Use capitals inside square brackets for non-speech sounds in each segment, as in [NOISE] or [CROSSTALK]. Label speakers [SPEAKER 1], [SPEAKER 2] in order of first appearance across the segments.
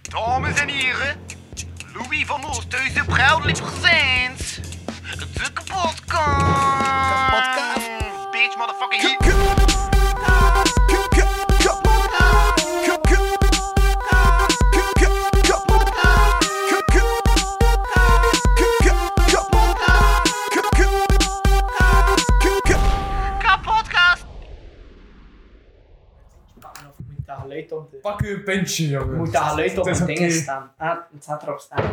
[SPEAKER 1] Dames en heren, Louis van Oosthuizen, proudly presents de kapotkast.
[SPEAKER 2] Kapotkast.
[SPEAKER 1] Bitch, motherfucking
[SPEAKER 2] K-
[SPEAKER 1] hit.
[SPEAKER 2] k- k- k- kapotkast. K- k- k- k- kapotkast. K- k- k- k- kapotkast. K- k- k- k-
[SPEAKER 1] Kapotkast.
[SPEAKER 3] Of moet dat geluid op de...
[SPEAKER 4] Pak u een pintje, jongen.
[SPEAKER 3] Moet dat geluid op
[SPEAKER 4] Het is
[SPEAKER 3] de
[SPEAKER 4] oké.
[SPEAKER 3] dingen staan? Ah, het staat erop staan.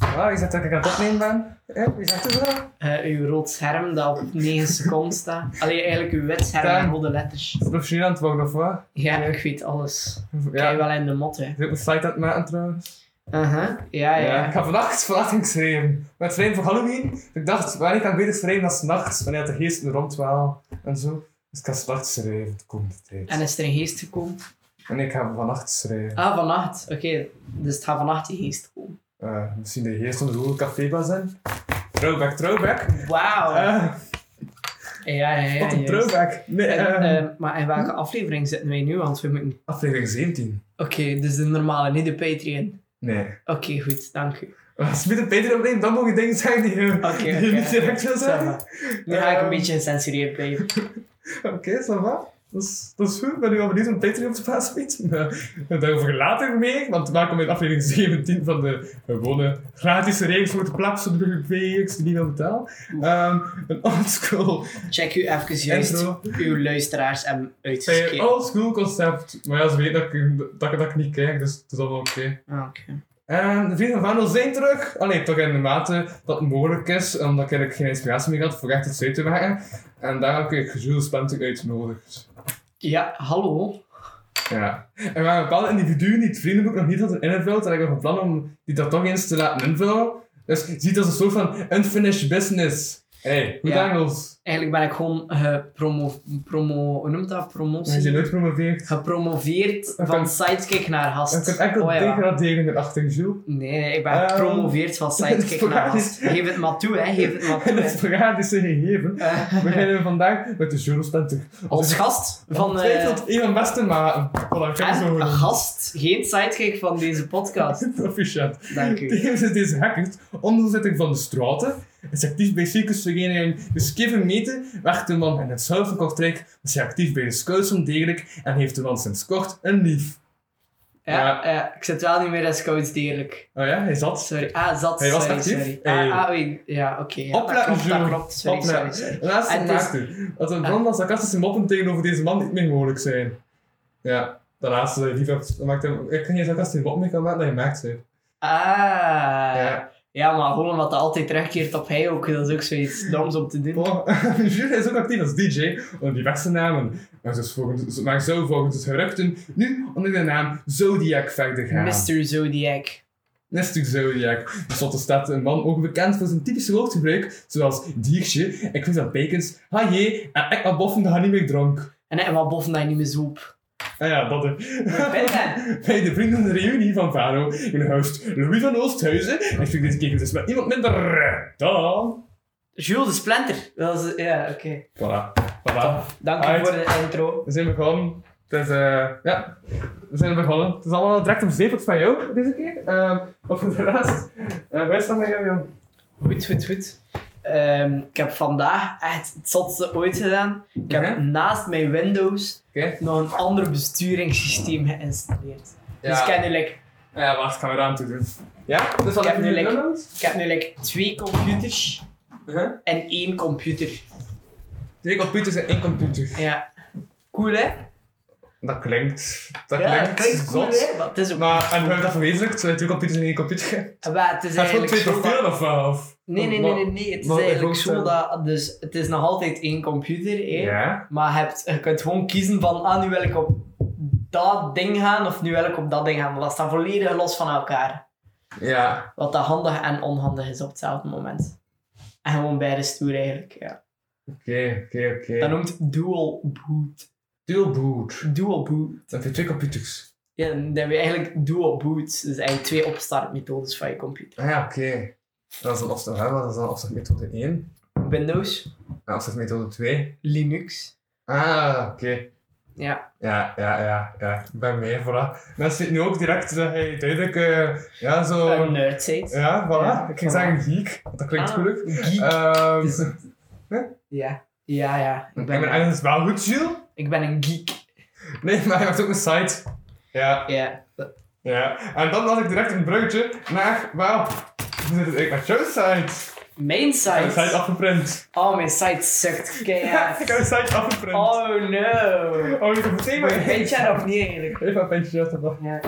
[SPEAKER 4] Ah, je zegt dat ik aan het opnemen ben. Hè? Wie zegt het zo?
[SPEAKER 3] Eh, uw rood scherm dat op 9 seconden staat. Allee, eigenlijk uw wit scherm
[SPEAKER 4] Staan.
[SPEAKER 3] en rode letters.
[SPEAKER 4] Professioneel aan het worden, of wat?
[SPEAKER 3] Ja, ik weet alles.
[SPEAKER 4] Ja.
[SPEAKER 3] Kijk wel in de mot, hè.
[SPEAKER 4] Ik zit een site aan het maken, trouwens.
[SPEAKER 3] Uh-huh. Ja, ja.
[SPEAKER 4] Ik ga vannacht verlating schrijven. Met vreemd voor Halloween. Dus ik dacht, wanneer kan ik beter schrijven dan s'nachts? Wanneer de geesten rondwaal en zo. Dus ik ga s'nachts schrijven de komende tijd.
[SPEAKER 3] En is er een geest gekomen?
[SPEAKER 4] En ik ga vannacht schrijven.
[SPEAKER 3] Ah, vannacht. Oké, dus het gaat vannacht die geest komen.
[SPEAKER 4] Eh, misschien de geest onder de hoge cafébas in. Throwback, throwback.
[SPEAKER 3] Wauw.
[SPEAKER 4] Eh,
[SPEAKER 3] ja, ja, ja.
[SPEAKER 4] wat een
[SPEAKER 3] juist.
[SPEAKER 4] throwback. Nee,
[SPEAKER 3] En,
[SPEAKER 4] eh,
[SPEAKER 3] eh, maar in welke aflevering zitten wij nu? Want we moeten...
[SPEAKER 4] aflevering 17.
[SPEAKER 3] Oké, dus de normale, niet de Patreon.
[SPEAKER 4] Nee.
[SPEAKER 3] Oké, goed. Dank u.
[SPEAKER 4] Als je een Peter opneemt, dan mogen dingen zeggen die je,
[SPEAKER 3] Oké,
[SPEAKER 4] [LAUGHS] die je
[SPEAKER 3] oké,
[SPEAKER 4] niet direct wil
[SPEAKER 3] oké.
[SPEAKER 4] zeggen.
[SPEAKER 3] Nu ga ik een
[SPEAKER 4] Ehm,
[SPEAKER 3] beetje censureren, baby.
[SPEAKER 4] Eh, Oké, ça va. Dat is, dat is goed. Ik ben nu al benieuwd om Patreon te plaatsen biedt. Maar Daarover later mee, want we komen in aflevering 17 van de gewone gratis regels voor de plaats van de VX die niet wil betalen. Ehm, een oldschool
[SPEAKER 3] Check u even juist
[SPEAKER 4] Intro.
[SPEAKER 3] uw luisteraars en
[SPEAKER 4] eh,
[SPEAKER 3] uitgekeken.
[SPEAKER 4] oldschool concept. Maar ja, ze weten dat ik dat, ik dat ik niet kijk, dus het is allemaal oké.
[SPEAKER 3] Ah, oké.
[SPEAKER 4] En Ehm, de vrienden van Vaandel zijn terug. Alleen toch in de mate dat het mogelijk is, omdat ik eigenlijk geen inspiratie meer had voor echt iets uit te werken. En daarom heb ik Jules Spencer uitgenodigd.
[SPEAKER 3] Ja, hallo.
[SPEAKER 4] Ja. En waar bepaalde individuen die het vriendenboek nog niet hadden ingevuld, en ik heb van plan om die dat toch eens te laten invullen. Dus je ziet dat als een soort van unfinished business. hey, goed
[SPEAKER 3] Ja.
[SPEAKER 4] Engels.
[SPEAKER 3] Eigenlijk ben ik gewoon eh, promo, promo, hoe noemt dat?
[SPEAKER 4] Je bent
[SPEAKER 3] Promotie.
[SPEAKER 4] nooit gepromoveerd.
[SPEAKER 3] Gepromoveerd
[SPEAKER 4] Je
[SPEAKER 3] van
[SPEAKER 4] kunt-
[SPEAKER 3] sidekick naar
[SPEAKER 4] Je kunt
[SPEAKER 3] gast.
[SPEAKER 4] enkel
[SPEAKER 3] Oh, ja.
[SPEAKER 4] degraderen in de achting, Jules. [LAUGHS]
[SPEAKER 3] Nee, nee, ik ben
[SPEAKER 4] Ehm,
[SPEAKER 3] gepromoveerd van
[SPEAKER 4] [LAUGHS]
[SPEAKER 3] sidekick naar gast.
[SPEAKER 4] sporadisch.
[SPEAKER 3] Geef het maar toe, hè. Geef het maar toe.
[SPEAKER 4] [LAUGHS] En het
[SPEAKER 3] hè.
[SPEAKER 4] sporadische gegeven.
[SPEAKER 3] Eh,
[SPEAKER 4] We beginnen vandaag met de Jules Spencer.
[SPEAKER 3] als gast van...
[SPEAKER 4] Twee
[SPEAKER 3] eh
[SPEAKER 4] tot één van beste maten. Voilà, ik heb het zo
[SPEAKER 3] en
[SPEAKER 4] [LAUGHS] gedaan.
[SPEAKER 3] gast, geen sidekick van deze podcast.
[SPEAKER 4] Proficiat.
[SPEAKER 3] Dank u.
[SPEAKER 4] Tevens is deze hackert onderzetting van de straten. Is actief bij Dus circusvereniging de Skiven Meten, werkt de man in het zuivelkortrijk, is hij actief bij de Scouts om degelijk en heeft de man sinds kort een lief.
[SPEAKER 3] Ja, eh, ik zit wel niet meer als coach deerlijk.
[SPEAKER 4] Oh ja, hij zat.
[SPEAKER 3] Sorry. Ah, zat.
[SPEAKER 4] Hij was
[SPEAKER 3] sorry,
[SPEAKER 4] actief.
[SPEAKER 3] sorry.
[SPEAKER 4] Hey.
[SPEAKER 3] Ah, ah, oei. Ja, oké. ja, dat
[SPEAKER 4] Opletten,
[SPEAKER 3] klopt, dat
[SPEAKER 4] Jules.
[SPEAKER 3] klopt. Sorry, sorry,
[SPEAKER 4] Opletten.
[SPEAKER 3] sorry.
[SPEAKER 4] De laatste
[SPEAKER 3] En dus-
[SPEAKER 4] maakte dat een bron van sarcastische moppen tegenover deze man niet meer mogelijk zijn. Ja, de laatste lief heeft- maakt hem. Ik kan geen sarcastische moppen meer kan maken dat je maakt zijn.
[SPEAKER 3] Eh, Ah.
[SPEAKER 4] Ja.
[SPEAKER 3] Ja. maar gewoon wat dat altijd terugkeert op hij ook, dat is ook zoiets doms om te doen.
[SPEAKER 4] [LAUGHS] Oh, Jules is ook actief als DJ onder diverse namen. Maar, dus volgens, maar zo volgens het geruchten nu onder de naam Zodiac verder gaan.
[SPEAKER 3] Mr. Zodiac.
[SPEAKER 4] Nestor Zodiac. Tenslotte staat een man ook bekend voor zijn typische woordgebruik, zoals diertje, ik vind dat bacons, haje, en ik ben boffen, dat hij niet meer dronk.
[SPEAKER 3] En hij wat boven dat je niet meer zoep.
[SPEAKER 4] Ah ja, dat er.
[SPEAKER 3] Binnen!
[SPEAKER 4] [LAUGHS] Bij de vrienden van de reunie van Varo, hun host Louis van Oosthuizen, en ik vind dit keer dus met iemand minder dan...
[SPEAKER 3] Jules de Splinter. Dat is, ja, oké.
[SPEAKER 4] Voilà, voilà.
[SPEAKER 3] Dank u
[SPEAKER 4] Uit.
[SPEAKER 3] voor de intro.
[SPEAKER 4] We zijn begonnen. Het is, eh, ja, we zijn begonnen. Het is allemaal direct om zeep van jou deze keer. Ehm of voor de rest, Eh wij staan met jou, jong.
[SPEAKER 3] Goed, goed, goed. Ehm, ik heb vandaag echt het zotste ooit gedaan. Ik heb
[SPEAKER 4] Mhm.
[SPEAKER 3] naast mijn Windows
[SPEAKER 4] Oké. Eh,
[SPEAKER 3] nog een ander besturingssysteem geïnstalleerd. Dus ik heb nu like
[SPEAKER 4] Ja, wacht, gaan we eraan toe doen. Ja? Dus
[SPEAKER 3] Ik heb nu
[SPEAKER 4] nu Eh,
[SPEAKER 3] lekker- Ik heb nu like twee computers en één computer.
[SPEAKER 4] Twee computers en één computer.
[SPEAKER 3] Ja. Cool, hè?
[SPEAKER 4] Dat klinkt. Dat
[SPEAKER 3] ja,
[SPEAKER 4] klinkt,
[SPEAKER 3] cool,
[SPEAKER 4] zot.
[SPEAKER 3] hè? Maar het is ook...
[SPEAKER 4] Maar, en hoe heb je dat verwezenlijkt? Twee computers en één computer?
[SPEAKER 3] Eh, maar het is
[SPEAKER 4] Heb je gewoon
[SPEAKER 3] eigenlijk
[SPEAKER 4] twee
[SPEAKER 3] zo dat-
[SPEAKER 4] profielen of wel? Of-
[SPEAKER 3] Nee, nee, nee, nee, nee. Het is
[SPEAKER 4] Maar- maar-
[SPEAKER 3] eigenlijk zo
[SPEAKER 4] maar-
[SPEAKER 3] dat... Dus het is nog altijd één computer, hè?
[SPEAKER 4] Ja?
[SPEAKER 3] Maar je, hebt, je kunt gewoon kiezen van, ah, nu wil ik op dat ding gaan of nu wil ik op dat ding gaan. Maar dat staat volledig los van elkaar.
[SPEAKER 4] Ja.
[SPEAKER 3] Wat dat handig en onhandig is op hetzelfde moment. En gewoon beide stoer eigenlijk, ja.
[SPEAKER 4] Oké, oké,
[SPEAKER 3] Dat
[SPEAKER 4] oké.
[SPEAKER 3] noemt dual boot.
[SPEAKER 4] Dual boot.
[SPEAKER 3] Dual boot.
[SPEAKER 4] Dan heb je twee computers.
[SPEAKER 3] Ja, dan heb je eigenlijk dual boot. Dus eigenlijk twee opstartmethodes van je computer.
[SPEAKER 4] Ah ja, oké. Dat is dan opstel hebben, dat is dan opstel methode 1.
[SPEAKER 3] Windows,
[SPEAKER 4] En opstel methode 2.
[SPEAKER 3] Linux,
[SPEAKER 4] Ah, oké.
[SPEAKER 3] Ja.
[SPEAKER 4] Ja, ja, ja, ja. Ik ben mee, voilà. Mensen zitten nu ook direct dat hij duidelijk, eh, ja, zo...
[SPEAKER 3] Een nerd zit.
[SPEAKER 4] Ja, voilà.
[SPEAKER 3] Oh. Ja,
[SPEAKER 4] ik ging
[SPEAKER 3] voilà.
[SPEAKER 4] zeggen geek, want dat klinkt
[SPEAKER 3] Ah,
[SPEAKER 4] goed.
[SPEAKER 3] Geek.
[SPEAKER 4] Ehm
[SPEAKER 3] Is- Ja. Ja, ja.
[SPEAKER 4] ik
[SPEAKER 3] Ik
[SPEAKER 4] ben
[SPEAKER 3] ben,
[SPEAKER 4] ergens wel goed, Jules.
[SPEAKER 3] ik ben een geek.
[SPEAKER 4] Nee, maar je hebt ook een site. Ja,
[SPEAKER 3] Ja.
[SPEAKER 4] ja. En dan had ik direct een bruggetje naar, wel, ik met jouw site.
[SPEAKER 3] Mijn
[SPEAKER 4] Ik heb een site
[SPEAKER 3] site.
[SPEAKER 4] afgeprint.
[SPEAKER 3] Oh, mijn site sukt. [LAUGHS]
[SPEAKER 4] Ja, [LAUGHS] ik heb
[SPEAKER 3] Keihard.
[SPEAKER 4] een site afgeprint. Oh,
[SPEAKER 3] Oh no.
[SPEAKER 4] ik heb meteen maar
[SPEAKER 3] Weet jij dat of niet eigenlijk?
[SPEAKER 4] Even een pintje zetten. wacht.
[SPEAKER 3] Ja.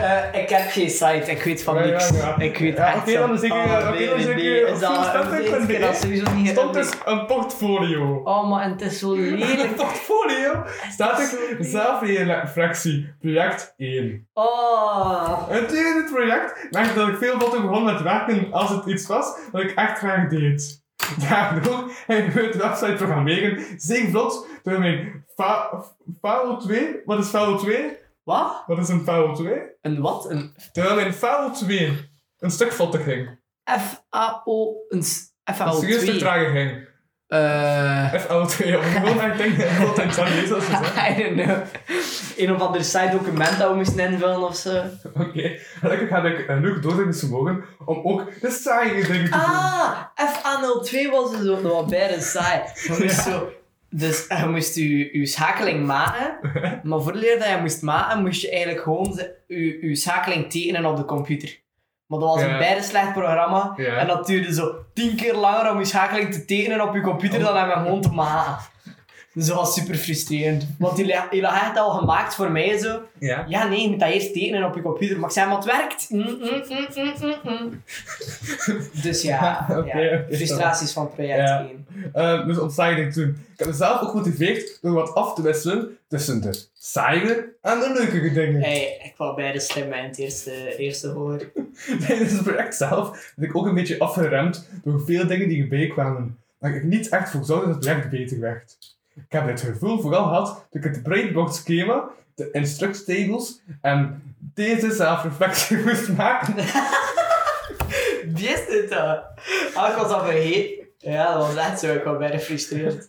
[SPEAKER 3] Eh, ik heb geen site, ik weet van
[SPEAKER 4] Ja, ja,
[SPEAKER 3] niks.
[SPEAKER 4] ja.
[SPEAKER 3] Ik weet
[SPEAKER 4] Ja,
[SPEAKER 3] echt
[SPEAKER 4] oké, dan
[SPEAKER 3] van
[SPEAKER 4] zeg ik, eh,
[SPEAKER 3] alles.
[SPEAKER 4] oké,
[SPEAKER 3] Nee,
[SPEAKER 4] dan
[SPEAKER 3] nee,
[SPEAKER 4] zeg ik,
[SPEAKER 3] nee,
[SPEAKER 4] eh,
[SPEAKER 3] is dat-
[SPEAKER 4] Filmstad, ik ben
[SPEAKER 3] ik
[SPEAKER 4] de
[SPEAKER 3] kan dat
[SPEAKER 4] eerste.
[SPEAKER 3] sowieso niet
[SPEAKER 4] Stond
[SPEAKER 3] hebben.
[SPEAKER 4] dus een portfolio.
[SPEAKER 3] Oh, maar en het is zo
[SPEAKER 4] Een [LAUGHS]
[SPEAKER 3] lelijk.
[SPEAKER 4] portfolio staat
[SPEAKER 3] Zo
[SPEAKER 4] er
[SPEAKER 3] lelijk.
[SPEAKER 4] zelfreflectie, project 1.
[SPEAKER 3] Oh.
[SPEAKER 4] Het tweede project maakte dat ik veel beter begon met werken als het iets was dat ik echt graag deed. Daardoor heb ik de website programmeren zeer vlot door mijn fa- FAO2. Wat is FAO2?
[SPEAKER 3] Wat?
[SPEAKER 4] Wat is een FAO2?
[SPEAKER 3] Een wat? Een
[SPEAKER 4] Terwijl mijn FAO2 een stuk vlotter ging.
[SPEAKER 3] FAO. Een s-
[SPEAKER 4] Een
[SPEAKER 3] FAO.
[SPEAKER 4] serieus stuk
[SPEAKER 3] 2.
[SPEAKER 4] trager ging.
[SPEAKER 3] Eh. [LAUGHS]
[SPEAKER 4] FAO2, ja, maar gewoon echt denk dat ik altijd zou lezen als je zegt.
[SPEAKER 3] I don't know. Een of ander site document dat we moesten invullen of zo.
[SPEAKER 4] Oké, gelukkig had ik eh, genoeg doorzettings vermogen om ook de saaie dingen te doen.
[SPEAKER 3] Ah, FA02 was dus ook nog wat bij de saai. Je moest
[SPEAKER 4] Ja.
[SPEAKER 3] zo, dus je moest je, je schakeling
[SPEAKER 4] [LAUGHS]
[SPEAKER 3] maken, maar voor de leer dat je moest maken, moest je eigenlijk gewoon ze- je, je schakeling tekenen op de computer. Maar dat was
[SPEAKER 4] Ja.
[SPEAKER 3] een beide slecht programma
[SPEAKER 4] Ja.
[SPEAKER 3] en dat duurde zo tien keer langer om je schakeling te tekenen op je computer dan hem gewoon te maken. Dus dat was super frustrerend. Want die, la- die lag echt al gemaakt voor mij zo.
[SPEAKER 4] Ja.
[SPEAKER 3] Ja, nee, je moet dat eerst tekenen op je computer. Maar ik zei, maar het werkt. Mm, mm, mm, mm, mm, mm. [LAUGHS] Dus ja,
[SPEAKER 4] [LAUGHS] Oké,
[SPEAKER 3] ja.
[SPEAKER 4] oké,
[SPEAKER 3] frustraties van project
[SPEAKER 4] Ja.
[SPEAKER 3] 1.
[SPEAKER 4] Eh, dus om saaie dingen te doen. Ik heb mezelf ook gemotiveerd door wat af te wisselen tussen de saaie en de leukere dingen. [LAUGHS]
[SPEAKER 3] Hey, ik wou beide stemmen in het eerste, eerste hoor.
[SPEAKER 4] Tijdens het project zelf ben ik ook een beetje afgeremd door veel dingen die erbij kwamen. Dat ik niet echt voor zorgde dat het project beter werd. Ik heb dit gevoel vooral gehad dat ik het breedboard schema, de instruct tables en deze zelfreflectie [LAUGHS] moest maken.
[SPEAKER 3] [LAUGHS] Wie is dit dan? Ah, ik was al vergeten. Ja, dat was echt zo. Ik was bijna gefrustreerd.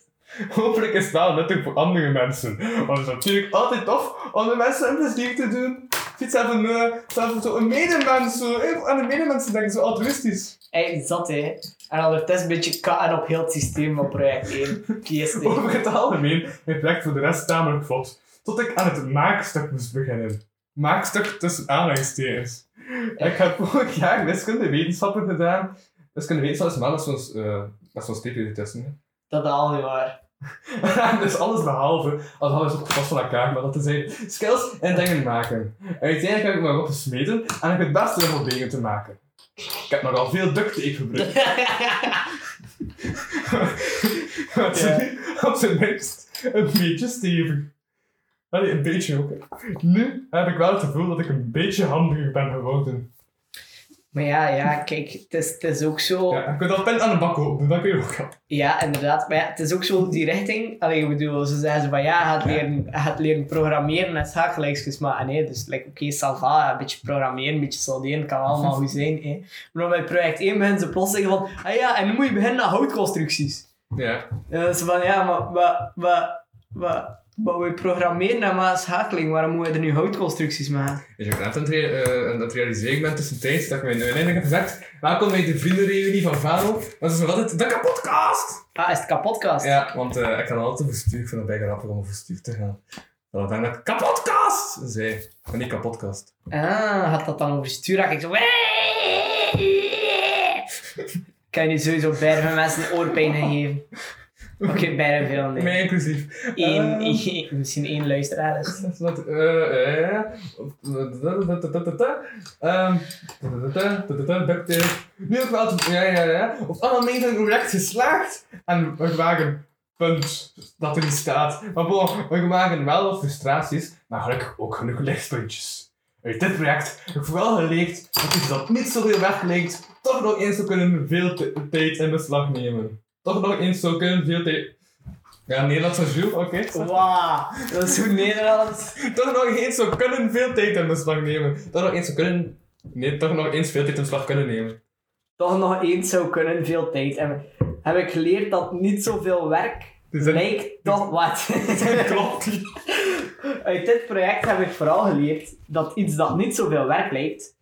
[SPEAKER 4] Hopelijk is het wel nuttig voor andere mensen. Want het is natuurlijk altijd tof om de mensen een plezier te doen. Ziet zelf een, eh, zelf zo een medemens, zo, eh, aan de medemensen denken, zo altruïstisch.
[SPEAKER 3] Hey, zat hè. En ondertussen een beetje katten op heel het systeem van project 1. Kies
[SPEAKER 4] [LAUGHS] Over het algemeen mijn plek voor de rest tamelijk vlot. Tot ik aan het maakstuk moest beginnen. Maakstuk tussen aanhalingstekens. Ik heb vorig jaar wiskunde wetenschappen gedaan. Wiskunde wetenschappen is maar met zo'n eh, met zo'n streepje ertussen. hè.
[SPEAKER 3] Dat is al niet waar.
[SPEAKER 4] [LAUGHS] dus alles behalve, als alles ook vast van elkaar, maar dat te zijn skills en dingen maken. En uiteindelijk heb ik me opgesmeten en heb ik het beste om dingen te maken. Ik heb nogal veel duct tape [LAUGHS] gebruikt. Wat
[SPEAKER 3] Ja.
[SPEAKER 4] nu op zijn minst een beetje stevig. Allee, een beetje ook. hè. Nu heb ik wel het gevoel dat ik een beetje handiger ben geworden.
[SPEAKER 3] [LAUGHS] maar ja, ja, kijk, het is, het is ook zo.
[SPEAKER 4] Ja, je kunt al pen aan de bak openen, dat kun je ook al.
[SPEAKER 3] Ja, inderdaad. Maar ja, het is ook zo die richting. Allee, ik bedoel, ze zeggen ze van ja, gaat leren, gaat leren programmeren en schakelijksjes maken. Nee, dus like, oké, salva, een beetje programmeren, een beetje solderen, kan [LAUGHS] allemaal goed zijn. Hè. Maar dan bij project 1 beginnen ze plots zeggen van, ah ja, en nu moet je beginnen met houtconstructies.
[SPEAKER 4] Ja.
[SPEAKER 3] En dan is ze van, ja, maar wat, wat, wat, wat we programmeren en wat is schakeling, waarom moeten we er nu houtconstructies maken?
[SPEAKER 4] Dus ik net aan het, rea- eh, aan het realiseren ben tussentijds dat ik mijn vriendin heb gezegd Welkom bij de vriendenreunie van Vano. Dat is nog altijd de kapotkast!
[SPEAKER 3] Ah, is het kapotkast?
[SPEAKER 4] Ja, want eh, ik ga dan altijd verstuurd. Ik vind het bij grappig om over verstuurd te gaan. Dat ik dan net kapotkast! zei. En niet kapotkast.
[SPEAKER 3] Ah, had dat dan over stuurraak? Ik zo... [LAUGHS] Kan je nu sowieso bijna van mensen oorpijn gaan geven? Oké, bijna veel, nee.
[SPEAKER 4] Mij inclusief.
[SPEAKER 3] Eén,
[SPEAKER 4] Eh,
[SPEAKER 3] [LAUGHS] één- misschien één luisteraar is.
[SPEAKER 4] Wat, eh, eh, ehm, duct tape. Nu ook wel, te- ja, ja, ja. Of allemaal mee zijn project geslaagd. En we waren, punt, dat er niet staat. Maar bon, we waren wel wat frustraties, maar gelukkig ook genoeg lichtpuntjes. Uit dit project heb ik vooral geleerd dat iets dat niet zoveel weg lijkt, toch nog eens zou kunnen veel t- tijd in beslag nemen. Toch nog eens zou kunnen veel tijd... Ja, Nederlands van Jules, oké.
[SPEAKER 3] Wauw, dat is goed Nederlands.
[SPEAKER 4] Toch nog eens zou kunnen veel tijd in beslag nemen. Toch nog eens zou kunnen... Nee, toch nog eens veel tijd in beslag kunnen nemen.
[SPEAKER 3] Toch nog eens zou kunnen, veel tijd. En heb ik geleerd dat niet zoveel werk
[SPEAKER 4] Dus dat
[SPEAKER 3] Lijkt toch wat. [LAUGHS]
[SPEAKER 4] klopt niet.
[SPEAKER 3] Uit dit project heb ik vooral geleerd dat iets dat niet zoveel werk lijkt,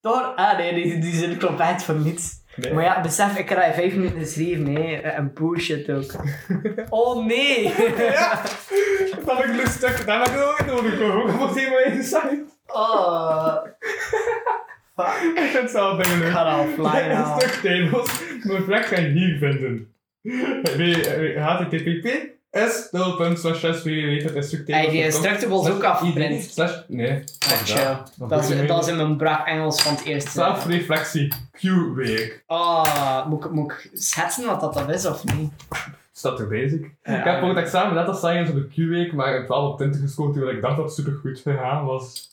[SPEAKER 3] toch... Ah nee, die, die zin klopt echt voor niets.
[SPEAKER 4] Nee.
[SPEAKER 3] Maar ja, besef, ik krijg vijf minuten geschreven, hè. En bullshit [LAUGHS] ook. oh nee!
[SPEAKER 4] Ja! Dat heb ik lustig. Dat heb ik ook nodig. Ik heb ook nog helemaal in de site.
[SPEAKER 3] [LAUGHS] Oh. Fuck.
[SPEAKER 4] Dat zou bijna
[SPEAKER 3] Ik
[SPEAKER 4] leuk.
[SPEAKER 3] ga al offline
[SPEAKER 4] Een
[SPEAKER 3] halen.
[SPEAKER 4] stuk Thanos. Mijn plek ga je hier vinden. http s
[SPEAKER 3] Hey, die Instructables ook afgeprint.
[SPEAKER 4] Slash, nee.
[SPEAKER 3] Ah, chill. Dat is, dat is in mijn brak Engels van het eerste.
[SPEAKER 4] Zelfreflectie Q-week.
[SPEAKER 3] Oh, moet, ik- moet ik schetsen wat dat, dat is of niet?
[SPEAKER 4] Staat er basic.
[SPEAKER 3] Ja.
[SPEAKER 4] ik heb voor het examen net als science op de Q-week, maar ik heb wel op tinten gescoord, terwijl ik dacht dat het super goed gegaan was.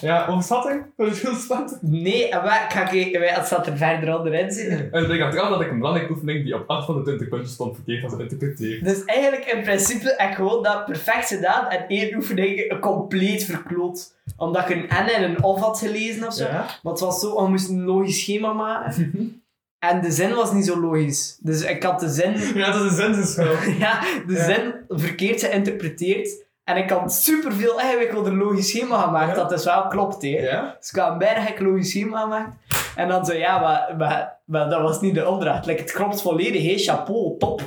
[SPEAKER 4] Ja, overschatting? Dat is heel spannend.
[SPEAKER 3] Nee, en waar- ik ga kijken wij- het staat er verder onderin zitten.
[SPEAKER 4] En ik dacht eraan dat ik een belangrijke oefening die op 8 van de 20 punten stond verkeerd had geïnterpreteerd.
[SPEAKER 3] Dus eigenlijk in principe heb ik gewoon dat perfect gedaan en één oefening compleet verkloot. Omdat ik een N en een of had gelezen of zo. Maar het was zo, we moesten een logisch schema maken. En de zin was niet zo logisch. Dus ik had de zin,
[SPEAKER 4] [LAUGHS]
[SPEAKER 3] [LAUGHS]
[SPEAKER 4] Ja, dat is een zensenschil.
[SPEAKER 3] ja, de
[SPEAKER 4] Ja.
[SPEAKER 3] zin verkeerd geïnterpreteerd. En ik had superveel ingewikkelder logisch schema gemaakt,
[SPEAKER 4] Ja.
[SPEAKER 3] dat dus wel klopt, hè.
[SPEAKER 4] Ja?
[SPEAKER 3] Dus ik had een bijna gek logisch schema gemaakt. En dan zo, ja, maar, maar, maar dat was niet de opdracht. Like, het klopt volledig, hé, chapeau, top.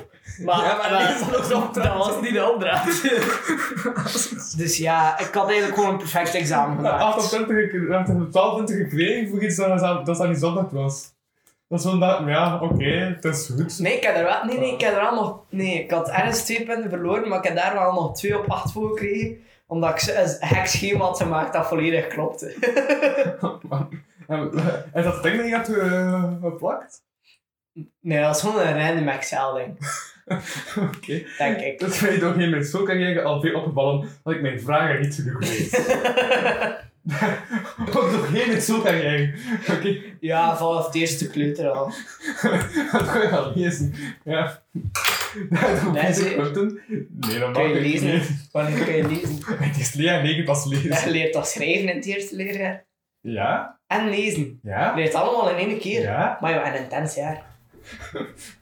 [SPEAKER 3] Maar,
[SPEAKER 4] Ja, maar dat is nog de
[SPEAKER 3] [LAUGHS] dat
[SPEAKER 4] opdracht.
[SPEAKER 3] was niet de
[SPEAKER 4] [LAUGHS]
[SPEAKER 3] opdracht. dus ja, ik had eigenlijk gewoon een perfect examen
[SPEAKER 4] Ja,
[SPEAKER 3] gemaakt.
[SPEAKER 4] 28 ik dacht dat ik 12 punten gekregen voor iets dat dat dat niet zondag was. Dat is wel dat, ja, oké, het is goed. [LAUGHS]
[SPEAKER 3] Nee, ik heb er wel... Nee, nee, ik heb er wel nog... Nee, ik had ergens twee punten verloren, maar ik heb daar wel nog twee op acht voor gekregen. Omdat ik zo- een hek schema had gemaakt dat volledig klopte. [LAUGHS]
[SPEAKER 4] En, en dat ding dat je had eh, geplakt? [LAUGHS]
[SPEAKER 3] Nee, dat is gewoon een random Excel-ding,
[SPEAKER 4] Oké.
[SPEAKER 3] denk ik.
[SPEAKER 4] Dat weet ik ook niet meer. Zo kan ik al veel opgevallen dat ik mijn vragen niet zo
[SPEAKER 3] [LAUGHS]
[SPEAKER 4] goed weet. Ook nog geen met zo kan jij. Oké.
[SPEAKER 3] ja, vanaf het eerste kleuter al.
[SPEAKER 4] Dat kan je al lezen. Ja. Dat doe
[SPEAKER 3] Nee,
[SPEAKER 4] ik
[SPEAKER 3] ze-
[SPEAKER 4] punten. Nee, dat
[SPEAKER 3] Kun
[SPEAKER 4] mag
[SPEAKER 3] je
[SPEAKER 4] ik
[SPEAKER 3] lezen?
[SPEAKER 4] niet.
[SPEAKER 3] Wanneer kun je lezen?
[SPEAKER 4] Het is Lea en ik
[SPEAKER 3] [LAUGHS]
[SPEAKER 4] pas
[SPEAKER 3] Je
[SPEAKER 4] lezen.
[SPEAKER 3] leert dat schrijven in het eerste leerjaar.
[SPEAKER 4] Ja?
[SPEAKER 3] En lezen. Je
[SPEAKER 4] Ja?
[SPEAKER 3] leert allemaal in één keer.
[SPEAKER 4] Ja?
[SPEAKER 3] Maar ja, een intens jaar.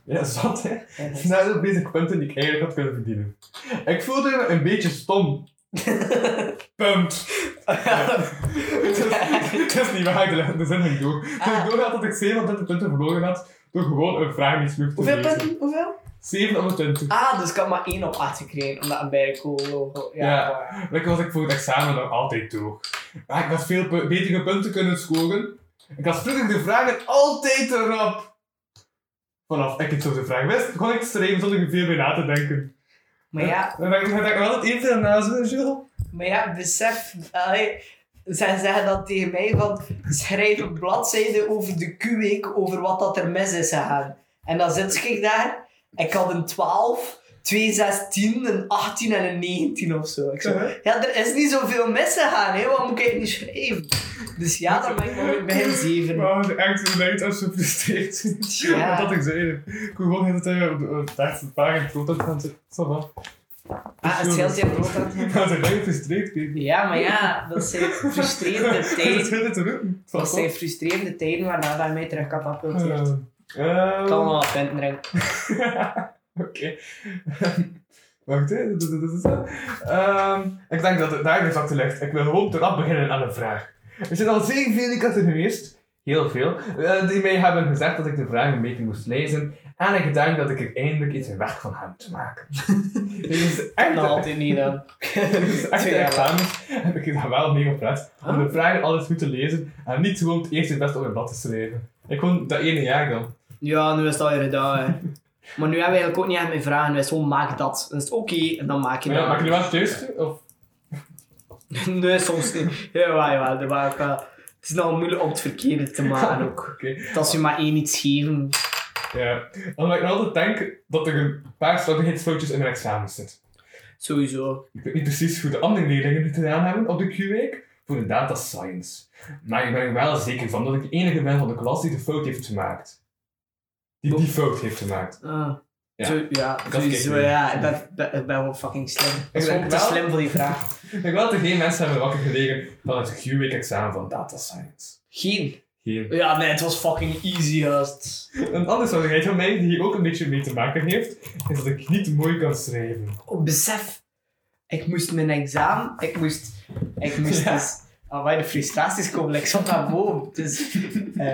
[SPEAKER 4] Ja, zat hè. Nou, Snel op deze punten die ik eigenlijk had kunnen verdienen. Ik voelde me een beetje
[SPEAKER 3] [LAUGHS]
[SPEAKER 4] stom. Punt. Het is, het is niet waar, ik leg de zin ging door.
[SPEAKER 3] Ah.
[SPEAKER 4] Toen ik door had dat ik 27 punten verloren had, door gewoon een vraag niet sloeg te
[SPEAKER 3] Hoeveel
[SPEAKER 4] lezen.
[SPEAKER 3] punten? Hoeveel?
[SPEAKER 4] 27.
[SPEAKER 3] Ah, dus ik had maar één op acht gekregen, omdat een bijkool logo... Ja,
[SPEAKER 4] Ja.
[SPEAKER 3] maar-
[SPEAKER 4] Lekker was ik voor het examen nog altijd door. Maar ik had veel pu- betere punten kunnen scoren. Ik had vroeger de vragen altijd erop. Vanaf ik het zo de vraag wist, kon ik schrijven zonder er veel bij na te denken.
[SPEAKER 3] Maar ja,
[SPEAKER 4] Dan denk ik dan denk ik wel altijd even na zo, Jules.
[SPEAKER 3] maar ja besef... allee, zij zeggen dat tegen mij, van schrijf een bladzijde over de Q-week, over wat dat er mis is gegaan. En dan zit ik daar, ik had een 12, twee 16, een 18 en een 19 of zo. Ik zo,
[SPEAKER 4] Uh-huh.
[SPEAKER 3] ja, er is niet zoveel mis gegaan, hè? waarom moet ik het niet schrijven? Dus ja, dan ben ik nog bij een 7.
[SPEAKER 4] Maar echt zo leid als ze frustreert.
[SPEAKER 3] Ja.
[SPEAKER 4] [LAUGHS] Dat ik zei. Ik kon gewoon heel de hele tijd op de- op de laatste pagina het foto gaan zitten. Ça va.
[SPEAKER 3] Ah, het scheelt je brood
[SPEAKER 4] [LAUGHS]
[SPEAKER 3] aan het maken.
[SPEAKER 4] Dat ik leid frustreert kreeg.
[SPEAKER 3] Ja, maar ja, dat zijn [LAUGHS] frustrerende
[SPEAKER 4] Dat
[SPEAKER 3] tijden.
[SPEAKER 4] scheelt het te roepen. Het
[SPEAKER 3] Dat
[SPEAKER 4] was
[SPEAKER 3] zijn frustrerende tijden waarna dat mij terug
[SPEAKER 4] wel-
[SPEAKER 3] katapulteert.
[SPEAKER 4] Ehm,
[SPEAKER 3] Ik kan wel wat punten drinken.
[SPEAKER 4] [LAUGHS] Oké. Wacht, hè. Dat- dat- dat is dat. Ehm, Ik denk dat het daarin zat te ligt. Ik wil gewoon erop beginnen aan een vraag. Er zijn al zeer veel categorieën, heel veel, eh, die mij hebben gezegd dat ik de vragen een beetje moest lezen. En ik denk dat ik er eindelijk iets weg van heb
[SPEAKER 3] [LAUGHS]
[SPEAKER 4] te maken. Dit is echt
[SPEAKER 3] Dat altijd niet [LAUGHS] dan.
[SPEAKER 4] dus echt
[SPEAKER 3] Nou, Twee jaar
[SPEAKER 4] examens heb ik daar wel mee gepraat. Om de vragen alles goed te lezen en niet gewoon het eerste best op een blad te schrijven. Ik gewoon dat ene jaar dan.
[SPEAKER 3] Ja, nu is het al gedaan. hè. Maar nu hebben we eigenlijk ook niet echt meer vragen. Wij gewoon maak dat. Dan is het oké en dan maak je
[SPEAKER 4] Maar ja,
[SPEAKER 3] dat.
[SPEAKER 4] maak je nu wel het juiste? Of?
[SPEAKER 3] [LAUGHS] Nee, soms niet. Jawel, jawel. dat maak ik wel. Het is nou moeilijk om het verkeerde te maken ook.
[SPEAKER 4] [LAUGHS] Oké.
[SPEAKER 3] Dat als je maar één iets geven.
[SPEAKER 4] Ja. Omdat ik nog altijd denk dat er een paar slottigheidsfoutjes in mijn examen zitten.
[SPEAKER 3] Sowieso.
[SPEAKER 4] Ik weet niet precies hoe de andere leerlingen het gedaan hebben op de Q-week voor de data science. Maar ik ben er wel zeker van dat ik de enige ben van de klas die de fout heeft gemaakt. Die die fout heeft gemaakt.
[SPEAKER 3] Ah.
[SPEAKER 4] Ja.
[SPEAKER 3] Zo, ja,
[SPEAKER 4] kijk
[SPEAKER 3] sowieso.
[SPEAKER 4] nu.
[SPEAKER 3] Ja, ik ben, ik ben- ik ben gewoon fucking slim. Ik ben
[SPEAKER 4] denk
[SPEAKER 3] gewoon te
[SPEAKER 4] wel-
[SPEAKER 3] slim voor die vraag.
[SPEAKER 4] Ik denk wel dat er geen mensen hebben wakker gelegen van het Q-week examen van data science.
[SPEAKER 3] Geen.
[SPEAKER 4] Hier.
[SPEAKER 3] Ja, nee, het was fucking easy, juist.
[SPEAKER 4] Een andere zwarigheid van mij, die hier ook een beetje mee te maken heeft, is dat ik niet mooi kan schrijven.
[SPEAKER 3] Oh, besef. Ik moest mijn examen, ik moest, ik moest
[SPEAKER 4] Ja.
[SPEAKER 3] dus... Amai, de frustraties komen like, zat daar boven. Dus, [LAUGHS] eh,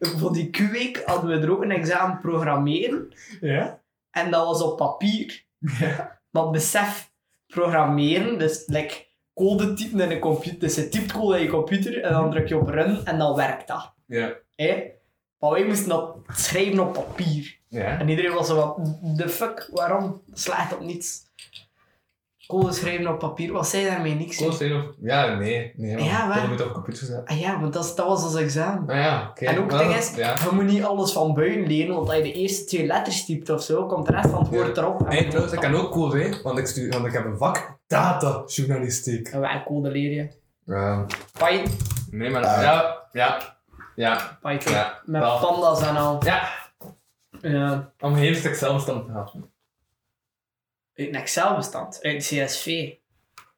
[SPEAKER 3] voor die Q-week hadden we er ook een examen programmeren.
[SPEAKER 4] Ja?
[SPEAKER 3] En dat was op papier. Maar besef, programmeren, dus like, code typen in een computer. Dus je typt code in je computer en dan druk je op run en dan werkt dat.
[SPEAKER 4] Ja.
[SPEAKER 3] hè? Maar wij moesten dat schrijven op papier.
[SPEAKER 4] Ja.
[SPEAKER 3] En iedereen was zo van, de fuck, waarom? Slaat op niets. Code schrijven op papier, wat zei daarmee niks? hè?
[SPEAKER 4] Koos of... Ja, nee. nee maar
[SPEAKER 3] Ja, waar?
[SPEAKER 4] Dat moet op computer zetten.
[SPEAKER 3] Ah ja, want dat, is- dat was ons examen.
[SPEAKER 4] Nou ja, oké.
[SPEAKER 3] En ook het
[SPEAKER 4] Wel,
[SPEAKER 3] ding is,
[SPEAKER 4] Ja.
[SPEAKER 3] je moet niet alles van buiten leren, want als je de eerste twee letters typt of zo, komt de rest van het woord
[SPEAKER 4] Ja.
[SPEAKER 3] erop. En
[SPEAKER 4] Nee, trouwens, ik kan ook code, hè, want ik, stuur, want ik heb een vak datajournalistiek.
[SPEAKER 3] En welke code leer je?
[SPEAKER 4] Ja.
[SPEAKER 3] Python,
[SPEAKER 4] Nee, maar... Ja, ja, ja,
[SPEAKER 3] Python.
[SPEAKER 4] ja.
[SPEAKER 3] Met
[SPEAKER 4] wel.
[SPEAKER 3] pandas en al. Ehm,
[SPEAKER 4] Ja,
[SPEAKER 3] Ja.
[SPEAKER 4] om een heel stuk zelfstand te halen.
[SPEAKER 3] Uit een Excel-bestand, uit CSV.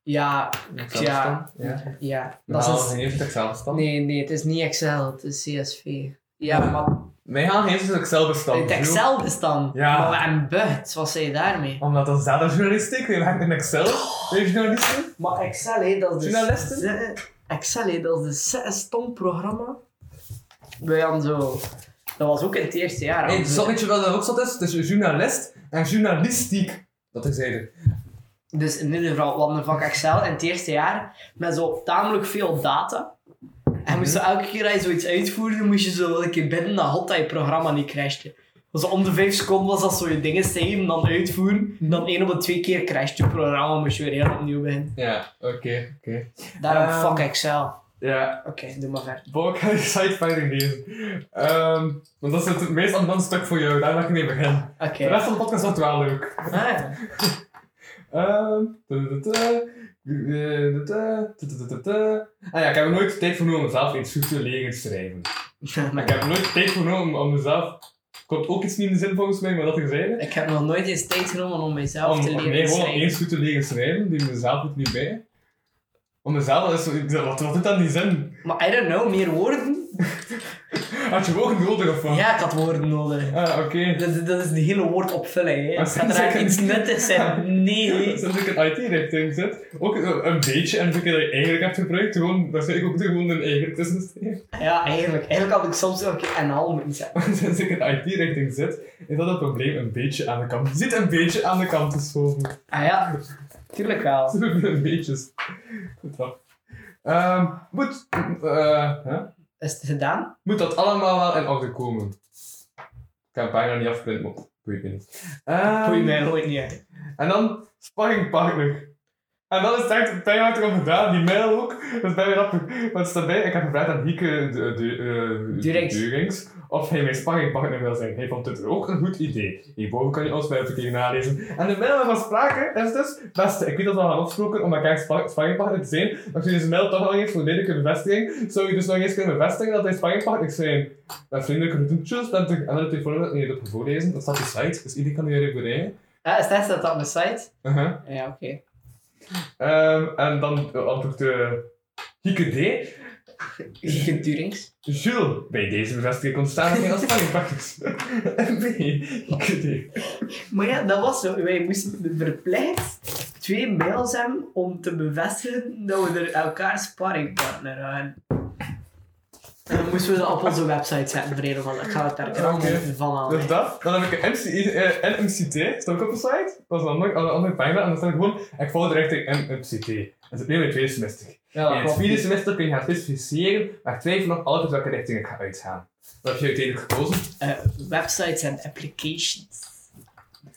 [SPEAKER 3] Ja, ja,
[SPEAKER 4] Zelfstand, Ja.
[SPEAKER 3] ja. Dat
[SPEAKER 4] Dat
[SPEAKER 3] is,
[SPEAKER 4] is een heel stuk zelfstand.
[SPEAKER 3] nee, nee, het is niet Excel, het is CSV. Ja,
[SPEAKER 4] Ja.
[SPEAKER 3] maar
[SPEAKER 4] Wij gaan geen stuk zelfstand.
[SPEAKER 3] Het Excel-bestand.
[SPEAKER 4] Ja.
[SPEAKER 3] Maar we hebben bucht, wat zei je daarmee?
[SPEAKER 4] Omdat dat is datajournalistiek, we werken in Excel. Weet je nou niet?
[SPEAKER 3] Maar Excel, hé, dat is dus...
[SPEAKER 4] Journalisten?
[SPEAKER 3] ze- Excel, hé, dat is dus zes stom programma. Wij hadden zo... Dat was ook in het eerste jaar.
[SPEAKER 4] Nee,
[SPEAKER 3] hadden
[SPEAKER 4] zo,
[SPEAKER 3] we-
[SPEAKER 4] weet je wel dat ook zat is? Tussen journalist en journalistiek. Dat ik zei.
[SPEAKER 3] Dus in ieder geval, we hadden een vak Excel in het eerste jaar. Met zo tamelijk veel data. En
[SPEAKER 4] Mhm.
[SPEAKER 3] moest je elke keer als je zoiets uitvoerde, moest je zo wel een keer binnen dat hot dat je programma niet crashte. Dus om de vijf seconden was dat zo je dingen zeggen, dan uitvoeren.
[SPEAKER 4] Mhm.
[SPEAKER 3] Dan één op de twee keer crashte je programma, moest je weer heel opnieuw beginnen.
[SPEAKER 4] Ja, oké, oké.
[SPEAKER 3] Daarom
[SPEAKER 4] Ehm,
[SPEAKER 3] fuck Excel.
[SPEAKER 4] Ja,
[SPEAKER 3] Oké, doe maar verder.
[SPEAKER 4] Bob, ik ga je sidefighting lezen. Ehm, want dat is het meest amusant stuk voor jou, daar mag ik mee beginnen.
[SPEAKER 3] Oké. Ah,
[SPEAKER 4] De rest van de podcast wordt wel leuk.
[SPEAKER 3] [LAUGHS]
[SPEAKER 4] Ehm, tudududu, tudududu, tudududu. Ah ja, ik heb er nooit tijd voor nodig om mezelf iets goed te leren schrijven. Ik heb er nooit tijd voor nodig om- om mezelf. Komt ook iets niet in de zin volgens mij, maar dat ik zei.
[SPEAKER 3] ik heb nog nooit eens tijd genomen om mezelf
[SPEAKER 4] Om,
[SPEAKER 3] te
[SPEAKER 4] om
[SPEAKER 3] leren
[SPEAKER 4] nee, gewoon om
[SPEAKER 3] schrijven.
[SPEAKER 4] eens goed te leren schrijven, die mezelf het niet bij. Om mezelf, dat is, zo- ik zei, wat, wat doet dat in die zin?
[SPEAKER 3] Maar I don't know, meer woorden?
[SPEAKER 4] Had je woorden nodig of wat?
[SPEAKER 3] Ja, ik had woorden nodig.
[SPEAKER 4] Ah, oké.
[SPEAKER 3] Dat, is- dat is de hele woord opvullen, hè.
[SPEAKER 4] Maar
[SPEAKER 3] Het gaat er
[SPEAKER 4] zeker-
[SPEAKER 3] iets nuttigs zijn.
[SPEAKER 4] [LAUGHS]
[SPEAKER 3] Nee.
[SPEAKER 4] Sinds ik in IT-richting zit, ook een een beetje, en dat je eigenlijk hebt gebruikt, gewoon, daar zit ik ook gewoon een eigen [LAUGHS] tussen.
[SPEAKER 3] Ja, eigenlijk. Eigenlijk had ik soms ook en al moeten zeggen.
[SPEAKER 4] Sinds ik in IT-richting zit, is dat het probleem een beetje aan de kant. [LAUGHS] Zit een beetje aan de kant te schoven. [LAUGHS]
[SPEAKER 3] Ah ja, tuurlijk wel.
[SPEAKER 4] een beetje. Goed wel. Ehm, moet, eh, hè?
[SPEAKER 3] Is het gedaan?
[SPEAKER 4] moet dat allemaal wel in orde komen. Ik heb bijna niet afgeprint, maar boeit me niet. Ehm,
[SPEAKER 3] Goeie mij nooit niet uit.
[SPEAKER 4] En dan sparringpartner. En dan is het echt bijna erom gedaan, die mail ook. Dat is bijna grappig. Want staat bij, ik heb gevraagd aan Hieke de, de, eh,
[SPEAKER 3] Durings.
[SPEAKER 4] Durings of hij mijn sparringpartner wil zijn. Hij vond het ook een goed idee. Hierboven kan je ons bij verkeer nalezen. En de mail van sprake is dus, beste, ik weet dat we al gaan afsproken om elkaar spar- sparringpartner te zijn, maar toen deze mail toch al heeft voor lelijke bevestiging, zou je dus nog eens kunnen bevestigen dat wij sparringpartners zijn. Met vriendelijke groetjes, bent u- en dan het telefoonnummer, nee, dat heb ik voorlezen, dat staat op de site, dus iedereen kan weer even bereiken.
[SPEAKER 3] Ah, is dat staat dat op de site?
[SPEAKER 4] Uh-huh.
[SPEAKER 3] Ja, oké.
[SPEAKER 4] Ehm, en dan antwoordt eh Hieke D.
[SPEAKER 3] Geen Durings.
[SPEAKER 4] Jules, bij deze bevestiging ontstaan er geen afspraakbakkers. [LAUGHS] Nee, Hieke D.
[SPEAKER 3] Maar ja, dat was zo. Wij moesten verplicht twee mails hebben om te bevestigen dat we er elkaar sparringpartner aan. En dan moesten we dat op onze website zetten, vrede van. Ik ga het daar knallen
[SPEAKER 4] Oké.
[SPEAKER 3] van halen.
[SPEAKER 4] Dus dat, dan heb ik een MC, eh, NMCT, staat ook op de site. Dat is een andere, een andere pagina. En dan staat gewoon, ik volg de richting NMCT. Dat is opnieuw in het tweede semester.
[SPEAKER 3] Ja,
[SPEAKER 4] in het vierde semester kun je gaan specificeren, maar ik twijfel nog altijd welke richting ik ga uitgaan. Dat heb je uiteindelijk gekozen.
[SPEAKER 3] Eh, websites en applications.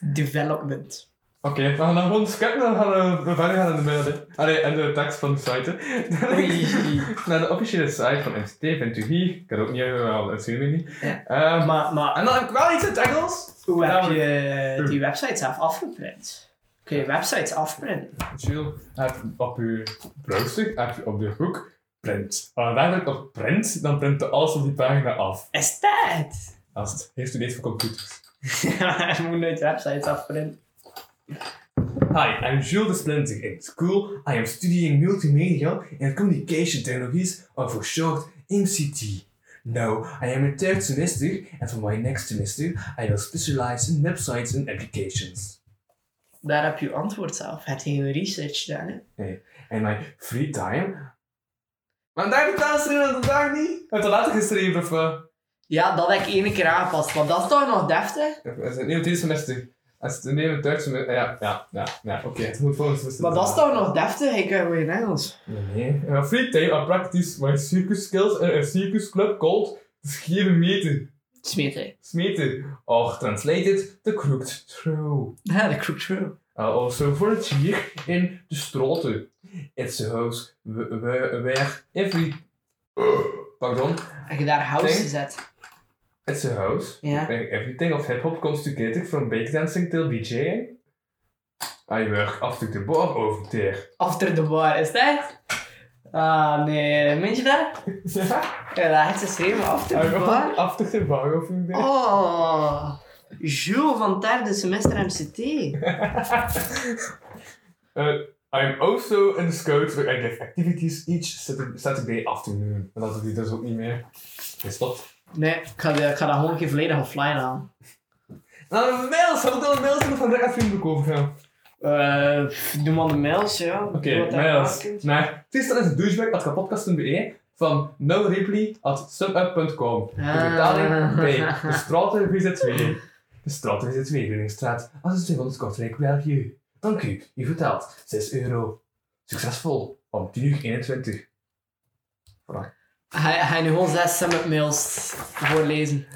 [SPEAKER 3] Development.
[SPEAKER 4] Oké, we gaan dan gewoon skippen en we gaan eh, we verder gaan in de mail. hè. Allee, en de tekst van de site. hè. Naar de officiële site van MCT vindt u hier. Ik kan ook niet wel dat zien we niet.
[SPEAKER 3] Ja.
[SPEAKER 4] Ehm,
[SPEAKER 3] maar, maar
[SPEAKER 4] en dan heb ik wel iets in het Engels.
[SPEAKER 3] hoe heb
[SPEAKER 4] Namelijk-
[SPEAKER 3] je die websites zelf afgeprint? Kun je websites afprinten?
[SPEAKER 4] Chill. Heb op uw browser, heb je op de hoek, print. Als je op print, dan print de alles op die pagina af.
[SPEAKER 3] Is dat? [LAUGHS]
[SPEAKER 4] Als het heeft u deze voor computers.
[SPEAKER 3] Ja, je moet nooit websites afprinten.
[SPEAKER 4] Hi, I'm Jules de Splinter. In school, I am studying multimedia and communication technologies, or for short, MCT. No, I am a third semester, and for my next semester, I will specialize in websites and applications.
[SPEAKER 3] Daar heb je antwoord zelf. Het geen research gedaan, hè?
[SPEAKER 4] En mijn free time. Maar daar heb ik het aan vandaag niet. Heb je later gestreamd of wat?
[SPEAKER 3] Ja, dat heb ik één keer aangepast, want dat is toch nog deftig?
[SPEAKER 4] Het is een nieuw semester. Als het een nieuwe Duits semester. Ja, ja, ja, ja. Oké, het moet volgend semester.
[SPEAKER 3] Maar dat is toch nog deftig? Ik heb in Engels.
[SPEAKER 4] Nee.
[SPEAKER 5] In my free time, I practice my circus skills in a circus club called Scheren Meten.
[SPEAKER 3] Smeet hij.
[SPEAKER 5] Smeten.
[SPEAKER 4] Och, translated, the crooked through.
[SPEAKER 3] Ja, dat klopt true.
[SPEAKER 4] Uh, also for het hier in de straten. It's a house wh- wh- where every... Pardon.
[SPEAKER 3] Heb je daar house
[SPEAKER 4] Ding.
[SPEAKER 3] gezet?
[SPEAKER 4] It's a house.
[SPEAKER 3] Ja.
[SPEAKER 4] where Everything of hip-hop comes together from breakdancing till DJing. I work after the bar over
[SPEAKER 3] [LAUGHS]
[SPEAKER 4] there.
[SPEAKER 3] After the bar, is dat? Ah, nee. Meen je dat?
[SPEAKER 5] Ja,
[SPEAKER 3] Ja, dat is geschreven. After the bar?
[SPEAKER 5] after the bar of the day.
[SPEAKER 3] Ah, Oh. Jules van het derde semester MCT.
[SPEAKER 4] Uh, I'm also in the scouts where I give activities each Satur- Saturday afternoon. En dat doet hij dus ook niet meer. Is dat?
[SPEAKER 3] Nee, ik ga, de- ik ga dat gewoon een keer volledig offline aan.
[SPEAKER 4] Nou, mails! Heb ik al mails
[SPEAKER 5] Van de vriendelijk overgaan.
[SPEAKER 3] Eh, pff, doe maar de mails, ja.
[SPEAKER 4] Oké,
[SPEAKER 3] Doe wat dat
[SPEAKER 4] mails.
[SPEAKER 3] maakt.
[SPEAKER 4] Naar Tristan is een douchebag at kapodcast.be van noripley at subup.com. De
[SPEAKER 3] Ah.
[SPEAKER 4] betaling bij de Straten VZ2. De Straten VZ2, Willingstraat, 2600 Kortrijk, België. Dank u, u betaalt 6 euro. Succesvol, om 10 uur 21.
[SPEAKER 3] Hij hij nu gewoon zes summit mails [LAUGHS] voorlezen.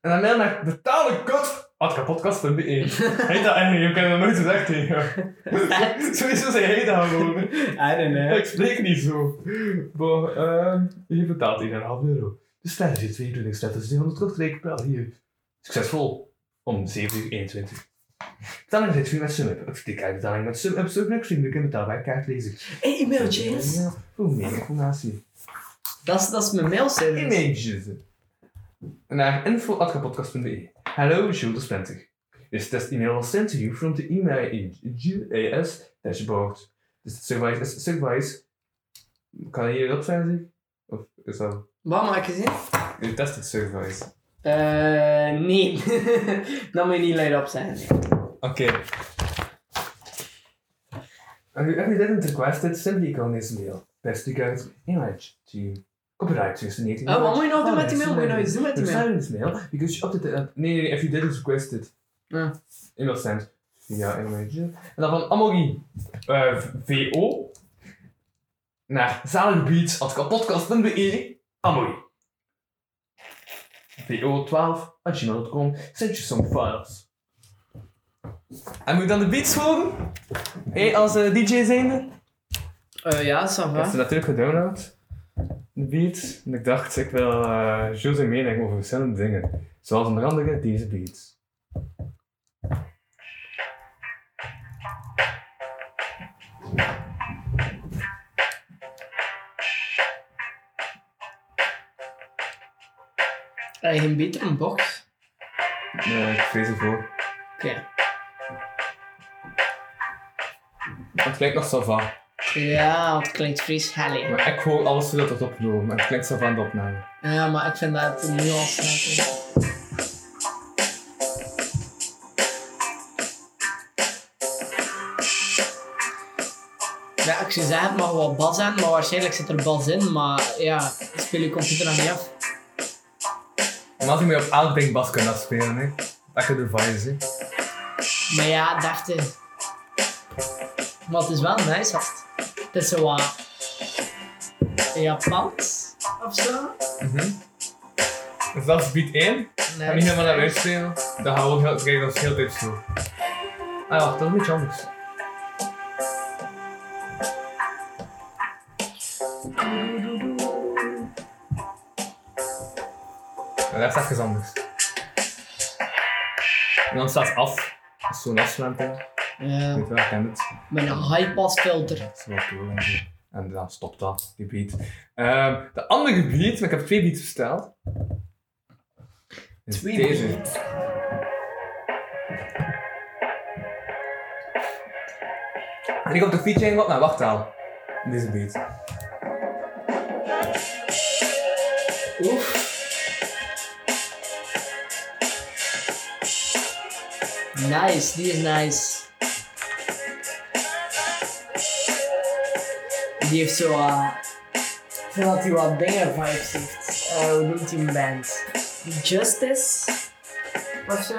[SPEAKER 4] En dan mail naar betalenkat at kapodcast.be.
[SPEAKER 5] Heet dat eigenlijk? Ik heb dat nooit gezegd tegen jou.
[SPEAKER 4] [LAUGHS] Sowieso zei hij dat gewoon.
[SPEAKER 3] I don't know.
[SPEAKER 4] Ik spreek niet zo. Maar, ehm, je betaalt 1,5 euro. De sterren zit 22 sterren, dus 100 kortrijk België. Succesvol. Om 7 uur 21. Betaling zit weer met SumUp. Of die betaling met SumUp, SumUp, vriendelijk en betaalbaar kaartlezer.
[SPEAKER 3] Hey, e-mailtjes.
[SPEAKER 4] Ja, Voor meer informatie.
[SPEAKER 3] Dat is, dat is mijn mailservice.
[SPEAKER 4] Images. Naar info.podcast.be. Hello, e. Jules Spenter. This test email was sent to you from the email in GAS dashboard. This service is service. Kan je hierop zijn, zeg? Of is dat.
[SPEAKER 3] Wat maak je zin?
[SPEAKER 4] Je test het service.
[SPEAKER 3] Eh, nee. [LAUGHS] Dan moet je niet luid op zijn.
[SPEAKER 4] Oké. If you didn't request it, simply go on this mail. Best you guys, image, team. Copyright 2019.
[SPEAKER 3] Oh, wat moet je nou doen met die mail? Moet je nou
[SPEAKER 4] eens
[SPEAKER 3] iets doen met die mail?
[SPEAKER 4] Silence mail, because you opted uh, nee, nee, nee, if you didn't request it.
[SPEAKER 3] Ah.
[SPEAKER 4] Email sent via image. En dan van Amogi, eh, VO, naar zaligbeats.kapodcast.be, Amogi. VO12, at gmail.com, send you some files. En moet ik dan de beats horen? Hé, als eh, DJ zijnde?
[SPEAKER 3] Eh, ja, ça
[SPEAKER 4] Dat is
[SPEAKER 3] va.
[SPEAKER 4] natuurlijk gedownload, de beats. En ik dacht, ik wil eh Jules' zijn mening over verschillende dingen. Zoals onder andere deze beats.
[SPEAKER 3] Heb Eh, je geen betere box?
[SPEAKER 4] Nee, ik vrees ervoor.
[SPEAKER 3] Oké.
[SPEAKER 4] Het klinkt nog zo van.
[SPEAKER 3] Ja, want het klinkt vries helling.
[SPEAKER 4] Maar ik hoor alles dat het opgenomen. maar Het klinkt zo van de opname.
[SPEAKER 3] Ja, maar ik vind dat het nu al snel komt. Ja, ik zou zeggen, het mag wel bas zijn, maar waarschijnlijk zit er bas in, maar ja, speel je computer nog niet af.
[SPEAKER 4] En als ik mee op Outbank bas kan afspelen, hè. Dat je ervan is, hè.
[SPEAKER 3] Maar ja, deftig. Maar het is wel nice, gast. Het is zo wat... Japans, of zo?
[SPEAKER 4] Dus dat is beat 1.
[SPEAKER 3] Nee,
[SPEAKER 4] Ga niet helemaal naar buiten spelen. Dan gaan we ook heel, krijg je ons heel tijd zo. Ah ja, dat is een beetje anders. Ja, dat is even anders. En dan staat af. Dat is zo'n afsluiting.
[SPEAKER 3] Ja,
[SPEAKER 4] Weet wel, ik ken het.
[SPEAKER 3] met een high-pass filter.
[SPEAKER 4] Dat is wel cool. en zo. En dan stopt dat, die beat. Ehm, de andere beat, maar ik heb twee beats besteld. Is
[SPEAKER 3] Twee
[SPEAKER 4] deze.
[SPEAKER 3] beats.
[SPEAKER 4] En ik op nou, de featuring wat naar wachttaal. Deze beat.
[SPEAKER 3] Oef. Nice, die is nice. Die heeft zo. eh, ik vind dat hij wat dingen vibes heeft. Eh, hoe noemt hij een band? Justice? Of zo?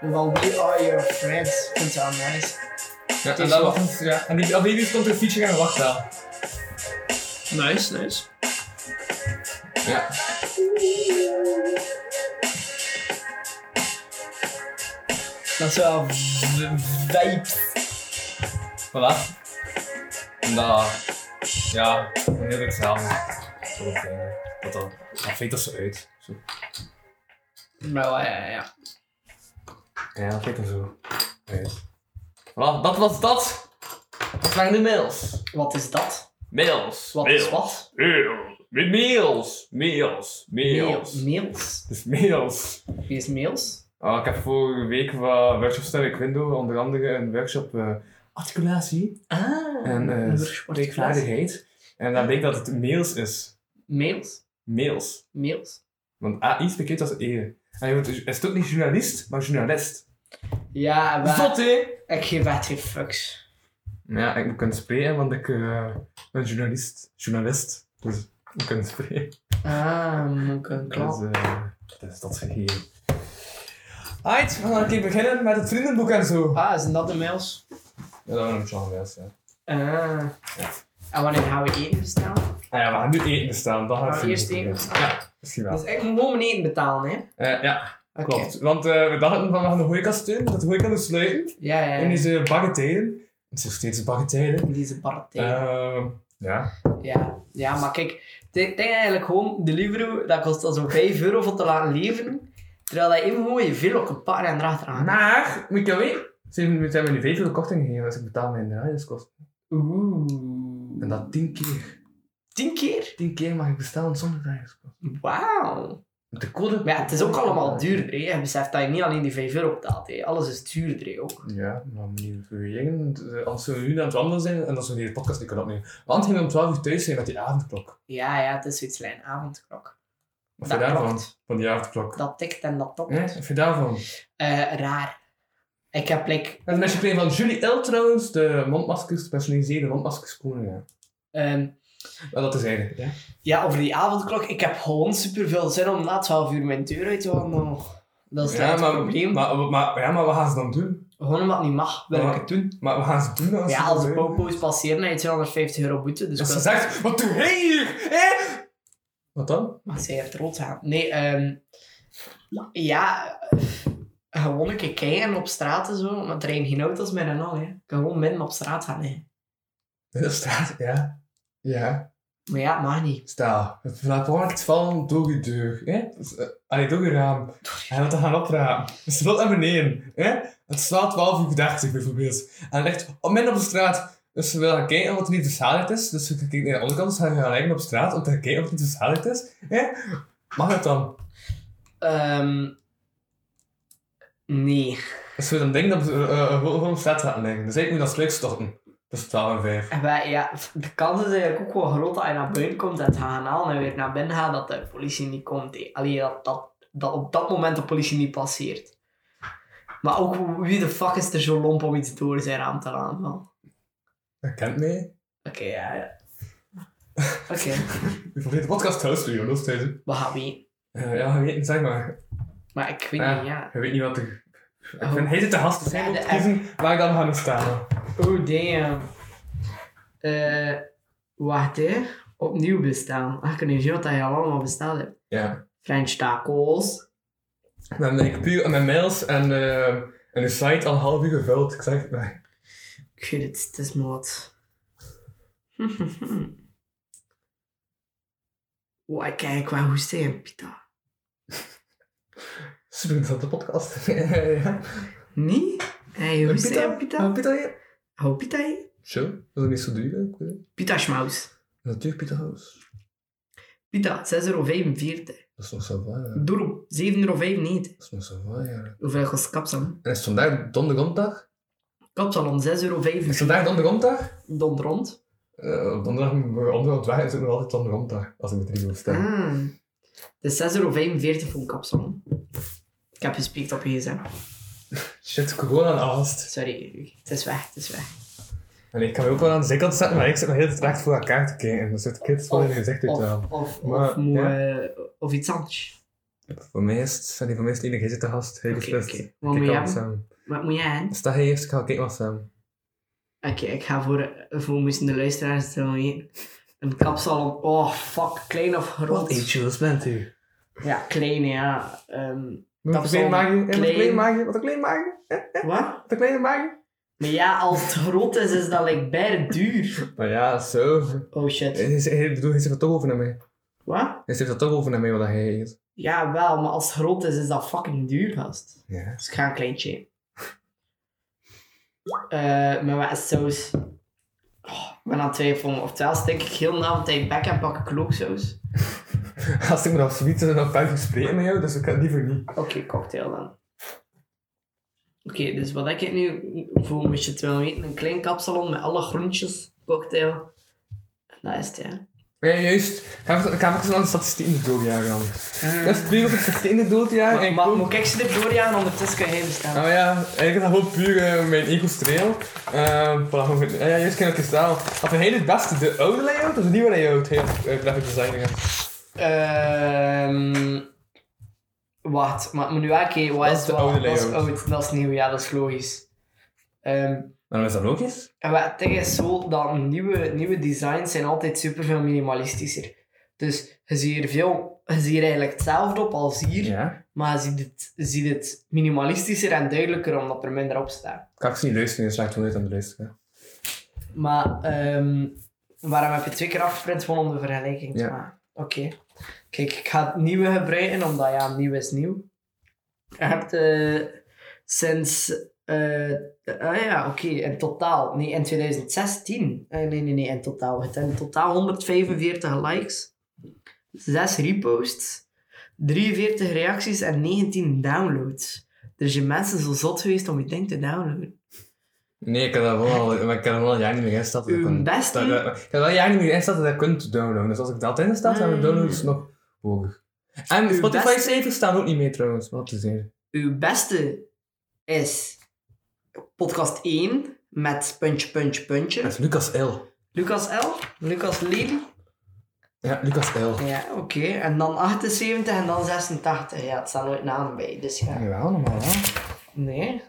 [SPEAKER 3] Wel, we are your friends. Ik vind het wel nice.
[SPEAKER 4] Ja,
[SPEAKER 3] is
[SPEAKER 4] en, dat
[SPEAKER 3] wel-
[SPEAKER 4] was, ja. en die, op die stond een feature aan wachtzaal.
[SPEAKER 3] Nice, nice.
[SPEAKER 4] Ja.
[SPEAKER 3] Dat is wel v- vibes.
[SPEAKER 4] Voilà. En dat, ja, een heel leuk verhaal. Zo klein, Dat dan, dan vindt dat zo uit. Zo.
[SPEAKER 3] Nou ja, ja, ja.
[SPEAKER 4] Ja, dat vindt dat zo uit. Voilà, dat was dat. Dat waren de mails.
[SPEAKER 3] Wat is dat?
[SPEAKER 4] Mails.
[SPEAKER 3] Wat
[SPEAKER 4] mails.
[SPEAKER 3] is wat?
[SPEAKER 4] Mails. Mails. Mails. Mails.
[SPEAKER 3] Mails.
[SPEAKER 4] Dus mails.
[SPEAKER 3] Wie is Mails?
[SPEAKER 4] Ah, ik heb vorige week wat workshops gedaan in Window, onder andere een workshop eh, articulatie
[SPEAKER 3] Ah.
[SPEAKER 4] en eh,
[SPEAKER 3] een workshop
[SPEAKER 4] spreekvaardigheid. En dan denk ik dat het mails is.
[SPEAKER 3] Mails?
[SPEAKER 4] Mails.
[SPEAKER 3] Mails?
[SPEAKER 4] Want AI spreekt als E. En je wordt, het is ook niet journalist, maar journalist.
[SPEAKER 3] Ja, maar
[SPEAKER 4] Zot, hè?
[SPEAKER 3] ik geef echt geen fucks.
[SPEAKER 4] Ja, ik moet kunnen spreken, want ik eh, ben journalist. Journalist. Dus ik kan spreken.
[SPEAKER 3] Ah, moet ik een klap.
[SPEAKER 4] Dus, eh, dat is dat gegeven. Alright, we gaan een keer beginnen met het vriendenboek en zo.
[SPEAKER 3] Ah, zijn dat de mails?
[SPEAKER 4] Ja, dat is een beetje ja.
[SPEAKER 3] Ah. En wanneer gaan we eten bestellen?
[SPEAKER 4] Ah ja, we gaan nu eten bestaan. Dan gaan we
[SPEAKER 3] Gaan we eerst
[SPEAKER 4] vriendenboek
[SPEAKER 3] eten
[SPEAKER 4] doen. Ja, misschien wel.
[SPEAKER 3] Dus ik moet gewoon mijn eten betalen, hè?
[SPEAKER 4] Eh, ja,
[SPEAKER 3] Oké.
[SPEAKER 4] klopt. Want eh, we dachten van we gaan de hooikast doen, dat de hooikast moet sluiten.
[SPEAKER 3] Ja, ja,
[SPEAKER 4] En
[SPEAKER 3] ja.
[SPEAKER 4] deze bagatellen. Het is nog steeds een bagatelle.
[SPEAKER 3] Deze bar thee.
[SPEAKER 4] Ehm, ja.
[SPEAKER 3] Ja, ja, maar kijk, ik denk eigenlijk gewoon, de Libro, dat kost al zo'n 5 euro voor te laten leven. Terwijl dat even gewoon je velo kan pakken en erachteraan.
[SPEAKER 4] Maar, moet ik jou weten? Ze hebben ze hebben nu veel korting gegeven als ik betaal mijn draaierskost.
[SPEAKER 3] Oeh.
[SPEAKER 4] En dat tien keer.
[SPEAKER 3] 10 keer?
[SPEAKER 4] Tien keer mag ik bestellen zonder draaierskost.
[SPEAKER 3] Wauw.
[SPEAKER 4] Met de code.
[SPEAKER 3] Maar ja, het is ook allemaal duurder, hè. Je beseft dat je niet alleen die 5 euro betaalt, hè. Alles is duurder, hè, ook.
[SPEAKER 4] Ja, maar niet verwegen. Als we nu aan het wandelen zijn en als we deze podcast niet kunnen opnemen. Want gingen we om 12 uur thuis zijn met die avondklok.
[SPEAKER 3] Ja, ja, het is zoiets lijn avondklok. Dat
[SPEAKER 4] Wat vind je daarvan?
[SPEAKER 3] klopt.
[SPEAKER 4] Van die avondklok.
[SPEAKER 3] Dat tikt en dat topt.
[SPEAKER 4] Ja, wat vind je daarvan?
[SPEAKER 3] Eh, raar. Ik heb like,
[SPEAKER 4] Dat is een beetje van Julie L trouwens, de mondmaskers, de personaliseerde mondmaskers koningen.
[SPEAKER 3] ehm,
[SPEAKER 4] Wel, dat is eigenlijk. Ja.
[SPEAKER 3] ja, over die avondklok, ik heb gewoon superveel zin om na 12 uur mijn deur uit te wandelen. Dat is
[SPEAKER 4] Ja,
[SPEAKER 3] het
[SPEAKER 4] maar,
[SPEAKER 3] probleem.
[SPEAKER 4] Maar, maar- ja, maar wat gaan ze dan doen?
[SPEAKER 3] Gewoon omdat het niet mag, wil
[SPEAKER 4] Ja.
[SPEAKER 3] ik het doen.
[SPEAKER 4] Maar wat gaan ze doen als
[SPEAKER 3] Ja,
[SPEAKER 4] ze
[SPEAKER 3] als de
[SPEAKER 4] dat doen?
[SPEAKER 3] popo's passeren, dan heb je 250 euro boete. Dus
[SPEAKER 4] Als ze
[SPEAKER 3] ik wil-
[SPEAKER 4] zegt, wat doe jij hier? Hè? Wat dan?
[SPEAKER 3] Maar zij heeft rood aan. Nee, ehm ja, eh, gewoon een keer kijken op straat en zo. Want er rijden geen auto's meer en al. Hè. Ik kan gewoon midden op straat gaan. Hè.
[SPEAKER 4] Op straat, ja. Ja.
[SPEAKER 3] Maar ja, het mag niet.
[SPEAKER 4] Stel, het verlaat vallen door je deur. Hè? Dus, eh, Allee, door je raam. En dat gaan oprapen. Dus valt naar beneden. Hè? Het slaat 12 uur 30 bijvoorbeeld. En ligt op midden op de straat. Dus ze willen gaan kijken wat er niet verzadigd is. Dus ze kijken naar de onderkant. Dus ze gaan liggen op straat om te gaan kijken of het niet verzadigd is. Hè? Mag het dan?
[SPEAKER 3] Ehm, nee.
[SPEAKER 4] Dus we dan denken dat we eh, eh, gewoon op straat gaan liggen. Dus ik moet dat sluik storten. Tussen 12 en 5.
[SPEAKER 3] En wij- ja, de kans is eigenlijk ook wel groot dat je naar buiten komt en het gaat gaan halen en weer naar binnen gaat dat de politie niet komt. hè. Allee, dat, dat, dat op dat moment de politie niet passeert. Maar ook wie de fuck is er zo lomp om iets door zijn raam te halen? wel?
[SPEAKER 4] Dat kent mij.
[SPEAKER 3] Oké, ja, ja. Oké, [LAUGHS]
[SPEAKER 4] Je probeert de podcast thuis te doen, dat is thuis. hè.
[SPEAKER 3] we gaan weten.
[SPEAKER 4] Eh, ja, je weet het, zeg maar.
[SPEAKER 3] Maar ik weet
[SPEAKER 4] Ja.
[SPEAKER 3] niet, ja.
[SPEAKER 4] Je weet niet wat er... Ik
[SPEAKER 3] Oh.
[SPEAKER 4] vind, hij zit te gast, dus hij
[SPEAKER 3] Ja,
[SPEAKER 4] moet
[SPEAKER 3] de-
[SPEAKER 4] kiezen waar ik dan ga moet staan.
[SPEAKER 3] Oh, damn. Eh, wacht, hè. Opnieuw bestaan. Ach, ik weet niet wat dat je al allemaal bestaan hebt.
[SPEAKER 4] Ja.
[SPEAKER 3] French tacos.
[SPEAKER 4] Dan ben ik puur aan mijn mails en, eh, en de site al een half uur gevuld. Ik zeg, nee.
[SPEAKER 3] Ik weet het, het is maar wat. [LAUGHS] Wow, ik kijk wel hoe steen, Pita.
[SPEAKER 4] Ze doen dat de podcast. [LAUGHS] ja.
[SPEAKER 3] Niet? Hey, hoe steen, Pita?
[SPEAKER 4] Ah, Pita hier.
[SPEAKER 3] Hou Pita hier?
[SPEAKER 4] Zo, dat is ook niet zo duur. hè, ik weet het.
[SPEAKER 3] Pita Schmaus.
[SPEAKER 4] Natuurlijk Pita House.
[SPEAKER 3] Pita, 6,45 euro.
[SPEAKER 4] Dat is nog zo waar. ja.
[SPEAKER 3] Doeroe, 7,95 euro.
[SPEAKER 4] Dat is nog zo waar, ja.
[SPEAKER 3] Hoeveel kost kapsalon?
[SPEAKER 4] En is vandaag donderdagdag?
[SPEAKER 3] Kapsalon, 6,95
[SPEAKER 4] Is
[SPEAKER 3] euro.
[SPEAKER 4] vandaag donderdagdag?
[SPEAKER 3] Dond rond.
[SPEAKER 4] Eh, op donderdag moet ik onderhand weg en zit nog altijd donderdagdag. Als ik met drie wil stemmen.
[SPEAKER 3] Ah. Dus 6,45 euro voor een kapsalon. Ik heb gespiekt op je gsm.
[SPEAKER 4] Shit, corona en angst.
[SPEAKER 3] Sorry, Luc. Het is weg, het is weg.
[SPEAKER 4] En ik kan me ook wel aan de zijkant zetten, maar ik zit nog heel recht voor elkaar te kijken. En dan zit kids vol in hun gezicht uit te
[SPEAKER 3] Of,
[SPEAKER 4] halen.
[SPEAKER 3] of,
[SPEAKER 4] Maar,
[SPEAKER 3] of, moet,
[SPEAKER 4] ja.
[SPEAKER 3] eh, of iets anders.
[SPEAKER 4] Voor mij is het, sorry, voor mij is het enige, hij zit te gast. Hij
[SPEAKER 3] Oké,
[SPEAKER 4] beslist.
[SPEAKER 3] oké.
[SPEAKER 4] Ik
[SPEAKER 3] Wat
[SPEAKER 4] kijk
[SPEAKER 3] moet je
[SPEAKER 4] wel wat
[SPEAKER 3] hebben?
[SPEAKER 4] samen.
[SPEAKER 3] Wat moet jij aan?
[SPEAKER 4] Sta hij eerst, ik ga kijken wat samen.
[SPEAKER 3] Oké, ik ga voor, voor misschien de luisteraars het wel weten. Een kapsalon. Oh, fuck. Klein of groot?
[SPEAKER 6] chills bent u?
[SPEAKER 3] Ja, klein, ja. Ehm,
[SPEAKER 4] Wat een
[SPEAKER 3] Kapsalon,
[SPEAKER 4] klein maagje, eh, wat een
[SPEAKER 3] klein.
[SPEAKER 4] klein maagje, wat een klein maagje,
[SPEAKER 3] wat?
[SPEAKER 4] wat een kleine maagje.
[SPEAKER 3] Maar ja, als het groot is, is dat like bijna duur.
[SPEAKER 4] Maar ja, zo.
[SPEAKER 3] Oh shit.
[SPEAKER 4] Hij- Hij bedoel, hij zit er toch over naar mij.
[SPEAKER 3] Wat?
[SPEAKER 4] Hij zit er toch over naar mij wat hij eet.
[SPEAKER 3] Ja, wel, maar als het groot is, is dat fucking duur, gast.
[SPEAKER 4] Ja. [LAUGHS]
[SPEAKER 3] Dus ik ga een kleintje. Eh maar wat is saus? Oh, ik ben aan het twijfelen. Oftewel stik ik heel de avond in je bek en pak ik klooksaus.
[SPEAKER 4] Als ik me dan zoiets en dan verder spreken met jou, dus ik kan het liever niet.
[SPEAKER 3] Oké, cocktail dan. Oké, dus wat ik het nu voor moet je het wel weten. Een klein kapsalon met alle groentjes, cocktail. En dat is het, ja.
[SPEAKER 4] Ja, juist. Ga even- Ik ga even naar de statistieken doorjagen dan. Dat is puur op het statistieken doorjagen.
[SPEAKER 3] Eh. Maar,
[SPEAKER 4] en
[SPEAKER 3] maar
[SPEAKER 4] kom-
[SPEAKER 3] moet ik ze er doorjagen? Ondertussen kan jij bestaan.
[SPEAKER 4] Nou ja, eigenlijk is dat gewoon puur eh, mijn ego-streel. Ehm, voilà, hoe vind- ja, ja, juist kan ik het staan. Of een hele beste, de oude layout of de nieuwe layout, heel eh, graphic design. gaat.
[SPEAKER 3] Ehm wacht, maar ik moet nu kijken, wat
[SPEAKER 4] Dat
[SPEAKER 3] is
[SPEAKER 4] is de
[SPEAKER 3] wat-
[SPEAKER 4] oude
[SPEAKER 3] Dat is
[SPEAKER 4] layout.
[SPEAKER 3] oud, dat is nieuw, ja, dat is logisch. Ehm
[SPEAKER 4] Nou, is dat logisch?
[SPEAKER 3] en wat het ding is zo dat nieuwe, nieuwe designs zijn altijd super veel minimalistischer. Dus je ziet hier veel, je ziet hier eigenlijk hetzelfde op als hier,
[SPEAKER 4] Ja.
[SPEAKER 3] maar je ziet het, je ziet het minimalistischer en duidelijker omdat er minder op staat.
[SPEAKER 4] Ik kan ik ze niet luisteren, dus lijkt het nooit aan de luisteren.
[SPEAKER 3] Maar ehm, waarom heb je twee keer afgeprint? Gewoon om de vergelijking te
[SPEAKER 4] Ja.
[SPEAKER 3] maken. Oké. Kijk, ik ga het nieuwe gebruiken, omdat ja, nieuw is nieuw. Je hebt eh, sinds... eh, ah ja, oké, in totaal. Nee, in 2016. Eh, nee, nee, nee, in totaal. Het in totaal 145 likes, 6 reposts, 43 reacties en 19 downloads. Er zijn mensen zo zot geweest om je ding te downloaden.
[SPEAKER 4] Nee, ik heb dat wel al, maar ik heb dat wel een jaar niet meer ingesteld. dat
[SPEAKER 3] Uw
[SPEAKER 4] ik kon-
[SPEAKER 3] beste?
[SPEAKER 4] dat- dat- Ik heb wel een jaar niet meer ingesteld dat ik kunt downloaden. Dus als ik dat install, zijn de downloads nog hoger. En
[SPEAKER 3] Hmm. Uw beste-
[SPEAKER 4] Spotify-cijfers staan ook niet mee trouwens, wat te zeggen.
[SPEAKER 3] uw beste is podcast 1 met puntje, puntje,
[SPEAKER 4] Dat
[SPEAKER 3] puntje.
[SPEAKER 4] is Lucas L.
[SPEAKER 3] Lucas L, Lucas Lely.
[SPEAKER 4] Ja, Lucas L.
[SPEAKER 3] Ja, oké. En dan 78 en dan 86. Ja, het staan nooit namen bij, dus ja.
[SPEAKER 4] Jawel, normaal hè?
[SPEAKER 3] Nee.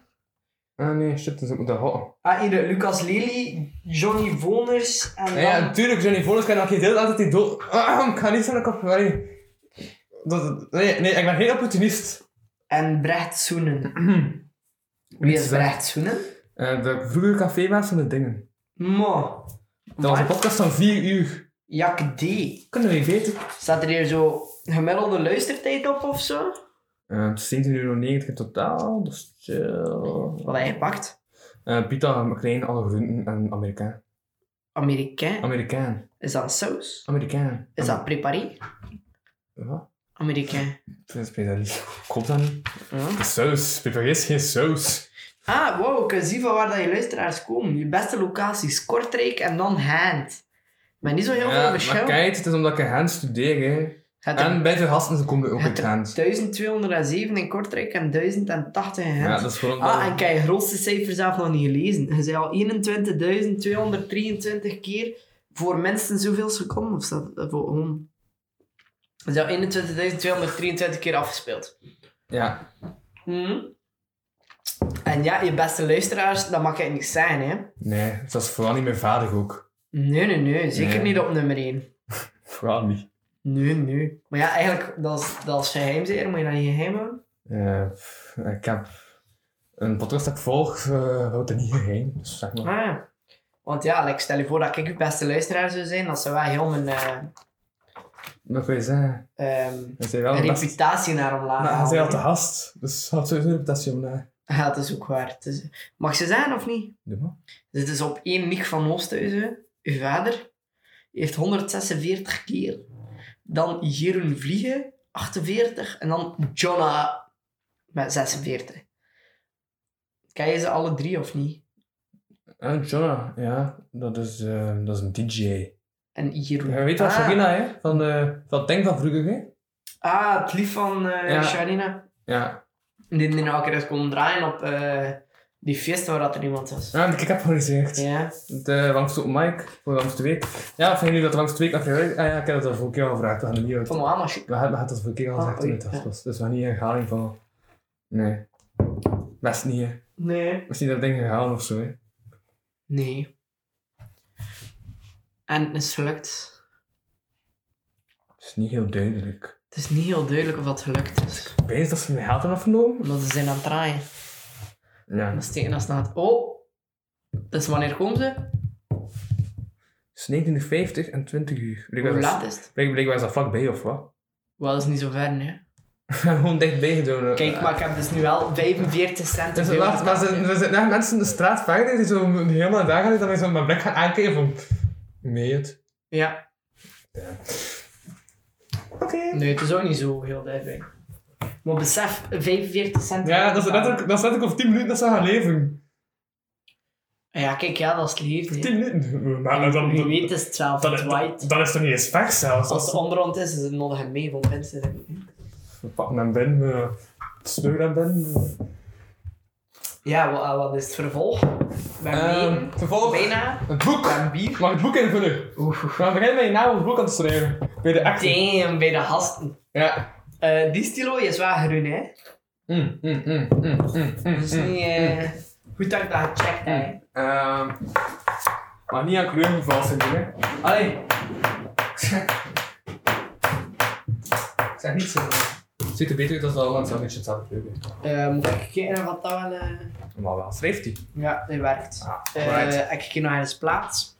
[SPEAKER 4] Ah nee, shit, dus ik moet dat houden.
[SPEAKER 3] Ah, hier, Lucas Lely, Johnny Voners en dan...
[SPEAKER 4] Ja, Ah, ja, natuurlijk, Johnny Vonnis kan nog geen deel dat hij dood. Ah, ik ga niet zo'n kop. Nee. Dat, nee, nee, ik ben geen opportunist.
[SPEAKER 3] en Brecht
[SPEAKER 4] [CLEARS THROAT]
[SPEAKER 3] Soenen. Wie is Brecht Soenen?
[SPEAKER 4] Eh, de vroege cafébaas van de dingen.
[SPEAKER 3] Mo.
[SPEAKER 4] Dat was een
[SPEAKER 3] Maar-
[SPEAKER 4] podcast van 4 uur.
[SPEAKER 3] Jack D.
[SPEAKER 4] Kunnen we weten?
[SPEAKER 3] Staat er hier zo gemiddelde luistertijd op of zo?
[SPEAKER 4] Eh, het is 17,90 euro in totaal, dus chill.
[SPEAKER 3] Wat heb je gepakt?
[SPEAKER 4] Eh, pita, klein, alle groenten en Amerikaan.
[SPEAKER 3] Amerikaan.
[SPEAKER 4] Amerikaan.
[SPEAKER 3] Is dat een saus?
[SPEAKER 4] Amerikaan.
[SPEAKER 3] Is dat preparé?
[SPEAKER 4] Wat?
[SPEAKER 3] Amerikaan.
[SPEAKER 4] Dat is bijna niet. Klopt dat niet?
[SPEAKER 3] Ja.
[SPEAKER 4] Saus. Pepper is geen saus.
[SPEAKER 3] Ah, wow, ik kan zien van waar dat je luisteraars komen. Je beste locaties, Kortrijk en dan Hand. Maar niet zo heel veel
[SPEAKER 4] Ja, maar
[SPEAKER 3] verschil.
[SPEAKER 4] kijk, het is omdat ik in Gent studeer, hè.
[SPEAKER 3] Het
[SPEAKER 4] En bij de gasten komen ook uit
[SPEAKER 3] het
[SPEAKER 4] Gent.
[SPEAKER 3] 1207 in Kortrijk en 1080 in Gent.
[SPEAKER 4] Ja, dat is gewoon
[SPEAKER 3] Ah, en kijk, grootste cijfer zelf nog niet gelezen. Je zei al 21.223 keer voor minstens zoveel seconden. Of staat dat voor om? Je zei al 21.223 keer afgespeeld.
[SPEAKER 4] Ja. Mhm.
[SPEAKER 3] Hmm. En ja, je beste luisteraars, dat mag ik niet zijn, hè?
[SPEAKER 4] Nee, dat is vooral niet mijn vader ook.
[SPEAKER 3] Nee, nee, nee. Zeker
[SPEAKER 4] Nee.
[SPEAKER 3] niet op nummer 1.
[SPEAKER 4] Vooral niet.
[SPEAKER 3] Nee, nee. Maar ja, eigenlijk, dat is, dat is geheim zeker. Moet je dat niet geheim houden?
[SPEAKER 4] Eh, ik heb een podcast dat ik volg, eh, houdt er niet geheim. Dus zeg maar.
[SPEAKER 3] Ah, ja. Want ja, like, stel je voor dat ik uw beste luisteraar zou zijn. Dat zou wel heel mijn
[SPEAKER 4] Dat wil je zeggen,
[SPEAKER 3] eh, ehm,
[SPEAKER 4] hij zei wel best...
[SPEAKER 3] reputatie naar omlaag
[SPEAKER 4] Maar hij
[SPEAKER 3] halen.
[SPEAKER 4] zei al te gast, dus hij had sowieso een reputatie om eh, naar.
[SPEAKER 3] Ja, dat is ook waar. Het is- Mag ze zijn of niet?
[SPEAKER 4] Doe maar.
[SPEAKER 3] Dit is op één Nick van Oosthuizen, uw vader, heeft 146 keer. Dan Jeroen Vliegen, 48. En dan Jonna met 46. Ken je ze alle drie of niet?
[SPEAKER 4] En Ah, Jonah, ja, dat is, eh, dat is een DJ.
[SPEAKER 3] En Jeroen.
[SPEAKER 4] Je weet wel,
[SPEAKER 3] ah,
[SPEAKER 4] Sabina, hè? Van, eh van Denk van vroeger, hè?
[SPEAKER 3] Ah, het lief van eh
[SPEAKER 4] Ja.
[SPEAKER 3] Sharina.
[SPEAKER 4] Ja.
[SPEAKER 3] Die die nog een keer eens komen draaien op eh, die feest waar dat er iemand was.
[SPEAKER 4] Ja, ik heb al gezegd.
[SPEAKER 3] Ja.
[SPEAKER 4] De Langste Open Mic voor de Langste Week. Ja, vinden jullie dat de Langste Week nog gewerkt? Ah ja, ik heb dat al vorige keer al gevraagd. We gaan er niet uit.
[SPEAKER 3] Van mijn maar shit.
[SPEAKER 4] We hebben het al vorige keer al
[SPEAKER 3] Ah,
[SPEAKER 4] gezegd toen
[SPEAKER 3] oei,
[SPEAKER 4] het af
[SPEAKER 3] ja.
[SPEAKER 4] was. Dus we gaan niet in herhaling van. Nee. Best niet, hè.
[SPEAKER 3] Nee.
[SPEAKER 4] Misschien dat ding gegaan of zo, hè.
[SPEAKER 3] Nee. En het is gelukt.
[SPEAKER 4] Het is niet heel duidelijk.
[SPEAKER 3] Het is niet heel duidelijk of dat gelukt is.
[SPEAKER 4] Wees dat ze mijn geld hebben afgenomen?
[SPEAKER 3] Omdat ze zijn aan het draaien.
[SPEAKER 4] Ja.
[SPEAKER 3] En dat steken dat staat. Oh! Dus wanneer komen ze?
[SPEAKER 4] Het is 1950 en 20 uur.
[SPEAKER 3] Hoe
[SPEAKER 4] Blijkbaar
[SPEAKER 3] laat
[SPEAKER 4] was,
[SPEAKER 3] is het?
[SPEAKER 4] blijk- blijkbaar is dat vlakbij of wat?
[SPEAKER 3] Wel, dat is niet zo ver, nee.
[SPEAKER 4] Gewoon dichtbij gedaan.
[SPEAKER 3] Kijk, maar ik heb dus nu wel 45 cent.
[SPEAKER 4] Dus
[SPEAKER 3] te veel
[SPEAKER 4] wacht, maar
[SPEAKER 3] betaald.
[SPEAKER 4] ze- er zitten echt mensen in de straat verder die zo helemaal daar gaan, dan zo mijn blik gaan aankijken van... Meet.
[SPEAKER 3] Ja.
[SPEAKER 4] Oké.
[SPEAKER 3] Nee, het is ook niet zo heel duidelijk. Maar besef, 45 cent.
[SPEAKER 4] Ja, dat is letterlijk, dat is letterlijk over 10 minuten dat ze gaan leven.
[SPEAKER 3] Ja, kijk, ja, dat is lief. nee.
[SPEAKER 4] 10 minuten. Maar dan,
[SPEAKER 3] Wie
[SPEAKER 4] dan,
[SPEAKER 3] weet is het zelf,
[SPEAKER 4] dan,
[SPEAKER 3] het white.
[SPEAKER 4] dan is het niet eens weg
[SPEAKER 3] Als
[SPEAKER 4] zelfs. Als
[SPEAKER 3] het onderhand is, is het nodig en mee van mensen. denk ik.
[SPEAKER 4] we pakken hem binnen, we sneuren hem binnen.
[SPEAKER 3] Ja, ah, wat, wat is het vervolg? Ben
[SPEAKER 4] Ehm,
[SPEAKER 3] mee?
[SPEAKER 4] vervolgens...
[SPEAKER 3] Bijna.
[SPEAKER 4] Het boek!
[SPEAKER 3] Ben bier.
[SPEAKER 4] Mag het boek invullen? Oeh. We gaan beginnen met je naam op het boek aan te schrijven. Bij de actie.
[SPEAKER 3] Damn, bij de gasten.
[SPEAKER 4] Ja.
[SPEAKER 3] Eh, die stilo is wel groen, hè?
[SPEAKER 4] Mm, mm, mm, mm, mm, mm,
[SPEAKER 3] Dus
[SPEAKER 4] mm.
[SPEAKER 3] niet eh, goed dat ik dat gecheckt heb.
[SPEAKER 4] Ehm, maar niet aan kleur valsen doen, hè. Allee. Ik zeg- Ik zeg niet zo. Het ziet er beter uit als dat al een beetje hetzelfde kleur heeft.
[SPEAKER 3] Eh, moet ik kijken wat dat wel. eh,
[SPEAKER 4] Normaal wel. Schrijft hij?
[SPEAKER 3] Ja, dat werkt.
[SPEAKER 4] Ah,
[SPEAKER 3] Eh,
[SPEAKER 4] alright.
[SPEAKER 3] heb ik hier nog eens plaats?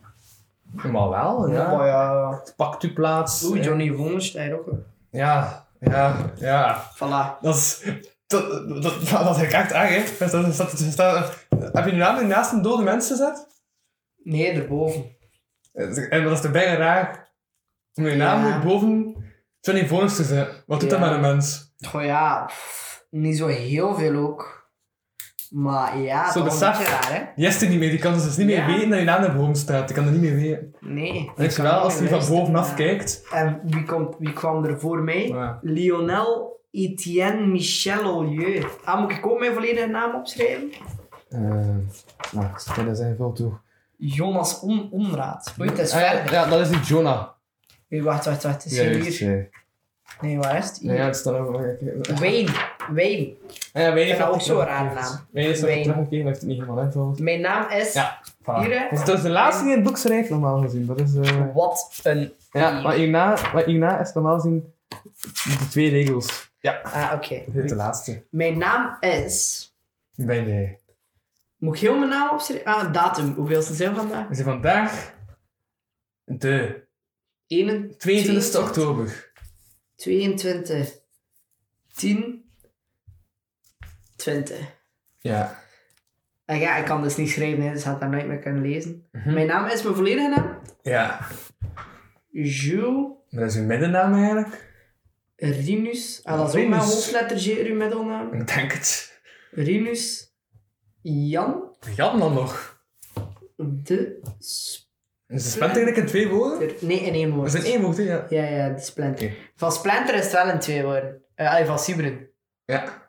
[SPEAKER 4] Normaal wel,
[SPEAKER 3] Oh,
[SPEAKER 4] ja.
[SPEAKER 3] ja.
[SPEAKER 4] Pakt u plaats.
[SPEAKER 3] Oeh, Johnny Vonders, daar ook. hè.
[SPEAKER 4] Ja, ja, ja.
[SPEAKER 3] Voilà.
[SPEAKER 4] Dat is... Dat, dat, dat, dat heb ik echt erg, hè. Dat, dat, dat, dat- dat- heb je je naam naast een dode mens gezet?
[SPEAKER 3] Nee, erboven.
[SPEAKER 4] En dat is de bijna raar. Om je naam
[SPEAKER 3] Ja.
[SPEAKER 4] moet boven Johnny Voners te zetten. Wat doet
[SPEAKER 3] Ja.
[SPEAKER 4] dat met een mens?
[SPEAKER 3] Goh ja, pff, niet zo heel veel ook. Maar ja, toch
[SPEAKER 4] Zo
[SPEAKER 3] een
[SPEAKER 4] besef.
[SPEAKER 3] beetje raar, hè?
[SPEAKER 4] Die is er niet meer, die kan dus niet
[SPEAKER 3] Ja.
[SPEAKER 4] meer weten dat je naam naar boven staat. Die kan er niet meer weten.
[SPEAKER 3] Nee.
[SPEAKER 4] Weet je wel, als
[SPEAKER 3] hij
[SPEAKER 4] hij van bovenaf kijkt.
[SPEAKER 3] En wie, komt, wie kwam er voor mij?
[SPEAKER 4] Ja.
[SPEAKER 3] Lionel Etienne Michel Olieu. Ah, moet ik ook mijn volledige naam opschrijven?
[SPEAKER 4] Eh, maar ik stel dat zijn veel toe. Ah
[SPEAKER 3] Jonas On Onraad. Oei, het is verder.
[SPEAKER 4] ja, dat is die Jonah.
[SPEAKER 3] Oei, wacht, wacht, wacht. Het is
[SPEAKER 4] Ja,
[SPEAKER 3] hier.
[SPEAKER 4] juist, ja.
[SPEAKER 3] Nee, waar is het?
[SPEAKER 4] Ja,
[SPEAKER 3] Hier.
[SPEAKER 4] ja, het staat over.
[SPEAKER 3] Wayne. Wayne.
[SPEAKER 4] Ja, weet
[SPEAKER 3] Ik vind dat ook zo'n rare naam.
[SPEAKER 4] Weet je, is
[SPEAKER 3] Wayne.
[SPEAKER 4] nog teruggekeken, heeft het niet helemaal invult.
[SPEAKER 3] Mijn naam is...
[SPEAKER 4] Ja.
[SPEAKER 3] Hier, hè.
[SPEAKER 4] Dus dat is de laatste die in het boek schrijft, normaal gezien. Dat is... eh,
[SPEAKER 3] Wat een...
[SPEAKER 4] Ja, maar hierna, maar hierna is normaal gezien de twee regels.
[SPEAKER 3] Ah, oké.
[SPEAKER 4] Dit is de laatste.
[SPEAKER 3] Mijn naam is...
[SPEAKER 4] Ben jij.
[SPEAKER 3] Moet ik heel mijn naam opschrijven? Ah, datum. Hoeveelste zijn we vandaag?
[SPEAKER 4] We zijn vandaag de
[SPEAKER 3] 21...
[SPEAKER 4] 22 oktober.
[SPEAKER 3] 22. 10. 20.
[SPEAKER 4] Ja.
[SPEAKER 3] Ah ja, ik kan dus niet schrijven, hè, dus had dat nooit meer kunnen lezen.
[SPEAKER 4] Mhm.
[SPEAKER 3] Mijn naam is mijn volledige naam.
[SPEAKER 4] Ja.
[SPEAKER 3] Jules
[SPEAKER 4] Maar dat is uw middennaam eigenlijk?
[SPEAKER 3] Rinus. Ah, dat is ook mijn
[SPEAKER 4] Rinus.
[SPEAKER 3] hoofdletter G, uw middelnaam.
[SPEAKER 4] Ik denk het.
[SPEAKER 3] Rinus Jan
[SPEAKER 4] Jan dan nog. Dus
[SPEAKER 3] de Splinter.
[SPEAKER 4] Ze spent eigenlijk in twee woorden?
[SPEAKER 3] Nee, in één
[SPEAKER 4] Dat
[SPEAKER 3] woord.
[SPEAKER 4] is in één woord, hè? Ja.
[SPEAKER 3] Ja, ja, de Splinter. Van Splinter is het wel in twee woorden. Eh, allee, van Sibren.
[SPEAKER 4] ja.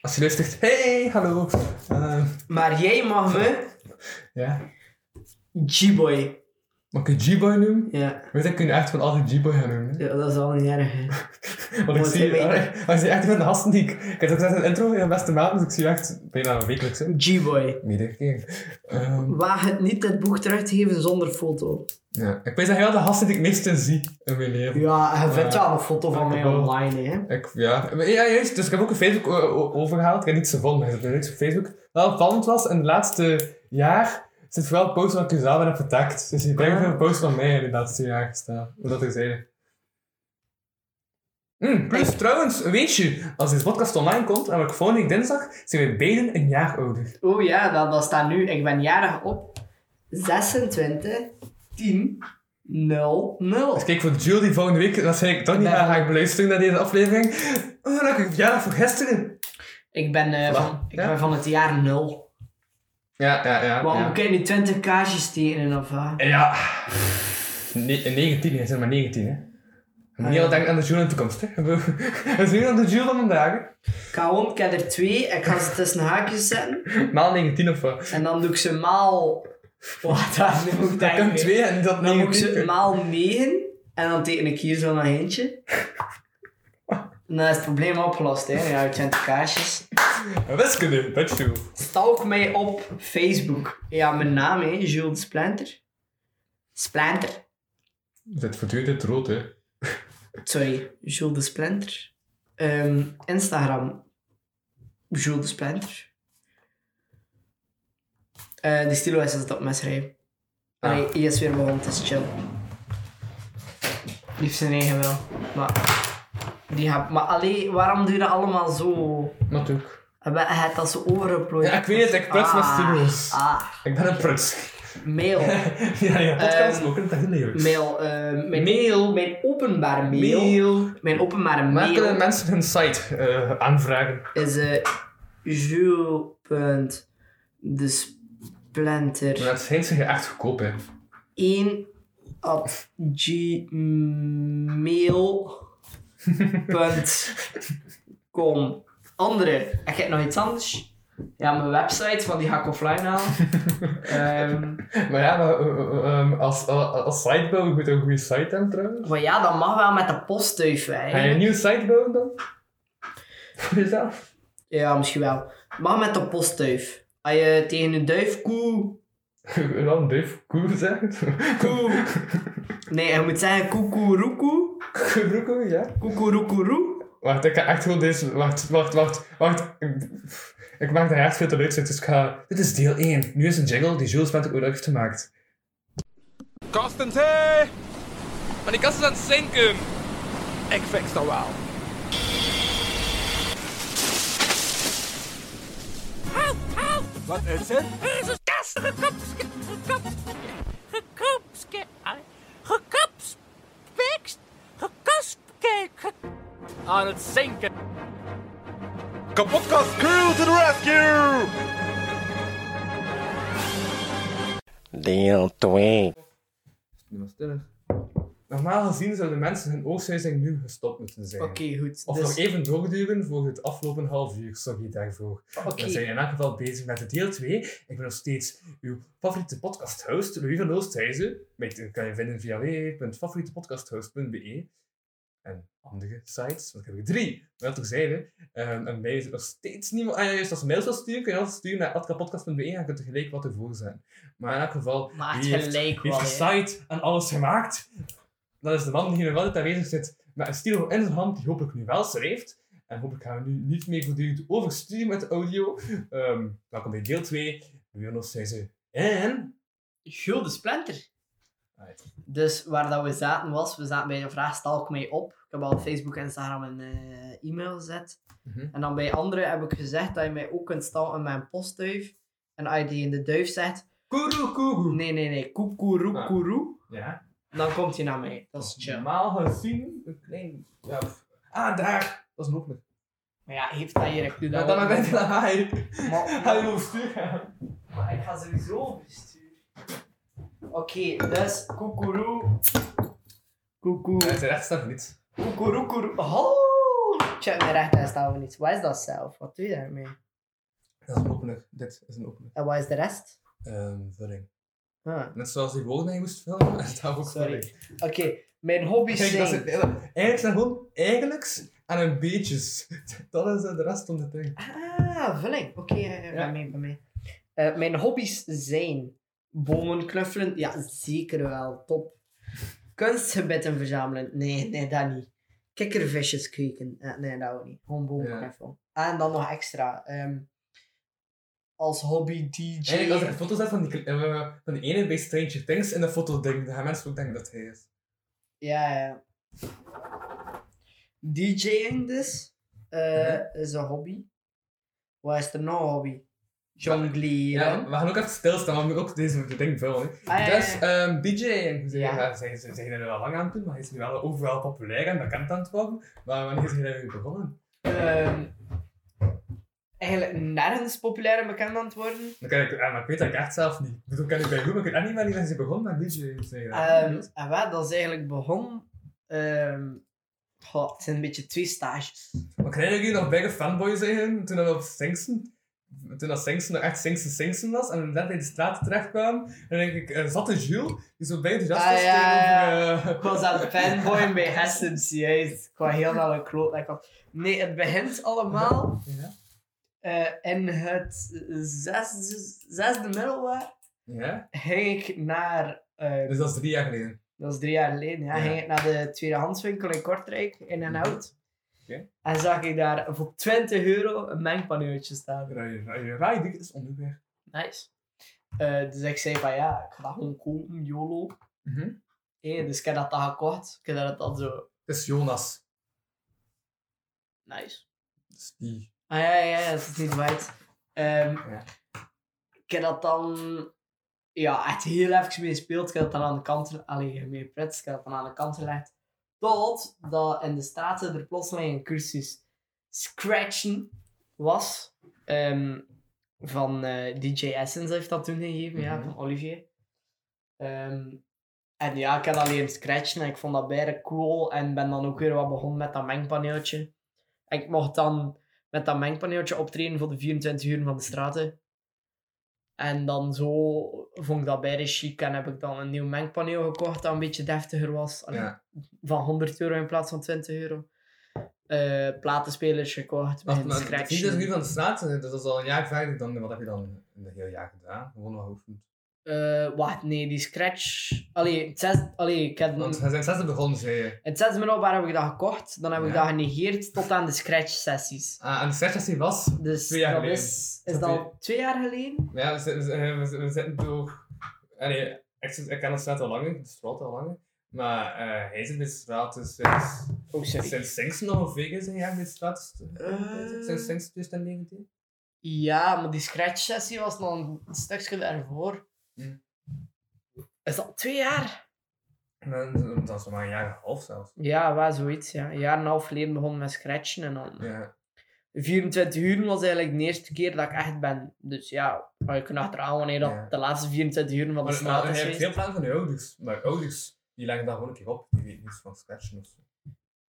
[SPEAKER 4] Als je luistert, hey, hallo. Eh,
[SPEAKER 3] Maar jij mag me
[SPEAKER 4] ja.
[SPEAKER 3] G-boy.
[SPEAKER 4] Mag ik je G-boy noemen?
[SPEAKER 3] Ja.
[SPEAKER 4] Weet ik, kun je echt van altijd G-boy gaan noemen. hè?
[SPEAKER 3] ja, dat is wel niet erg. hè.
[SPEAKER 4] Want ik
[SPEAKER 3] Moet
[SPEAKER 4] zie,
[SPEAKER 3] je
[SPEAKER 4] eh, maar ik zie echt van de gasten die ik... Ik heb ook net een intro in de beste maand, dus ik zie echt bijna wekelijks, hè?
[SPEAKER 3] G-boy.
[SPEAKER 4] Meerdere keer. Ehm,
[SPEAKER 3] Waag het niet het boek terug te geven zonder foto.
[SPEAKER 4] ja. Ik weet dat heel de gasten die ik meestal zie in mijn leven.
[SPEAKER 3] Ja, hij vindt
[SPEAKER 4] Ja.
[SPEAKER 3] wel een foto van mij
[SPEAKER 4] Dankjewel.
[SPEAKER 3] online, hè.
[SPEAKER 4] Ik, ja. Maar ja, juist. Dus ik heb ook een Facebook o- o- overgehaald. Ik heb niets gevonden. Ik heb niets op Facebook. Wel opvallend was, in het laatste jaar zit vooral posts van Kuzawa en vertakt. Dus ik denk
[SPEAKER 3] Ah.
[SPEAKER 4] veel posts van mij in het laatste jaar gestaan. Hoe dat ik zei. Hm, plus, trouwens, weet je, als deze podcast online komt en ik volgende week dinsdag, zijn we beiden een jaar ouder.
[SPEAKER 3] Oh ja, dat, dat staat nu. Ik ben jarig op 26 10 0 0.
[SPEAKER 4] Dus kijk voor Jules die volgende week, dat zei ik toch niet,
[SPEAKER 3] Ik ben-
[SPEAKER 4] ga ik beluisteren naar deze aflevering. Oh, gelukkig verjaardag voor gisteren.
[SPEAKER 3] Ik ben, eh, van, ik
[SPEAKER 4] Ja.
[SPEAKER 3] ben van het jaar 0.
[SPEAKER 4] Ja, ja, ja.
[SPEAKER 3] Waarom
[SPEAKER 4] ja.
[SPEAKER 3] kan je nu 20 kaarsjes tekenen of wat?
[SPEAKER 4] Ja. Ne- 19, hè. zeg maar 19, hè.
[SPEAKER 3] Ah,
[SPEAKER 4] Je moet niet altijd denken aan de Jules in de toekomst, hè. We [LAUGHS] zijn nu aan de Jules van vandaag, hè.
[SPEAKER 3] Kaon, ik heb er twee. Ik ga ze tussen haakjes zetten.
[SPEAKER 4] Maal 19 of wat.
[SPEAKER 3] En dan doe ik ze maal... Wat [LAUGHS] dat nu moet ik
[SPEAKER 4] Ik heb
[SPEAKER 3] denken.
[SPEAKER 4] twee en dat
[SPEAKER 3] Dan moet ik
[SPEAKER 4] 19.
[SPEAKER 3] ze maal 9. En dan teken ik hier zo nog eentje. En dan is het probleem opgelost, hè. Ja, het zijn de kaarsjes.
[SPEAKER 4] Wiskunde, dat is toe.
[SPEAKER 3] Stalk mij op Facebook. Ja, mijn naam, hè. Jules Splinter. Splinter.
[SPEAKER 7] Het voortdurend in het rood, hè.
[SPEAKER 3] Sorry, Jules de Splinter. Ehm, Instagram, Jules de Splinter. Eh, de stilo is dat op mij schrijven.
[SPEAKER 4] Ah.
[SPEAKER 3] Allee, hij is weer begonnen, het is chill. Liefst zijn eigen wel. Maar, die heb, maar allee, waarom doe je dat allemaal zo? Ah,
[SPEAKER 4] Maar ook.
[SPEAKER 3] Heb je hebt dat zo overgeplooid?
[SPEAKER 4] Ja, ik weet het, ik prut met stilo's.
[SPEAKER 3] Ah,
[SPEAKER 4] Ik ben een pruts.
[SPEAKER 3] mail.
[SPEAKER 4] [LAUGHS] ja, ja, podcast
[SPEAKER 3] Ehm,
[SPEAKER 4] ook in het dagelijks.
[SPEAKER 3] mail, eh, mijn, mail. Mijn openbare mail. Mijn openbare
[SPEAKER 4] Maar
[SPEAKER 3] mail.
[SPEAKER 4] kunnen mensen hun site eh, aanvragen?
[SPEAKER 3] is eh Jules. De
[SPEAKER 4] Maar
[SPEAKER 3] Splinter
[SPEAKER 4] dat zijn ze echt goedkoop, hè.
[SPEAKER 3] 1 op gmail.com. Andere, ik heb nog iets anders. Ja, mijn website, want die ga ik offline halen.
[SPEAKER 4] [LAUGHS]
[SPEAKER 3] Ehm,
[SPEAKER 4] Maar ja, maar, eh, eh, ehm, als, als, als site bouwen moet je een goede site hebben, trouwens.
[SPEAKER 3] maar ja, dat mag wel met de postduif, hè.
[SPEAKER 4] Ga je een nieuwe site bouwen dan? [LAUGHS] Voor [LAUGHS] jezelf?
[SPEAKER 3] Ja, misschien wel. Mag met de postduif. Als je tegen een duif koe
[SPEAKER 4] Dan Dave, koe zeggen. [LAUGHS]
[SPEAKER 3] Koe. Nee, je moet zeggen koekoeroekoe.
[SPEAKER 4] Koe, ja.
[SPEAKER 3] Koekoeroekoeroe.
[SPEAKER 4] Wacht, ik ga echt gewoon deze... Wacht, wacht, wacht, wacht. Ik- Ik maak daar echt veel te leuk, dus ik ga... Dit is deel 1. Nu is een jingle die Jules met ooit heeft gemaakt.
[SPEAKER 8] Kastentee! Maar die kast is aan het zinken. Ik fix dat wel. Wat is het?
[SPEAKER 9] Er is een kast gekapske, gekapske, gekapske, gekapspekst, gekaspkeek.
[SPEAKER 8] Aan het zinken.
[SPEAKER 10] Kapotkast crew to the rescue!
[SPEAKER 1] Deel 2.
[SPEAKER 4] Nu was het er. Normaal gezien zouden mensen hun oogsthuizing nu gestopt moeten zijn.
[SPEAKER 3] Oké, goed.
[SPEAKER 4] Of nog
[SPEAKER 3] Dus,
[SPEAKER 4] even doorduwen voor het afgelopen half uur. Sorry daarvoor.
[SPEAKER 3] Oké.
[SPEAKER 4] We zijn in elk geval bezig met de deel 2. Ik ben nog steeds uw favoriete podcast-host, Louis van Oosthuizen. Mij kan je vinden via www.favorietepodcasthost.be en andere sites, want ik heb er drie. Maar dat terzijde. Ehm en mij is er nog steeds niemand... Ah ja, juist als je mails wil sturen, kun je altijd sturen naar atkapodcast.be en dan kunt er gelijk wat ervoor zijn. Maar in elk geval,
[SPEAKER 3] maar het
[SPEAKER 4] wie heeft-
[SPEAKER 3] gelijk
[SPEAKER 4] die
[SPEAKER 3] wel,
[SPEAKER 4] heeft
[SPEAKER 3] hè.
[SPEAKER 4] de site en alles gemaakt. Dat is de man die hier nog altijd aanwezig zit met een stilo in zijn hand, die hopelijk nu wel schrijft. En hopelijk gaan we nu niet meer voortdurend oversturen met de audio. Ehm, welkom bij deel 2. Jonas zei ze. En.
[SPEAKER 3] Jules de Splinter.
[SPEAKER 4] Right.
[SPEAKER 3] Dus waar dat we zaten was, we zaten bij de vraag stalk mij op. Ik heb al Facebook, Instagram en eh, e-mail gezet.
[SPEAKER 4] Mhm.
[SPEAKER 3] En dan bij anderen heb ik gezegd dat je mij ook kunt stalken met een postduif. En als je die in de duif zegt,
[SPEAKER 4] Koeroe, koeroe.
[SPEAKER 3] nee, nee, nee, koekoeroekoeroe,
[SPEAKER 4] Ja.
[SPEAKER 3] dan komt hij naar mij. Dat is chill.
[SPEAKER 4] Normaal gezien. Een klein. Ja. Ah, daar. Dat is een opener.
[SPEAKER 3] Maar ja, heeft dat hier, ik doe
[SPEAKER 4] Ja,
[SPEAKER 3] dat
[SPEAKER 4] dan
[SPEAKER 3] ook.
[SPEAKER 4] ben ik naar mij.
[SPEAKER 3] Maar-
[SPEAKER 4] Ga je overstuur gaan?
[SPEAKER 3] Maar ik ga sowieso oversturen. Oké, dus koekoeroe. Koekoe.
[SPEAKER 4] Het recht staat niet.
[SPEAKER 3] Koekoeroekoeroe. Hallo! Check mijn recht en staan we niet. Wat is dat zelf? Wat doe je daarmee?
[SPEAKER 4] Dat is een opener. Dit is een opener.
[SPEAKER 3] En wat is de rest? Ah,
[SPEAKER 4] Ehm, vulling.
[SPEAKER 3] Huh.
[SPEAKER 4] Net zoals die woorden die je moest vullen, is dat ook
[SPEAKER 3] Sorry.
[SPEAKER 4] vulling.
[SPEAKER 3] Oké, mijn hobby's
[SPEAKER 4] Kijk, dat is
[SPEAKER 3] zijn...
[SPEAKER 4] het hele- Eigenlijk zijn gewoon eigenlijk en een beetjes. [LAUGHS] Dat is eh, de rest van de ding.
[SPEAKER 3] Ah, vulling. Oké, ja, ja,
[SPEAKER 4] Ja.
[SPEAKER 3] bij mij, bij mij. Eh, mijn hobby's zijn bomen knuffelen. Ja, zeker wel. Top. Kunstgebitten verzamelen. Nee, nee, dat niet. Kikkervisjes kweken. Eh, nee, dat ook niet. Gewoon bomen
[SPEAKER 4] Ja.
[SPEAKER 3] knuffelen. Ah, en dan nog extra. ehm, als hobby DJ.
[SPEAKER 4] Eigenlijk als ik een foto zet van die, eh, van die ene bij Stranger Things in de foto ding, dan gaan mensen ook denken dat hij is.
[SPEAKER 3] Ja, ja. DJing dus eh, is een hobby. Wat is er nog een hobby? Jongleren.
[SPEAKER 4] Ja, we gaan ook even stilstaan, want we moeten ook deze ding vullen. hè.
[SPEAKER 3] Ah, ja, ja,
[SPEAKER 4] Dus
[SPEAKER 3] ja.
[SPEAKER 4] ehm DJ, en ze
[SPEAKER 3] Ja.
[SPEAKER 4] ja, zijn, ze zijn er wel lang aan toe, maar hij is nu wel overal populair en bekend aan het worden. Maar wanneer is hij daarmee begonnen?
[SPEAKER 3] Ehm, eigenlijk nergens populair en bekend aan het worden.
[SPEAKER 4] Dan kan ik, eh, maar ik weet dat ik echt zelf niet. Ik bedoel, kan ik bij goed, maar ik weet echt niet wanneer hij begon met DJ. zijn.
[SPEAKER 3] Ehm, en wat, dat is eigenlijk begonnen ehm, goh, het zijn een beetje twee stages.
[SPEAKER 4] Maar krijg ik hier nog bij fanboy zeggen toen we op Singsen, toen dat Singsen nog echt Singsen Singsen was en we net in de straat terecht kwamen, en denk ik, er zat een Jules die zo bij de jas
[SPEAKER 3] Ah,
[SPEAKER 4] was
[SPEAKER 3] ja, ja,
[SPEAKER 4] tegenover, eh,
[SPEAKER 3] Ik was aan het fanboyen bij Hessens, juist. Ik was heel naar een kloot. ik had- Nee, het begint allemaal
[SPEAKER 4] Ja.
[SPEAKER 3] eh, in het zesde, zesde middelbaar.
[SPEAKER 4] Ja?
[SPEAKER 3] Ging ik naar, eh,
[SPEAKER 4] Dus dat is drie jaar geleden.
[SPEAKER 3] dat is drie jaar geleden, ja,
[SPEAKER 4] Ja.
[SPEAKER 3] ging ik naar de tweedehandswinkel in Kortrijk, in en out.
[SPEAKER 4] Oké.
[SPEAKER 3] En zag ik daar voor 20 euro een mengpaneeltje staan.
[SPEAKER 4] Rai- Rai- Rai dik is onderweg.
[SPEAKER 3] Nice. Eh, dus ik zei van ja, ik ga dat gewoon kopen, YOLO.
[SPEAKER 4] Mhm.
[SPEAKER 3] Eh, dus ik heb dat dan gekocht. Ik heb dat dan zo,
[SPEAKER 4] Het is Jonas.
[SPEAKER 3] nice.
[SPEAKER 4] Dus die.
[SPEAKER 3] Ah ja, ja, ja, dat is niet wijd. Ehm,
[SPEAKER 4] Ja.
[SPEAKER 3] Ik heb dat dan ja, echt heel even mee gespeeld. Ik heb dat dan aan de kant gelegd. Allee, mee pret. Ik heb dat dan aan de kant gelegd. Totdat in de Staten er plotseling een cursus scratchen was. Ehm, van eh, DJ Essence heeft dat toen gegeven, ja,
[SPEAKER 4] Mhm.
[SPEAKER 3] van Olivier. Ehm, en ja, ik heb dat leren scratchen en ik vond dat bijna cool. En ben dan ook weer wat begonnen met dat mengpaneeltje. En ik mocht dan met dat mengpaneeltje optreden voor de 24 uur van de straten. En dan zo vond ik dat bijna chic en heb ik dan een nieuw mengpaneel gekocht dat een beetje deftiger was. Allee,
[SPEAKER 4] Ja.
[SPEAKER 3] Van 100 euro in plaats van 20 euro. Eh, platenspelers gekocht,
[SPEAKER 4] Wacht,
[SPEAKER 3] beginnen
[SPEAKER 4] maar het is
[SPEAKER 3] scratchen.
[SPEAKER 4] niet dat ik nu van de straat zit, dus dat is al een jaar verder. Dan, wat heb je dan in een heel jaar gedaan? Gewoon nog hoofd.
[SPEAKER 3] Eh, wacht, nee, die scratch. Allee, het zes, allee ik heb
[SPEAKER 4] Want we zijn zesde begonnen, zei je.
[SPEAKER 3] het zesde middelbaar heb ik dat gekocht, dan heb ik
[SPEAKER 4] Ja.
[SPEAKER 3] dat genegeerd tot aan de scratch sessies.
[SPEAKER 4] Ah, en de sessie was.
[SPEAKER 3] Dus
[SPEAKER 4] Twee jaar
[SPEAKER 3] dat
[SPEAKER 4] geleden.
[SPEAKER 3] is,
[SPEAKER 4] Is
[SPEAKER 3] is
[SPEAKER 4] dat
[SPEAKER 3] dat
[SPEAKER 4] twee-
[SPEAKER 3] al twee jaar geleden?
[SPEAKER 4] Ja, we, zitten- we, zitten- we, zitten- we zitten door. Allee, ik, zit- ik ken de straat al langer, de straat al langer. Maar eh, hij zit in de straat dus sinds.
[SPEAKER 3] Oh,
[SPEAKER 4] Sinds Singsten nog een vegan zijn jaar in de straat. Sinds Singsten 2019.
[SPEAKER 3] Ja, maar die scratch sessie was nog een stukje daarvoor.
[SPEAKER 4] Hm.
[SPEAKER 3] Is dat twee jaar?
[SPEAKER 4] En Dat is nog maar een jaar en een half zelfs.
[SPEAKER 3] Ja, waar zoiets. Ja. Een jaar en een half geleden begon met scratchen en dan.
[SPEAKER 4] Ja.
[SPEAKER 3] 24 uur was eigenlijk de eerste keer dat ik echt ben. Dus ja, maar je kunt achteraan wanneer dat
[SPEAKER 4] Ah. Ja.
[SPEAKER 3] de laatste 24 uur van de
[SPEAKER 4] Maar, maar
[SPEAKER 3] straat
[SPEAKER 4] hij
[SPEAKER 3] is
[SPEAKER 4] heeft
[SPEAKER 3] geweest.
[SPEAKER 4] veel plannen van je ouders. Maar je ouders, die leggen daar gewoon een keer op. Die weten niets van scratchen of zo.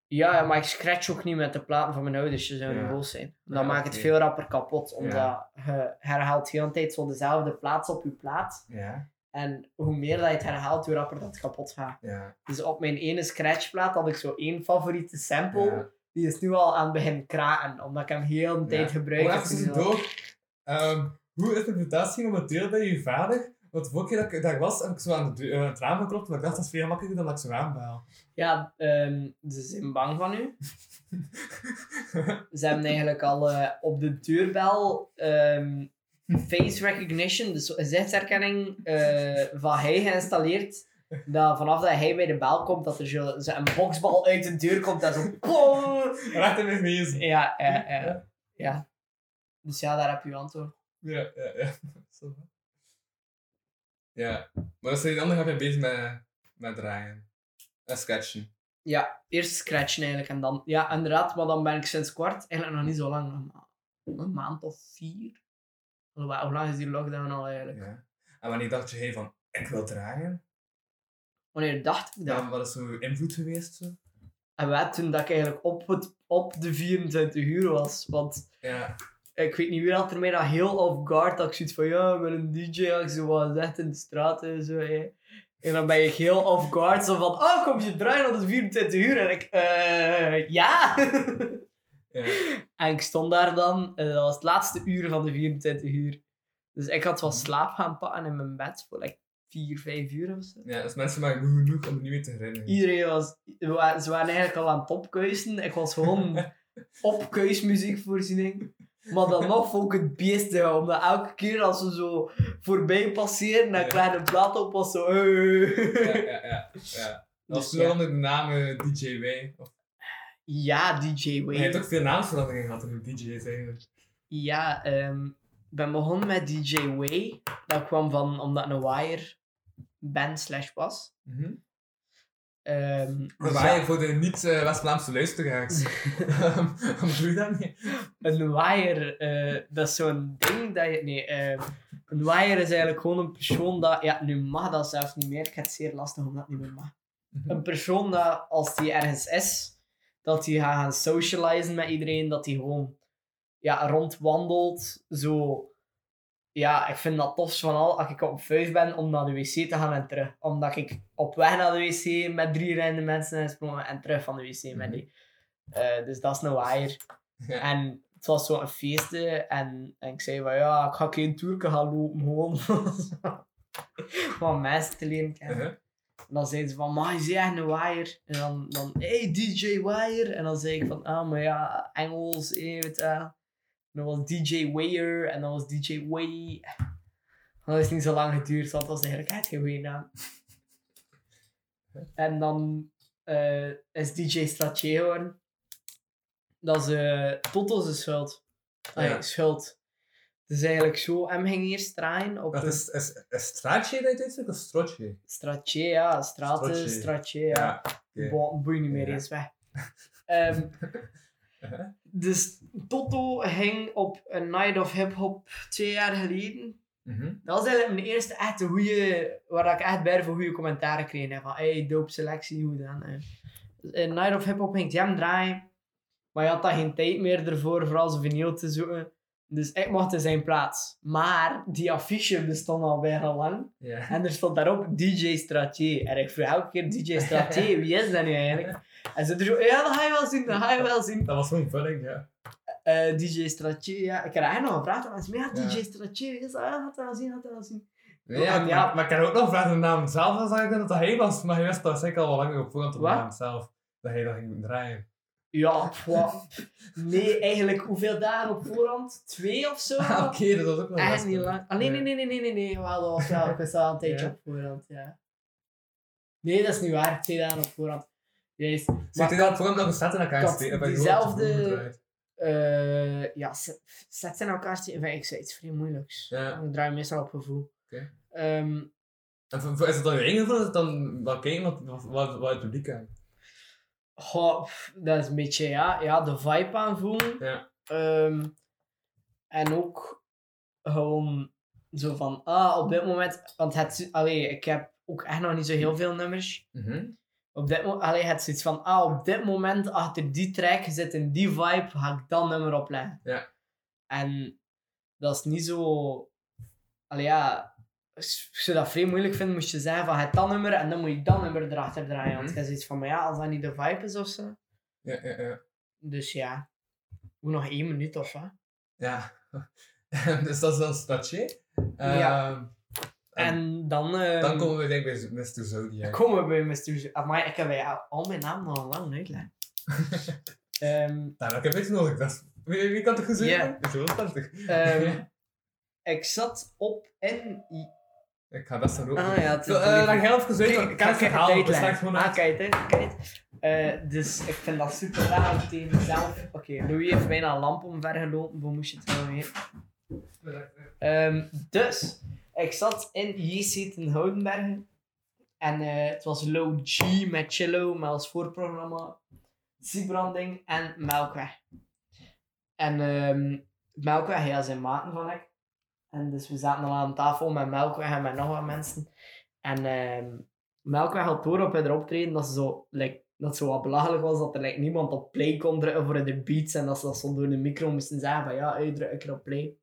[SPEAKER 3] Ja, maar ik scratch ook niet met de platen van mijn ouders, ze zouden
[SPEAKER 4] Ja.
[SPEAKER 3] boos zijn. Dan
[SPEAKER 4] Ja,
[SPEAKER 3] maakt het
[SPEAKER 4] oké.
[SPEAKER 3] veel rapper kapot, omdat je herhaalt heel de tijd zo dezelfde plaats op je plaat.
[SPEAKER 4] Ja.
[SPEAKER 3] En hoe meer dat je het herhaalt, hoe rapper dat het kapot gaat.
[SPEAKER 4] Ja.
[SPEAKER 3] Dus op mijn ene scratchplaat had ik zo één favoriete sample,
[SPEAKER 4] Ja.
[SPEAKER 3] die is nu al aan het begin kraken, omdat ik hem heel de tijd gebruik.
[SPEAKER 4] Maar
[SPEAKER 3] heb.
[SPEAKER 4] even tussendoor. Ehm, hoe is de reputatie momenteel bij je vader? Want de vorige keer dat ik daar was, heb ik zo aan de deur- eh, aan het raam geklopt. Maar ik dacht, dat is veel makkelijker dan dat ik zo [LAUGHS] aanbaal.
[SPEAKER 3] Ja, ehm, ze zijn bang van u. ze hebben eigenlijk al eh, op de deurbel ehm, face recognition, dus gezichtsherkenning eh, van hij geïnstalleerd. Dat vanaf dat hij bij de bel komt, dat er zo, zo een boksbal uit de deur komt en zo... [LAUGHS] plong.
[SPEAKER 4] Recht in mijn wezen.
[SPEAKER 3] Ja, ja, ja, ja. Dus ja, daar heb je uw antwoord.
[SPEAKER 4] Ja, ja, ja. [LAUGHS] Zo. Ja. Maar dat is die andere gaat je bezig met, met draaien. En sketchen.
[SPEAKER 3] Ja, eerst scratchen eigenlijk en dan... Ja, inderdaad, maar dan ben ik sinds kwart eigenlijk nog niet zo lang. Nog maar een maand of vier. Alhoewel, Hoe lang is die lockdown al eigenlijk?
[SPEAKER 4] Ja. En wanneer dacht je, hey, van, ik wil draaien?
[SPEAKER 3] Wanneer dacht ik dat?
[SPEAKER 4] Ja. Wat is zo je invloed geweest? Zo?
[SPEAKER 3] En wat toen dat ik eigenlijk op, het, op de 24 uur was. Want
[SPEAKER 4] Ja.
[SPEAKER 3] ik weet niet wie dat er mij dat heel off guard. Dat ik zoiets van, ja, ik ben een DJ. Als ik zo wat zegt in de straat en zo. hè. En dan ben ik heel off guard. Zo van, oh, kom je draaien op de 24 uur? En ik, eh, ja. [LAUGHS]
[SPEAKER 4] ja.
[SPEAKER 3] en ik stond daar dan. eh, dat was het laatste uur van de 24 uur. Dus ik had wel
[SPEAKER 4] Mhm.
[SPEAKER 3] slaap gaan pakken in mijn bed. Voor like 4, 5 uur of zo.
[SPEAKER 4] Ja, dus mensen maken goed genoeg om er niet meer te herinneren.
[SPEAKER 3] Iedereen was... we waren- Ze waren eigenlijk al aan het opkuisen. Ik was
[SPEAKER 4] [LAUGHS]
[SPEAKER 3] gewoon op kuismuziekvoorziening. Maar dan nog vond ik het beestig, omdat elke keer als ze zo voorbij passeren en
[SPEAKER 4] Ja.
[SPEAKER 3] ik kleine plaat op was, zo... eh. "Hey."
[SPEAKER 4] Ja, ja, ja.
[SPEAKER 3] [LAUGHS]
[SPEAKER 4] ja. Dat
[SPEAKER 3] Dus
[SPEAKER 4] was toen
[SPEAKER 3] ja.
[SPEAKER 4] onder de naam eh, DJ Way. Of,
[SPEAKER 3] Ja, DJ
[SPEAKER 4] maar je hebt ook
[SPEAKER 3] Wayne.
[SPEAKER 4] veel naamsveranderingen gehad over DJ's eigenlijk.
[SPEAKER 3] Ja, ehm, ik ben begonnen met DJ Way. Dat kwam van, omdat ik een wire band slash was.
[SPEAKER 4] Mhm.
[SPEAKER 3] Ehm,
[SPEAKER 4] Maar
[SPEAKER 3] dus ja,
[SPEAKER 4] waar je voor de niet-West-Vlaamse luisteraars.
[SPEAKER 3] [LAUGHS]
[SPEAKER 4] Ehm, Wat doe je dan?
[SPEAKER 3] Een waaier, eh, dat is zo'n ding dat je... Nee, eh, een waaier is eigenlijk gewoon een persoon dat... Ja, nu mag dat zelfs niet meer. Ik heb het zeer lastig omdat het niet meer mag. Een persoon dat als die ergens is, dat die gaat gaan socializen met iedereen, dat die gewoon ja, rondwandelt. Zo, ja, ik vind dat tofst van al als ik op vijf ben om naar de wc te gaan en terug. Omdat ik op weg naar de wc met drie rende mensen ben gesprongen en terug van de wc met die. Eh, dus dat is een waaier.
[SPEAKER 4] Ja.
[SPEAKER 3] En het was zo'n feesten en, en ik zei van ja, ik ga geen toerke gaan lopen gewoon. [LAUGHS] Van mensen te leren kennen.
[SPEAKER 4] Mhm.
[SPEAKER 3] En dan zeiden ze van, maar je zegt een wire. En dan, dan hey DJ Wire. En dan zei ik van, ah, maar ja, Engels, eh, weet je wel. En dan was DJ Wire en dan was DJ Way. En dat is niet zo lang geduurd, want dat was eigenlijk echt geen goede naam. En dan eh, is DJ Stratje geworden. Dat is eh Toto's schuld. Ah, ja.
[SPEAKER 4] Ja.
[SPEAKER 3] schuld. Het is eigenlijk zo, hem ging eerst draaien op
[SPEAKER 4] Dat
[SPEAKER 3] een-
[SPEAKER 4] is, is, is straatje dat je dit zegt, of strotje?
[SPEAKER 3] Stratje, ja. Straten,
[SPEAKER 4] Stratje.
[SPEAKER 3] stratje, ja.
[SPEAKER 4] oké.
[SPEAKER 3] Bo- Boeit niet meer
[SPEAKER 4] Ja.
[SPEAKER 3] eens
[SPEAKER 4] [LAUGHS]
[SPEAKER 3] weg. Ehm,
[SPEAKER 4] Uh-huh.
[SPEAKER 3] dus Toto ging op een Night of Hip Hop twee jaar geleden.
[SPEAKER 4] Mhm.
[SPEAKER 3] Dat was eigenlijk mijn eerste echte goede, waar ik echt bij voor goede commentaren kreeg. hè, Van, hey, dope selectie, hoe dan? hè. Dus Een Night of Hip Hop ging ik jam draaien. Maar je had daar geen tijd meer ervoor, vooral zijn vinyl te zoeken. Dus ik mocht in zijn plaats. Maar die affiche bestond al bijna lang.
[SPEAKER 4] Ja.
[SPEAKER 3] En er stond daarop DJ Straté. En ik vroeg elke keer DJ Straté, [LAUGHS] wie is dat nu eigenlijk? En ze er zo, ja, dat ga je wel zien, dat ga je wel zien.
[SPEAKER 4] Dat was zo'n vulling, ja.
[SPEAKER 3] Eh, DJ Straté, ja. Ik heb haar nog gevraagd aan mensen, maar ja,
[SPEAKER 4] Ja.
[SPEAKER 3] DJ Straté, wie is dat? Ja, gaat dat wel zien, gaat dat wel zien.
[SPEAKER 4] Ja,
[SPEAKER 3] maar-
[SPEAKER 4] Maar, maar ik kan ook nog vragen de naam zelf als ik dat dat hij was, maar hij wist dat zeker al wel langer op voorhand op de
[SPEAKER 3] Wat?
[SPEAKER 4] naam zelf. Dat hij dat ging draaien.
[SPEAKER 3] Ja, wat? Nee, eigenlijk hoeveel dagen op voorhand? Twee of [LAUGHS] zo?
[SPEAKER 4] Ah, [LAUGHS] Oké, dat was ook nog
[SPEAKER 3] Echt
[SPEAKER 4] lastig.
[SPEAKER 3] niet lang. Ah, nee, nee, nee, nee, nee, nee, nee. Wel, dat was wel, ik was wel een tijdje
[SPEAKER 4] Ja.
[SPEAKER 3] op voorhand, ja. Nee, dat is niet waar. Twee dagen op voorhand. Juist.
[SPEAKER 4] Zit hij
[SPEAKER 3] Maar-
[SPEAKER 4] dan op voorhand nog een set in elkaar
[SPEAKER 3] Kat,
[SPEAKER 4] steken? Heb je gewoon
[SPEAKER 3] diezelfde-
[SPEAKER 4] op de voet gedraaid?
[SPEAKER 3] eh ja, zet, zet ze in elkaar steken. Enfin, ik zei iets vrij moeilijks.
[SPEAKER 4] Ja.
[SPEAKER 3] Ik draai meestal op gevoel.
[SPEAKER 4] Oké.
[SPEAKER 3] Ehm,
[SPEAKER 4] En v- v- Is het dan je eigen gevoel of is het dan wat kijken wat, wat, wat, wat het publiek aan?
[SPEAKER 3] goh, pff, dat is een beetje ja, ja, de vibe aanvoelen.
[SPEAKER 4] Ja.
[SPEAKER 3] Ehm, en ook gewoon zo van, ah, op dit moment, want het, allee, ik heb ook echt nog niet zo heel veel nummers. Op dit moment, allee, het is iets van, ah, op dit moment achter die track zit in die vibe, ga ik dat nummer opleggen.
[SPEAKER 4] Ja.
[SPEAKER 3] En dat is niet zo, allee, ja, als je dat vrij moeilijk vindt, moest je zeggen van, het dat nummer en dan moet je dat nummer erachter draaien. Want
[SPEAKER 4] Mhm.
[SPEAKER 3] het is iets van, maar ja, als dat niet de vibe is of zo.
[SPEAKER 4] Ja, ja, ja.
[SPEAKER 3] Dus ja, hoe nog één minuut of wat.
[SPEAKER 4] Ja. [LAUGHS] dus dat is dan Staché.
[SPEAKER 3] Ja.
[SPEAKER 4] Ehm, En,
[SPEAKER 3] En dan, eh,
[SPEAKER 4] dan komen we denk ik bij Mr. Zodiac.
[SPEAKER 3] komen we bij Mr. Z- Amai, ik heb bij al mijn naam nog lang
[SPEAKER 4] [LAUGHS]
[SPEAKER 3] uitleggen. Ehm
[SPEAKER 4] Nou, dat heb ik nodig. Dat is, wie, wie kan het goed
[SPEAKER 3] Ja.
[SPEAKER 4] zeggen? Dat is wel lastig.
[SPEAKER 3] ehm, ik zat op in
[SPEAKER 4] Ik ga dat zo doen.
[SPEAKER 3] Ah, ja, het
[SPEAKER 4] Zo,
[SPEAKER 3] is
[SPEAKER 4] eh,
[SPEAKER 3] wel
[SPEAKER 4] dan
[SPEAKER 3] lief.
[SPEAKER 4] heel even uit, want ik kan het verhaal.
[SPEAKER 3] tijd
[SPEAKER 4] Het staat gewoon
[SPEAKER 3] Ah,
[SPEAKER 4] uit.
[SPEAKER 3] kijk, hè, kijk. Eh, dus ik vind dat super raar om tegen mezelf. Oké, Louis heeft bijna een lamp omvergelopen, hoe moest je het nou weer? Ehm, dus, ik zat in JC ten Houdenbergen. En eh, het was Low G met Chillo, met als voorprogramma Siebranding en Melkweg. En ehm, Melkweg, ja, zijn maten van ik. En dus we zaten dan aan tafel met Melkweg en met nog wat mensen. En ehm, Melkweg had door op haar optreden dat ze zo, like, dat zo wat belachelijk was dat er like, niemand op play kon drukken voor de beats en dat ze dat zo door de micro moesten zeggen van ja, hey, druk een keer op play.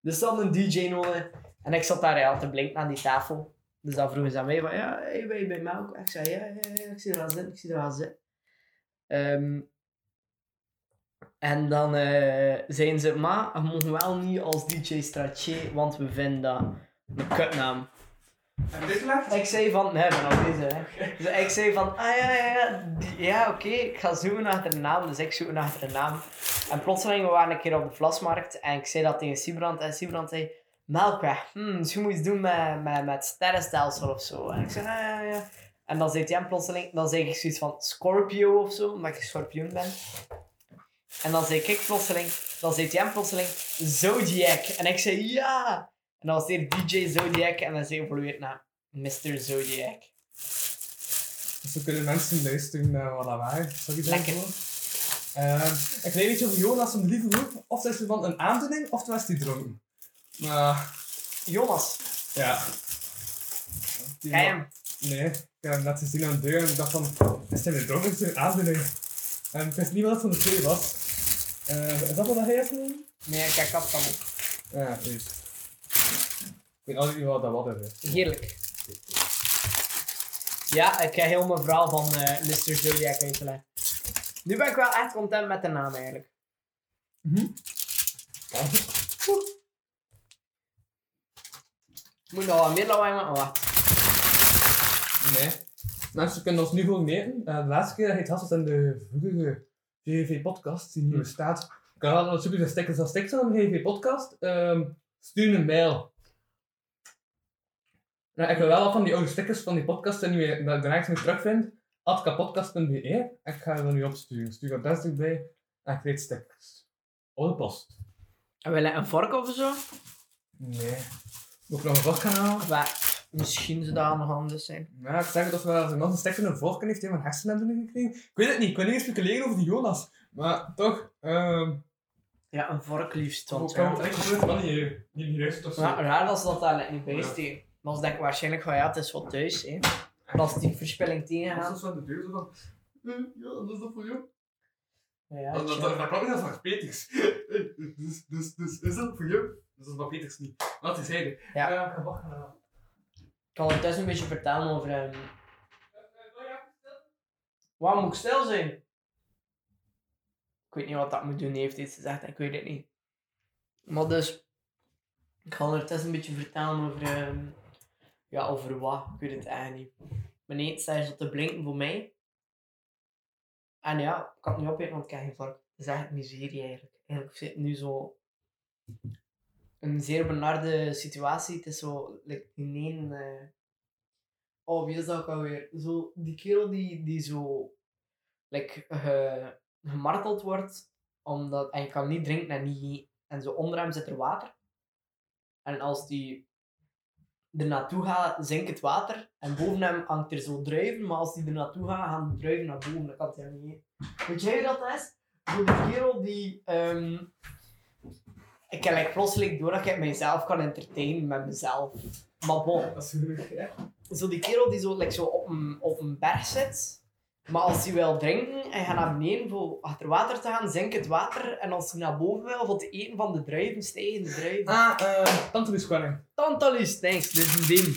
[SPEAKER 3] Dus ze hadden een DJ nodig en ik zat daar ja, te blinken aan die tafel. Dus dan vroegen ze aan mij van ja, hey, ben je bij Melkweg? Ik zei ja, ja, ja, ik zie er wel zitten, ik zie er wel zitten. Ehm, en dan eh zeiden ze, maar we mogen wel niet als DJ Stratje, want we vinden dat een kutnaam.
[SPEAKER 4] En dit laat?
[SPEAKER 3] Ik zei van, nee, ik ben al bezig, hè. Dus ik zei van, ah ja, ja, ja, die- ja oké, ik ga zoeken achter een naam. Dus ik zoek achter een naam. En plotseling, we waren een keer op de vlasmarkt en ik zei dat tegen Sibrand. En Sibrand zei, Melkweg, hmm, misschien moet je iets doen met, met, met sterrenstelsel of zo. En ik zei, ah ja, ja. En dan zei hij hem plotseling, dan zei ik zoiets van Scorpio of zo, omdat ik schorpioen ben. En dan zei ik plotseling, dan zei hij hem plotseling Zodiac. En ik zei, ja! En dan was het hier DJ Zodiac en dan zei hij weer naar Mr. Zodiac.
[SPEAKER 4] Dus we kunnen mensen luisteren naar wat lawaai. Zal ik
[SPEAKER 3] Lekker.
[SPEAKER 4] een klein beetje over Jonas en de lieve broer. Of is er van een aandoening, of was hij dronken. Maar,
[SPEAKER 3] Jonas,
[SPEAKER 4] ja. Die
[SPEAKER 3] ken je
[SPEAKER 4] man-
[SPEAKER 3] hem?
[SPEAKER 4] Nee, ik heb hem net gezien aan de deur en ik dacht van, is hij weer dronken? Is hij weer aandoening? En ik wist niet wat het van de twee was. Eh, is dat wat hij heeft genomen?
[SPEAKER 3] Nee, ik heb kap van me.
[SPEAKER 4] Ja, precies. Ik weet altijd niet wat dat wat is.
[SPEAKER 3] Heerlijk. Ja, ik heb heel mijn verhaal van eh Mr. Zodiac uitgelegd. Nu ben ik wel echt content met de naam eigenlijk. Oeh. Moet nog wat meer lawaai maken? Wacht.
[SPEAKER 4] Nee. Mensen kunnen ons nu gewoon meten. Eh, de laatste keer dat hij het had, was in de vroegere GV-podcast die niet meer staat. Ik kan altijd wat super zijn stickers als stickers aan de GV-podcast. Ehm, stuur een mail. Nou, ik wil wel wat van die oude stickers van die podcast die je daarna niet meer terugvindt. Atkapodcast.be. Ik ga er nu opsturen. Stuur adres erbij en ik krijg stickers. Oude post.
[SPEAKER 3] Wil je een vork of zo?
[SPEAKER 4] Nee. Moet ik nog een vastkanaal?
[SPEAKER 3] Wat? Misschien ze daar nog anders zijn.
[SPEAKER 4] Ja, ik zeg het toch wel, als iemand een stek in een vorken heeft, heeft hij mijn hersenen hebben gekregen. Ik weet het niet, ik wil niet eens speculeren over die Jonas. Maar toch, ehm...
[SPEAKER 3] Ja, een vork liefst. Want,
[SPEAKER 4] echt gebeurd van hier? Niet in die rust of
[SPEAKER 3] Ja, raar dat ze dat daar niet bij steken. Maar ze denken waarschijnlijk van ja, het is wat thuis. Hè. Plasticverspilling tegengaan.
[SPEAKER 4] van dus de deur, zo van... eh, Ja, dat is dat voor jou.
[SPEAKER 3] Ja,
[SPEAKER 4] Dat, dat,
[SPEAKER 3] tja.
[SPEAKER 4] dat, dat kwam niet als van Peters. [LAUGHS] Eh, Dus, dus, dus, is dat voor jou? Dus dat is van Peters niet. Laat eens zeggen.
[SPEAKER 3] Ja.
[SPEAKER 4] Eh, wacht, eh,
[SPEAKER 3] Ik kan het thuis een beetje vertellen over hem. Waarom moet ik stil zijn? Ik weet niet wat dat moet doen, heeft iets gezegd, ik weet het niet. Maar dus, ik ga er thuis een beetje vertellen over, ehm, ja, over wat, ik weet het eigenlijk niet. Mijn eten staat zo te blinken voor mij. En ja, ik kan het niet opeten, want ik heb geen vork. Het is echt miserie eigenlijk. Eigenlijk zit nu zo een zeer benarde situatie. Het is zo, like, in één... eh, Oh, wie is dat ook alweer? Zo, die kerel die, die zo... Like, ge- gemarteld wordt, omdat hij kan niet drinken en niet... eten. En zo onder hem zit er water. En als die er naartoe gaat, zinkt het water. En boven hem hangt er zo druiven, maar als die er naartoe gaat, gaan de druiven naar boven. Dat kan hij niet eten. Weet jij wie dat is? Zo die kerel die... ehm, ik heb like, plotseling door dat ik mezelf kan entertainen met mezelf. Maar bon,
[SPEAKER 4] Dat is genoeg, hè.
[SPEAKER 3] zo die kerel die zo, like, zo op, een, op een berg zit. Maar als hij wil drinken en gaat naar beneden voor achter water te gaan, zinkt het water. En als hij naar boven wil, voor te eten van de druiven, stijgen de druiven.
[SPEAKER 4] Ah, eh... Tante Luus Kwarring.
[SPEAKER 3] Tantalus, thanks, dit is een ding.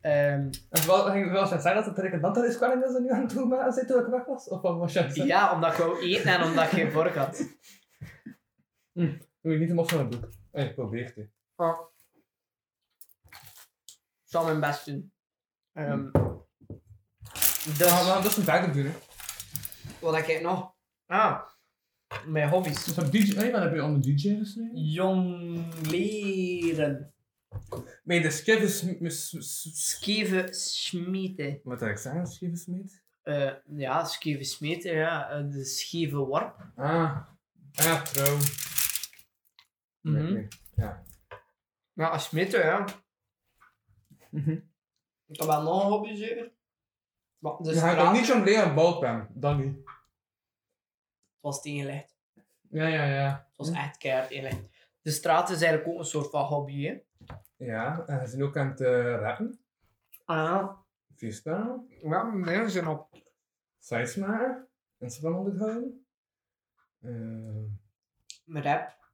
[SPEAKER 3] Ehm,
[SPEAKER 4] En vooral, ging wel zeggen dat het een Tante Luus Kwarring is dat nu aan het doen maar zit toen ik weg was? Of wat was je aan het zeggen?
[SPEAKER 3] ja, omdat ik wou eten en omdat ik geen vork had.
[SPEAKER 4] Doe je niet hem op van het boek. Eh, probeer het. hè.
[SPEAKER 3] Oh. Ik zal mijn best doen. Ehm,
[SPEAKER 4] We gaan, we
[SPEAKER 3] dus,
[SPEAKER 4] gaan dus een verder doen, hè.
[SPEAKER 3] wat heb ik nog? Ah, mijn hobby's.
[SPEAKER 4] Dus heb DJ... Hé, wat heb je onder DJ gesneden?
[SPEAKER 3] Jongleren.
[SPEAKER 4] Nee, de Skivus...
[SPEAKER 3] Skeven smeten.
[SPEAKER 4] Wat had ik zeggen? Skivusmeet?
[SPEAKER 3] Eh, ja, scheve smeten, ja. Eh, de scheve worp.
[SPEAKER 4] Ah. Ah, trouw.
[SPEAKER 3] Mhm.
[SPEAKER 4] Nee, Ja.
[SPEAKER 3] Ja, smeten, ja.
[SPEAKER 4] Mhm.
[SPEAKER 3] Ik heb wel nog een hobby, zeker. Maar de
[SPEAKER 4] Dus ga ik
[SPEAKER 3] straat
[SPEAKER 4] dan niet jongleren met balpen. Dan niet.
[SPEAKER 3] was tegengelegd.
[SPEAKER 4] Ja, ja, ja.
[SPEAKER 3] Het was echt keihard tegengelegd. De straat is eigenlijk ook een soort van hobby, hè.
[SPEAKER 4] Ja, en ze zijn ook aan het eh, rappen.
[SPEAKER 3] Ah,
[SPEAKER 4] Freestyle.
[SPEAKER 3] ja, meer zin op.
[SPEAKER 4] Sites maken. Instagram onderhouden. Eh,
[SPEAKER 3] Rap.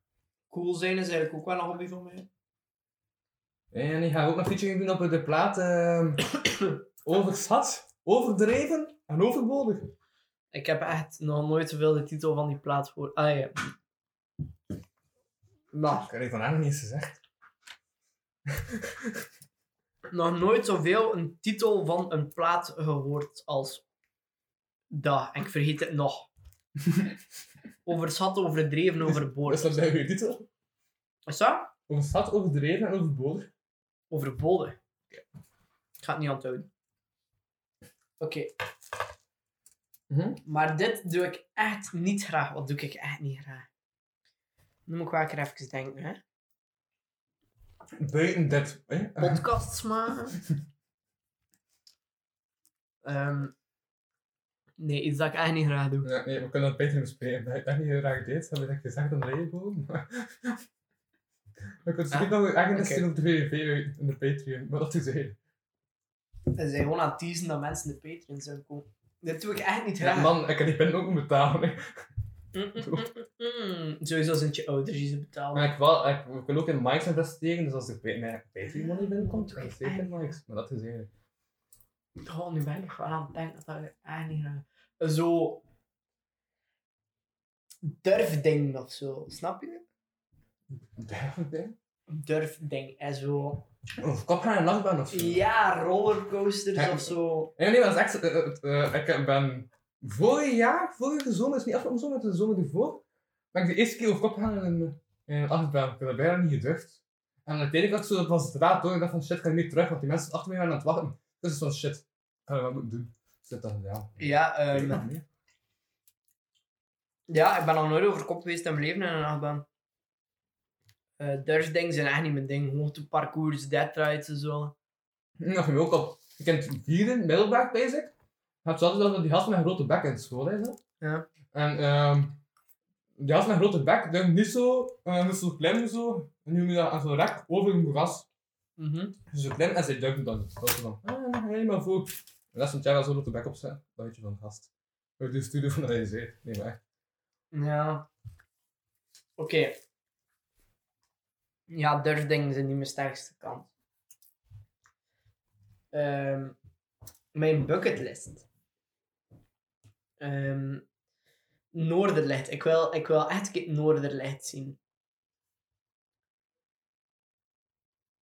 [SPEAKER 3] Cool zijn is eigenlijk ook wel een hobby voor mij.
[SPEAKER 4] En ik ga ook nog featuring doen op de plaat ehm [COUGHS] Overschat, Overdreven en Overbodig.
[SPEAKER 3] Ik heb echt nog nooit zoveel de titel van die plaat gehoord. Ah, ja. Nou,
[SPEAKER 4] Ik heb het vandaag nog niet eens gezegd.
[SPEAKER 3] nog nooit zoveel een titel van een plaat gehoord als dat. En ik vergeet het
[SPEAKER 4] [LAUGHS]
[SPEAKER 3] nog. Overschat, overdreven,
[SPEAKER 4] Wat is dat
[SPEAKER 3] overboord.
[SPEAKER 4] bij uw titel?
[SPEAKER 3] Is dat?
[SPEAKER 4] Overschat, Overdreven en Overbodig.
[SPEAKER 3] Overbodig. Ik ga het niet onthouden. Oké.
[SPEAKER 4] Mhm.
[SPEAKER 3] Maar dit doe ik echt niet graag. Wat doe ik echt niet graag? Nu moet ik wel een keer even denken, hè.
[SPEAKER 4] Buiten dit. Hè? Ah.
[SPEAKER 3] podcasts
[SPEAKER 4] [LAUGHS]
[SPEAKER 3] maken. Ehm, nee, iets dat ik eigenlijk niet graag doe.
[SPEAKER 4] Ja, nee, we kunnen dat beter bespreken. Dat heb ik echt niet heel graag deed, dat heb ik gezegd aan de regenboog. Maar... [LAUGHS] We kunnen het
[SPEAKER 3] Ah,
[SPEAKER 4] niet nog eigenlijk
[SPEAKER 3] oké.
[SPEAKER 4] okay. op de VVV uit, in de Patreon, maar dat is heel.
[SPEAKER 3] En zijn gewoon aan het teasen dat mensen de Patreon zouden komen. Dat doe ik echt niet
[SPEAKER 4] Ja,
[SPEAKER 3] graag.
[SPEAKER 4] man, ik kan die pen ook niet betalen. hè.
[SPEAKER 3] Mm, [LAUGHS] sowieso zijn je ouders die ze betalen.
[SPEAKER 4] Maar ik, wel, ik, ik wil ook in mics investeren, dus als ik bij mijn Patreon money binnenkomt, dan steek ik in mics. Maar dat is eigenlijk...
[SPEAKER 3] Oh, nu ben ik gewoon aan het denken dat ik echt niet graag... Zo... Durfding of zo, snap je? Durfding en zo...
[SPEAKER 4] Of kop gaan in nachtbaan of zo.
[SPEAKER 3] Ja, rollercoasters
[SPEAKER 4] Ja.
[SPEAKER 3] of zo.
[SPEAKER 4] Nee, nee, maar dat is echt... eh, het, eh, ik ben vorig jaar, vorige zomer, is niet afgelopen zomer, het is de zomer ervoor, ben ik de eerste keer over kop gaan in een achtbaan. Ik heb dat bijna niet gedurfd. En uiteindelijk had ik zo pas draad door, ik dacht van shit, ik ga niet terug, want die mensen achter mij waren aan het wachten. Dus van shit, ik ga dat wel moeten doen. Dus dat dan, ja.
[SPEAKER 3] Ja, ehm, ja, ik ben nog nooit over kop geweest in mijn leven in een achtbaan. Eh Durfding zijn echt niet mijn ding. Hoogteparcours, dead rides en zo.
[SPEAKER 4] Hm, Dat viel me ook op. Ik kent vieren, middelbaar basic. Had zelfs dat die had met een grote bek in school is. hè.
[SPEAKER 3] Ja.
[SPEAKER 4] En ehm die had met een grote bek, dus niet zo, eh niet zo klein zo. En nu moet je dat aan zo'n rek over een moeras.
[SPEAKER 3] Mhm.
[SPEAKER 4] Dus zo klein en zij duikt dan. Dat is dan, ah, helemaal voor. En dat is een jaar als zo'n grote bek op zijn, dan weet je van gast. Uit de studio van de IC. Nee, maar echt.
[SPEAKER 3] Ja. Oké. Ja, durfdingen zijn niet mijn sterkste kant. Ehm, mijn bucketlist. Ehm, Noorderlicht. Ik wil, ik wil echt een keer Noorderlicht zien.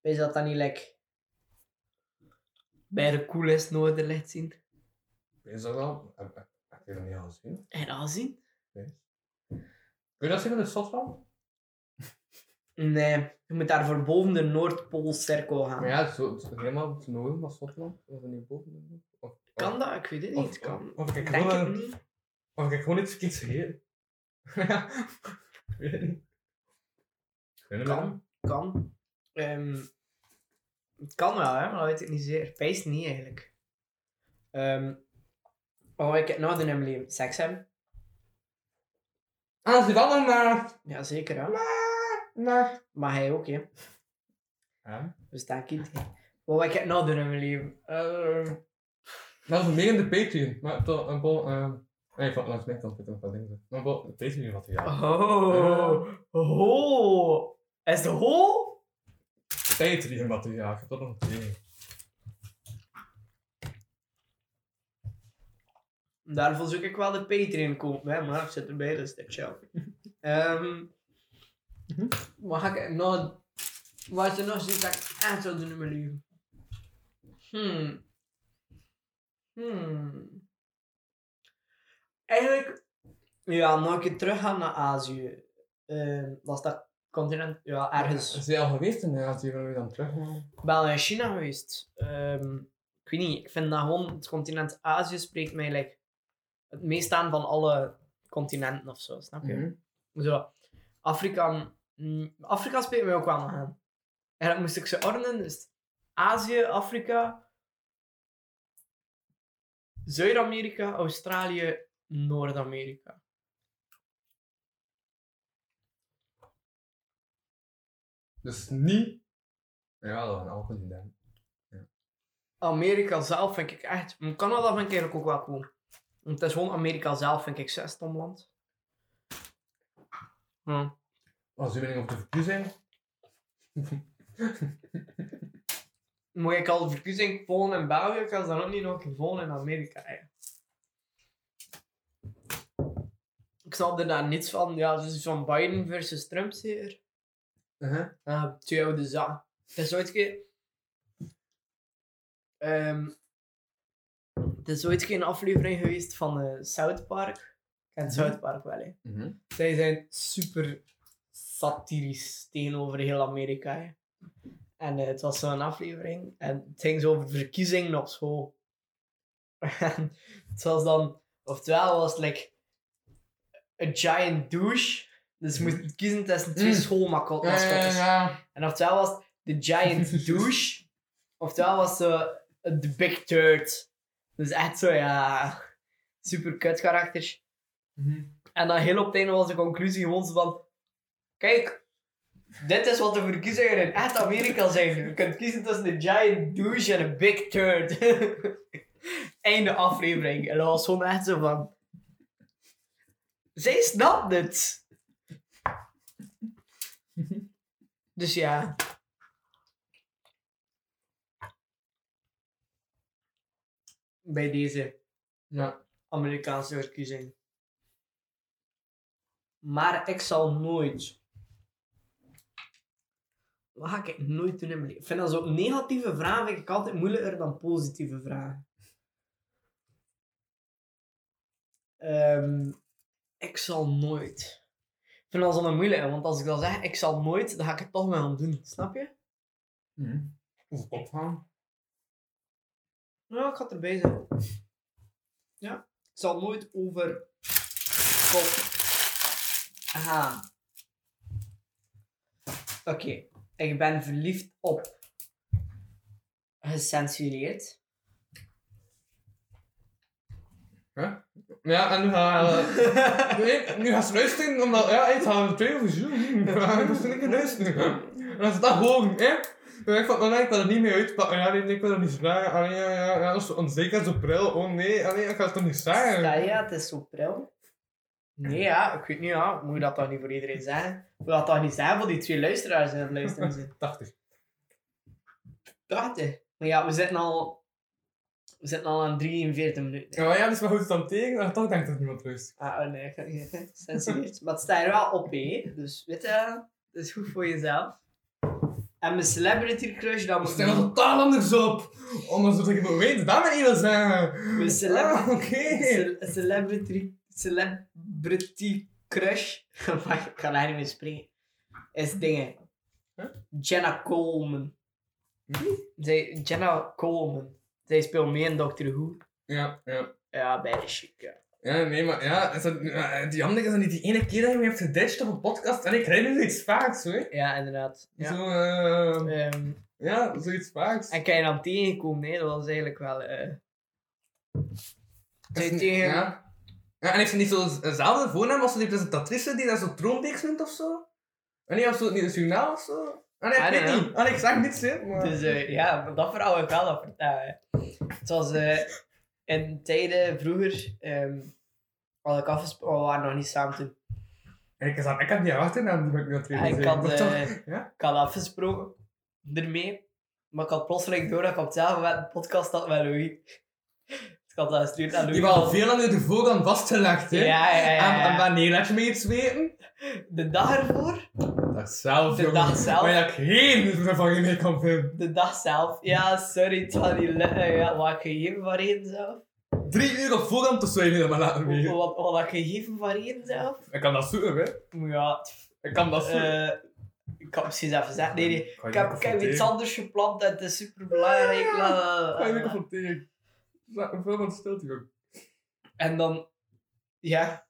[SPEAKER 3] Wees dat dan niet lekker? Bij de coolest Noorderlicht zien.
[SPEAKER 4] Is dat wel? Heb heb- heb je dat niet al gezien?
[SPEAKER 3] En al zien?
[SPEAKER 4] Kun je dat zien in de stad van?
[SPEAKER 3] Nee, je moet daarvoor boven de Noordpoolcirkel gaan.
[SPEAKER 4] Maar ja, het is zo, het is helemaal het noorden van Schotland. Was dat niet boven? Of- of-
[SPEAKER 3] Kan dat? Ik weet het
[SPEAKER 4] Oh. Of-
[SPEAKER 3] niet. Kan.
[SPEAKER 4] of- of ik
[SPEAKER 3] ik
[SPEAKER 4] wil
[SPEAKER 3] denk het
[SPEAKER 4] een-
[SPEAKER 3] niet.
[SPEAKER 4] Of ik heb gewoon iets verkeerds gegeten. [LAUGHS] Ja, ik weet het niet. Ik weet het
[SPEAKER 3] Kan.
[SPEAKER 4] niet.
[SPEAKER 3] Kan. Ehm, het kan wel, hè, maar dat weet ik niet zeer. Pees niet eigenlijk. Ehm wat wil ik het nou doen in mijn leven? Seks hebben?
[SPEAKER 4] Ah, ze vallen naar...
[SPEAKER 3] Ja, zeker hè.
[SPEAKER 4] naar...
[SPEAKER 3] Maar hij ook, hè.
[SPEAKER 4] Ja.
[SPEAKER 3] Dus dat kind. Wat wil ik het nou doen in mijn leven? Ehm,
[SPEAKER 4] Dat is meer in de Patreon. Maar toch, een bol... ehm Nee, van, langs mijn kant zitten nog wat dingen. Maar bol, de Patreon wat hij
[SPEAKER 3] Ah.
[SPEAKER 4] had.
[SPEAKER 3] oh. Ho. Is de ho?
[SPEAKER 4] Patreon wat hij had. Ik heb dat nog tegen.
[SPEAKER 3] Daarvoor zoek ik wel de Patreon kopen, hè, maar ik zit erbij, dus dat chill. Ehm wat ga ik nog... Wat is er nog zoiets dat ik echt zou doen in mijn leven? Hmm. Hmm. Eigenlijk... Ja, nog een keer teruggaan naar Azië. Ehm dat is dat continent... Ja, ergens...
[SPEAKER 4] Is hij al geweest in Azië? Willen we dan terug?
[SPEAKER 3] Ik ben al in China geweest. Ehm, ik weet niet, ik vind dat gewoon het continent Azië spreekt mij like, het meest aan van alle continenten of zo, snap je?
[SPEAKER 4] Mhm.
[SPEAKER 3] Zo, Afrika, mm, Afrika spreekt mij ook wel aan. En dat moest ik ze ordenen, dus Azië, Afrika, Zuid-Amerika, Australië, Noord-Amerika.
[SPEAKER 4] Dus niet... Ja, dat was een alcohol dan.
[SPEAKER 3] Amerika zelf vind ik echt. maar Canada vind ik eigenlijk ook wel cool. Want het is gewoon Amerika zelf, vind ik zes stom land. Hm.
[SPEAKER 4] Als jullie op de verkiezing...
[SPEAKER 3] Moet ik al de verkiezing volgen in België, kan ze dan ook niet nog een keer volgen in Amerika. hè. Ik snap er daar niets van. Ja, het is van Biden versus Trump zeker.
[SPEAKER 4] Uh-huh.
[SPEAKER 3] Ah, twee oude zaken. Het is ooit geen... Ehm, het is ooit geen aflevering geweest van eh, South Park. Ik ken South Park wel, hè.
[SPEAKER 4] Mhm.
[SPEAKER 3] Zij zijn super satirisch tegenover heel Amerika, hè. En eh, het was zo'n aflevering. En het ging zo over verkiezingen op school. [LAUGHS] En het was dan... Oftewel was het like... A giant douche. Dus je moest kiezen tussen twee
[SPEAKER 4] Mm.
[SPEAKER 3] schoolmacotten. En oftewel was het de giant douche. Oftewel was ze de big turd. Dus echt zo, ja... Super kut karakters. En dan heel op het einde was de conclusie gewoon zo van... Kijk, Dit is wat de verkiezingen in echt Amerika zijn. Je kunt kiezen tussen een giant douche en een big turd. [LAUGHS] Einde aflevering. En dat was gewoon echt zo van... Zij snapt het. Dus ja. Bij deze. Ja. Amerikaanse verkiezing. Maar ik zal nooit... Wat ga ik nooit doen in mijn leven? Ik vind dat zo negatieve vragen vind ik altijd moeilijker dan positieve vragen. Ehm, ik zal nooit. Ik vind dat zo'n moeilijke, want als ik dan zeg ik zal nooit, dan ga ik het toch wel doen. Snap je? Mhm.
[SPEAKER 4] Of opgaan.
[SPEAKER 3] Nou, ik ga erbij zijn. Ja. Ik zal nooit over kop gaan. Oké. Ik ben verliefd op. Gecensureerd.
[SPEAKER 4] Ja, en nu gaan we... Nee, nu gaan ze luisteren, omdat... Ja, eens gaan we twee over zoen. [LAUGHS] Ja, dat is een keer luisteren. En dan is dat gewoon, hè? Ja, ik vond, nee, ik wil er niet mee uitpakken. oh Ja, nee, nee, ik wil er niet vragen. Allee, ja, ja, ja, dat is zo onzeker, zo pril. Oh nee, allee, ik ga het toch niet zeggen.
[SPEAKER 3] Ja, ja, het is zo pril. Nee, ja, ik weet niet, ja. Moet je dat toch niet voor iedereen zeggen? Moet je dat toch niet zeggen voor die twee luisteraars die aan het [LAUGHS] luisteren zijn?
[SPEAKER 4] 80.
[SPEAKER 3] 80. Maar ja, we zitten al... We zitten al aan 43 minuten.
[SPEAKER 4] Ja, maar ja, dus maar goed, dan tegen. En toch denk ik dat niemand luistert.
[SPEAKER 3] Ah, oh nee, ik heb niet gecensureerd. maar het staat er wel op, hè. Dus weet je, dat is goed voor jezelf. En mijn celebrity crush, dat
[SPEAKER 4] We
[SPEAKER 3] moet
[SPEAKER 4] staan er
[SPEAKER 3] niet.
[SPEAKER 4] totaal anders op. Omdat we zeggen, we weten dat we niet wil zeggen.
[SPEAKER 3] We celeb-
[SPEAKER 4] Ah, Oké.
[SPEAKER 3] Ce- celebrity, celebrity crush, [LAUGHS] maar ik kan daar niet meer springen, is dingen. Jenna Coleman. Zij, Jenna Coleman. Zij speelt mee in Doctor Who.
[SPEAKER 4] Ja, ja.
[SPEAKER 3] Ja, bij de chic, ja.
[SPEAKER 4] Ja, nee, maar ja, is dat, ja, die andere is dat niet die ene keer dat je me hebt geditcht op een podcast en ik krijg nu zoiets vaaks, hoor.
[SPEAKER 3] Ja, inderdaad. Ja.
[SPEAKER 4] Zo, eh
[SPEAKER 3] Ehm,
[SPEAKER 4] ja, zoiets vaaks.
[SPEAKER 3] En kan je dan tegenkomen, nee, dat was eigenlijk wel. eh Zij tegen.
[SPEAKER 4] Ja. ja. En heeft ze niet zo dezelfde voornaam als zo die presentatrice die daar zo troonbeeks noemt of zo? En niet of zo, niet een journaal of zo? Ah, nee, ik
[SPEAKER 3] Ah,
[SPEAKER 4] weet
[SPEAKER 3] nee,
[SPEAKER 4] niet. Ah, nee, ik zag niets, hè. Maar...
[SPEAKER 3] Dus eh, ja, dat verhaal heb ik wel al vertellen. Het was eh, in tijden vroeger, ehm had ik afgesproken, we waren nog niet samen toen.
[SPEAKER 4] Ik, had, ik had die achternaam die ben ik nu aan het
[SPEAKER 3] Ja, Ah, ik
[SPEAKER 4] realiseren,
[SPEAKER 3] had,
[SPEAKER 4] [LAUGHS] maar toch-
[SPEAKER 3] eh,
[SPEAKER 4] ja?
[SPEAKER 3] Ik had afgesproken ermee, maar ik had plotseling door dat ik op hetzelfde moment een podcast had met Louis. Dus ik had dat gestuurd aan Louis.
[SPEAKER 4] Die was al veel langer de voorkant vastgelegd,
[SPEAKER 3] Ja,
[SPEAKER 4] hè.
[SPEAKER 3] ja, ja. ja.
[SPEAKER 4] En, en wanneer laat je me iets weten?
[SPEAKER 3] De dag ervoor,
[SPEAKER 4] Dat zelf,
[SPEAKER 3] De
[SPEAKER 4] jongen.
[SPEAKER 3] dag zelf.
[SPEAKER 4] Maar dat ik geen vervanging mee kan vinden.
[SPEAKER 3] de dag zelf. Ja, sorry, het was niet lukken. Ja, wat ik gegeven van reden zelf.
[SPEAKER 4] Drie uur op voorhand of zo, je dat maar
[SPEAKER 3] Oh,
[SPEAKER 4] laten weten.
[SPEAKER 3] Wat, wat had ik gegeven van reden zelf?
[SPEAKER 4] Ik kan dat zoeken, hè.
[SPEAKER 3] Ja,
[SPEAKER 4] Ik kan dat zoeken.
[SPEAKER 3] eh, ik kan precies even zeggen. Nee, nee.
[SPEAKER 4] Kan
[SPEAKER 3] Ik
[SPEAKER 4] je
[SPEAKER 3] heb,
[SPEAKER 4] me
[SPEAKER 3] ik heb iets
[SPEAKER 4] confronteren?
[SPEAKER 3] anders gepland en het is super belangrijk.
[SPEAKER 4] Kan
[SPEAKER 3] eh,
[SPEAKER 4] je me confronteren? Laat me veel van stilte, joh.
[SPEAKER 3] En dan, ja,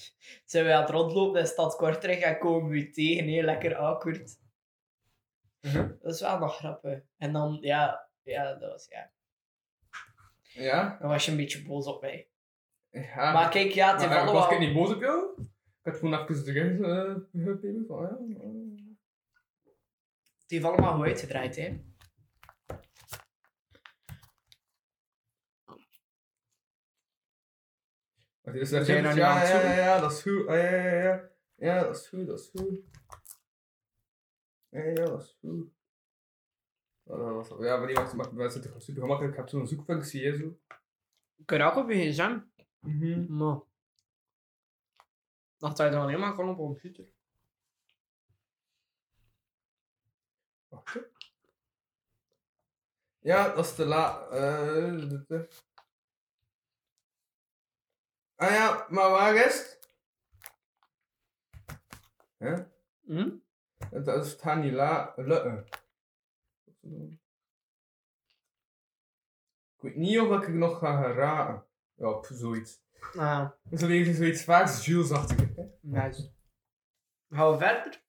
[SPEAKER 3] [LAUGHS] zijn we aan het rondlopen in stad Kortrijk en komen we u tegen, heel lekker awkward.
[SPEAKER 4] Mhm.
[SPEAKER 3] Dat is wel nog grappig. En dan, ja, ja, dat was, ja.
[SPEAKER 4] Ja?
[SPEAKER 3] Dan was je een beetje boos op mij.
[SPEAKER 4] Ja,
[SPEAKER 3] Maar kijk, ja, het
[SPEAKER 4] maar,
[SPEAKER 3] heeft
[SPEAKER 4] eh, was
[SPEAKER 3] allemaal...
[SPEAKER 4] ik niet boos op jou? Ik had gewoon even terug eh, gegeven van ja. eh.
[SPEAKER 3] Het heeft allemaal goed uitgedraaid, hè.
[SPEAKER 4] Want die zegt,
[SPEAKER 3] zijn
[SPEAKER 4] ja,
[SPEAKER 3] nou niet aan
[SPEAKER 4] ja,
[SPEAKER 3] het
[SPEAKER 4] ja,
[SPEAKER 3] zoeken.
[SPEAKER 4] ja, ja, dat is goed. Ah, ja, ja, ja. Ja, dat is goed, dat is goed. Ja, ja, dat is goed. Ja, dat was- Ja, maar die maakt maakt- dat zit super gemakkelijk. Ik heb zo'n zoekfunctie, hè, zo.
[SPEAKER 3] Kun je ook op je gsm? Maar... Dacht dat je dat alleen maar kon op een computer.
[SPEAKER 4] Wacht, hè. Ja, dat is te laat. Eh, dit, hè. ah ja, maar waar is het? Hè?
[SPEAKER 3] Hm?
[SPEAKER 4] Dat- Dat is Tani La eh. Lutten. Ik weet niet of ik het nog ga geraken. Ja, op zoiets.
[SPEAKER 3] Ah,
[SPEAKER 4] Dus dat is zoiets vaak Jules-achtig. hè.
[SPEAKER 3] nice. Gaan we verder?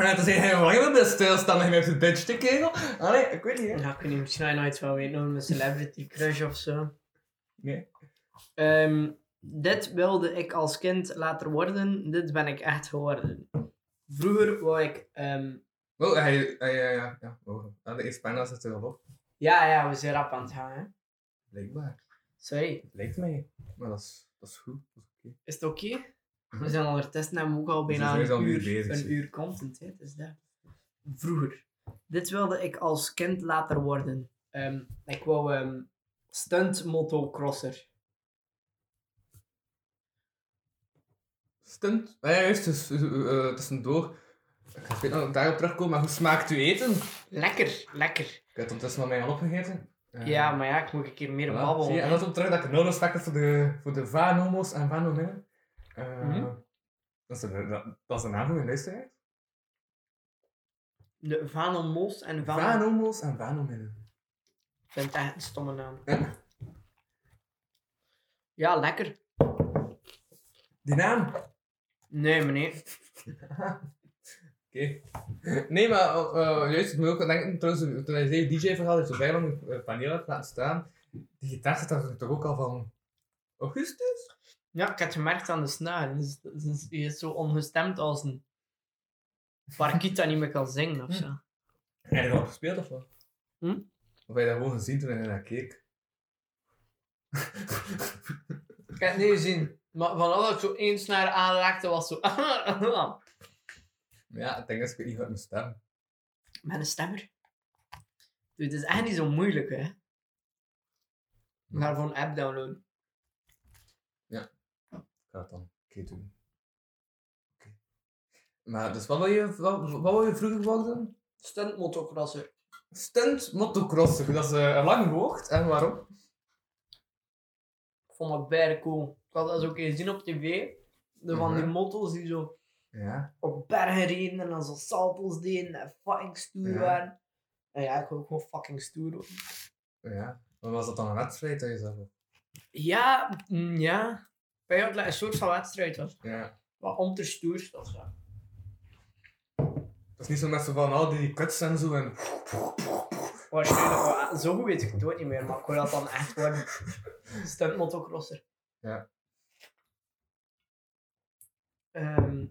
[SPEAKER 4] En dan zei hij, waarom wil je stilstaan? Hij heeft een beetje kerel. Allee, ik weet niet hè.
[SPEAKER 3] Ja, ik weet niet, misschien had je nooit wel weten over een celebrity crush of zo.
[SPEAKER 4] Nee.
[SPEAKER 3] Ehm, dit wilde ik als kind later worden, dit ben ik echt geworden. vroeger wou ik... ehm,
[SPEAKER 4] Oh, hij, hij, ja, ja, ja. Oh, aan de eerste pagina zit er al op.
[SPEAKER 3] ja, ja, we zijn rap aan het gaan, hè.
[SPEAKER 4] Blijkbaar.
[SPEAKER 3] Sorry.
[SPEAKER 4] Lijkt mij. Maar dat is, dat is goed. Dat is oké.
[SPEAKER 3] Is het oké? We zijn ondertussen hebben we ook al
[SPEAKER 4] Mhm. Dus
[SPEAKER 3] bijna
[SPEAKER 4] we zijn
[SPEAKER 3] een
[SPEAKER 4] al een
[SPEAKER 3] uur,
[SPEAKER 4] uur bezig, zeg.
[SPEAKER 3] een uur content. Hè? Dus dat. Vroeger. Dit wilde ik als kind later worden. Ehm, ik wou ehm stunt motocrosser.
[SPEAKER 4] Stunt. Ah, ja, juist, dus, eh, eh, tussendoor. Ik weet nog dat ik daarop terugkom, maar hoe smaakt uw eten?
[SPEAKER 3] Lekker, lekker.
[SPEAKER 4] Ik heb het ondertussen al mij al opgegeten. Eh,
[SPEAKER 3] Ja, maar ja, ik moet een keer meer
[SPEAKER 4] voilà.
[SPEAKER 3] babbelen.
[SPEAKER 4] Zie je, en
[SPEAKER 3] hè.
[SPEAKER 4] dat komt terug dat ik nul respect heb voor de, voor de Vanomos en Vanominnen. Eh,
[SPEAKER 3] Mhm.
[SPEAKER 4] dat, is de, dat, dat is de naam van mijn luisteraar.
[SPEAKER 3] De Vanel Mos en Van... Ik
[SPEAKER 4] Vanomos en Vanominnen.
[SPEAKER 3] vind het echt een stomme naam.
[SPEAKER 4] Eh,
[SPEAKER 3] Ja, lekker.
[SPEAKER 4] Die naam.
[SPEAKER 3] Nee, meneer.
[SPEAKER 4] Oké. Nee, maar eh, eh, juist, ik moet ook denken, trouwens, toen hij zei DJ-verhaal, dat je vrij lang een eh, paneel hebt laten staan. Die gitaar zit daar toch ook al van augustus?
[SPEAKER 3] Ja, ik heb het gemerkt aan de snaar. Dus- dus Je is zo ongestemd als een... Parkita niet meer kan zingen of zo.
[SPEAKER 4] Heb je dat al gespeeld of wat?
[SPEAKER 3] Hm?
[SPEAKER 4] Of heb je dat gewoon gezien toen hij naar keek?
[SPEAKER 3] [LAUGHS] Ik heb het niet gezien. Maar van alles dat ik zo één snaar aanraakte, was zo... [LAUGHS]
[SPEAKER 4] ja, ik denk dat ik weet niet wat mijn stem.
[SPEAKER 3] Met een stemmer. Dus het is echt niet zo moeilijk, hè. We gaan gewoon een app downloaden.
[SPEAKER 4] Ik ga het dan een keer doen. Oké. Maar dus wat wil je, wat, wat wil je vroeger worden?
[SPEAKER 3] Stunt motocrosser.
[SPEAKER 4] Stunt motocrosser, dat is eh, een lang woord. En waarom?
[SPEAKER 3] Ik vond dat bijna cool. Ik had dat zo een keer gezien op tv. De van die
[SPEAKER 4] Mhm.
[SPEAKER 3] motto's die zo
[SPEAKER 4] Ja.
[SPEAKER 3] op bergen reden en dan zo salto's deden en fucking stoer
[SPEAKER 4] Ja.
[SPEAKER 3] waren. En ja, ik wil ook gewoon fucking stoer worden.
[SPEAKER 4] ja. Maar was dat dan een wedstrijd dat je zag?
[SPEAKER 3] Ja, mm, ja. Ik weet niet of dat een soort van wedstrijd was.
[SPEAKER 4] Ja.
[SPEAKER 3] Wat om te stoerst of zo.
[SPEAKER 4] Dat is niet zo met zo van al die cuts en zo [LAUGHS] en...
[SPEAKER 3] Waarschijnlijk wel. ah, Zo goed weet ik het ook niet meer, maar ik wil dat dan echt worden. Stunt motocrosser.
[SPEAKER 4] Ja.
[SPEAKER 3] Ehm,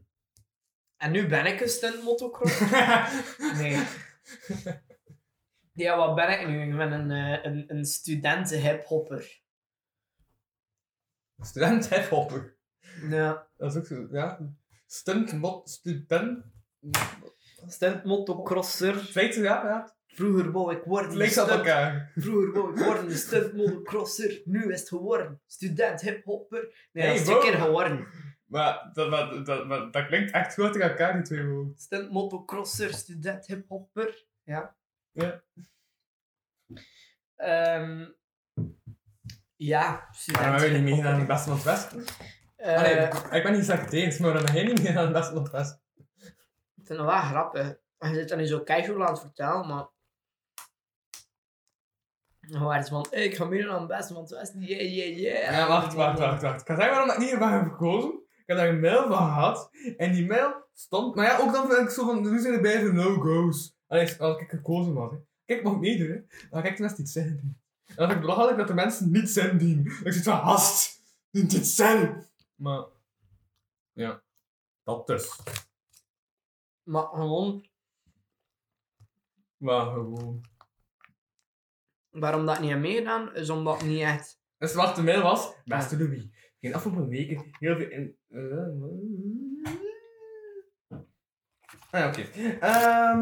[SPEAKER 3] en nu ben ik een stunt
[SPEAKER 4] [LAUGHS]
[SPEAKER 3] motocrosser? nee. Ja, wat ben ik nu? Ik ben een, eh, een, een studenten hiphopper.
[SPEAKER 4] Student hiphopper.
[SPEAKER 3] Ja.
[SPEAKER 4] Dat is ook zo, ja. Stunt, mot, student.
[SPEAKER 3] Stunt motocrosser.
[SPEAKER 4] Weet je, ja, ja.
[SPEAKER 3] Vroeger wou ik worden.
[SPEAKER 4] Het lijkt op
[SPEAKER 3] stunt-
[SPEAKER 4] elkaar.
[SPEAKER 3] Vroeger wou ik worden een stunt motocrosser. Nu is het geworden. Student hiphopper. Nee,
[SPEAKER 4] Hey,
[SPEAKER 3] dat is
[SPEAKER 4] bro.
[SPEAKER 3] twee keer geworden.
[SPEAKER 4] Maar dat, dat, dat, dat, dat klinkt echt goed tegen elkaar, die twee woorden.
[SPEAKER 3] Stunt motocrosser, student hiphopper. Ja.
[SPEAKER 4] Ja.
[SPEAKER 3] Ehm, ja, student
[SPEAKER 4] Waarom hebben we niet
[SPEAKER 3] hiphopper.
[SPEAKER 4] meegedaan aan het beste van het Westen?
[SPEAKER 3] Eh,
[SPEAKER 4] Ah, nee, ik ben niet zacht eens, maar waarom heb jij niet meegedaan aan het beste van het Westen?
[SPEAKER 3] Ik vind het wel grappig. Je zit dan nu zo casual aan het vertellen, maar... Waar is van, hey, ik ga meedoen aan het beste van het Westen, yeah, yeah, yeah.
[SPEAKER 4] Ja, Eh, wacht, wacht, wacht, wacht. Ik ga zeggen waarom ik niet ervan heb gekozen. Ik heb daar een mail van gehad. En die mail stond... Maar ja, ook dan vind ik zo van... Nu zijn er bij voor no-go's. Allee, als ik gekozen was. Hè. Kijk, ik mag meedoen. Hè. Dan ga ik tenminste iets zeggen. En dan vind ik het belachelijk dat de mensen niet zijn dienen. Dat ik zoiets van... Hast! Niet dit zijn! Maar... Ja. Dat dus.
[SPEAKER 3] Maar gewoon,
[SPEAKER 4] Maar gewoon...
[SPEAKER 3] waarom dat niet heb meegedaan, is omdat het niet echt...
[SPEAKER 4] Dus wat de mail was... Beste Louis. Geen afgelopen weken heel veel... In... Ah ja, oké. Ehm,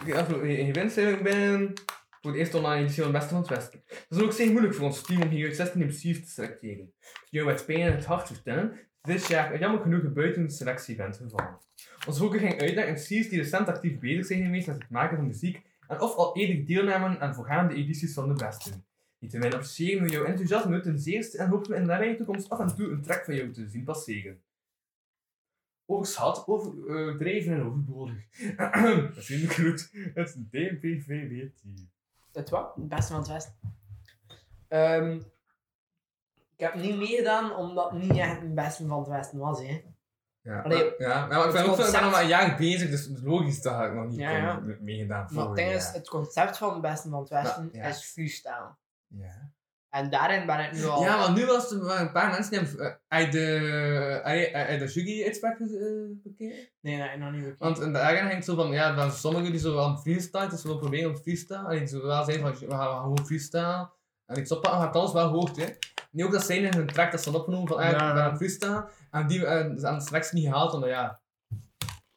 [SPEAKER 4] Ik heb afgelopen week in gewinststelling ben voor de eerste online editie van het Beste van het Westen. Het is ook zeer moeilijk voor ons team om hier uit 16 impulsief te selecteren. Ik wil met pijn in het hart vertellen dat dit jaar jammer genoeg buiten de selectie bent gevallen. Ons focus ging uit naar MC's die recent actief bezig zijn geweest met het maken van muziek en of al eerder deelnamen aan voorgaande edities van de Beste. Niettemin appreciëren we jouw enthousiasme ten zeerste en hopen we in de nabije toekomst af en toe een track van jou te zien passeren. Oogschat, overdreven eh, en overbodig. [CLEARS THROAT] Vriendelijk groet, het DPVW-team.
[SPEAKER 3] Het wat? Het beste van het Westen. Ehm, ik heb niet meegedaan omdat het niet echt het beste van het Westen was. Hè.
[SPEAKER 4] Ja,
[SPEAKER 3] Allee,
[SPEAKER 4] maar- ja,
[SPEAKER 3] het
[SPEAKER 4] maar ik ben ook zo- ik ben
[SPEAKER 3] concept-
[SPEAKER 4] al maar een jaar bezig, dus het is logisch dat ik nog niet
[SPEAKER 3] Ja, ja.
[SPEAKER 4] kon- meegedaan
[SPEAKER 3] Maar het
[SPEAKER 4] vorig
[SPEAKER 3] ding is,
[SPEAKER 4] jaar.
[SPEAKER 3] het concept van het beste van het Westen
[SPEAKER 4] Ja, ja.
[SPEAKER 3] is freestyle.
[SPEAKER 4] Ja.
[SPEAKER 3] En daarin ben ik nu al...
[SPEAKER 4] Ja, want nu was er maar een paar mensen die hebben eh, uit de, uit- uit de jury-uitspraak eh, bekeken.
[SPEAKER 3] Nee, nee, nog niet bekend.
[SPEAKER 4] Want in de agenda ging het zo van, ja, er waren sommigen die zo wel aan freestyle, dus ze willen proberen om freestyle. En die zo wel zijn van, we gaan gewoon freestyle. En ik stop gaat alles wel hoog, hè. Nu ook dat zijn in hun track dat ze hadden opgenomen van, eigenlijk
[SPEAKER 3] Ja,
[SPEAKER 4] ja,
[SPEAKER 3] ja.
[SPEAKER 4] aan freestyle. En die eh, ze aan straks niet gehaald, omdat ja,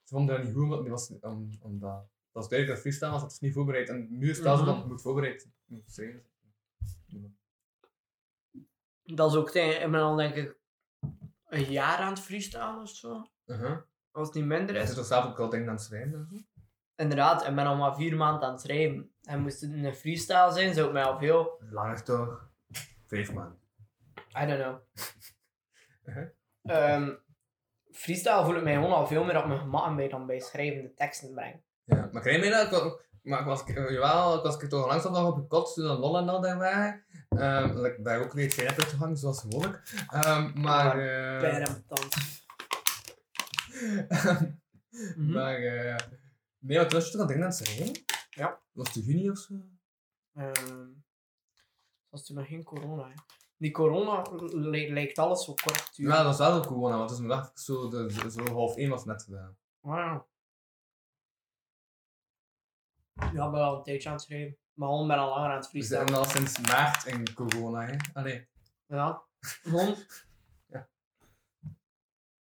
[SPEAKER 4] ze vonden dat niet goed, want die was, om, omdat, dat was duidelijk dat freestyle was, dat is niet voorbereid. En nu is het wel zo dat het moet voorbereid zijn.
[SPEAKER 3] Dat is ook tegen... Ik ben al denk ik een jaar aan het freestylen of zo.
[SPEAKER 4] Uh-huh.
[SPEAKER 3] Als het niet minder
[SPEAKER 4] Je
[SPEAKER 3] is.
[SPEAKER 4] zit toch zelf ook al dingen aan het schrijven en zo?
[SPEAKER 3] Inderdaad, ik ben al maar vier maanden aan het schrijven. En moest het een freestyle zijn, zou ik mij al veel...
[SPEAKER 4] Langer toch? Vijf maanden.
[SPEAKER 3] I don't know.
[SPEAKER 4] [LAUGHS] Uh-huh.
[SPEAKER 3] Ehm, freestyle voel ik mij gewoon al veel meer op mijn gemak en bij dan bij schrijvende teksten brengen.
[SPEAKER 4] Ja, maar krijg je dat? Ik wa- Maar ik was, eh, jawel, ik was toch langs nog op een kot toen een lol en al daar waren. Ehm, dat ik daar ook weer geen uit te hangen, zoals mogelijk. Ehm, maar, eh,
[SPEAKER 3] Bam, dans. Mhm.
[SPEAKER 4] [LAUGHS] maar, eh, nee, wat was je toch aan het denken aan het schrijven?
[SPEAKER 3] Ja.
[SPEAKER 4] Was het in juni of zo?
[SPEAKER 3] Ehm, was toen nog geen corona. Hè. Die corona li- lijkt alles zo kort. te duren.
[SPEAKER 4] Ja, dat was wel ook corona, want dus dacht ik zo, de, de- zo half één was net gedaan.
[SPEAKER 3] Wauw. Ja, ik ben wel een tijdje aan het schrijven. Maar gewoon ben al langer aan het
[SPEAKER 4] We zitten
[SPEAKER 3] freestylen.
[SPEAKER 4] al Dus sinds maart in corona, hè? Ah nee.
[SPEAKER 3] Ja. Gewoon.
[SPEAKER 4] [LAUGHS] Ja.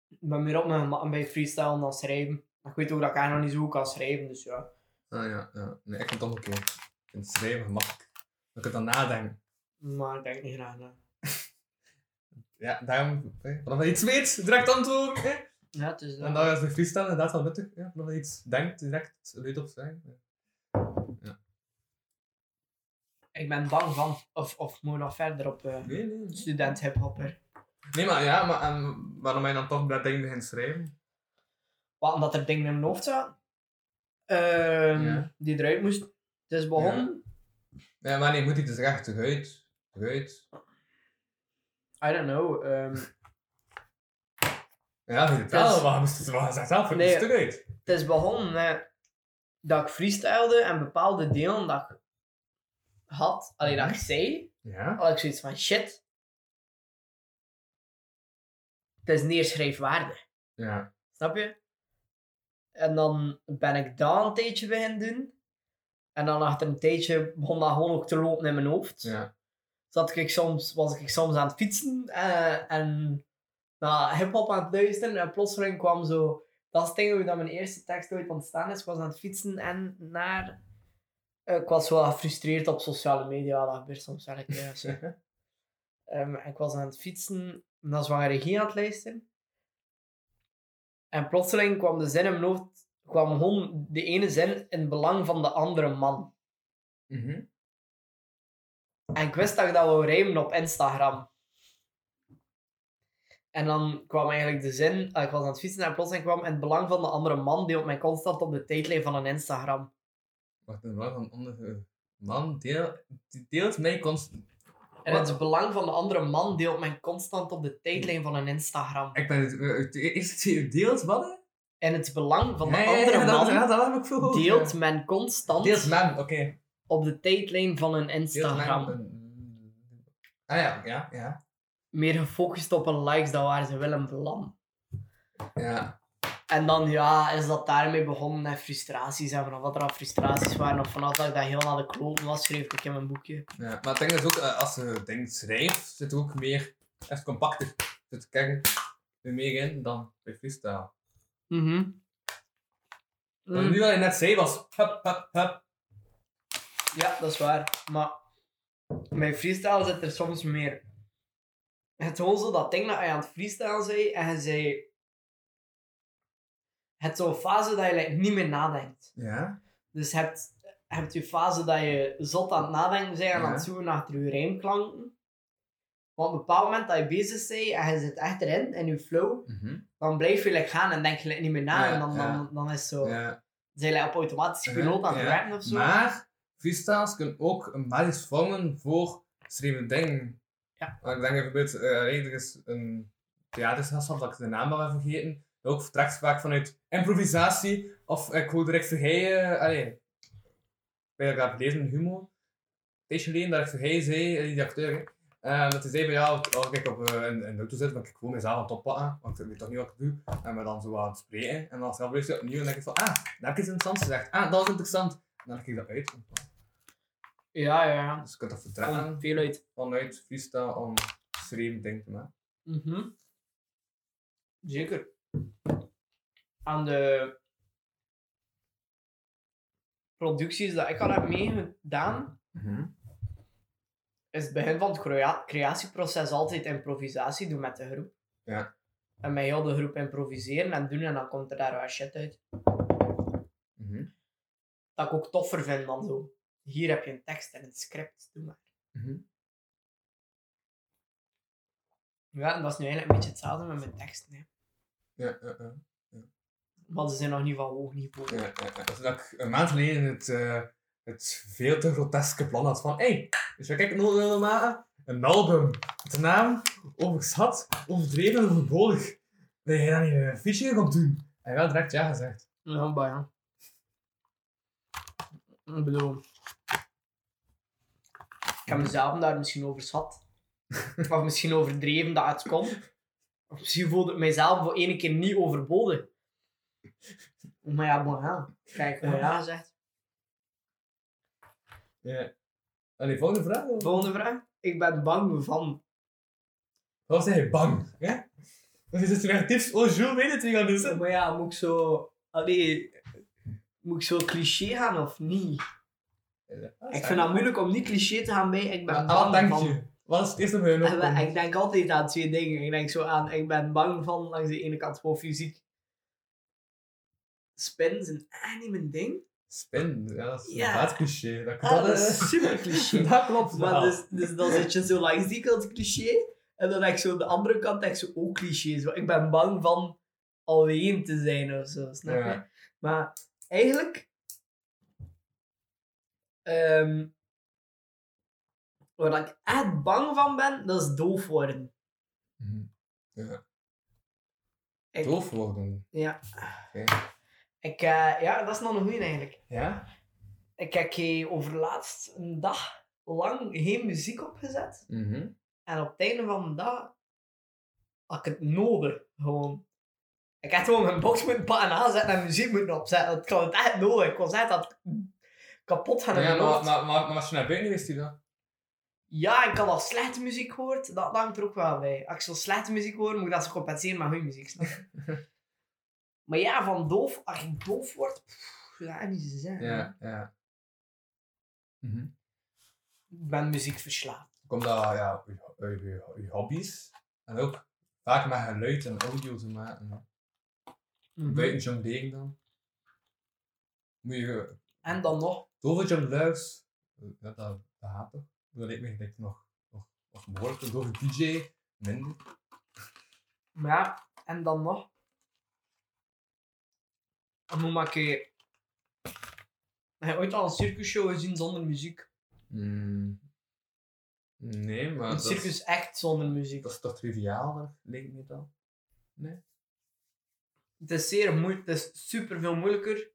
[SPEAKER 3] Ik ben meer op mijn gemak bij freestylen dan schrijven. Maar ik weet ook dat ik eigenlijk nog niet zo goed kan schrijven, dus ja.
[SPEAKER 4] Ah ja, ja. Nee, ik vind het omgekeerd. Ik vind het schrijven gemakkelijk. Dan kan ik dan nadenken.
[SPEAKER 3] Maar ik denk niet graag na.
[SPEAKER 4] Ja, daarom, hè, vanaf je iets weet, direct antwoord. Hè?
[SPEAKER 3] Ja, het is eh,
[SPEAKER 4] En dan is de freestyle inderdaad wel nuttig. Ja, vanaf je iets denkt, direct luid op zijn. Ja.
[SPEAKER 3] Ik ben bang van. Of, of moet ik nog verder op eh,
[SPEAKER 4] Nee, nee. nee.
[SPEAKER 3] student hiphopper.
[SPEAKER 4] Nee, maar ja, maar en waarom ben je dan toch dat ding begint schrijven?
[SPEAKER 3] Wat, omdat er dingen in mijn hoofd zaten. Ehm,
[SPEAKER 4] Ja.
[SPEAKER 3] Die eruit moest. Het is begonnen.
[SPEAKER 4] Ja, maar nee, moet ik dus echt terug uit?
[SPEAKER 3] I don't know. ehm,
[SPEAKER 4] Ja, vind je
[SPEAKER 3] Dat
[SPEAKER 4] het wel,
[SPEAKER 3] is-
[SPEAKER 4] maar moest het wel zelf voor
[SPEAKER 3] Nee.
[SPEAKER 4] het stuk uit.
[SPEAKER 3] het is begonnen met dat ik freestylede en bepaalde delen dat ik had, alleen dat ik zei,
[SPEAKER 4] Ja?
[SPEAKER 3] had ik zoiets van shit. Het is neerschrijfwaardig,
[SPEAKER 4] Ja.
[SPEAKER 3] snap je? En dan ben ik dat een tijdje beginnen doen. En dan achter een tijdje begon dat gewoon ook te lopen in mijn hoofd.
[SPEAKER 4] Ja.
[SPEAKER 3] Zat ik soms, was ik soms aan het fietsen eh, en naar hip-hop aan het luisteren. En plotseling kwam zo. Dat is het ding hoe dat mijn eerste tekst ooit ontstaan is. Ik was aan het fietsen en naar. eh, ik was wel gefrustreerd op sociale media. Dat gebeurt soms wel een keer. of zo. Ehm, en ik was aan het fietsen naar Zwangere Regie aan het luisteren. En plotseling kwam de zin in mijn hoofd. kwam gewoon de ene zin in belang van de andere man.
[SPEAKER 4] Mhm.
[SPEAKER 3] En ik wist dat ik dat wou rijmen op Instagram. En dan kwam eigenlijk de zin, ah, ik was aan het fietsen en plotseling kwam het belang van de andere man deelt mij constant op de tijdlijn van een Instagram.
[SPEAKER 4] Wacht, een man van onder... Man, deel, die deelt mij constant...
[SPEAKER 3] En het belang van de andere man deelt mij constant op de tijdlijn van een Instagram.
[SPEAKER 4] Ik ben het... eh, het eerste die deelt wat? hè?
[SPEAKER 3] En het belang van de
[SPEAKER 4] Ja, ja, ja,
[SPEAKER 3] andere
[SPEAKER 4] dat- ja,
[SPEAKER 3] man
[SPEAKER 4] dat heb ik veel gehoord,
[SPEAKER 3] deelt
[SPEAKER 4] ja.
[SPEAKER 3] men constant
[SPEAKER 4] Deelt man, oké.
[SPEAKER 3] op de tijdlijn van een
[SPEAKER 4] Heel
[SPEAKER 3] Instagram.
[SPEAKER 4] lang, eh, Ah ja, ja, ja.
[SPEAKER 3] Meer gefocust op hun likes dan waar ze willen belanden.
[SPEAKER 4] Ja,
[SPEAKER 3] En dan ja, is dat daarmee begonnen met frustraties. En vanaf dat er al frustraties waren, of vanaf dat ik dat heel naar de kloten was, schreef ik in mijn boekje.
[SPEAKER 4] ja. Maar het ding is ook, eh, als je denkt schrijft, zit er ook meer, echt compacter zit te kijken, er meer in dan bij freestyle.
[SPEAKER 3] Mhm.
[SPEAKER 4] Want nu wat je net zei was, hup, hup, hup.
[SPEAKER 3] Ja, dat is waar. Maar mijn freestyle zit er soms meer. Het is gewoon zo dat ding dat je aan het freestyle zei en je zei. Het is zo'n fase dat je like, niet meer nadenkt.
[SPEAKER 4] Ja.
[SPEAKER 3] Dus je hebt, je hebt je fase dat je zot aan het nadenken bent en aan het
[SPEAKER 4] Ja.
[SPEAKER 3] zoeken achter je rijmklanken. Maar op een bepaald moment dat je bezig bent en je zit echt erin, in je flow,
[SPEAKER 4] Mhm.
[SPEAKER 3] dan blijf je like, gaan en denk je like, niet meer na.
[SPEAKER 4] Ja,
[SPEAKER 3] en dan,
[SPEAKER 4] ja.
[SPEAKER 3] dan, dan is het zo,
[SPEAKER 4] ja.
[SPEAKER 3] zijn je like, op automatische
[SPEAKER 4] Ja,
[SPEAKER 3] piloot aan het
[SPEAKER 4] ja.
[SPEAKER 3] rappen of zo.
[SPEAKER 4] Maar, freestyles kunnen ook een basis vormen voor schreeuwende dingen.
[SPEAKER 3] Ja.
[SPEAKER 4] Want ik denk bijvoorbeeld, eh er is een theatergast had, dat ik de naam al heb vergeten, dat ook vertrekt vaak vanuit improvisatie, of eh, ik hoor direct vergeten, allee, bij dat ik dat heb gelezen in Humo, een tijdje geleden, dat ik vergeten zei, eh, die acteur, hè, En dat hij zei van ja, als ik op eh, een, een auto zit, dan kan ik gewoon mezelf aan het oppakken, want ik weet toch niet wat ik doe. En me dan zo aan het spreken. En dan zelf lees ik opnieuw en denk ik van ah, dat heb ik iets interessants gezegd. Ah, dat is interessant. En dan leg ik dat uit.
[SPEAKER 3] Ja, ja, ja.
[SPEAKER 4] Dus je kunt dat
[SPEAKER 3] Kom,
[SPEAKER 4] vertellen
[SPEAKER 3] Veel uit.
[SPEAKER 4] vanuit freestyle om schreven ding te maken.
[SPEAKER 3] Mhm. Zeker. Aan de producties dat ik al heb meegedaan, is het begin van het crea- creatieproces altijd improvisatie doen met de groep.
[SPEAKER 4] Ja.
[SPEAKER 3] En met heel de groep improviseren en doen en dan komt er daar wat shit uit.
[SPEAKER 4] Mhm.
[SPEAKER 3] Dat ik ook toffer vind dan zo. Hier heb je een tekst en een script, doe maar.
[SPEAKER 4] Mhm.
[SPEAKER 3] Ja, en dat is nu eigenlijk een beetje hetzelfde met mijn teksten. Hè.
[SPEAKER 4] Ja, ja, ja.
[SPEAKER 3] Maar ze zijn nog niet van hoog niveau.
[SPEAKER 4] Ja, ja, ja. Dat is dat ik een maand geleden het, eh, het veel te groteske plan had van hey, dus we kijken nog willen maken. Een album. De naam, overschat, overdreven en overbodig. Nee, je daar niet een fiche op doen. Hij wel direct ja gezegd.
[SPEAKER 3] Ja, bij ja. Ik bedoel... Ik heb mezelf daar misschien overschat. [LAUGHS] of misschien overdreven dat het kon. Of misschien voelde ik mijzelf voor één keer niet overbodig. Oh, Maar ja, bon, ja. Kijk, gewoon ja gezegd.
[SPEAKER 4] Ja. Allee, volgende vraag. of-
[SPEAKER 3] Volgende vraag. Ik ben bang van...
[SPEAKER 4] Wat was hij bang? Ja? Dat is het negatiefs. Oh, Jules weet het, wie gaat dit zeggen?
[SPEAKER 3] Oh, Maar ja, moet ik zo... Allee... Moet ik zo cliché gaan of niet?
[SPEAKER 4] Ah,
[SPEAKER 3] Ik vind het moeilijk om niet cliché te gaan bij ik ben
[SPEAKER 4] Maar
[SPEAKER 3] bang
[SPEAKER 4] Wat denk
[SPEAKER 3] van...
[SPEAKER 4] ah, je? Wat is het eerste bij je
[SPEAKER 3] En we-
[SPEAKER 4] opkomt?
[SPEAKER 3] ik denk altijd aan twee dingen. Ik denk zo aan, ik ben bang van langs de ene kant voor fysiek. Spin zijn echt niet mijn ding.
[SPEAKER 4] Spin, ja, dat is
[SPEAKER 3] Ja.
[SPEAKER 4] een vaat cliché. Dat,
[SPEAKER 3] Ah, dat is super cliché.
[SPEAKER 4] [LAUGHS] dat klopt
[SPEAKER 3] Maar
[SPEAKER 4] wel.
[SPEAKER 3] dus, dus dan zit je zo langs die kant cliché. En dan denk ik zo aan de andere kant denk ik zo ook cliché. Zo, ik ben bang van alleen te zijn of zo, snap je?
[SPEAKER 4] Ja.
[SPEAKER 3] Maar eigenlijk... ehm, waar ik echt bang van ben, dat is doof worden.
[SPEAKER 4] Mhm.
[SPEAKER 3] Ik-
[SPEAKER 4] Doof worden.
[SPEAKER 3] Ja.
[SPEAKER 4] Oké.
[SPEAKER 3] Ik, eh, ja, dat is nog een goeie eigenlijk.
[SPEAKER 4] Ja?
[SPEAKER 3] Ik heb hier overlaatst een dag lang geen muziek opgezet.
[SPEAKER 4] Mhm.
[SPEAKER 3] En op het einde van de dag had ik het nodig. Gewoon. Ik had gewoon mijn box moeten pakken en aanzetten en muziek moeten opzetten. want Ik had het echt nodig. Ik was echt aan het kapot gaan in
[SPEAKER 4] Ja,
[SPEAKER 3] mijn
[SPEAKER 4] maar,
[SPEAKER 3] hoofd.
[SPEAKER 4] maar, maar, maar als je naar binnen wist, die dan?
[SPEAKER 3] Ja, ik had al slechte muziek gehoord. Dat, dat hangt er ook wel bij. Als ik zo slechte muziek hoor, moet ik dat zo compenseren met goede muziek. Snap je?
[SPEAKER 4] [LAUGHS]
[SPEAKER 3] maar ja, van doof, als ik doof word, pff, dat is niet te zeggen.
[SPEAKER 4] Ja, ja. Mhm.
[SPEAKER 3] Ik ben muziek verslaafd.
[SPEAKER 4] Komt dat, ja, je, je, je, je hobby's. En ook vaak met geluid en audio te maken. Buiten John Degen dan. Moet je
[SPEAKER 3] En dan nog.
[SPEAKER 4] dove John Luiks. Ja, dat, dat gaat toch? Dat lijkt me gelijk nog, nog, nog behoorlijk. Een dove DJ, minder.
[SPEAKER 3] Maar ja, en dan nog. En hoe maak je. Heb je ooit al een circusshow gezien zonder muziek?
[SPEAKER 4] Mm. Nee, maar
[SPEAKER 3] een circus echt zonder muziek.
[SPEAKER 4] dat is toch triviaal, lijkt me dan.
[SPEAKER 3] Het is zeer moeilijk, het is super veel moeilijker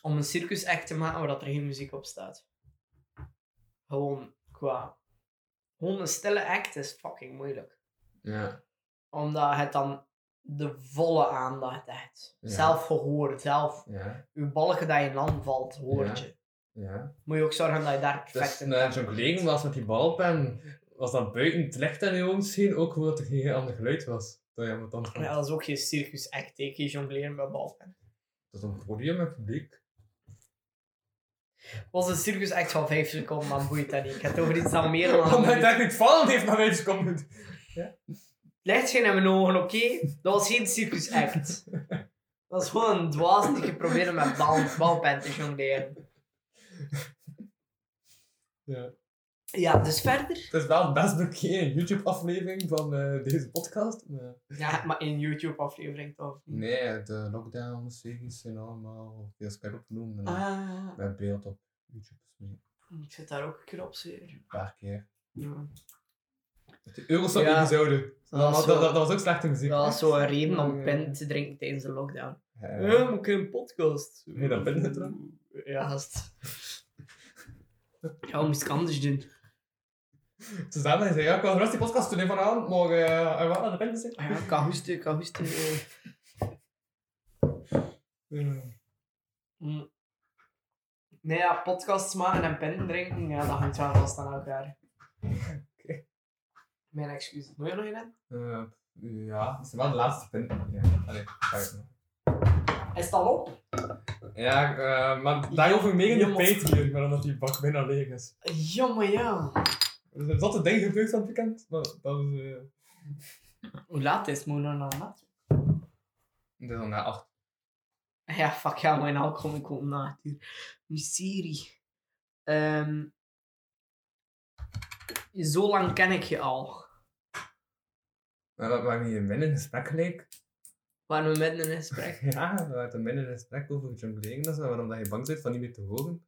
[SPEAKER 3] om een circus act te maken waar dat er geen muziek op staat. Gewoon qua. Gewoon een stille act is fucking moeilijk.
[SPEAKER 4] Ja.
[SPEAKER 3] Omdat het dan de volle aandacht hebt.
[SPEAKER 4] Ja.
[SPEAKER 3] Zelf gehoord, zelf
[SPEAKER 4] Ja,
[SPEAKER 3] je balken dat je in land valt, hoort
[SPEAKER 4] Ja.
[SPEAKER 3] je.
[SPEAKER 4] ja.
[SPEAKER 3] Moet je ook zorgen dat je daar perfect
[SPEAKER 4] Dus
[SPEAKER 3] in
[SPEAKER 4] naar zo'n collega was met die balpen, was dat buiten het licht aan je ogen zien, ook hoe dat er geen ander geluid was. Dat je dan vond.
[SPEAKER 3] Ja, dat is ook geen circus act, ik jongleren met balpen.
[SPEAKER 4] Dat is een podium met publiek.
[SPEAKER 3] Het was een circus act van 5 seconden, dan boeit dat niet. Ik heb het over iets dan meer dan een
[SPEAKER 4] [LAUGHS] Omdat hij
[SPEAKER 3] minuut.
[SPEAKER 4] daar niet vallen heeft na vijf seconden.
[SPEAKER 3] Lijkt geen in mijn ogen, oké? Dat was geen circus act. Dat is gewoon een dwaas die geprobeerd met bal, balpen te jongleren.
[SPEAKER 4] Ja.
[SPEAKER 3] Ja, dus verder.
[SPEAKER 4] Het is wel het best bekeken YouTube-aflevering van eh, deze podcast. maar-
[SPEAKER 3] Ja, maar in YouTube-aflevering toch?
[SPEAKER 4] Nee, de lockdown-series zijn allemaal veel scherp opgenomen. en
[SPEAKER 3] Ah,
[SPEAKER 4] Met beeld op YouTube is mee.
[SPEAKER 3] ik zit daar ook een keer op, zeker.
[SPEAKER 4] Een paar keer.
[SPEAKER 3] Ja.
[SPEAKER 4] De Eurostop
[SPEAKER 3] Ja.
[SPEAKER 4] episode. Dat,
[SPEAKER 3] was
[SPEAKER 4] dat,
[SPEAKER 3] zo-
[SPEAKER 4] dat, dat was ook slechte muziek.
[SPEAKER 3] Dat was zo'n reden om pen te drinken tijdens de lockdown.
[SPEAKER 4] Ja.
[SPEAKER 3] Ja, maar ik heb een podcast.
[SPEAKER 4] Heb je dat binnengedrukt?
[SPEAKER 3] Ja, gast. Ja, wat moest ik anders doen?
[SPEAKER 4] Dus daarna zei hij, ja, ik wil gerust die podcast doen hè, vanavond, maar eh, hij wat naar de pen zijn.
[SPEAKER 3] Ah Ja, ik kan hoesten, ik kan hoesten. eh. Mm. Nee, ja, podcasts maken en pen drinken, ja, dat hangt wel vast aan elkaar. Mijn excuus. Moet je nog een hebben?
[SPEAKER 4] Eh, ja, dat is wel de laatste pin. Ja, allee, ga ik nog.
[SPEAKER 3] Is het al op?
[SPEAKER 4] Ja, eh, maar daarover meer in de Patreon, maar omdat die bak bijna leeg is.
[SPEAKER 3] Jammer, ja.
[SPEAKER 4] Dus is dat de ding gebeurd van het weekend? Maar dat is... eh,
[SPEAKER 3] Hoe laat is het? Moet je nog naar bed?
[SPEAKER 4] dat is al na acht.
[SPEAKER 3] Ja, fuck ja, mijn alcohol komt om na het uur. Miserie. Ehm, zo lang ken ik je al.
[SPEAKER 4] Maar we waren hier midden in een gesprek gelijk.
[SPEAKER 3] Waren we midden in een gesprek?
[SPEAKER 4] Ja, we waren midden in een gesprek over jongleren en zo, waarom dat je bang bent van niet meer te horen.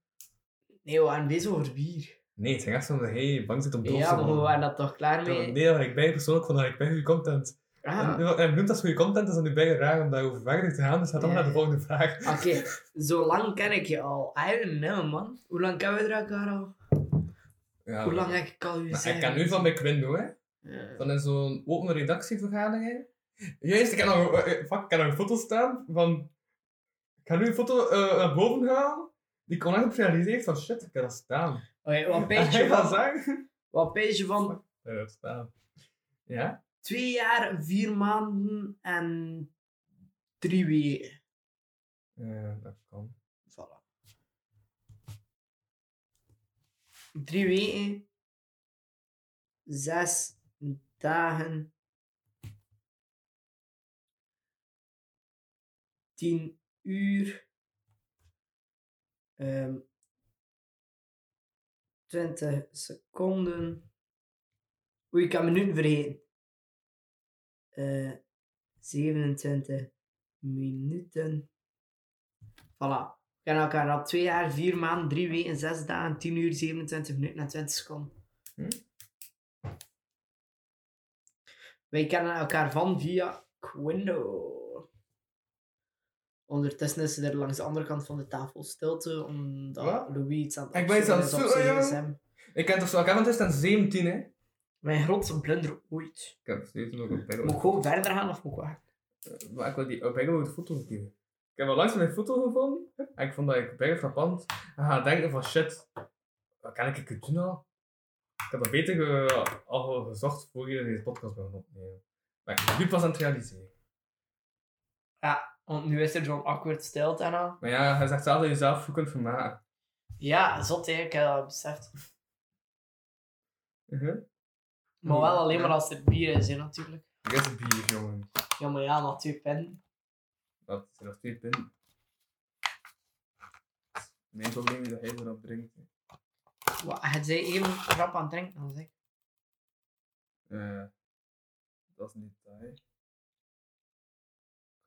[SPEAKER 3] Nee, we waren bezig over bier.
[SPEAKER 4] Nee, het ging echt zo dat hij bang bent om doof te
[SPEAKER 3] Ja, maar we
[SPEAKER 4] worden.
[SPEAKER 3] waren dat toch klaar mee?
[SPEAKER 4] Nee, dat ik bij persoonlijk vond dat ik bij goede content.
[SPEAKER 3] Ah,
[SPEAKER 4] En, en bloemt als goede content is dan nu bij raar om daarover verder te gaan, dus gaat dan
[SPEAKER 3] Ja.
[SPEAKER 4] naar de volgende vraag.
[SPEAKER 3] Oké, zo lang ken ik je al. I don't know, man. Hoe lang kennen we elkaar al?
[SPEAKER 4] Ja,
[SPEAKER 3] Hoe lang heb ik al je
[SPEAKER 4] maar ik kan nu van mijn Quindo, hè?
[SPEAKER 3] Ja.
[SPEAKER 4] Van in zo'n open redactievergadering. Juist, ik heb nog, eh, fuck, ik heb nog een foto staan van. Ik ga nu een foto eh, naar boven halen. Die ik onlangs heb gerealiseerd van shit, ik heb dat staan.
[SPEAKER 3] Oké,
[SPEAKER 4] [LAUGHS]
[SPEAKER 3] wat
[SPEAKER 4] Heb
[SPEAKER 3] pees
[SPEAKER 4] je
[SPEAKER 3] je
[SPEAKER 4] dat
[SPEAKER 3] van?
[SPEAKER 4] zeggen?
[SPEAKER 3] Wat pees je van?
[SPEAKER 4] Ik heb dat staan. Ja?
[SPEAKER 3] Twee jaar, vier maanden en drie weken.
[SPEAKER 4] Ja, Eh, dat kan.
[SPEAKER 3] Voilà. Drie weken. Zes dagen. Tien uur. Ehm twintig seconden. Oei, ik heb minuten vergeten. Eh 27 minuten. Voilà. We kennen elkaar al twee jaar, vier maanden, drie weken, zes dagen, 10 uur, 27 minuten en 20 seconden.
[SPEAKER 4] Hm?
[SPEAKER 3] Wij kennen elkaar van via Quindo. Ondertussen is ze er langs de andere kant van de tafel stilte, omdat
[SPEAKER 4] Wat?
[SPEAKER 3] Louis iets aan het
[SPEAKER 4] Ik ben iets aan het
[SPEAKER 3] opzoeken is op
[SPEAKER 4] zoeken,
[SPEAKER 3] zijn
[SPEAKER 4] jongen.
[SPEAKER 3] gsm.
[SPEAKER 4] Ik ken toch zo, ik heb het eerst aan 17, hè? Ik
[SPEAKER 3] Mijn grootste blunder ooit.
[SPEAKER 4] heb steeds nog een
[SPEAKER 3] Moet ik gewoon verder gaan of moet ik wachten?
[SPEAKER 4] Maar ik wil die Obegon met de foto geven. Ik heb al langs mijn foto gevonden en ik vond dat ik bijna frappant. En ga denken van shit, wat kan ik het doen al? Ik heb dat beter ge- al gezocht voor je deze podcast ben gaan opnemen. Maar ik ben nu pas aan het realiseren.
[SPEAKER 3] Want nu is er zo'n awkward stilte en al.
[SPEAKER 4] Maar ja, hij zegt zelf dat je zelf goed kunt vermaken.
[SPEAKER 3] Ja, zot hè, ik heb dat beseft.
[SPEAKER 4] Uh-huh.
[SPEAKER 3] Maar wel alleen maar als er bier is, hè, natuurlijk.
[SPEAKER 4] Ik heb een bier, jongen.
[SPEAKER 3] Ja, maar ja, maar twee pen.
[SPEAKER 4] Dat zijn nog twee punten. Mijn probleem is dat hij erop drinkt. hè.
[SPEAKER 3] Wat, het zei even grap aan het drinken als ik.
[SPEAKER 4] Eh, dat is niet taai. Ik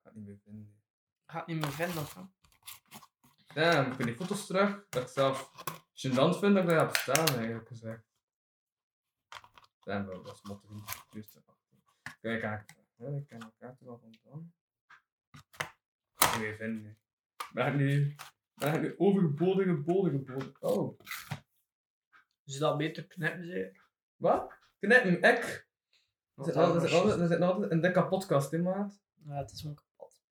[SPEAKER 4] ga het niet meer vinden.
[SPEAKER 3] Gaat niet meer vinden of zo.
[SPEAKER 4] Ja, ik vind die foto's terug. Dat ik zelf gênant vind dat ik daar heb staan, eigenlijk gezegd. Ja, maar dat is motto niet. Dus, eh, Kijk, aan ik ken elkaar toch al van dan. Ik ga het weer vinden. hè. Maar nu, maar nu overgeboden, geboden, geboden. Oh,
[SPEAKER 3] Dus dat beter knippen ze.
[SPEAKER 4] wat? Knip hem, ek. Er zit altijd- er zit altijd- er zit altijd een dikke podcast in, maat.
[SPEAKER 3] Ja, het is wel kapot.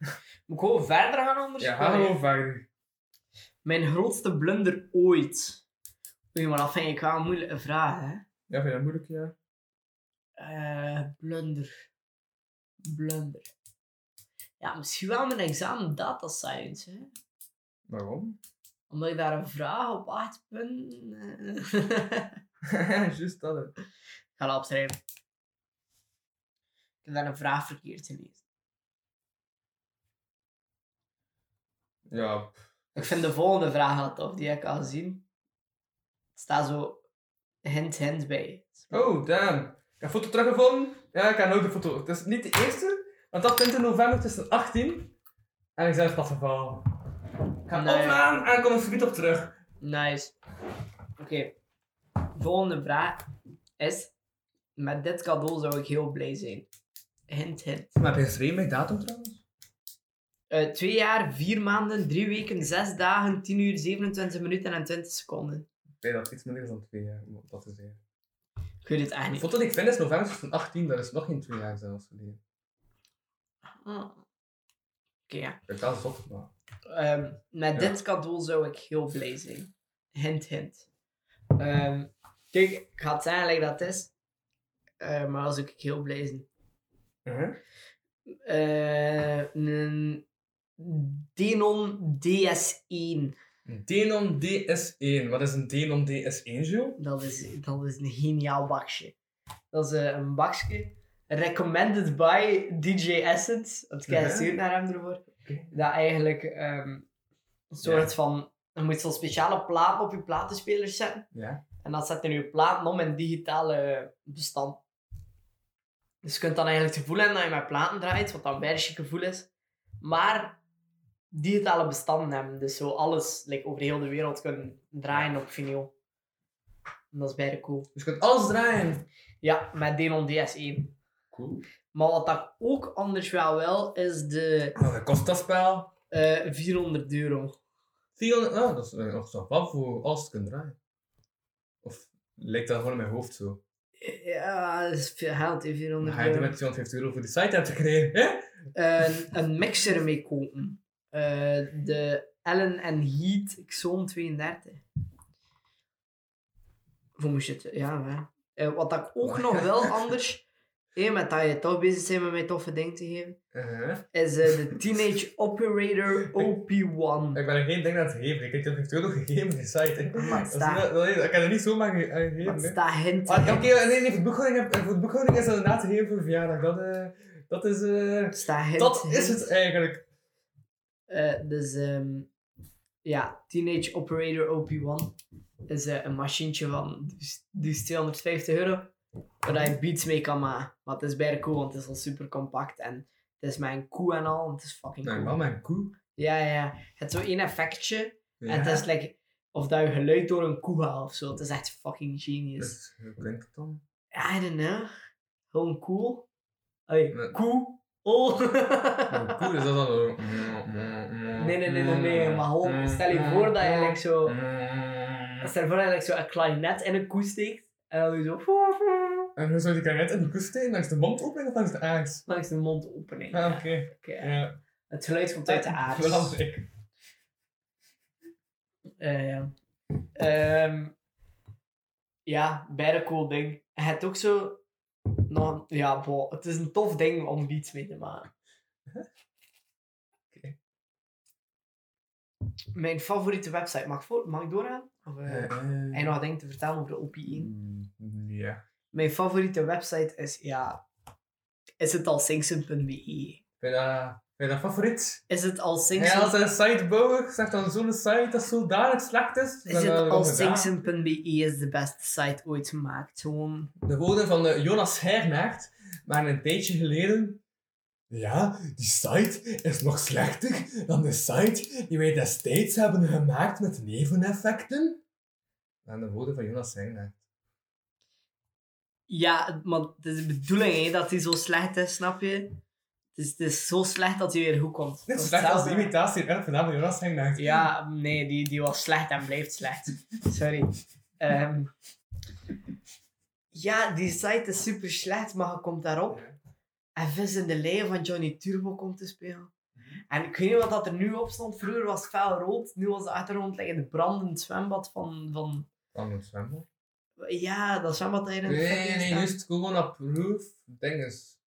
[SPEAKER 3] [LAUGHS] Moet ik gewoon verder gaan anders?
[SPEAKER 4] Ja, ga gewoon verder.
[SPEAKER 3] Mijn grootste blunder ooit. Oei, maar dat vind ik wel een moeilijke vraag, hè.
[SPEAKER 4] Ja, vind je dat moeilijk, ja?
[SPEAKER 3] Eh, blunder. Blunder. Ja, misschien wel mijn examen data science, hè.
[SPEAKER 4] Waarom? [LAUGHS]
[SPEAKER 3] Omdat ik daar een vraag op acht punten... eh, [LAUGHS]
[SPEAKER 4] Juist dat, hè.
[SPEAKER 3] ga dat opschrijven. Ik heb daar een vraag verkeerd gelezen.
[SPEAKER 4] Ja,
[SPEAKER 3] Ik vind de volgende vraag al tof, die heb ik al gezien. Het staat zo hint hint bij.
[SPEAKER 4] Oh, damn. Ik heb foto teruggevonden. Ja, ik heb nou de foto. Het is niet de eerste, want dat vindt in november tussen 18 en ik zelf pas geval. Ik ga
[SPEAKER 3] Nee.
[SPEAKER 4] oplaan en ik kom er zo op terug.
[SPEAKER 3] Nice. Oké. Volgende vraag is... Met dit cadeau zou ik heel blij zijn. Hint hint.
[SPEAKER 4] Maar heb je geschreven met datum trouwens?
[SPEAKER 3] Eh, twee jaar, vier maanden, drie weken, zes dagen, 10 uur, 27 minuten en 20 seconden.
[SPEAKER 4] Nee, dat is iets minder dan twee jaar, om dat te zeggen.
[SPEAKER 3] Ik weet het eigenlijk
[SPEAKER 4] De
[SPEAKER 3] niet.
[SPEAKER 4] foto die ik vind is november 2018, dat is nog geen twee jaar zelfs geleden.
[SPEAKER 3] Ah. Oké, ja.
[SPEAKER 4] Ik dat is op, maar...
[SPEAKER 3] Ehm, met dit cadeau zou ik heel blij zijn. Hint, hint. Ehm, kijk, ik ga het zeggen like dat het is. eh, maar als ik heel blij zijn.
[SPEAKER 4] Uh-huh.
[SPEAKER 3] Eh, een Denon DS1.
[SPEAKER 4] Denon DS1. Wat is een Denon DS1, Jules?
[SPEAKER 3] Dat is, dat is een geniaal bakje. Dat is eh, een bakje. Recommended by DJ Essence. Want ik heb
[SPEAKER 4] Ja.
[SPEAKER 3] gestuurd naar hem ervoor.
[SPEAKER 4] Oké.
[SPEAKER 3] Dat eigenlijk ehm, een soort van... Je moet zo'n speciale plaat op je platenspeler zetten.
[SPEAKER 4] Ja.
[SPEAKER 3] En dat zet in je plaat om in digitale bestand. Dus je kunt dan eigenlijk het gevoel hebben dat je met platen draait, wat dan een chic gevoel is. Maar digitale bestanden hebben, dus zo alles like, over heel de wereld kunnen draaien op vinyl. En dat is bijna cool.
[SPEAKER 4] Dus je kunt alles draaien.
[SPEAKER 3] Ja, met Denon DS1.
[SPEAKER 4] Cool.
[SPEAKER 3] Maar wat dat ook anders wel wel, is de
[SPEAKER 4] Nou, dat kost dat spel.
[SPEAKER 3] eh 400 euro.
[SPEAKER 4] 400... Nou, dat is eh, nog zo wat voor alles te kunnen draaien. Of lijkt dat gewoon in mijn hoofd zo.
[SPEAKER 3] Ja, dat is veel geld, hè,
[SPEAKER 4] Dan
[SPEAKER 3] 400
[SPEAKER 4] ga je er
[SPEAKER 3] euro.
[SPEAKER 4] met 250 euro voor die site hebben gekregen, hè?
[SPEAKER 3] een, een mixer mee kopen. Eh, de Allen en Heat Xon 32. Voor moest je het, ja. hè. Eh, wat dat ik ook nog
[SPEAKER 4] [LAUGHS]
[SPEAKER 3] wel anders, eh, met dat je toch bezig bent met mij toffe dingen te geven,
[SPEAKER 4] Uh-huh.
[SPEAKER 3] is eh, de Teenage Operator OP1.
[SPEAKER 4] Ik ben er geen ding aan het geven. Ik heb 250 euro gegeven voor die site, hè.
[SPEAKER 3] Maar het
[SPEAKER 4] Dat is
[SPEAKER 3] staat,
[SPEAKER 4] niet- dat is- Ik kan er niet zomaar ge- aan
[SPEAKER 3] maar
[SPEAKER 4] geven,
[SPEAKER 3] het
[SPEAKER 4] hè.
[SPEAKER 3] staat hint.
[SPEAKER 4] Ah, Oké,
[SPEAKER 3] hè.
[SPEAKER 4] nee, nee, voor de boekhouding, heb- voor de boekhouding is dat inderdaad heel voor verjaardag. Dat, eh, dat is... eh,
[SPEAKER 3] Het staat hint.
[SPEAKER 4] dat is
[SPEAKER 3] hint.
[SPEAKER 4] het eigenlijk.
[SPEAKER 3] Eh, dus ehm, ja, Teenage Operator OP1 is eh, een machientje van dus, dus 250 euro. Waar je beats mee kan maken. Maar het is bijna cool, want het is al super compact. En het is met een koe en al. en Het is fucking
[SPEAKER 4] Mijn
[SPEAKER 3] cool.
[SPEAKER 4] man, mijn koe.
[SPEAKER 3] Ja, ja, ja. Het is zo één effectje.
[SPEAKER 4] Ja.
[SPEAKER 3] En het is like, of dat je geluid door een koe haalt of zo. Het is echt fucking genius.
[SPEAKER 4] Dus, hoe klinkt het dan?
[SPEAKER 3] I don't know. Gewoon cool. Hey,
[SPEAKER 4] Nee.
[SPEAKER 3] koe. [LAUGHS] Oh.
[SPEAKER 4] Mijn koe, is dat dan zo...
[SPEAKER 3] Nee, nee, nee, nee, nee, maar gewoon, stel je voor dat je eigenlijk zo,
[SPEAKER 4] Eh,
[SPEAKER 3] stel je voor dat je eigenlijk zo een klarinet in een koe steekt, en dan doe je zo,
[SPEAKER 4] En hoe zou die karet en die koe steken? Langs de mond opening of langs de aars?
[SPEAKER 3] langs de mondopening.
[SPEAKER 4] Ah,
[SPEAKER 3] Ja,
[SPEAKER 4] oké. Ah,
[SPEAKER 3] oké.
[SPEAKER 4] Ja.
[SPEAKER 3] Het geluid komt uit de
[SPEAKER 4] [LAUGHS]
[SPEAKER 3] aard.
[SPEAKER 4] Belangrijk.
[SPEAKER 3] Eh, ja. Ehm, ja, bijna cool ding. Je hebt ook zo, nog, ja, bo, het is een tof ding om beats mee te maken.
[SPEAKER 4] Oké.
[SPEAKER 3] Mijn favoriete website, mag ik, voor, mag ik doorgaan? Of, eh,
[SPEAKER 4] Eh, eh,
[SPEAKER 3] Heb je nog dingen te vertellen over de OP1?
[SPEAKER 4] mm, Ja.
[SPEAKER 3] Mijn favoriete website is, ja... Is het al Singsen.be?
[SPEAKER 4] Vind je dat- vind je dat favoriet?
[SPEAKER 3] E? Is het al
[SPEAKER 4] Ja,
[SPEAKER 3] Singsen...
[SPEAKER 4] als een site bouwen, zegt dan zo'n site dat zodanig slecht is.
[SPEAKER 3] is
[SPEAKER 4] dan, eh,
[SPEAKER 3] het
[SPEAKER 4] dan
[SPEAKER 3] al
[SPEAKER 4] gedaan.
[SPEAKER 3] Singsen.be E is de beste site ooit gemaakt. Gewoon...
[SPEAKER 4] De woorden van eh, Jonas Hernaert waren een tijdje geleden. Ja, die site is nog slechter dan de site die wij destijds hebben gemaakt met neveneffecten. En de woorden van Jonas Hernaert.
[SPEAKER 3] Ja, maar het is de bedoeling hè, dat die zo slecht is, snap je? Het is, het is zo slecht dat hij weer goed komt.
[SPEAKER 4] Net zo
[SPEAKER 3] Dat
[SPEAKER 4] slecht
[SPEAKER 3] is
[SPEAKER 4] als de
[SPEAKER 3] hetzelfde.
[SPEAKER 4] imitatie en de naam van Jonas Hernaert.
[SPEAKER 3] Ja, nee, die, die was slecht en blijft slecht. Sorry. Ehm, ja, die site is super slecht, maar je komt daarop. En Vis in de Leeuw van Johnny Turbo komt te spelen. En ik weet niet wat dat er nu op stond. Vroeger was het fel rood. Nu was de achtergrond like, het brandend zwembad van... van
[SPEAKER 4] Van het zwembad.
[SPEAKER 3] ja, dat zwembad dat je in
[SPEAKER 4] Nee, nee,
[SPEAKER 3] fucking
[SPEAKER 4] nee,
[SPEAKER 3] staat.
[SPEAKER 4] nu is het corona-proof. Dinges.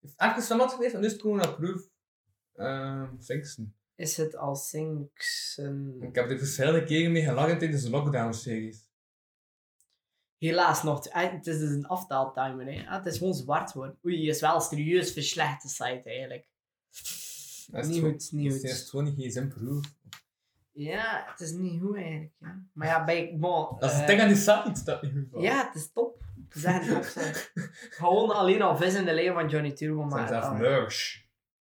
[SPEAKER 4] Heeft ergens zwembad geweest, maar nu is het corona-proof. Ehm, Sinksen.
[SPEAKER 3] Is het al Sinksen...
[SPEAKER 4] Ik heb er dus verschillende keren mee gelachen tijdens de lockdown-series.
[SPEAKER 3] Helaas nog. eh, Het is dus een aftaaltimer. Hè. Ah, Het is gewoon zwart worden. Oei, je is wel serieus verslecht de site eigenlijk.
[SPEAKER 4] Dat is
[SPEAKER 3] Niet
[SPEAKER 4] gewoon-
[SPEAKER 3] goed, niet
[SPEAKER 4] Het
[SPEAKER 3] goed.
[SPEAKER 4] is gewoon niet gsm-proof.
[SPEAKER 3] Ja, het is niet goed eigenlijk. Ja. Maar ja, bij, bon,
[SPEAKER 4] Dat is het
[SPEAKER 3] eh,
[SPEAKER 4] ding aan die site, dat niet goed valt.
[SPEAKER 3] Ja, het is top. Het is echt een
[SPEAKER 4] [LAUGHS]
[SPEAKER 3] topsite. Gewoon alleen al vis in de leeuw van Johnny Turbo
[SPEAKER 4] Maar
[SPEAKER 3] maken.
[SPEAKER 4] zelf
[SPEAKER 3] Ah,
[SPEAKER 4] merch.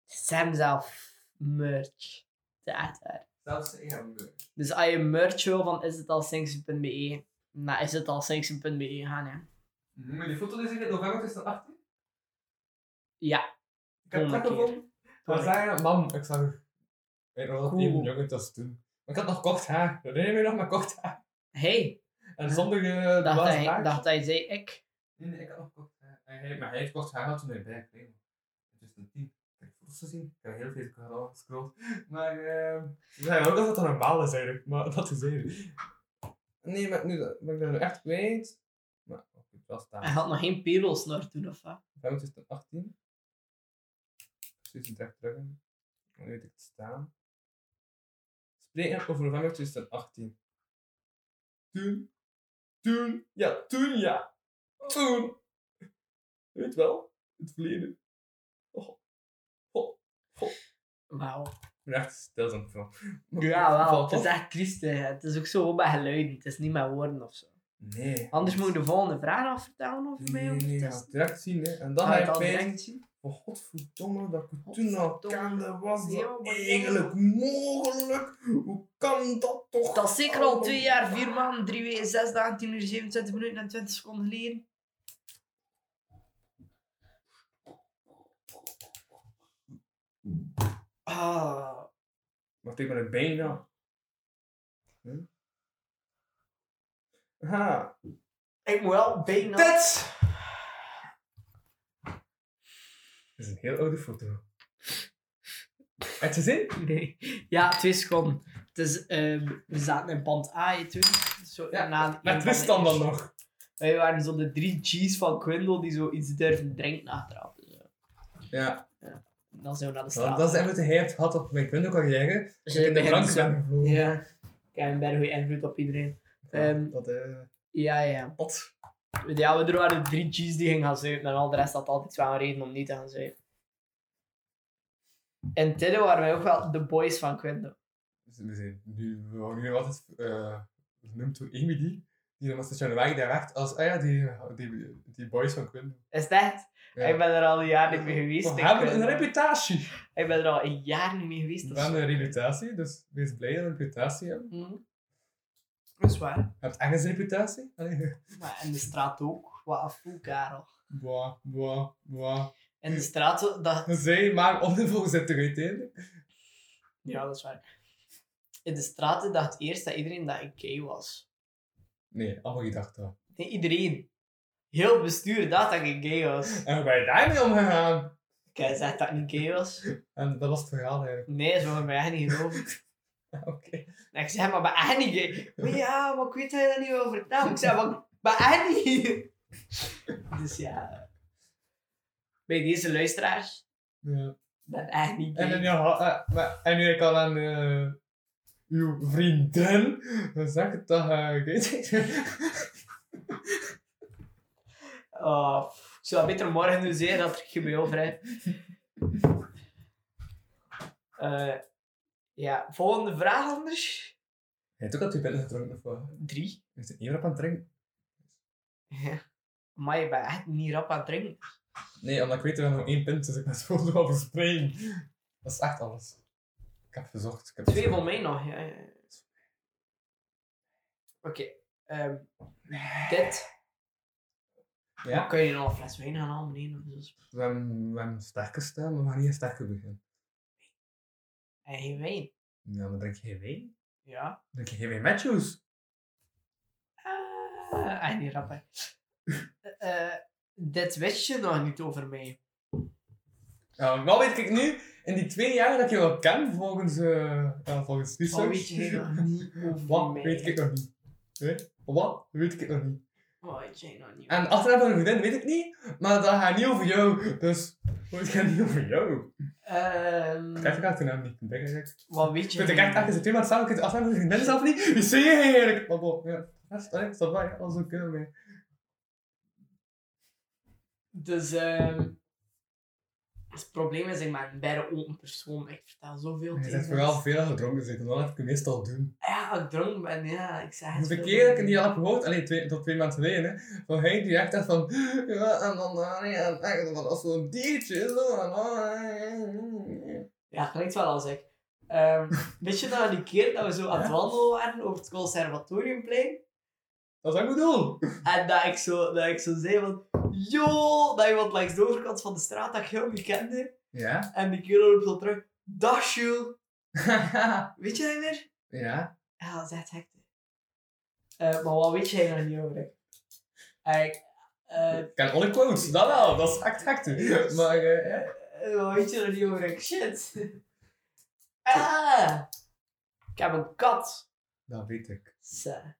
[SPEAKER 3] Sam zelf merch. Het is echt waar.
[SPEAKER 4] Zelfs ja, merch.
[SPEAKER 3] Dus als je merch wil van is het al Sinksen.be, naar E. Nou, is het al Sinksen.be gaan. E Ja.
[SPEAKER 4] Maar die foto is in november 2018?
[SPEAKER 3] Ja.
[SPEAKER 4] Ik heb het
[SPEAKER 3] Volgende
[SPEAKER 4] net
[SPEAKER 3] keer.
[SPEAKER 4] gevonden. Maar zei mam, ik zag u. Ik was
[SPEAKER 3] Cool.
[SPEAKER 4] even jong, dat was toen. Maar ik had nog kort haar. Herinner je me nog mijn kort haar?
[SPEAKER 3] Hey,
[SPEAKER 4] En zonder eh, de
[SPEAKER 3] dacht
[SPEAKER 4] blaas
[SPEAKER 3] hij,
[SPEAKER 4] haar.
[SPEAKER 3] dacht hij zei ik.
[SPEAKER 4] Nee, nee, ik had nog kort haar. En hij- Maar hij heeft kort haar gehad toen hij bij kreeg. Het is een tien. Ik heb foto's gezien. Ik heb heel veel gehad gescrollt. Maar, ehm
[SPEAKER 11] Ja, ook dat het dan normaal is eigenlijk, maar dat is eigenlijk.
[SPEAKER 4] nee, maar nu dat- ben ik dat nu echt kwijt. Maar, oké, het was
[SPEAKER 3] Hij
[SPEAKER 4] daar.
[SPEAKER 3] had nog geen pedels naar toen, of wat?
[SPEAKER 4] Bij ons is het een 18. Precies, een recht drukken. Dan weet ik het staan. Spreken over november 2018. Toen. Toen. Ja, toen ja. Toen. Je weet wel, het verleden. Oh. Oh.
[SPEAKER 3] Wauw.
[SPEAKER 4] Ik ben echt stil zo'n film.
[SPEAKER 3] Ja, wel.
[SPEAKER 4] Valt
[SPEAKER 3] Het is
[SPEAKER 4] op?
[SPEAKER 3] echt triest. hè. Het is ook zo bij geluiden. Het is niet met woorden of zo.
[SPEAKER 4] Nee.
[SPEAKER 3] Anders moet je de volgende vraag afvertellen over
[SPEAKER 4] Nee,
[SPEAKER 3] mij.
[SPEAKER 4] nee,
[SPEAKER 3] of
[SPEAKER 4] nee,
[SPEAKER 3] het
[SPEAKER 4] je
[SPEAKER 3] is-
[SPEAKER 4] gaat het direct zien, hè. En dan
[SPEAKER 3] Ga je
[SPEAKER 4] ga
[SPEAKER 3] het
[SPEAKER 4] je
[SPEAKER 3] al
[SPEAKER 4] bij.
[SPEAKER 3] direct zien?
[SPEAKER 4] Van godverdomme, dat ik het toen al
[SPEAKER 3] Godverdomme.
[SPEAKER 4] kende, was
[SPEAKER 3] Heel
[SPEAKER 4] dat
[SPEAKER 3] belangrijk.
[SPEAKER 4] eigenlijk mogelijk? Hoe kan dat toch?
[SPEAKER 3] Dat is zeker al twee jaar, vier maanden, drie weken, zes dagen, tien uur, 27 minuten en 20 seconden geleden. Ah,
[SPEAKER 4] Wacht, ik ben er bijna. Hm? Aha.
[SPEAKER 3] ik moet wel bijna...
[SPEAKER 4] Dit is een heel oude foto. Heb je zin?
[SPEAKER 3] Nee. Ja, twee seconden. Het is, ehm, we zaten in band A hè, toen. Zo,
[SPEAKER 4] Ja,
[SPEAKER 3] na een van
[SPEAKER 4] Met
[SPEAKER 3] de
[SPEAKER 4] Tristan dan
[SPEAKER 3] eerste-
[SPEAKER 4] nog.
[SPEAKER 3] Wij waren zo de drie G's van Quindel die zoiets durven drinken achteraf. Dus, eh,
[SPEAKER 4] Ja,
[SPEAKER 3] dan zijn we naar de straat.
[SPEAKER 4] want dat is echt wat hij heeft gehad op mijn kundecarrière. Dat
[SPEAKER 3] Dus
[SPEAKER 4] ik in de
[SPEAKER 3] begint
[SPEAKER 4] drank
[SPEAKER 3] zo-
[SPEAKER 4] ben gevlogen.
[SPEAKER 3] Ja. Ik heb een berg goede invloed op iedereen. Ehm,
[SPEAKER 4] Dat eh,
[SPEAKER 3] ja, ja.
[SPEAKER 4] pot.
[SPEAKER 3] Ja, we- er waren drie G's die gingen gaan zuipen en al de rest had altijd wel een reden om niet te gaan zuipen. En Tidde waren wij ook wel de boys van Quindo.
[SPEAKER 4] Dus we zijn nu, we worden nu altijd eh, genoemd door Emily. Die dan was de Januari daar werkt als, ah ja, die, die, die boys van Quinn.
[SPEAKER 3] Is dat? het?
[SPEAKER 4] Ja.
[SPEAKER 3] Ik ben er al een jaar niet meer geweest.
[SPEAKER 4] We
[SPEAKER 3] in
[SPEAKER 4] hebben een
[SPEAKER 3] Quindo.
[SPEAKER 4] reputatie.
[SPEAKER 3] Ik ben er al een jaar niet meer geweest.
[SPEAKER 4] We
[SPEAKER 3] Dat is,
[SPEAKER 4] hebben een reputatie, dus wees blij dat we een reputatie hebben.
[SPEAKER 3] Mhm. Dat is waar.
[SPEAKER 4] Heb je ergens een reputatie? Allee.
[SPEAKER 3] Maar in de straat ook. Wat een foel, Karel.
[SPEAKER 4] Boah, boah, boah.
[SPEAKER 3] In de straat, zo- dat...
[SPEAKER 4] Zij maar ondervolgens zit er uiteindelijk.
[SPEAKER 3] Ja, dat is waar. In de straat dacht eerst dat iedereen dat ik gay was.
[SPEAKER 4] Nee, allemaal gedacht dat.
[SPEAKER 3] Nee, iedereen. Heel het bestuur dacht dat ik gay was.
[SPEAKER 4] En hoe ben je daarmee omgegaan?
[SPEAKER 3] Ik heb gezegd dat ik niet gay was.
[SPEAKER 4] En dat was het verhaal eigenlijk. [LAUGHS]
[SPEAKER 3] Nee, ze wilden mij echt niet geloven.
[SPEAKER 4] Oké.
[SPEAKER 3] En ik zei, maar ben echt niet gay. Maar ja, maar ik weet dat je dat niet wil vertellen. Ik zei, maar ik ben echt niet Dus ja. Bij deze luisteraars,
[SPEAKER 4] Ja.
[SPEAKER 3] ik ben echt niet
[SPEAKER 4] En,
[SPEAKER 3] gay.
[SPEAKER 4] dan, ja, eh, maar, en nu ik al aan eh, uw vriendin zeg eh, het dat je gay [LAUGHS]
[SPEAKER 3] Oh, pff, ik zou beter morgen nu zeggen dat ik je bij jou vrij. Eh, ja, volgende vraag anders.
[SPEAKER 4] Hij heeft ook al twee pillen gedronken of wat?
[SPEAKER 3] Drie.
[SPEAKER 4] Hij is één rap aan het drinken.
[SPEAKER 3] Ja. Maar je bent echt niet rap aan het drinken.
[SPEAKER 4] Nee, omdat ik weet dat we nog één pint dus ik ben zo over springen. Dat is echt alles. Ik heb gezocht. Ik heb
[SPEAKER 3] Twee
[SPEAKER 4] gezocht.
[SPEAKER 3] van mij nog. Ja, ja. ja. Oké. ehm, dit.
[SPEAKER 4] Ja.
[SPEAKER 3] Dan kun je nog een fles wijn gaan dus halen beneden. of zo.
[SPEAKER 4] We hebben, we hebben sterker staan, maar we gaan niet sterker beginnen.
[SPEAKER 3] En geen wijn.
[SPEAKER 4] Ja, maar drink je geen wijn?
[SPEAKER 3] Ja.
[SPEAKER 4] Drink je geen wijn met juice?
[SPEAKER 3] Ah, echt niet rap, hè. Eh, eh, dit wist je nog niet over mij.
[SPEAKER 4] Ja, maar wat weet ik nu? In die twee jaar dat ik je wel ken, volgens, eh ja, volgens research...
[SPEAKER 3] Al weet je
[SPEAKER 4] [LAUGHS]
[SPEAKER 3] helemaal niet over
[SPEAKER 4] Wat
[SPEAKER 3] mij.
[SPEAKER 4] weet ik nog niet. Hè? Wat weet ik nog niet.
[SPEAKER 3] Wat weet jij nog niet?
[SPEAKER 4] En achteraf van een vriendin weet ik niet, maar dat gaat niet over jou. Dus, het gaat niet over jou.
[SPEAKER 3] Ehm,
[SPEAKER 4] Kijk, ik had toen hem niet kunnen denken, zeg.
[SPEAKER 3] wat weet
[SPEAKER 4] Ik
[SPEAKER 3] je
[SPEAKER 4] vind het
[SPEAKER 3] nog
[SPEAKER 4] echt
[SPEAKER 3] niet?
[SPEAKER 4] echt, als je twee maanden samen kunt afstaan met je vriendin zelf niet, wie zie je eigenlijk? Maar bon, ja. Dat is dat is wel waar, ja, alles oké mee.
[SPEAKER 3] Dus ehm, het probleem is, ik ben een bijna open persoon. Ik vertel zoveel
[SPEAKER 4] Je
[SPEAKER 3] tegen
[SPEAKER 4] zit vooral
[SPEAKER 3] mensen.
[SPEAKER 4] veel gedronken zitten, dat heb ik meestal doen.
[SPEAKER 3] Ja, ik dronk ben, ja. Ik zeg
[SPEAKER 4] Het
[SPEAKER 3] het
[SPEAKER 4] verkeer dat ik niet had gehoord, alleen twee, tot twee maanden geleden, hè, van hij die echt dacht van, ja, en dan, ah, nee, en echt, dat was zo'n diertje, zo, en dan, eh,
[SPEAKER 3] Ja, klinkt wel als ik.
[SPEAKER 4] [LAUGHS]
[SPEAKER 3] Ehm, weet je dat die keer dat we zo aan het wandelen waren over het conservatoriumplein?
[SPEAKER 4] Dat is wat ik bedoel.
[SPEAKER 3] En dat ik zo, dat ik zo zei van... Yo! Dat iemand langs de overkant van de straat dat ik heel niet kende.
[SPEAKER 4] [LAUGHS] Ja.
[SPEAKER 3] En die kerel roept zo terug... Dag, Jules! Weet je dat weer?
[SPEAKER 4] [LAUGHS] ja.
[SPEAKER 3] Ja, dat is echt hectisch. Eh, maar wat weet jij nog niet over? Ik, Eh,
[SPEAKER 4] Ik ken alle quotes, dat wel, dat is echt hector. Maar eh, ja.
[SPEAKER 3] eh, wat weet je er niet over? Ik shit. [LAUGHS] Ah! Ik heb een kat.
[SPEAKER 4] dat weet ik.
[SPEAKER 3] Sa.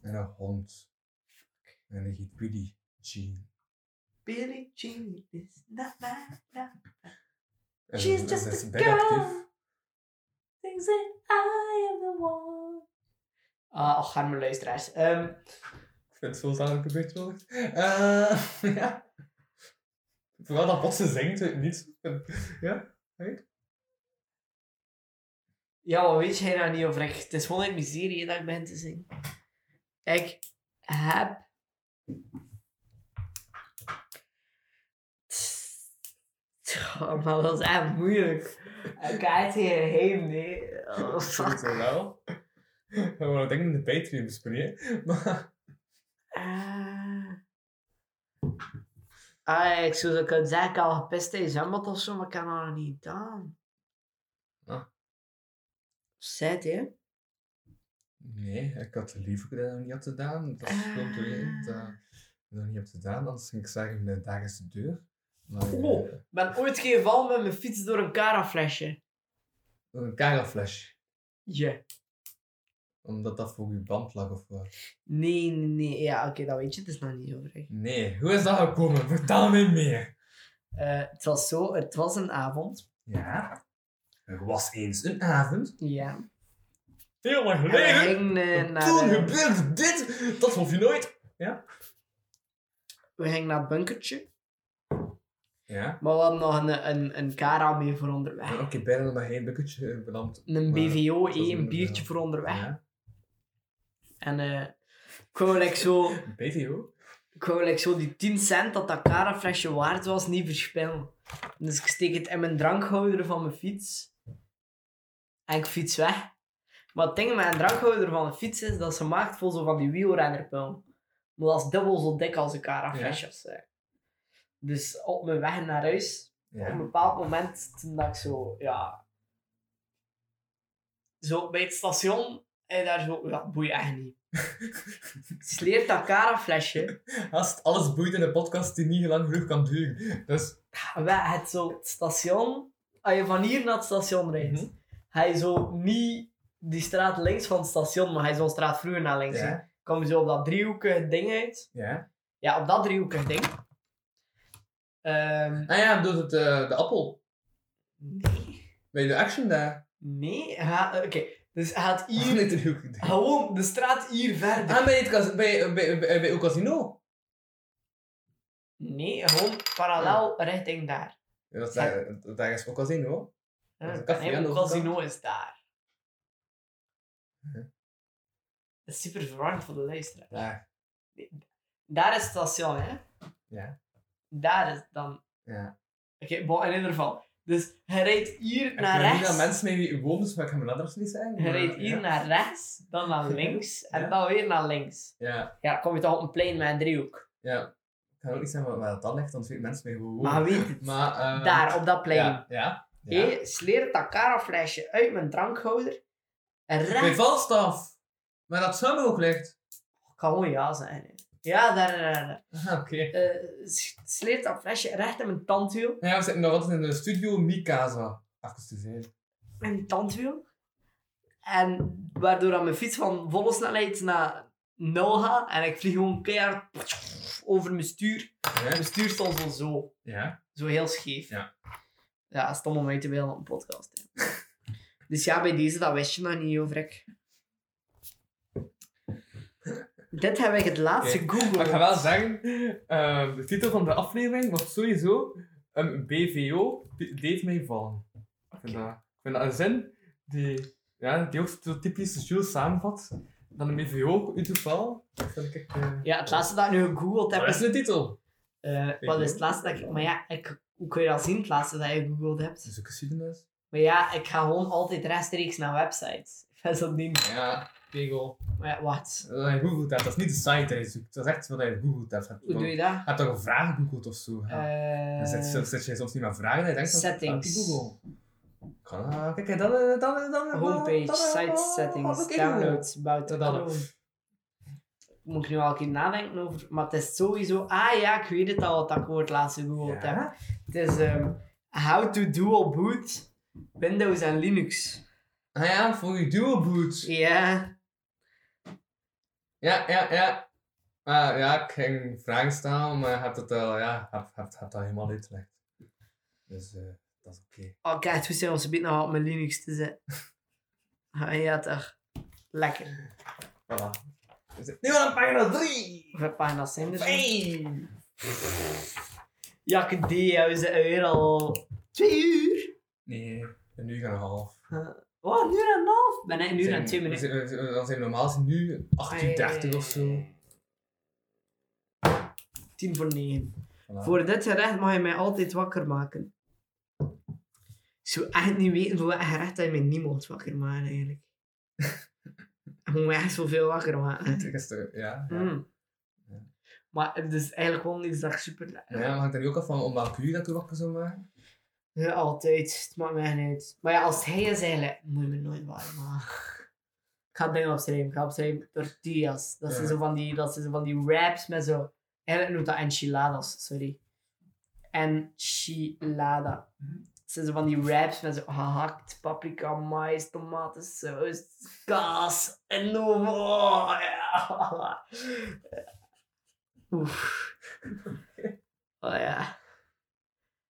[SPEAKER 4] En een hond. En een heet Billy Jean.
[SPEAKER 3] Billie Jean is not my love.
[SPEAKER 4] En
[SPEAKER 3] She's
[SPEAKER 4] en
[SPEAKER 3] just
[SPEAKER 4] ze
[SPEAKER 3] a
[SPEAKER 4] is
[SPEAKER 3] girl. Things that I am the one. Ah, och, arme luisteraars. Ehm,
[SPEAKER 4] Ik vind het zo zalig gebeurd wel. Eh, [LAUGHS] ja. Vooral dat Bosse zingt, weet ik niet. Ja,
[SPEAKER 3] ja, wat weet jij nou niet over? Ik, het is gewoon in miserie dat ik ben te zingen. Ik heb... Oh, maar dat is echt moeilijk. Ik ga het hierheen, nee.
[SPEAKER 4] [LAUGHS]
[SPEAKER 3] Oh, fuck.
[SPEAKER 4] sowieso wel. We gaan het denk ik in de Patreon bespreken. Maar
[SPEAKER 3] Ah. Ah, ik zou zo kunnen zeggen, ik heb al gepist in zwembad of zo, maar ik heb dat nog niet gedaan.
[SPEAKER 4] Ah.
[SPEAKER 3] Zet, hè?
[SPEAKER 4] nee, ik had liever dat ik dat niet had gedaan. Dat is gewoon
[SPEAKER 3] Ah.
[SPEAKER 4] doorheen dat ik dat niet heb gedaan. Anders ging ik zeggen, eh, daar is de deur. Maar eh,
[SPEAKER 3] Oh. Ik ben ooit gevallen met mijn fiets door een karaflesje.
[SPEAKER 4] door een karaflash.
[SPEAKER 3] Ja.
[SPEAKER 4] Omdat dat voor uw band lag of wat.
[SPEAKER 3] Nee, nee, nee. Ja, oké, dat weet je. Het is nog niet over.
[SPEAKER 4] Nee, hoe is dat gekomen? Vertel me meer.
[SPEAKER 3] Eh, het was zo, het was een avond.
[SPEAKER 4] Ja. Er was eens een avond.
[SPEAKER 3] Ja.
[SPEAKER 4] Heel lang
[SPEAKER 3] En we gingen eh,
[SPEAKER 4] En
[SPEAKER 3] naar...
[SPEAKER 4] Toen
[SPEAKER 3] eh,
[SPEAKER 4] gebeurde dit! Dat hoef je nooit!
[SPEAKER 3] we gingen naar het bunkertje.
[SPEAKER 4] Ja.
[SPEAKER 3] Maar we hadden nog een, een, een kara mee voor
[SPEAKER 4] Ja,
[SPEAKER 3] onderweg.
[SPEAKER 4] Oké, bijna nog maar één bukketje eh, beland.
[SPEAKER 3] eh, Een
[SPEAKER 4] Maar-
[SPEAKER 3] BVO,
[SPEAKER 4] dat is
[SPEAKER 3] één
[SPEAKER 4] een-
[SPEAKER 3] biertje
[SPEAKER 4] ja.
[SPEAKER 3] voor onderweg.
[SPEAKER 4] Ja.
[SPEAKER 3] En eh, ik wou like zo,
[SPEAKER 4] BVO?
[SPEAKER 3] ik wou like zo die 10 cent dat dat karaflesje waard was niet verspillen. Dus ik steek het in mijn drankhouder van mijn fiets. En ik fiets weg. Maar het ding met een drankhouder van een fiets is dat ze maakt vol zo van die wielrennerpul. Maar dat is dubbel zo dik als een karaflesje. of zo. Dus op mijn weg naar huis, op een
[SPEAKER 4] Ja.
[SPEAKER 3] bepaald moment, toen dat ik zo, ja... Zo bij het station, en daar zo, ja, boei echt niet.
[SPEAKER 4] [LAUGHS]
[SPEAKER 3] Dus Sleert dat karaflesje.
[SPEAKER 4] Als het alles boeit in een podcast die niet lang genoeg kan duren. Dus
[SPEAKER 3] Wij het zo het station. Als je van hier naar het station rijdt,
[SPEAKER 4] Mhm.
[SPEAKER 3] ga je zo niet die straat links van het station, maar hij zo straat vroeger naar links. hè.
[SPEAKER 4] ja.
[SPEAKER 3] Kom je zo op dat driehoekige ding uit.
[SPEAKER 4] ja.
[SPEAKER 3] Ja, op dat driehoekige ding. Ehm,
[SPEAKER 4] Ah ja, doet het eh, de appel.
[SPEAKER 3] nee.
[SPEAKER 4] Bij de action daar.
[SPEAKER 3] Nee. ga- Oké, dus hij gaat
[SPEAKER 4] Hier [LAUGHS]
[SPEAKER 3] hier.
[SPEAKER 4] ligt
[SPEAKER 3] [LAUGHS]
[SPEAKER 4] er ook een
[SPEAKER 3] Gewoon Oh, de straat hier verder.
[SPEAKER 4] Ah, bij, het cas- bij, bij, eh, bij, bij uw casino.
[SPEAKER 3] Nee, gewoon parallel
[SPEAKER 4] Ah.
[SPEAKER 3] richting daar.
[SPEAKER 4] Ja, dat, is daar, dat- daar is ook casino. Dat is een café
[SPEAKER 3] Nee,
[SPEAKER 4] aan de
[SPEAKER 3] het casino is daar.
[SPEAKER 4] Ja.
[SPEAKER 3] Dat is super verwarrend voor de luisteraar.
[SPEAKER 4] Ja.
[SPEAKER 3] Daar is het station, hè?
[SPEAKER 4] Ja.
[SPEAKER 3] Daar is dan.
[SPEAKER 4] Ja.
[SPEAKER 3] Oké, bon, in ieder geval. Dus hij rijdt hier naar
[SPEAKER 4] ik weet niet dat
[SPEAKER 3] rechts.
[SPEAKER 4] mensen mee wie u woont, dus maar ik ga mijn adres niet zeggen.
[SPEAKER 3] Hij
[SPEAKER 4] maar,
[SPEAKER 3] rijdt hier
[SPEAKER 4] ja.
[SPEAKER 3] naar rechts, dan naar links en
[SPEAKER 4] [LAUGHS] Ja.
[SPEAKER 3] dan weer naar links.
[SPEAKER 4] Ja,
[SPEAKER 3] Ja, kom je toch op een plein met een driehoek.
[SPEAKER 4] ja. Ik ga ook niet zeggen waar- waar dat dan ligt, want weet mensen mee hoe we wonen.
[SPEAKER 3] Maar wie weet het?
[SPEAKER 4] Maar, eh,
[SPEAKER 3] Daar, op dat plein.
[SPEAKER 4] Ja, ja. ja.
[SPEAKER 3] Hé, sleert dat karaflesje uit mijn drankhouder. En
[SPEAKER 4] Bij
[SPEAKER 3] recht.
[SPEAKER 4] Valstaf. Maar dat zwemmen ook ligt.
[SPEAKER 3] Kan gewoon ja zijn. hè. Ja, daar, daar, daar.
[SPEAKER 4] Ah, Oké.
[SPEAKER 3] eh, s- sleert dat flesje recht in mijn tandwiel.
[SPEAKER 4] Ja, we zitten nog altijd in de studio Mikasa. Afgestudeerd.
[SPEAKER 3] Mijn tandwiel. En waardoor dan mijn fiets van volle snelheid naar nul gaat. En ik vlieg gewoon keihard over mijn stuur.
[SPEAKER 4] Ja. dus-
[SPEAKER 3] Mijn stuur stond zo zo.
[SPEAKER 4] Ja.
[SPEAKER 3] Zo heel scheef.
[SPEAKER 4] Ja.
[SPEAKER 3] Ja, stom om mee te willen op een podcast. hè. dus ja, bij deze, dat wist je nog niet over. Ik. Dit heb ik het laatste
[SPEAKER 4] Oké,
[SPEAKER 3] Google.
[SPEAKER 4] Maar ik ga wel zeggen, ehm, de titel van de aflevering was sowieso ehm, een BVO de- deed mij vallen. Ik, vind dat, ik vind dat een zin die, ja, die ook zo typisch Jules samenvat. Dan een BVO in toeval. Dat vind ik echt... eh,
[SPEAKER 3] Ja, het laatste dat ik nu gegoogeld heb
[SPEAKER 4] Dat
[SPEAKER 3] is
[SPEAKER 4] is de titel.
[SPEAKER 3] Eh, wat is het laatste dat ik... Maar ja, ik, hoe kun je dat zien, het laatste dat je gegoogeld hebt?
[SPEAKER 4] is ook geschiedenis.
[SPEAKER 3] Maar ja, ik ga gewoon altijd rechtstreeks naar websites. Dat is dat ding.
[SPEAKER 4] Ja, Kegel.
[SPEAKER 3] Maar ja, wat?
[SPEAKER 4] Dat je googelt hebt, dat is niet de site dat je zoekt. Dat is echt wat je googelt hebt. Je hebt
[SPEAKER 3] Hoe
[SPEAKER 4] toch-
[SPEAKER 3] doe je dat?
[SPEAKER 4] je hebt toch een vraag gegoogeld of zo. ja.
[SPEAKER 3] Eh,
[SPEAKER 4] Dan zet, zet- zet je soms niet meer vragen en je denkt van,
[SPEAKER 3] Settings.
[SPEAKER 4] ah, die Google. Kan, ah, kijk, dan, dan, dan, dan, dan,
[SPEAKER 3] homepage,
[SPEAKER 4] dan- eh, oh,
[SPEAKER 3] site
[SPEAKER 4] dan-
[SPEAKER 3] settings,
[SPEAKER 4] oké, Google.
[SPEAKER 3] downloads, about the
[SPEAKER 4] Ja, dan-
[SPEAKER 3] clone. moet ik nu al een keer nadenken over. Maar het is sowieso. Ah ja, ik weet het al wat ik voor het laatste gehoord
[SPEAKER 4] Ja?
[SPEAKER 3] heb. Het is ehm, How to Dual Boot Windows en Linux.
[SPEAKER 4] Ah ja, voor je dual boots.
[SPEAKER 3] Ja,
[SPEAKER 4] Ja, ja, ja. Ah, ja, ik ging vragen staan, maar je hebt het al, ja, hebt, hebt, hebt dat helemaal uitgelegd. Dus eh, dat is oké.
[SPEAKER 3] oh kijk, hoe zijn ze binnen nog op mijn Linux te zetten? [LAUGHS] Ah ja, toch. Lekker.
[SPEAKER 4] Voilà. We zitten Nu aan pagina 3!
[SPEAKER 3] Hoeveel pagina's zijn er? zo?
[SPEAKER 4] Hey!
[SPEAKER 3] Jakke D, we zijn weer al twee uur.
[SPEAKER 4] Nee, een uur en een half.
[SPEAKER 3] Oh, een uur en een half? Ben ik een uur
[SPEAKER 4] Zijn-
[SPEAKER 3] en twee minuten? Oh,
[SPEAKER 4] we zijn- we- Dan zijn we normaal gezien nu 18.30 of zo.
[SPEAKER 3] 10 voor 9.
[SPEAKER 4] Voilà.
[SPEAKER 3] Voor dit gerecht mag je mij altijd wakker maken. Ik zou echt niet weten voor welk gerecht dat je mij niet mocht wakker maken, eigenlijk. [LAUGHS] Ik moet mij echt zoveel wakker maken.
[SPEAKER 4] Het is er- ja, ja.
[SPEAKER 3] Mm.
[SPEAKER 4] Ja.
[SPEAKER 3] Maar het is eigenlijk wel niks dat ik super
[SPEAKER 4] Maar ja, maar hangt er nu ook af van om welk uur dat we wakker zou maken?
[SPEAKER 3] Ja, altijd. Het maakt mij niet uit. Maar ja, als hij is eigenlijk, moet je me nooit warm maken. Ik ga dingen opschrijven. Ik ga opschrijven tortillas. Dat zijn
[SPEAKER 4] Ja.
[SPEAKER 3] zo van die, dat zijn zo van die wraps met zo... Eigenlijk noemt dat enchiladas, sorry. Enchilada. Dat zijn zo van die wraps met zo gehakt paprika, mais, tomatensaus, kaas en noem. Oh, ja. Oef. Oh ja.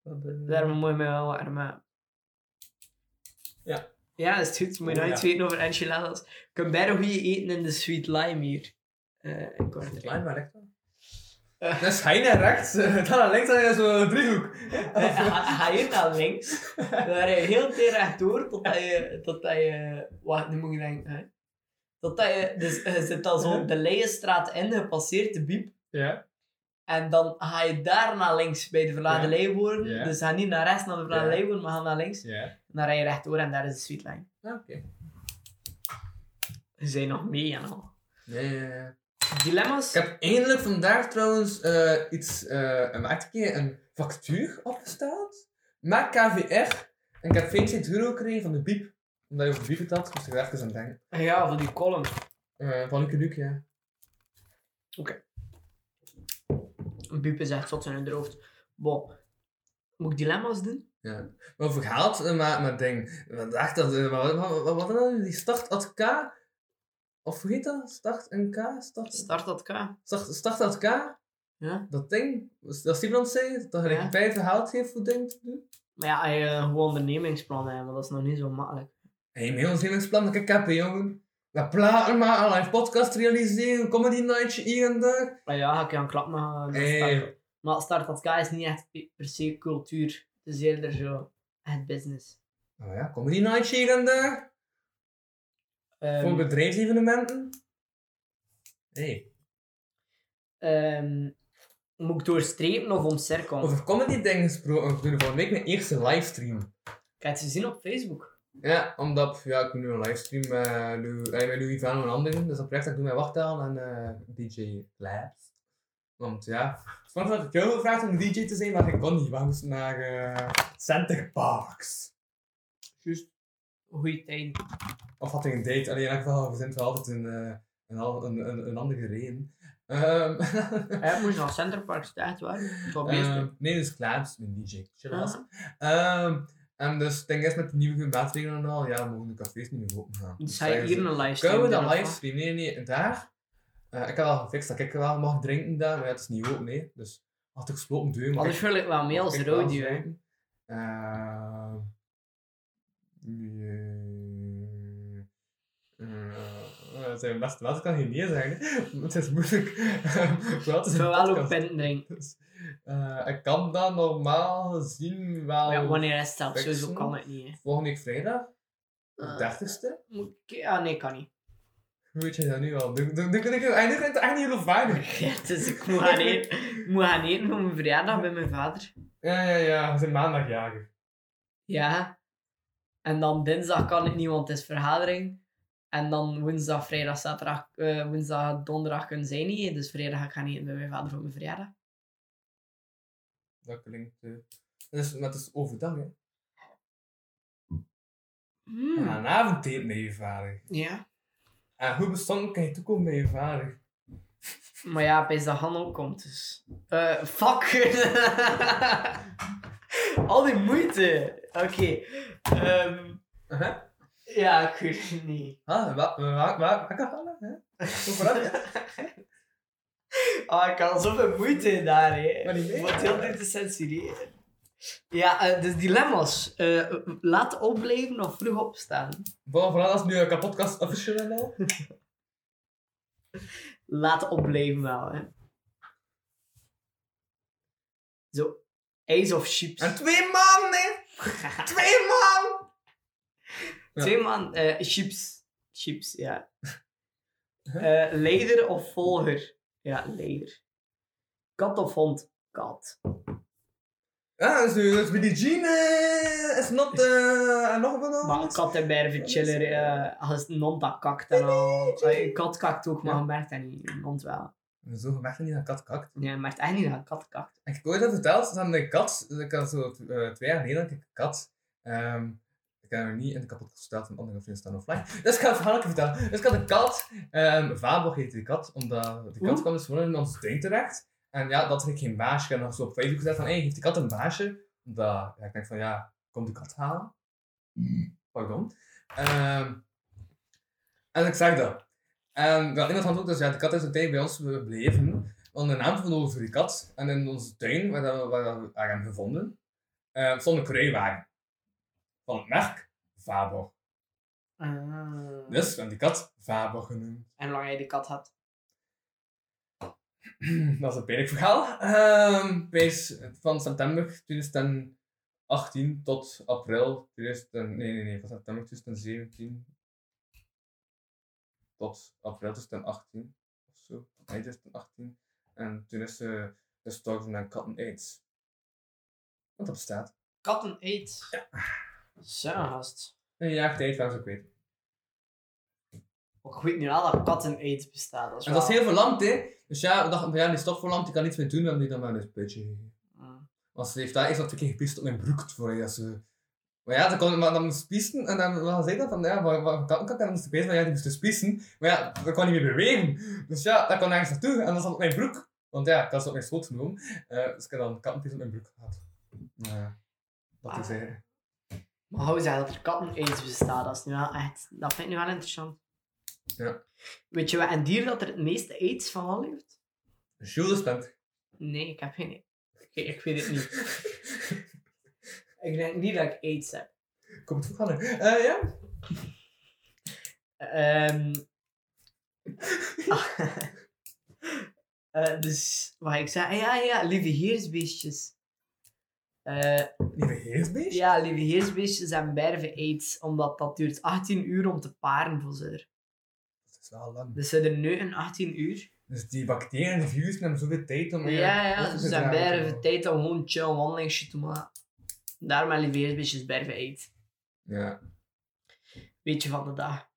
[SPEAKER 4] Want, eh,
[SPEAKER 3] Daarom moet je mij wel warm maken.
[SPEAKER 4] Ja.
[SPEAKER 3] Ja, dat is goed. Moet je
[SPEAKER 4] Oh,
[SPEAKER 3] nooit
[SPEAKER 4] ja.
[SPEAKER 3] weten over enchiladas. Je kunt bijna goed eten in de Sweet Lime hier. Eh in
[SPEAKER 4] Het
[SPEAKER 3] Kortrijk. [LAUGHS]
[SPEAKER 4] lijn maar recht dan. Dat is hij naar [LAUGHS] rechts, eh, dan naar links, dan is zo'n driehoek.
[SPEAKER 3] Eh, Ga ga je naar links, dan rij je heel teer rechtdoor totdat je, totdat je... Wacht, nu moet ik denken. Hè? Totdat je... Dus je zit al zo de Leienstraat in, je passeert de biep.
[SPEAKER 12] Ja.
[SPEAKER 3] En dan ga je daar naar links bij de Verladen
[SPEAKER 12] Ja.
[SPEAKER 3] Leeuwarden.
[SPEAKER 12] Ja.
[SPEAKER 3] Dus ga niet naar rechts naar de Verladen
[SPEAKER 12] Ja.
[SPEAKER 3] Leeuwarden, maar ga naar links.
[SPEAKER 12] Ja.
[SPEAKER 3] Dan rij je rechtdoor en daar is de Sweet Lime.
[SPEAKER 4] Ah, Oké.
[SPEAKER 3] Ze zijn nog mee en al.
[SPEAKER 4] Ja, ja, ja.
[SPEAKER 3] Dilemma's?
[SPEAKER 4] Ik heb eindelijk vandaag trouwens eh, iets, eh, een maatje, een factuur opgesteld. Met KVR. En ik heb 25 euro gekregen van de biep. Omdat je over biep betaalt, moest ik er even aan denken.
[SPEAKER 3] Ja, van die column.
[SPEAKER 4] Eh, van Luke Luke, ja.
[SPEAKER 3] Buup is echt zot in hun hoofd. Bon. Moet ik dilemma's doen?
[SPEAKER 4] Maar over geld, eh, maar, maar ding. Vandaag dat, eh, maar wat, wat, wat, wat dan? Die start at K. Of hoe heet dat? Start en K? Start,
[SPEAKER 3] Start dat K.
[SPEAKER 4] start, start at K.
[SPEAKER 3] Ja.
[SPEAKER 4] Dat ding. Dat iemand zei, dat
[SPEAKER 3] Ja.
[SPEAKER 4] ik vijf geld heeft voor ding te doen.
[SPEAKER 3] Maar ja, je eh, gewoon ondernemingsplan hebben, dat is nog niet zo makkelijk.
[SPEAKER 4] Hé, hey, mijn ondernemingsplan dat ik heb, hè, jongen. Dat platen maken, een live podcast realiseren, comedy nightje hier en daar.
[SPEAKER 3] Maar ja, ik kan klappen. Maar,
[SPEAKER 4] Hey.
[SPEAKER 3] maar start dat K is niet echt pe- per se cultuur. Het is eerder zo het business.
[SPEAKER 4] Oh ja, comedy nightje hier en daar.
[SPEAKER 3] Ehm,
[SPEAKER 4] Voor bedrijfsevenementen. Hé, hey.
[SPEAKER 3] ehm, moet ik doorstrepen of omcirkelen?
[SPEAKER 4] over comedy dingen gesproken. Ik doe volgende week mijn eerste livestream.
[SPEAKER 3] Ik heb het gezien op Facebook.
[SPEAKER 4] Ja, omdat ja, ik doe nu een livestream met Louis, eh, met Louis Vano en anderen. Dus dat project dat ik doe met Wachtaal en eh, DJ Labs. Want ja, soms had ik jou gevraagd om DJ te zijn, maar ik kon niet. We moesten naar eh Center Parks.
[SPEAKER 3] Goeie tijd.
[SPEAKER 4] Of had ik een date? Alleen in elk geval verzint wel altijd een, eh, een, al- een, een, een andere reden. Ehm, [LAUGHS]
[SPEAKER 3] Eh, Ik moest naar Centerpark staan, echt waar. Ik was bezig.
[SPEAKER 4] ehm, nee, dus Klaas, mijn DJ. Chillas.
[SPEAKER 3] Ah.
[SPEAKER 4] Ehm, en dus, het ding is met de nieuwe maatregelen en al, ja, mogen de cafés niet meer open gaan.
[SPEAKER 3] Dus ga je
[SPEAKER 4] zeggen
[SPEAKER 3] hier
[SPEAKER 4] ze,
[SPEAKER 3] een livestream
[SPEAKER 4] Kunnen we
[SPEAKER 3] doen, of
[SPEAKER 4] dat
[SPEAKER 3] wat?
[SPEAKER 4] livestream? Nee, nee, daar. Eh, ik heb al gefixt dat ik wel mag drinken daar, maar ja, het is niet open, nee. Dus had ik gesloten deur, maar
[SPEAKER 3] Anders wil ik wel mee als
[SPEAKER 4] Ik
[SPEAKER 3] rodeo.
[SPEAKER 4] wel
[SPEAKER 3] hè.
[SPEAKER 4] zeggen, eh, je- eh, dat zijn best wel, ik kan hier niet zeggen. [LAUGHS] want Het is moeilijk. [LAUGHS] Wel, het
[SPEAKER 3] Ik
[SPEAKER 4] is [LAUGHS]
[SPEAKER 3] wil
[SPEAKER 4] een
[SPEAKER 3] wel ook
[SPEAKER 4] podcast.
[SPEAKER 3] pinten drinken.
[SPEAKER 4] Dus, eh, ik kan dat normaal gezien wel
[SPEAKER 3] Ja, wanneer is dat?
[SPEAKER 4] fixen.
[SPEAKER 3] Sowieso kan het niet. Hè.
[SPEAKER 4] volgende week vrijdag, de
[SPEAKER 3] Eh.
[SPEAKER 4] 30ste.
[SPEAKER 3] Moet ik- Ah, nee, kan niet. [LAUGHS]
[SPEAKER 4] Hoe weet je dat nu al? Nu nu- nu- nu- nu- nu- nu- nu- nu- nu- nu- nu- nu- het echt niet geloofwaardig.
[SPEAKER 3] Ja, dus ik moet gaan eten, ik moet gaan eten voor mijn verjaardag bij mijn vader.
[SPEAKER 4] Ja, ja, ja, we zijn maandagjager.
[SPEAKER 3] Ja. En dan dinsdag kan het niet, want het is vergadering. En dan woensdag, vrijdag, zaterdag, eh, woensdag, donderdag kunnen zij niet. Dus vrijdag ga ik gaan eten bij mijn vader voor mijn verjaardag.
[SPEAKER 4] Dat klinkt. eh, dat is, maar het is overdag, hè?
[SPEAKER 3] Hmm.
[SPEAKER 4] Aan avondeten met je vader.
[SPEAKER 3] Ja.
[SPEAKER 4] En hoe bestond kan je toekomen bij je vader?
[SPEAKER 3] Maar ja, bij dat Han ook komt, dus... Eh, fuck! [LAUGHS] Al die moeite! Oké. ehm,
[SPEAKER 4] Aha.
[SPEAKER 3] Ja, ik weet het niet. [LAUGHS]
[SPEAKER 4] Ah, waar waar waar kan gaan hè? Zo vooruit.
[SPEAKER 3] Ah, ik had zoveel moeite in daar, hè.
[SPEAKER 4] Maar niet mee.
[SPEAKER 3] Wat heel dit te censureren. Ja, eh, dus dilemma's. Eh, laat opblijven of vroeg opstaan.
[SPEAKER 4] Voilà, voilà, dat is nu een kapotkast official en al.
[SPEAKER 3] Laat opblijven wel, hè. Zo. Ace of chips.
[SPEAKER 4] En twee man, hè? Twee man! ja.
[SPEAKER 3] Twee man. eh, chips. Chips, ja. Eh leider of volger? Ja, leider. Kat of hond? Kat.
[SPEAKER 4] Ja, dus, nu- dus Billie Jean eh, is not... eh, en nog wat
[SPEAKER 3] Maar
[SPEAKER 4] anders?
[SPEAKER 3] kat en berven chiller. eh, als een hond dat kakt en al. Eh, Een kat kakt ook, maar
[SPEAKER 4] Ja.
[SPEAKER 3] je merkt dat niet. Een hond wel.
[SPEAKER 4] Zo gemerkt niet dat een kat kakt.
[SPEAKER 3] Nee, je merkt echt niet dat een kat kakt.
[SPEAKER 4] Ik heb ooit dat verteld, dat een kat, ik had zo eh, twee jaar geleden had ik een kat. Ehm, ik heb hem niet in de kapotkast verteld, want andere vrienden staan offline. Dus ik ga het verhaal even vertellen. Dus ik had een kat, ehm Fabo heette die kat, omdat die kat
[SPEAKER 3] Oeh.
[SPEAKER 4] kwam dus gewoon in ons tuin terecht. En ja, dat had ik geen baasje. Ik heb nog zo op Facebook gezet van, hé, hey, heeft die kat een baasje? Omdat, ja, ik denk van, ja, kom de kat halen. Pardon. Ehm, en ik zag dat. En ja, iemand had ook, dus ja, de kat is een tijd bij ons gebleven. Want de naam van onze die kat, en in onze tuin, waar, dat we, waar dat we haar hebben gevonden, eh, stond een kruiwagen. Van het merk Faber. Dus we hebben die kat Faber genoemd.
[SPEAKER 3] En hoe lang jij die kat had?
[SPEAKER 4] [CLEARS THROAT] dat is een pijnlijk verhaal. Ehm wees van september 2018 tot april 2000, nee, nee, nee, van september 2017 tot april 2018 of zo, mei 2018. En toen is eh, ze gestorven aan cat and AIDS. Want dat bestaat.
[SPEAKER 3] Katten eet. Ja. Zo, gast.
[SPEAKER 4] Een jaar tijd waren ze kwijt.
[SPEAKER 3] Maar Ik weet niet al dat katten eet bestaat. Dat is
[SPEAKER 4] En dat is
[SPEAKER 3] wel-
[SPEAKER 4] heel verlamd, hè? Dus ja, we dachten, van, ja, die stof verlamd, die kan niets meer doen, dan die dan maar een beetje.
[SPEAKER 3] Mm.
[SPEAKER 4] Want ze heeft daar eerst wat twee keer gepiest op mijn broek voor je. Ze... Maar ja, dan, kon, maar dan moest ze piesten en dan was hij dat van ja, waar, waar kan ik dat? En dan moest ik weten van ja, die moest dus piesten. Maar ja, dat kon niet meer bewegen. Dus ja, dat kon nergens naartoe en dat zat op mijn broek. Want ja, dat is op mijn schoot genomen. Eh, dus ik heb dan kattenpies op mijn broek gehad. Nou ja, dat
[SPEAKER 3] Ah.
[SPEAKER 4] is eigenlijk.
[SPEAKER 3] Maar hou zeggen dat er katten eens bestaat, dat, is nu wel echt, dat vind ik nu wel interessant.
[SPEAKER 4] Ja.
[SPEAKER 3] Weet je wat een dier dat er het meeste aids van al heeft?
[SPEAKER 4] Jules [LAUGHS] bent.
[SPEAKER 3] Nee, ik heb geen [LAUGHS] idee. Ik, ik weet het niet. ik denk niet dat ik aids heb.
[SPEAKER 4] Kom het voor gaan. Eh ja?
[SPEAKER 3] Ehm [LAUGHS] ah. Eh, dus wat ik zei, ah, ja, ja, lieve heersbeestjes. Eh,
[SPEAKER 4] Lieve heersbeest?
[SPEAKER 3] ja, lieve heersbeestjes en berven aids, omdat dat duurt 18 uur om te paren voor ze er.
[SPEAKER 4] Dat is wel lang.
[SPEAKER 3] Dus ze er nu in 18 uur.
[SPEAKER 4] Dus die bacteriën en die virussen hebben zoveel tijd om weer
[SPEAKER 3] Ja, ja,
[SPEAKER 4] over te
[SPEAKER 3] dus dan
[SPEAKER 4] dragen.
[SPEAKER 3] berven tijd om gewoon chill een wandelingetje te maken. Daarom mijn beestjes berven eet.
[SPEAKER 4] Ja.
[SPEAKER 3] Beetje van de dag.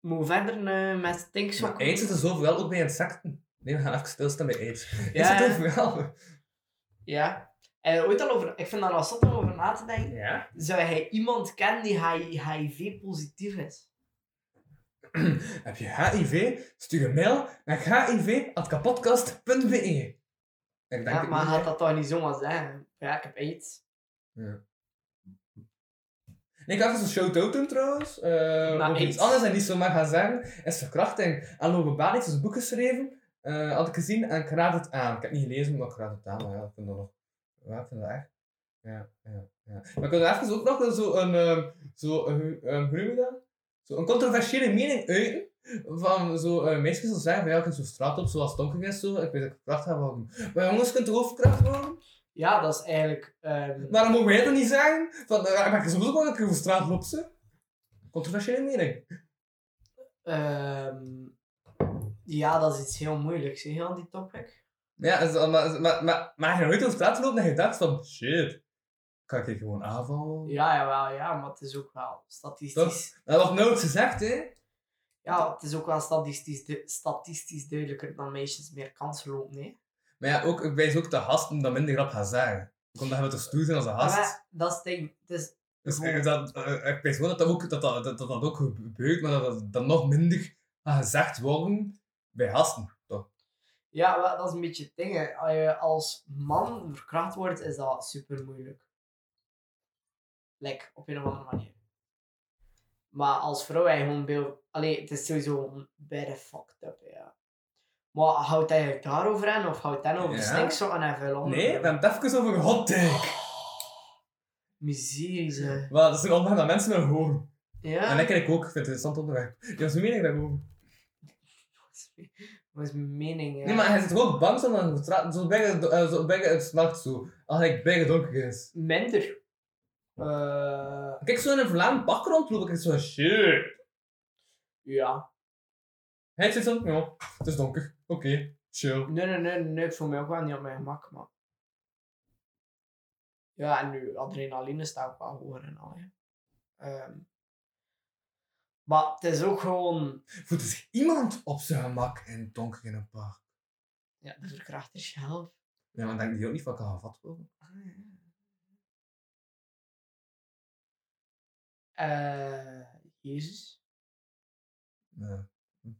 [SPEAKER 3] Moet we verder eh, met
[SPEAKER 4] Maar
[SPEAKER 3] Tinksok?
[SPEAKER 4] aids is er zoveel ook bij insecten. Nee, we gaan even stilstaan bij aids.
[SPEAKER 3] Ja.
[SPEAKER 4] Is het overal?
[SPEAKER 3] Ja. En er ooit al over, ik vind daar wel zot om over na te denken.
[SPEAKER 4] Ja. [CLEARS THROAT]
[SPEAKER 3] Zou hij iemand kennen die HIV-positief is?
[SPEAKER 4] Heb je HIV? Stuur een mail naar hiv.kapotkast.be Ik denk
[SPEAKER 3] Ja,
[SPEAKER 4] het
[SPEAKER 3] maar
[SPEAKER 4] niet,
[SPEAKER 3] gaat
[SPEAKER 4] hè.
[SPEAKER 3] dat toch niet zomaar zeggen? Ja, ik heb aids.
[SPEAKER 4] Ik had even een show doen trouwens. eh,
[SPEAKER 3] Maar
[SPEAKER 4] over iets
[SPEAKER 3] aids.
[SPEAKER 4] anders en niet zomaar gaan zeggen. Is verkrachting. En Logan Baal heeft dus een boek geschreven. eh, had ik gezien en ik raad het aan. Ik heb het niet gelezen, maar ik raad het aan. Maar ja, ik vind dat nog... Ja, ik vind dat echt... Ja, ja, ja. Maar ik wil even ook nog zo een... ehm, zo, eh, ehm, hoe noem je dat? Zo een controversiële mening uiten. Van zo eh, meisjes die zeggen van ja, je kunt zo straat op zoals het donker is. Zo. Ik weet dat ik kracht ga worden. Maar jongens, je kunt toch ook verkracht worden?
[SPEAKER 3] Ja, dat is eigenlijk... ehm,
[SPEAKER 4] Waarom mogen wij dat niet zeggen? Van, eh, maar ik sowieso wel een keer over straat lopen, ze. Controversiële mening.
[SPEAKER 3] ehm, ja, dat is iets heel moeilijks, hè, heel die topic.
[SPEAKER 4] Ja, is, maar, maar, maar, maar, maar je nooit over straat loopt en je dacht van, shit, kan ik hier gewoon aanvallen?
[SPEAKER 3] Ja, jawel, ja, maar het is ook wel statistisch...
[SPEAKER 4] Dat wordt nooit gezegd, hè?
[SPEAKER 3] Ja, het is ook wel statistisch, du- statistisch duidelijker dat meisjes meer kans lopen. Hè.
[SPEAKER 4] Maar ja, ook, ik wijs ook de gasten dat minder grap gaan zeggen. Ik omdat je te stoer zijn als een gast.
[SPEAKER 3] Maar dat is het ding. Het is,
[SPEAKER 4] dus
[SPEAKER 3] gewoon-
[SPEAKER 4] ik, dat, eh, ik weet gewoon dat dat ook, dat, dat, dat, dat ook gebeurt, maar dat dat, dat nog minder gaat gezegd worden bij gasten, toch?
[SPEAKER 3] Ja, wel, dat is een beetje het ding. hè. Als je als man verkracht wordt, is dat super moeilijk. Like, op een of andere manier. Maar als vrouw heb je gewoon beeld... Allee, het is sowieso een beetje fucked up, ja. Maar houdt hij het daarover aan? Of houdt hij over
[SPEAKER 4] Ja.
[SPEAKER 3] stinkzorgen en veel andere
[SPEAKER 4] Nee, we hebben het even over een hot take.
[SPEAKER 3] Miserie, zeg.
[SPEAKER 4] Wel, dat is een onderwerp dat mensen willen horen. En
[SPEAKER 3] Ja.
[SPEAKER 4] dat ken ik ook, ik vind het een interessant onderwerp. Ja, zo meen ik daarover.
[SPEAKER 3] [LAUGHS] Wat is mijn mening, ja.
[SPEAKER 4] Nee, maar hij zit gewoon bang zo aan de straat. Zo bij het, eh, zo bij het nacht zo. Als hij bij het donker is.
[SPEAKER 3] Minder. Eh,
[SPEAKER 4] Kijk, zo in een Vlaam pak rondloop ik zo shit.
[SPEAKER 3] ja.
[SPEAKER 4] Hij zit zo, ja, het is donker. Oké, chill.
[SPEAKER 3] Nee, nee, nee, nee, ik voel me ook wel niet op mijn gemak, maar... Ja, en nu, adrenaline staat ook wel hoger en al, hè. Ehm, maar het is ook gewoon...
[SPEAKER 4] Voelt zich iemand op zijn gemak in het donker in een park?
[SPEAKER 3] Ja, de verkrachter zelf.
[SPEAKER 4] Ja, maar denk die ook niet van kan gevat worden?
[SPEAKER 3] Eh, Jezus.
[SPEAKER 4] Nee.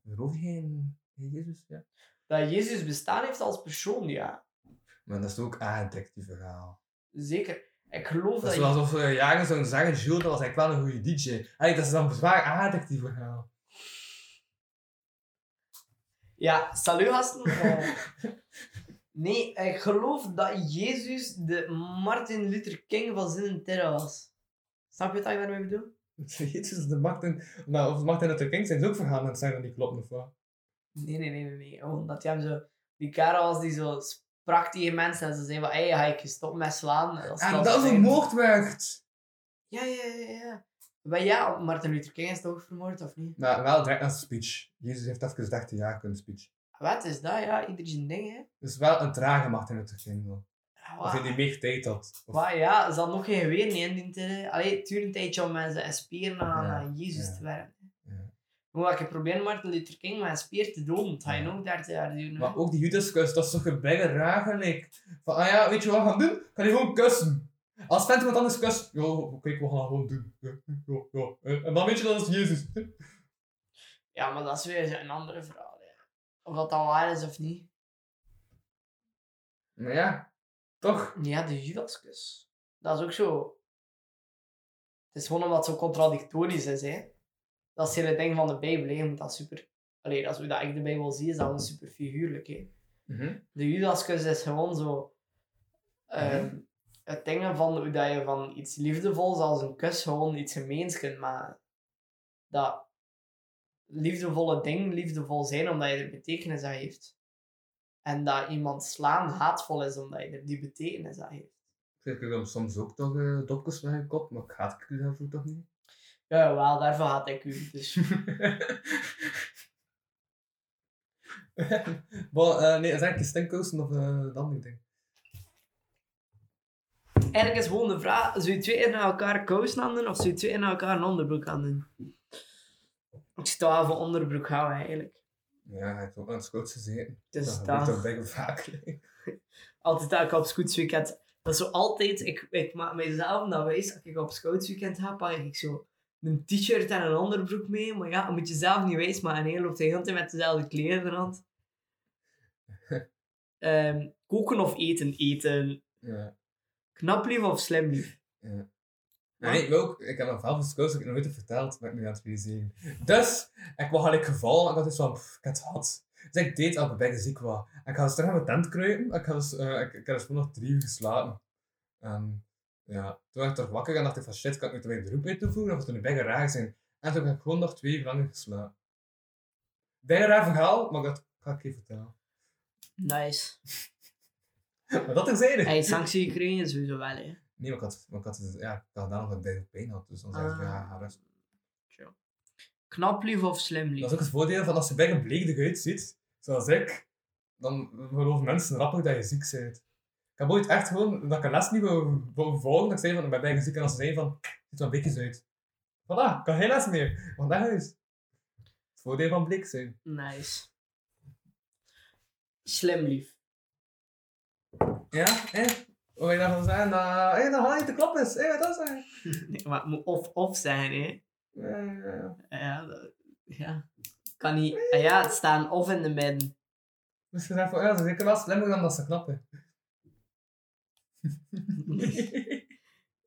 [SPEAKER 4] Geloof je in in Jezus? Ja.
[SPEAKER 3] Dat Jezus bestaan heeft als persoon, ja.
[SPEAKER 4] Maar dat is ook aangetikt, die verhaal.
[SPEAKER 3] Zeker. Ik geloof
[SPEAKER 4] Dat
[SPEAKER 3] dat...
[SPEAKER 4] is wel alsof we jaren zouden zeggen, Jules, dat was eigenlijk wel een goede DJ. Allee, dat is dan zwaar aangetikt, die verhaal.
[SPEAKER 3] Ja, salut gasten. Eh, nee, ik geloof dat Jezus de Martin Luther King van zijn terra was. Snap je wat ik daarmee bedoel?
[SPEAKER 4] Jezus, de Martin, nou, of Martin Luther King zijn ze ook verhalen aan het zijn dat die kloppen of wat?
[SPEAKER 3] Nee, nee, nee, nee. nee. Gewoon dat hij hem zo... Die kerel was die zo sprak tegen mensen en ze zei van... Hé, hey, ga ik je stoppen met slaan?
[SPEAKER 4] En dat is een moordwerkt!
[SPEAKER 3] Ja, ja, ja, ja. Maar ja, Martin Luther King is toch ook vermoord, of niet?
[SPEAKER 4] Maar wel direct na zijn speech. Jezus heeft even 13 jaar kunnen speech.
[SPEAKER 3] Wat is dat? Ja, ieder zijn ding, hè.
[SPEAKER 4] Dus wel een trage Martin Luther King. wel. Of hij
[SPEAKER 3] Wa-
[SPEAKER 4] die meer tijd had. Of-
[SPEAKER 3] Maar ja, ze had nog geen geweer niet in die tijd. hè. Allee, het duurde een tijdje om mensen en spieren aan,
[SPEAKER 4] Ja,
[SPEAKER 3] aan Jezus
[SPEAKER 4] ja,
[SPEAKER 3] te werken.
[SPEAKER 4] ja.
[SPEAKER 3] Hoe ga ik probeer Martin Luther King met een speer te doden? Dat ga je nog 30 jaar doen. hè.
[SPEAKER 4] Maar ook die Judaskus, dat is toch een bijna raar gelijk. Van, ah ja, weet je wat we gaan doen? Ik Ga die gewoon kussen. Als Fenton iemand anders kust, joh, kijk, we gaan dat gewoon doen. Ja, ja, ja. En dan weet je dat is Jezus.
[SPEAKER 3] Ja, maar dat is weer een andere verhaal. hè. Of dat dat waar is of niet.
[SPEAKER 4] Maar ja, toch.
[SPEAKER 3] Ja, de Judaskus. Dat is ook zo. Het is gewoon omdat het zo contradictorisch is. Hè. Dat is het hele ding van de Bijbel. hè. Je moet dat super... Allee, als we dat ik de Bijbel zie, is dat gewoon super figuurlijk. Hè.
[SPEAKER 4] Mhm.
[SPEAKER 3] de Judaskus is gewoon zo. ehm, Het ding van hoe dat je van iets liefdevols als een kus gewoon iets gemeens kunt maken. Dat liefdevolle ding liefdevol zijn omdat je er betekenis aan heeft. En dat iemand slaan haatvol is omdat je er die betekenis aan heeft.
[SPEAKER 4] Ik heb soms ook toch eh, dopjes met je kop, maar ik haat ik daarvoor toch niet?
[SPEAKER 3] Ja, wel, daarvoor had ik u. [LAUGHS] Dus.
[SPEAKER 4] [LAUGHS] Wel, eh, nee, het is eigenlijk stinkkozen of eh dat andere ding.
[SPEAKER 3] Eigenlijk is gewoon de vraag: zou je twee in elkaar kousen aan doen of zou je twee in elkaar een onderbroek aan doen? Ik sta wel voor onderbroek houden eigenlijk.
[SPEAKER 4] Ja, hij heeft ook aan het schoot gezeten.
[SPEAKER 3] Dus
[SPEAKER 4] dat
[SPEAKER 3] dat-
[SPEAKER 4] gebeurt toch bijna vaak. [LAUGHS]
[SPEAKER 3] altijd dat ik op scoutsweekend... Dat is zo altijd... Ik, ik maak mijzelf dat wijs. Als ik op scoutsweekend ga, pak ik zo een t-shirt en een onderbroek mee. Maar ja, dat moet je zelf niet wijs maken. En je loopt de hele tijd met dezelfde kleren in de
[SPEAKER 4] [LAUGHS]
[SPEAKER 3] hand. Ehm, koken of eten? Eten.
[SPEAKER 4] Ja.
[SPEAKER 3] Knap lief of slim lief?
[SPEAKER 4] Nee, ik ook. Ik heb nog wel van schoot, ik heb nooit verteld, maar ik ben nu aan het realiseren. Dus, ik was gelijk gevallen en ik had dus van, pff, ik heb het gehad. Dus ik deed al bij ziek was. En ik ga dus terug naar mijn tent kruipen. en Ik, had dus, eh, ik, ik heb dus gewoon nog drie uur geslapen. En ja, toen werd ik toch wakker en dacht ik van shit, kan ik nu toch mijn beroep bij toevoegen? Of het een bijna raar zijn. En toen heb ik gewoon nog twee uur langer geslapen. Bijna raar verhaal, maar dat ga ik je vertellen.
[SPEAKER 3] Nice.
[SPEAKER 4] Maar dat is eigenlijk.
[SPEAKER 3] Hey, sanctie gekregen sowieso wel, hè.
[SPEAKER 4] Nee, maar ik had, maar ik had, dus- ja, ik had daar nog een bijna pijn had. Dus dan zei ik van, ja,
[SPEAKER 3] Ah.
[SPEAKER 4] ga rust.
[SPEAKER 3] Knap lief of slim lief?
[SPEAKER 4] Dat is ook het voordeel van als je bij een bleek eruit ziet, zoals ik, dan geloven mensen rapper dat je ziek bent. Ik heb ooit echt gewoon, dat ik een les niet wou, wou volgen, dat ik zei van, ik ben bijna ziek, en als ze zeiden van, ziet wel blikjes uit. Voilà, ik kan geen les meer, want naar huis. Het voordeel van blik zijn.
[SPEAKER 3] Nice. Slim lief.
[SPEAKER 4] Ja, hè? Wat wil je daarvan zeggen? Dat, hé, dat Hanna niet te klap is. Hé, wat dat zeggen?
[SPEAKER 3] Nee, maar het moet of-of zijn, hè.
[SPEAKER 4] Eh,
[SPEAKER 3] Nou Ja, dat- ja. Kan niet. ah ja, het staan of in de midden.
[SPEAKER 4] Dus ze zijn van, ja, ze zeker wel slimmer dan dat ze knappen.
[SPEAKER 3] [LAUGHS]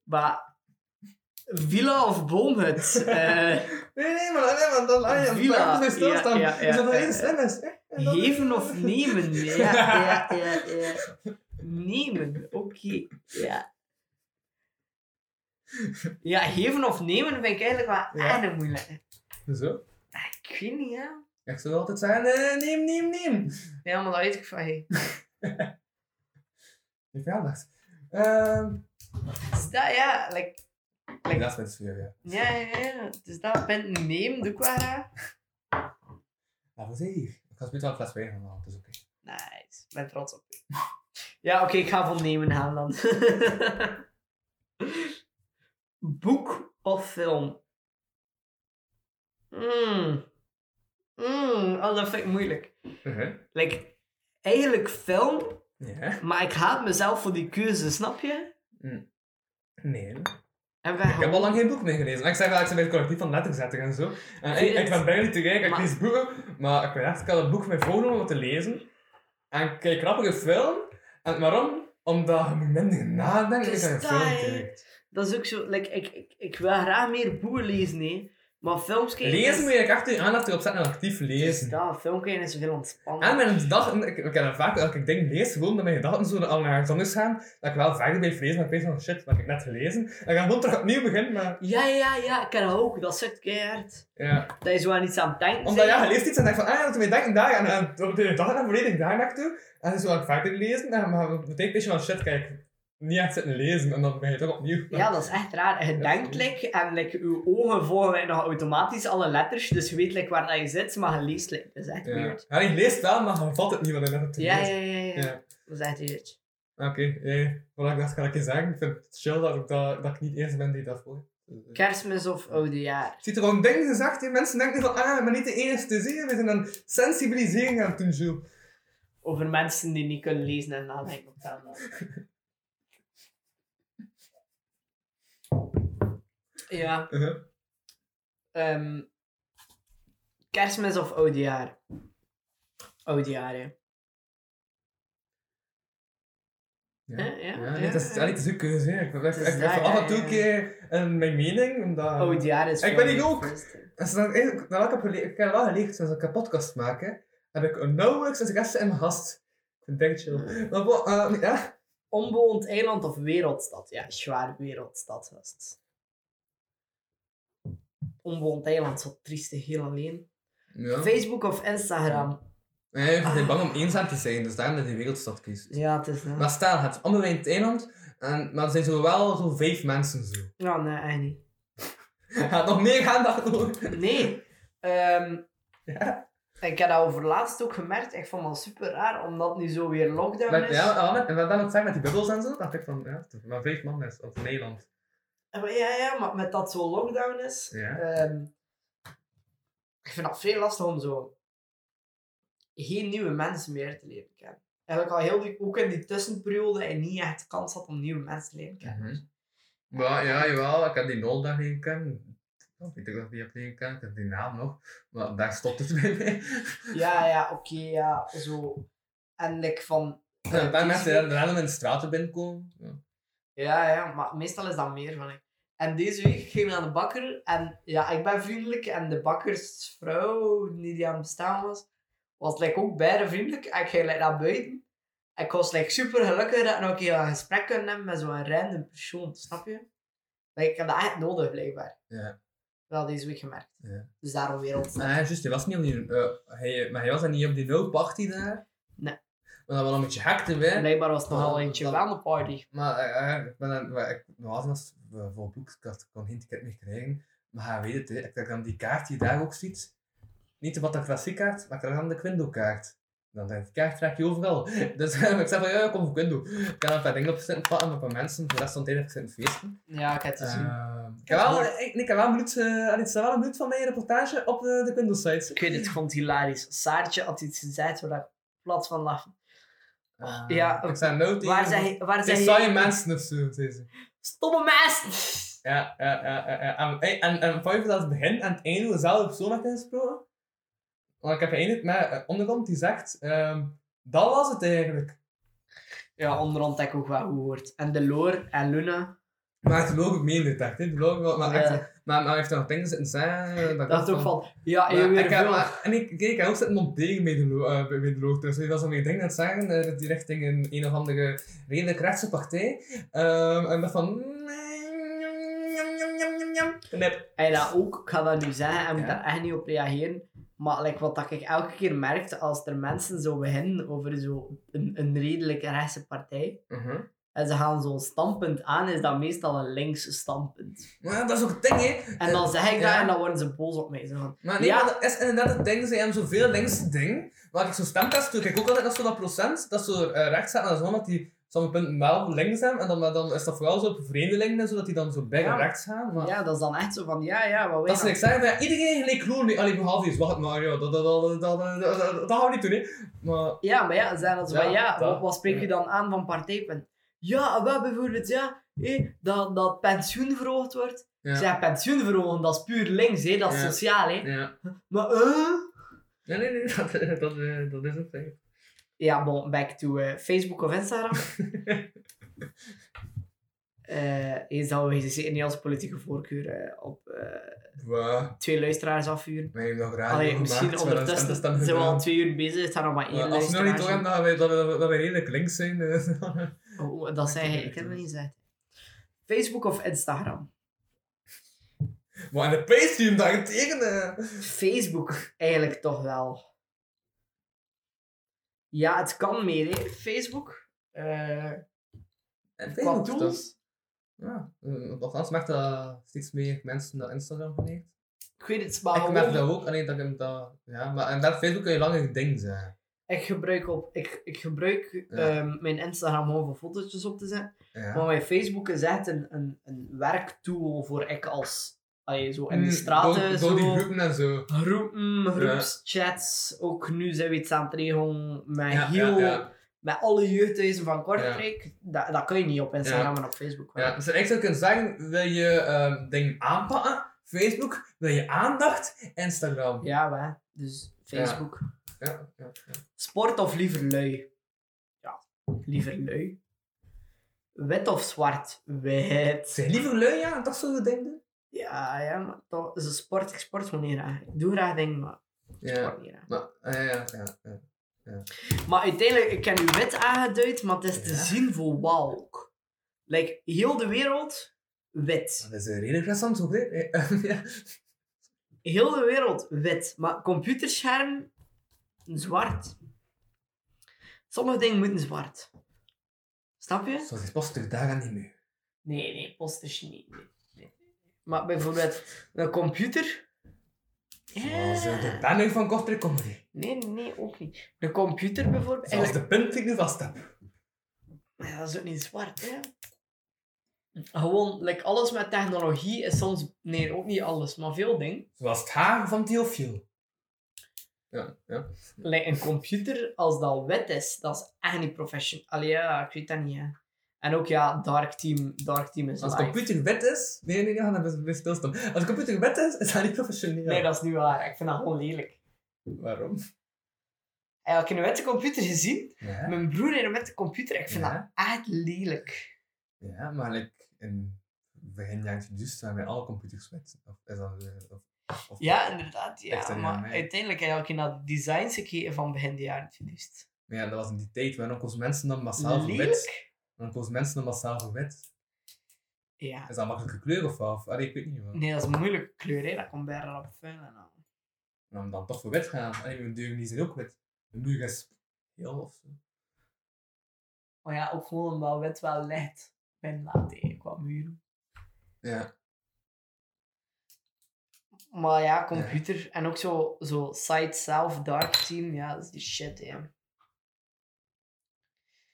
[SPEAKER 3] Maar villa of boomhut? Eh,
[SPEAKER 4] Nee, nee, maar, nee, maar dan ah, ja,
[SPEAKER 3] Villa,
[SPEAKER 4] Villa. bij stilstaan.
[SPEAKER 3] ja, ja, ja,
[SPEAKER 4] dus
[SPEAKER 3] ja,
[SPEAKER 4] dat dat heel
[SPEAKER 3] ja.
[SPEAKER 4] slim is. hè? En dan-
[SPEAKER 3] geven of nemen? Ja, ja, ja, ja. Nemen, oké. Ja. Ja, geven of nemen vind ik eigenlijk wel
[SPEAKER 4] Ja.
[SPEAKER 3] erg moeilijk.
[SPEAKER 4] Zo.
[SPEAKER 3] Ik weet niet, ja.
[SPEAKER 4] Ik zou altijd zeggen, eh, neem, neem, neem.
[SPEAKER 3] Ja, maar dat weet ik van hey.
[SPEAKER 4] Je verjaardags. Ehm,
[SPEAKER 3] Dus dat, ja, like, Kijk.
[SPEAKER 4] dat is mijn sfeer, ja.
[SPEAKER 3] ja, ja, ja. Dus dat bent nemen, doe ik wel graag.
[SPEAKER 4] Nou, wat zeg je? Ik ga spelen een fles wijn gaan halen, dat is oké.
[SPEAKER 3] Nice, ik ben trots op je. [LAUGHS] Ja, oké, ik ga van nemen gaan dan. [LAUGHS] Boek of film? Mm. Mm, oh, dat vind ik moeilijk. Like, eigenlijk film,
[SPEAKER 4] Ja?
[SPEAKER 3] maar ik haat mezelf voor die keuze, snap je?
[SPEAKER 4] Nee.
[SPEAKER 3] En we
[SPEAKER 4] Ik heb al lang geen boek meer gelezen. Ik zeg wel, ik ben bij het collectief van letterzetten en zo. En
[SPEAKER 3] Vind
[SPEAKER 4] ik,
[SPEAKER 3] je
[SPEAKER 4] ik ben bijna niet te kijken, ik
[SPEAKER 3] Maar-
[SPEAKER 4] lees boeken. Maar ik ben echt, ik had het boek mij voorgenomen om te lezen. En ik kijk grappige film. En waarom? Omdat je moet minder nadenken als je een
[SPEAKER 3] Dus
[SPEAKER 4] film
[SPEAKER 3] dat-
[SPEAKER 4] kijkt.
[SPEAKER 3] Dat is ook zo, like, ik, ik, ik wil graag meer boeken lezen, hè. Maar films kijken is-
[SPEAKER 4] Lezen moet je eigenlijk echt je aandacht erop zetten en actief
[SPEAKER 3] is
[SPEAKER 4] lezen. Ah,
[SPEAKER 3] dat, film kijken is veel
[SPEAKER 4] En
[SPEAKER 3] ontspannen.
[SPEAKER 4] mijn gedachten, ik, ik heb dat vaak, als ik dingen lees, gewoon dat mijn gedachten zo al naar iets anders gaan, dat ik wel verder blijf lezen, maar ik weet van shit, wat heb ik net gelezen. En dan gewoon terug opnieuw beginnen, maar
[SPEAKER 3] Ja, ja, ja, ik ken dat ook. Dat zit keihard.
[SPEAKER 4] ja.
[SPEAKER 3] Dat je zo aan iets aan het denken
[SPEAKER 4] Omdat
[SPEAKER 3] bent.
[SPEAKER 4] ja, je leest iets en denk van, ah ja, toen denk ik daar, en, en op de dag dan volledig daar naartoe, en dan zo aan het verder lezen, en, maar dat betekent een beetje van shit, kijk, niet echt zitten lezen, en dan begin je toch opnieuw.
[SPEAKER 3] Ja, dat is echt raar. Je
[SPEAKER 4] Ja,
[SPEAKER 3] denkt like, en like, je ogen volgen like, nog automatisch alle letters, dus je weet like, waar dat je zit, maar je leest like. Dat is echt
[SPEAKER 4] ja.
[SPEAKER 3] weird.
[SPEAKER 4] Ja, je leest wel, maar je vat het niet wat je net hebt
[SPEAKER 3] Ja,
[SPEAKER 4] gelezen.
[SPEAKER 3] ja, ja, ja.
[SPEAKER 4] Ja.
[SPEAKER 3] Dat is echt weird.
[SPEAKER 4] Oké, eh, wat ik dacht, ga ik je zeggen, ik vind het chill dat ik, dat, dat ik niet de eerste ben die dat volgt.
[SPEAKER 3] Kerstmis of oudejaar.
[SPEAKER 4] Ziet er gewoon dingen gezegd, hè? mensen denken van, ah, ik ben niet de enige te zien, we zijn aan sensibilisering aan het doen, Jules.
[SPEAKER 3] Over mensen die niet kunnen lezen en nadenken op tanden. [LAUGHS] Ja,
[SPEAKER 4] Uh-huh.
[SPEAKER 3] ehm, kerstmis of oudejaar? Oudejaar, hè. Ja, ja,
[SPEAKER 4] nee,
[SPEAKER 3] ja,
[SPEAKER 4] dat is
[SPEAKER 3] ja.
[SPEAKER 4] ja, niet zo'n keuze, hè. Ik ben echt-
[SPEAKER 3] Dat
[SPEAKER 4] ik
[SPEAKER 3] is
[SPEAKER 4] ben
[SPEAKER 3] daar,
[SPEAKER 4] van af en toe
[SPEAKER 3] ja,
[SPEAKER 4] een keer eh, mijn mening, omdat...
[SPEAKER 3] Oudejaar is
[SPEAKER 4] Ik
[SPEAKER 3] veel
[SPEAKER 4] ben ik
[SPEAKER 3] meer
[SPEAKER 4] ook.
[SPEAKER 3] feest, hè.
[SPEAKER 4] Als ik dan eigenlijk- nadat ik heb gele- ik heb wel geleerd sinds ik een podcast maak, hè, heb ik een nauwelijks als gasten en gast. Ik vind het echt chill. Maar bo- eh, ja,
[SPEAKER 3] Onbewoond eiland of wereldstad? Ja, zwaar wereldstad was het. Onbewoond eiland, zo triestig, heel alleen.
[SPEAKER 4] ja.
[SPEAKER 3] Facebook of Instagram?
[SPEAKER 4] Nee, ik
[SPEAKER 3] Ah.
[SPEAKER 4] ben bang om eenzaam te zijn, dus daarom dat je de wereldstad kiest.
[SPEAKER 3] Ja, het is eh, dat.
[SPEAKER 4] Maar stel, het is allemaal in het eiland, en, maar er zijn zo wel zo vijf mensen zo. [LAUGHS]
[SPEAKER 3] Ja, nee, eigenlijk niet.
[SPEAKER 4] Gaat nog meer gaan daardoor.
[SPEAKER 3] Nee. ehm, Ik heb dat overlaatst ook gemerkt. Ik vond dat super raar, omdat nu zo weer lockdown
[SPEAKER 4] Met,
[SPEAKER 3] is.
[SPEAKER 4] ja, ja, met, en wat dan het zeggen met die bubbels en zo, dacht ik van, ja, maar vijf man is op Nederland.
[SPEAKER 3] Maar ja, ja, maar met dat zo lockdown is...
[SPEAKER 4] Ja.
[SPEAKER 3] ehm, ik vind dat veel lastig om zo... Geen nieuwe mensen meer te leren kennen. Eigenlijk al heel die, ook in die tussenperiode en niet echt de kans had om nieuwe mensen te leren kennen.
[SPEAKER 4] Mhm. Maar ja, jawel, ik heb die nul daar leren kennen. Ik weet ik dat ik die heb leren kennen, ik heb die naam nog. Maar daar stopt het [LAUGHS] bij mij.
[SPEAKER 3] Ja, ja, oké, ja, zo. En like van...
[SPEAKER 4] Een paar mensen die random in de straten binnenkomen. Ja.
[SPEAKER 3] Ja, ja, maar meestal is dat meer van ik. En deze week ging ik naar de bakker en ja, ik ben vriendelijk en de bakkersvrouw die, die aan het bestaan was, was like, ook bijna vriendelijk. En ik ging like, naar buiten. En ik was like, super gelukkig dat ik nog een keer een gesprek kunnen hebben met zo'n random persoon, snap je? Like, ik heb dat echt nodig, blijkbaar.
[SPEAKER 4] Ja.
[SPEAKER 3] Wel deze week gemerkt.
[SPEAKER 4] Ja.
[SPEAKER 3] Dus daarom weer
[SPEAKER 4] Maar
[SPEAKER 3] ontstaan.
[SPEAKER 4] hij, juist, hij was niet op die, eh, hij, maar hij was dan niet op die no party daar.
[SPEAKER 3] Nee.
[SPEAKER 4] Maar dat was een beetje hekte bij.
[SPEAKER 3] Blijkbaar was het nogal
[SPEAKER 4] Ja,
[SPEAKER 3] eentje
[SPEAKER 4] dat-
[SPEAKER 3] wel aan de party.
[SPEAKER 4] Maar eh, eh, ik ben dan, maar ik was als eh, voor boekskast, ik kon geen ticket meer krijgen. Maar hij weet het, hè. ik krijg dan die kaart die je daar ook ziet. Niet de Bataclassie kaart, maar ik krijg dan de Quindo kaart. Dan denk ik, die kaart trek je overal. [LAUGHS] Dus ik zeg van, ja, ja, kom voor Quindo. Ik kan een paar dingen op zitten pakken met een paar mensen, voor de rest van de tijd heb ik zitten feesten.
[SPEAKER 3] Ja, ik heb Eh, het gezien.
[SPEAKER 4] Ehm, ik, heb wel, ik, ik heb wel een minuut, eh, allee, het staat wel een minuut van mijn reportage op eh, de, de Quindo site.
[SPEAKER 3] Ik weet het, ik vond het hilarisch. Saartje had iets gezegd waar ik plat van lag. ja,
[SPEAKER 4] ik zei nou tegen...
[SPEAKER 3] Waar zijn, waar
[SPEAKER 4] Het zijn
[SPEAKER 3] zijn
[SPEAKER 4] saaie mensen of zo, zei ze.
[SPEAKER 3] Stomme mensen!
[SPEAKER 4] Ja, ja, ja, ja, ja. En- En, en, en vond je dat het begin en het einde dezelfde persoon had ingesproken? Want ik heb geëindigd met eh, onderkant die zegt... ehm, Dat was het eigenlijk.
[SPEAKER 3] Ja, onderhand heb ik ook wel goed gehoord. En de lore en Luna.
[SPEAKER 4] Maar het loopt ook mee in de tekst, hè. Het loopt wel, maar, echt,
[SPEAKER 3] eh,
[SPEAKER 4] maar, maar heeft er nog dingen zitten zeggen.
[SPEAKER 3] dat is ook van, ah, ja, je
[SPEAKER 4] Maar
[SPEAKER 3] weer
[SPEAKER 4] ik heb,
[SPEAKER 3] veel.
[SPEAKER 4] maar- en ik, kijk, ik heb ook zitten monteren bij de, lo- eh, bij bij de loog. Dus ik was al mijn ding aan het zeggen, eh, die richting een, een of andere redelijk rechtse partij. Ehm, en dat van... mm, Knip.
[SPEAKER 3] En dat ook, ik ga dat nu zeggen en moet
[SPEAKER 4] Ja.
[SPEAKER 3] daar echt niet op reageren. Maar like, wat dat ik elke keer merkte als er mensen zo beginnen over zo een, een redelijk rechtse partij.
[SPEAKER 4] Mhm.
[SPEAKER 3] En ze gaan zo'n standpunt aan, is dat meestal een links standpunt.
[SPEAKER 4] Maar dat is ook het ding, hè.
[SPEAKER 3] En dan zeg ik
[SPEAKER 4] ja.
[SPEAKER 3] dat en dan worden ze boos op mij. Zo van,
[SPEAKER 4] Maar nee,
[SPEAKER 3] Ja.
[SPEAKER 4] maar dat is inderdaad het ding. Ze hebben zoveel linkse ding. Maar ik zo'n stemtest doe, kijk ook altijd als zo dat procent, dat zo eh, rechts staat en zo, dat die sommige punten wel links hebben. En dan, maar dan is dat vooral zo op vreemdelingen en zo, dat die dan zo bij
[SPEAKER 3] Ja.
[SPEAKER 4] rechts gaan. Maar...
[SPEAKER 3] ja, dat is dan echt zo van, ja, ja, wat
[SPEAKER 4] Dat ze
[SPEAKER 3] weet
[SPEAKER 4] niks zeggen, maar ja, iedereen gelijk groen. Nee, allee, behalve is, wacht maar, ja, dat, dat, dat, dat, dat, dat, dat gaan we niet doen, hè. Maar,
[SPEAKER 3] Ja, maar ja, ze zijn dat zo van,
[SPEAKER 4] Ja,
[SPEAKER 3] ja,
[SPEAKER 4] dat-
[SPEAKER 3] wat, wat spreek je dan aan van partijpunt? Ja, wel bijvoorbeeld, ja, hé, dat, dat pensioen verhoogd wordt.
[SPEAKER 4] ja.
[SPEAKER 3] Ze zeggen pensioen verhogen, dat is puur links, hè, dat is
[SPEAKER 4] Ja.
[SPEAKER 3] sociaal. Hè.
[SPEAKER 4] Ja.
[SPEAKER 3] Maar, eh...
[SPEAKER 4] Nee, nee, [LAUGHS] nee, dat, dat, eh, dat is het ding.
[SPEAKER 3] Ja, bon, back to eh, Facebook of
[SPEAKER 4] [LAUGHS]
[SPEAKER 3] Instagram. Eh eens dat we zeker niet als politieke voorkeur eh, op eh,
[SPEAKER 4] Wauw,
[SPEAKER 3] twee luisteraars afvuren.
[SPEAKER 4] wij hebben nog raar
[SPEAKER 3] Allee, misschien ondertussen zijn we al twee uur bezig, het gaat nog maar één
[SPEAKER 4] Ja, als we nog niet
[SPEAKER 3] luisteraar.
[SPEAKER 4] door hebben, dat wij, dat, wij- dat wij redelijk links zijn. eh. [LAUGHS]
[SPEAKER 3] Oh, dat zei hij, ik heb het niet gezegd. Facebook of Instagram?
[SPEAKER 4] maar in de pace die hem daar
[SPEAKER 3] eh.
[SPEAKER 4] tekenen.
[SPEAKER 3] Facebook eigenlijk toch wel. Ja, het kan meer, hè. Facebook. Eh,
[SPEAKER 4] En
[SPEAKER 3] qua
[SPEAKER 4] Facebook,
[SPEAKER 3] tools.
[SPEAKER 4] dus. Ja, eh, althans merkt dat steeds meer mensen naar Instagram geneigd.
[SPEAKER 3] Ik weet het, maar
[SPEAKER 4] Ik merk
[SPEAKER 3] gewoon-
[SPEAKER 4] dat ook, alleen dat ik hem dat... Ja, maar en dat Facebook kun je langer ding zijn.
[SPEAKER 3] Ik gebruik, op, ik, ik gebruik
[SPEAKER 4] Ja.
[SPEAKER 3] ehm, mijn Instagram gewoon voor fotootjes op te zetten.
[SPEAKER 4] Ja.
[SPEAKER 3] Maar mijn Facebook is echt een, een, een werktool voor ik als... allee, zo in de
[SPEAKER 4] Mm,
[SPEAKER 3] straten,
[SPEAKER 4] door,
[SPEAKER 3] zo...
[SPEAKER 4] door die groepen en zo.
[SPEAKER 3] groepen, groepschats. Ook nu zijn we iets aan het regelen met
[SPEAKER 4] Ja,
[SPEAKER 3] heel...
[SPEAKER 4] ja, ja.
[SPEAKER 3] Met alle jeugdhuizen van Kortrijk. Dat, dat kun je niet op Instagram en op Facebook. wel.
[SPEAKER 4] Ja, dus ik zou kunnen zeggen, wil je ehm dingen aanpakken? Facebook, wil je aandacht? Instagram.
[SPEAKER 3] ja maar, dus Facebook.
[SPEAKER 4] Ja, ja, ja.
[SPEAKER 3] Sport of liever lui? Ja, liever lui. Wit of zwart? Wit.
[SPEAKER 4] Zijn liever lui, ja, dat soort dingen doen?
[SPEAKER 3] Ja, ja, maar toch, ze sport, ik sport gewoon niet graag. Ik doe graag dingen, maar ik
[SPEAKER 4] Ja,
[SPEAKER 3] sport niet graag.
[SPEAKER 4] maar... eh, ja, ja, ja.
[SPEAKER 3] Maar uiteindelijk, ik heb nu wit aangeduid, maar het is te zien voor walk. Like, heel de wereld, wit.
[SPEAKER 4] Dat is een redelijk interessant ook, hè? Eh, [LAUGHS] ja.
[SPEAKER 3] Heel de wereld, wit. Maar computerscherm, zwart. Sommige dingen moeten zwart. Snap je?
[SPEAKER 4] Zoals die poster daar aan die muur.
[SPEAKER 3] Nee, nee, posters niet. Nee, nee. Maar bijvoorbeeld, een computer...
[SPEAKER 4] Zoals eh, de
[SPEAKER 3] Ja.
[SPEAKER 4] banner van Kortrijk Comedy.
[SPEAKER 3] Nee, nee, nee, ook niet. De computer bijvoorbeeld...
[SPEAKER 4] Zoals de punt die ik nu vast heb.
[SPEAKER 3] Ja, dat is ook niet zwart, hè? Gewoon, like, alles met technologie is soms... Nee, ook niet alles, maar veel dingen.
[SPEAKER 4] Zoals het haar van Theofiel. Ja, ja.
[SPEAKER 3] Like, een computer, als dat wit is, dat is echt niet professional. Allee, ja, ik weet dat niet, hè. En ook, ja, Dark Team, Dark Team is
[SPEAKER 4] Als de
[SPEAKER 3] live.
[SPEAKER 4] computer wet is... Nee, nee, nee, dan ben ik stilstaan. Als de computer wet is, is dat niet professioneel.
[SPEAKER 3] Nee, dat is niet waar. Ik vind dat gewoon lelijk.
[SPEAKER 4] Waarom?
[SPEAKER 3] Heb ik heb een witte computer gezien?
[SPEAKER 4] Ja.
[SPEAKER 3] Mijn broer in een witte computer. Ik vind
[SPEAKER 4] Ja.
[SPEAKER 3] dat echt lelijk.
[SPEAKER 4] Ja, maar like in begin jaren 2000 zijn wij alle computers wet. Of is dat... eh, Of, of,
[SPEAKER 3] Ja, inderdaad.
[SPEAKER 4] Echt,
[SPEAKER 3] Ja,
[SPEAKER 4] hè,
[SPEAKER 3] maar
[SPEAKER 4] ja, nee.
[SPEAKER 3] uiteindelijk heb ik in dat design gekeken van begin de jaren 2000.
[SPEAKER 4] Maar ja, dat was in die tijd. Waarom koos mensen dan massaal voor wit?
[SPEAKER 3] Lelijk?
[SPEAKER 4] Waarom koos mensen dan massaal voor wit?
[SPEAKER 3] Ja.
[SPEAKER 4] Is dat makkelijke kleur of wat? Allee, ik weet niet wat.
[SPEAKER 3] Nee, dat is een moeilijke kleur, hè. Dat komt bij rap vuil en al.
[SPEAKER 4] Nou, dan toch voor wit gaan. Allee, mijn deuren die zijn ook wit. Mijn muur is heel of zo.
[SPEAKER 3] Maar ja, ook gewoon omdat wit wel licht ben laat tegen qua muren.
[SPEAKER 4] Ja.
[SPEAKER 3] Maar ja, computer. En ook zo, zo site self, dark team. Ja, dat is die shit, hè.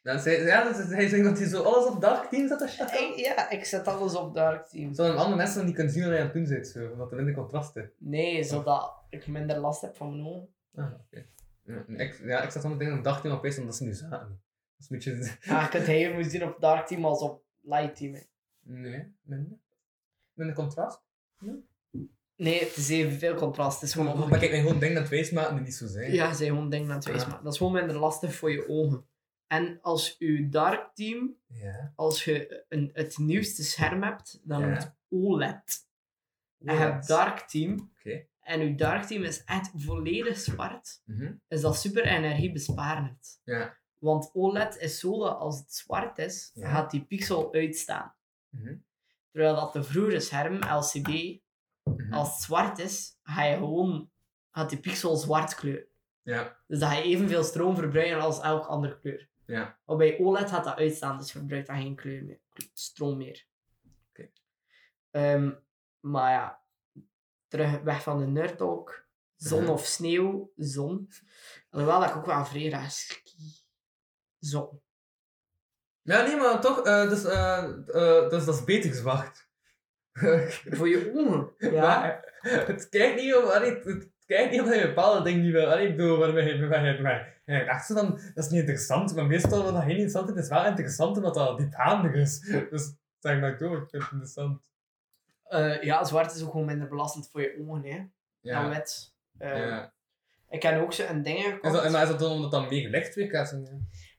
[SPEAKER 4] Dan zei, ja, dat is, hij zegt dat hij zo alles op dark team zat. Zo
[SPEAKER 3] Ik- ja, ik zet alles op dark team.
[SPEAKER 4] Zodat andere mensen niet kunnen zien wat hij aan het doen zit. Zo, omdat er minder contrast is.
[SPEAKER 3] Nee, zodat ik minder last heb van mijn ogen.
[SPEAKER 4] Ah, oké. Ja, en ik, ja, ik zat dan meteen op dark team op opeens omdat ze nu zaten. Dat is een beetje...
[SPEAKER 3] Ja, ik het heel moet zien op dark team als op light team. hè.
[SPEAKER 4] Nee, minder. Minder contrast?
[SPEAKER 3] Nee, het is evenveel contrast. Het is gewoon
[SPEAKER 4] Maar kijk, ik gewoon denk dat wijsmaten die niet zo zijn.
[SPEAKER 3] Ja, zij gewoon denkt aan twee
[SPEAKER 4] Oh, Ja.
[SPEAKER 3] smaak. Dat is gewoon minder lastig voor je ogen. En als je dark team,
[SPEAKER 4] Ja.
[SPEAKER 3] als je een, het nieuwste scherm hebt, dan
[SPEAKER 4] Ja.
[SPEAKER 3] het OLED. En je hebt dark team.
[SPEAKER 4] Oké.
[SPEAKER 3] En je dark team is echt volledig zwart.
[SPEAKER 4] Mhm.
[SPEAKER 3] Is dat super energiebesparend.
[SPEAKER 4] Ja.
[SPEAKER 3] Want OLED is zo dat als het zwart is,
[SPEAKER 4] Ja.
[SPEAKER 3] gaat die pixel uitstaan.
[SPEAKER 4] Mhm.
[SPEAKER 3] Terwijl dat de vroegere scherm, LCD,
[SPEAKER 4] Mhm.
[SPEAKER 3] als het zwart is, ga je gewoon, gaat die pixel zwart kleuren.
[SPEAKER 4] Ja.
[SPEAKER 3] Dus dat je evenveel stroom verbruikt als elk andere kleur.
[SPEAKER 4] Ja.
[SPEAKER 3] Maar bij OLED gaat dat uitstaan, dus verbruikt dat geen kleur meer, stroom meer.
[SPEAKER 4] Oké.
[SPEAKER 3] Ehm, maar ja, terug weg van de nerd talk. Zon
[SPEAKER 4] Mhm.
[SPEAKER 3] of sneeuw, zon. Alhoewel dat ik ook wel vrij raar ski. Zon.
[SPEAKER 4] Ja, nee, maar toch, eh, dus, eh, eh, dus dat is beter [LAUGHS] gewacht.
[SPEAKER 3] Voor je ogen. Ja.
[SPEAKER 4] Maar, het kijkt niet om, allee, het, het kijkt niet omdat je bepaalde dingen niet wil. Allee, ik bedoel, waarmee, waarmee, waarmee. En ik dacht zo van, dat is niet interessant, maar meestal wat dat heel interessant is, is wel interessant omdat dat diepgaandig is. [LAUGHS] Dus zeg maar door, ik vind het interessant.
[SPEAKER 3] Eh, ja, zwart is ook gewoon minder belastend voor je ogen, hè. Dan
[SPEAKER 4] Ja,
[SPEAKER 3] wit. Eh,
[SPEAKER 4] ja.
[SPEAKER 3] Ik heb ook zo een ding gekocht.
[SPEAKER 4] Nou, Is dat, en maar is dat dan omdat dat meer licht weerkaatst? Ja.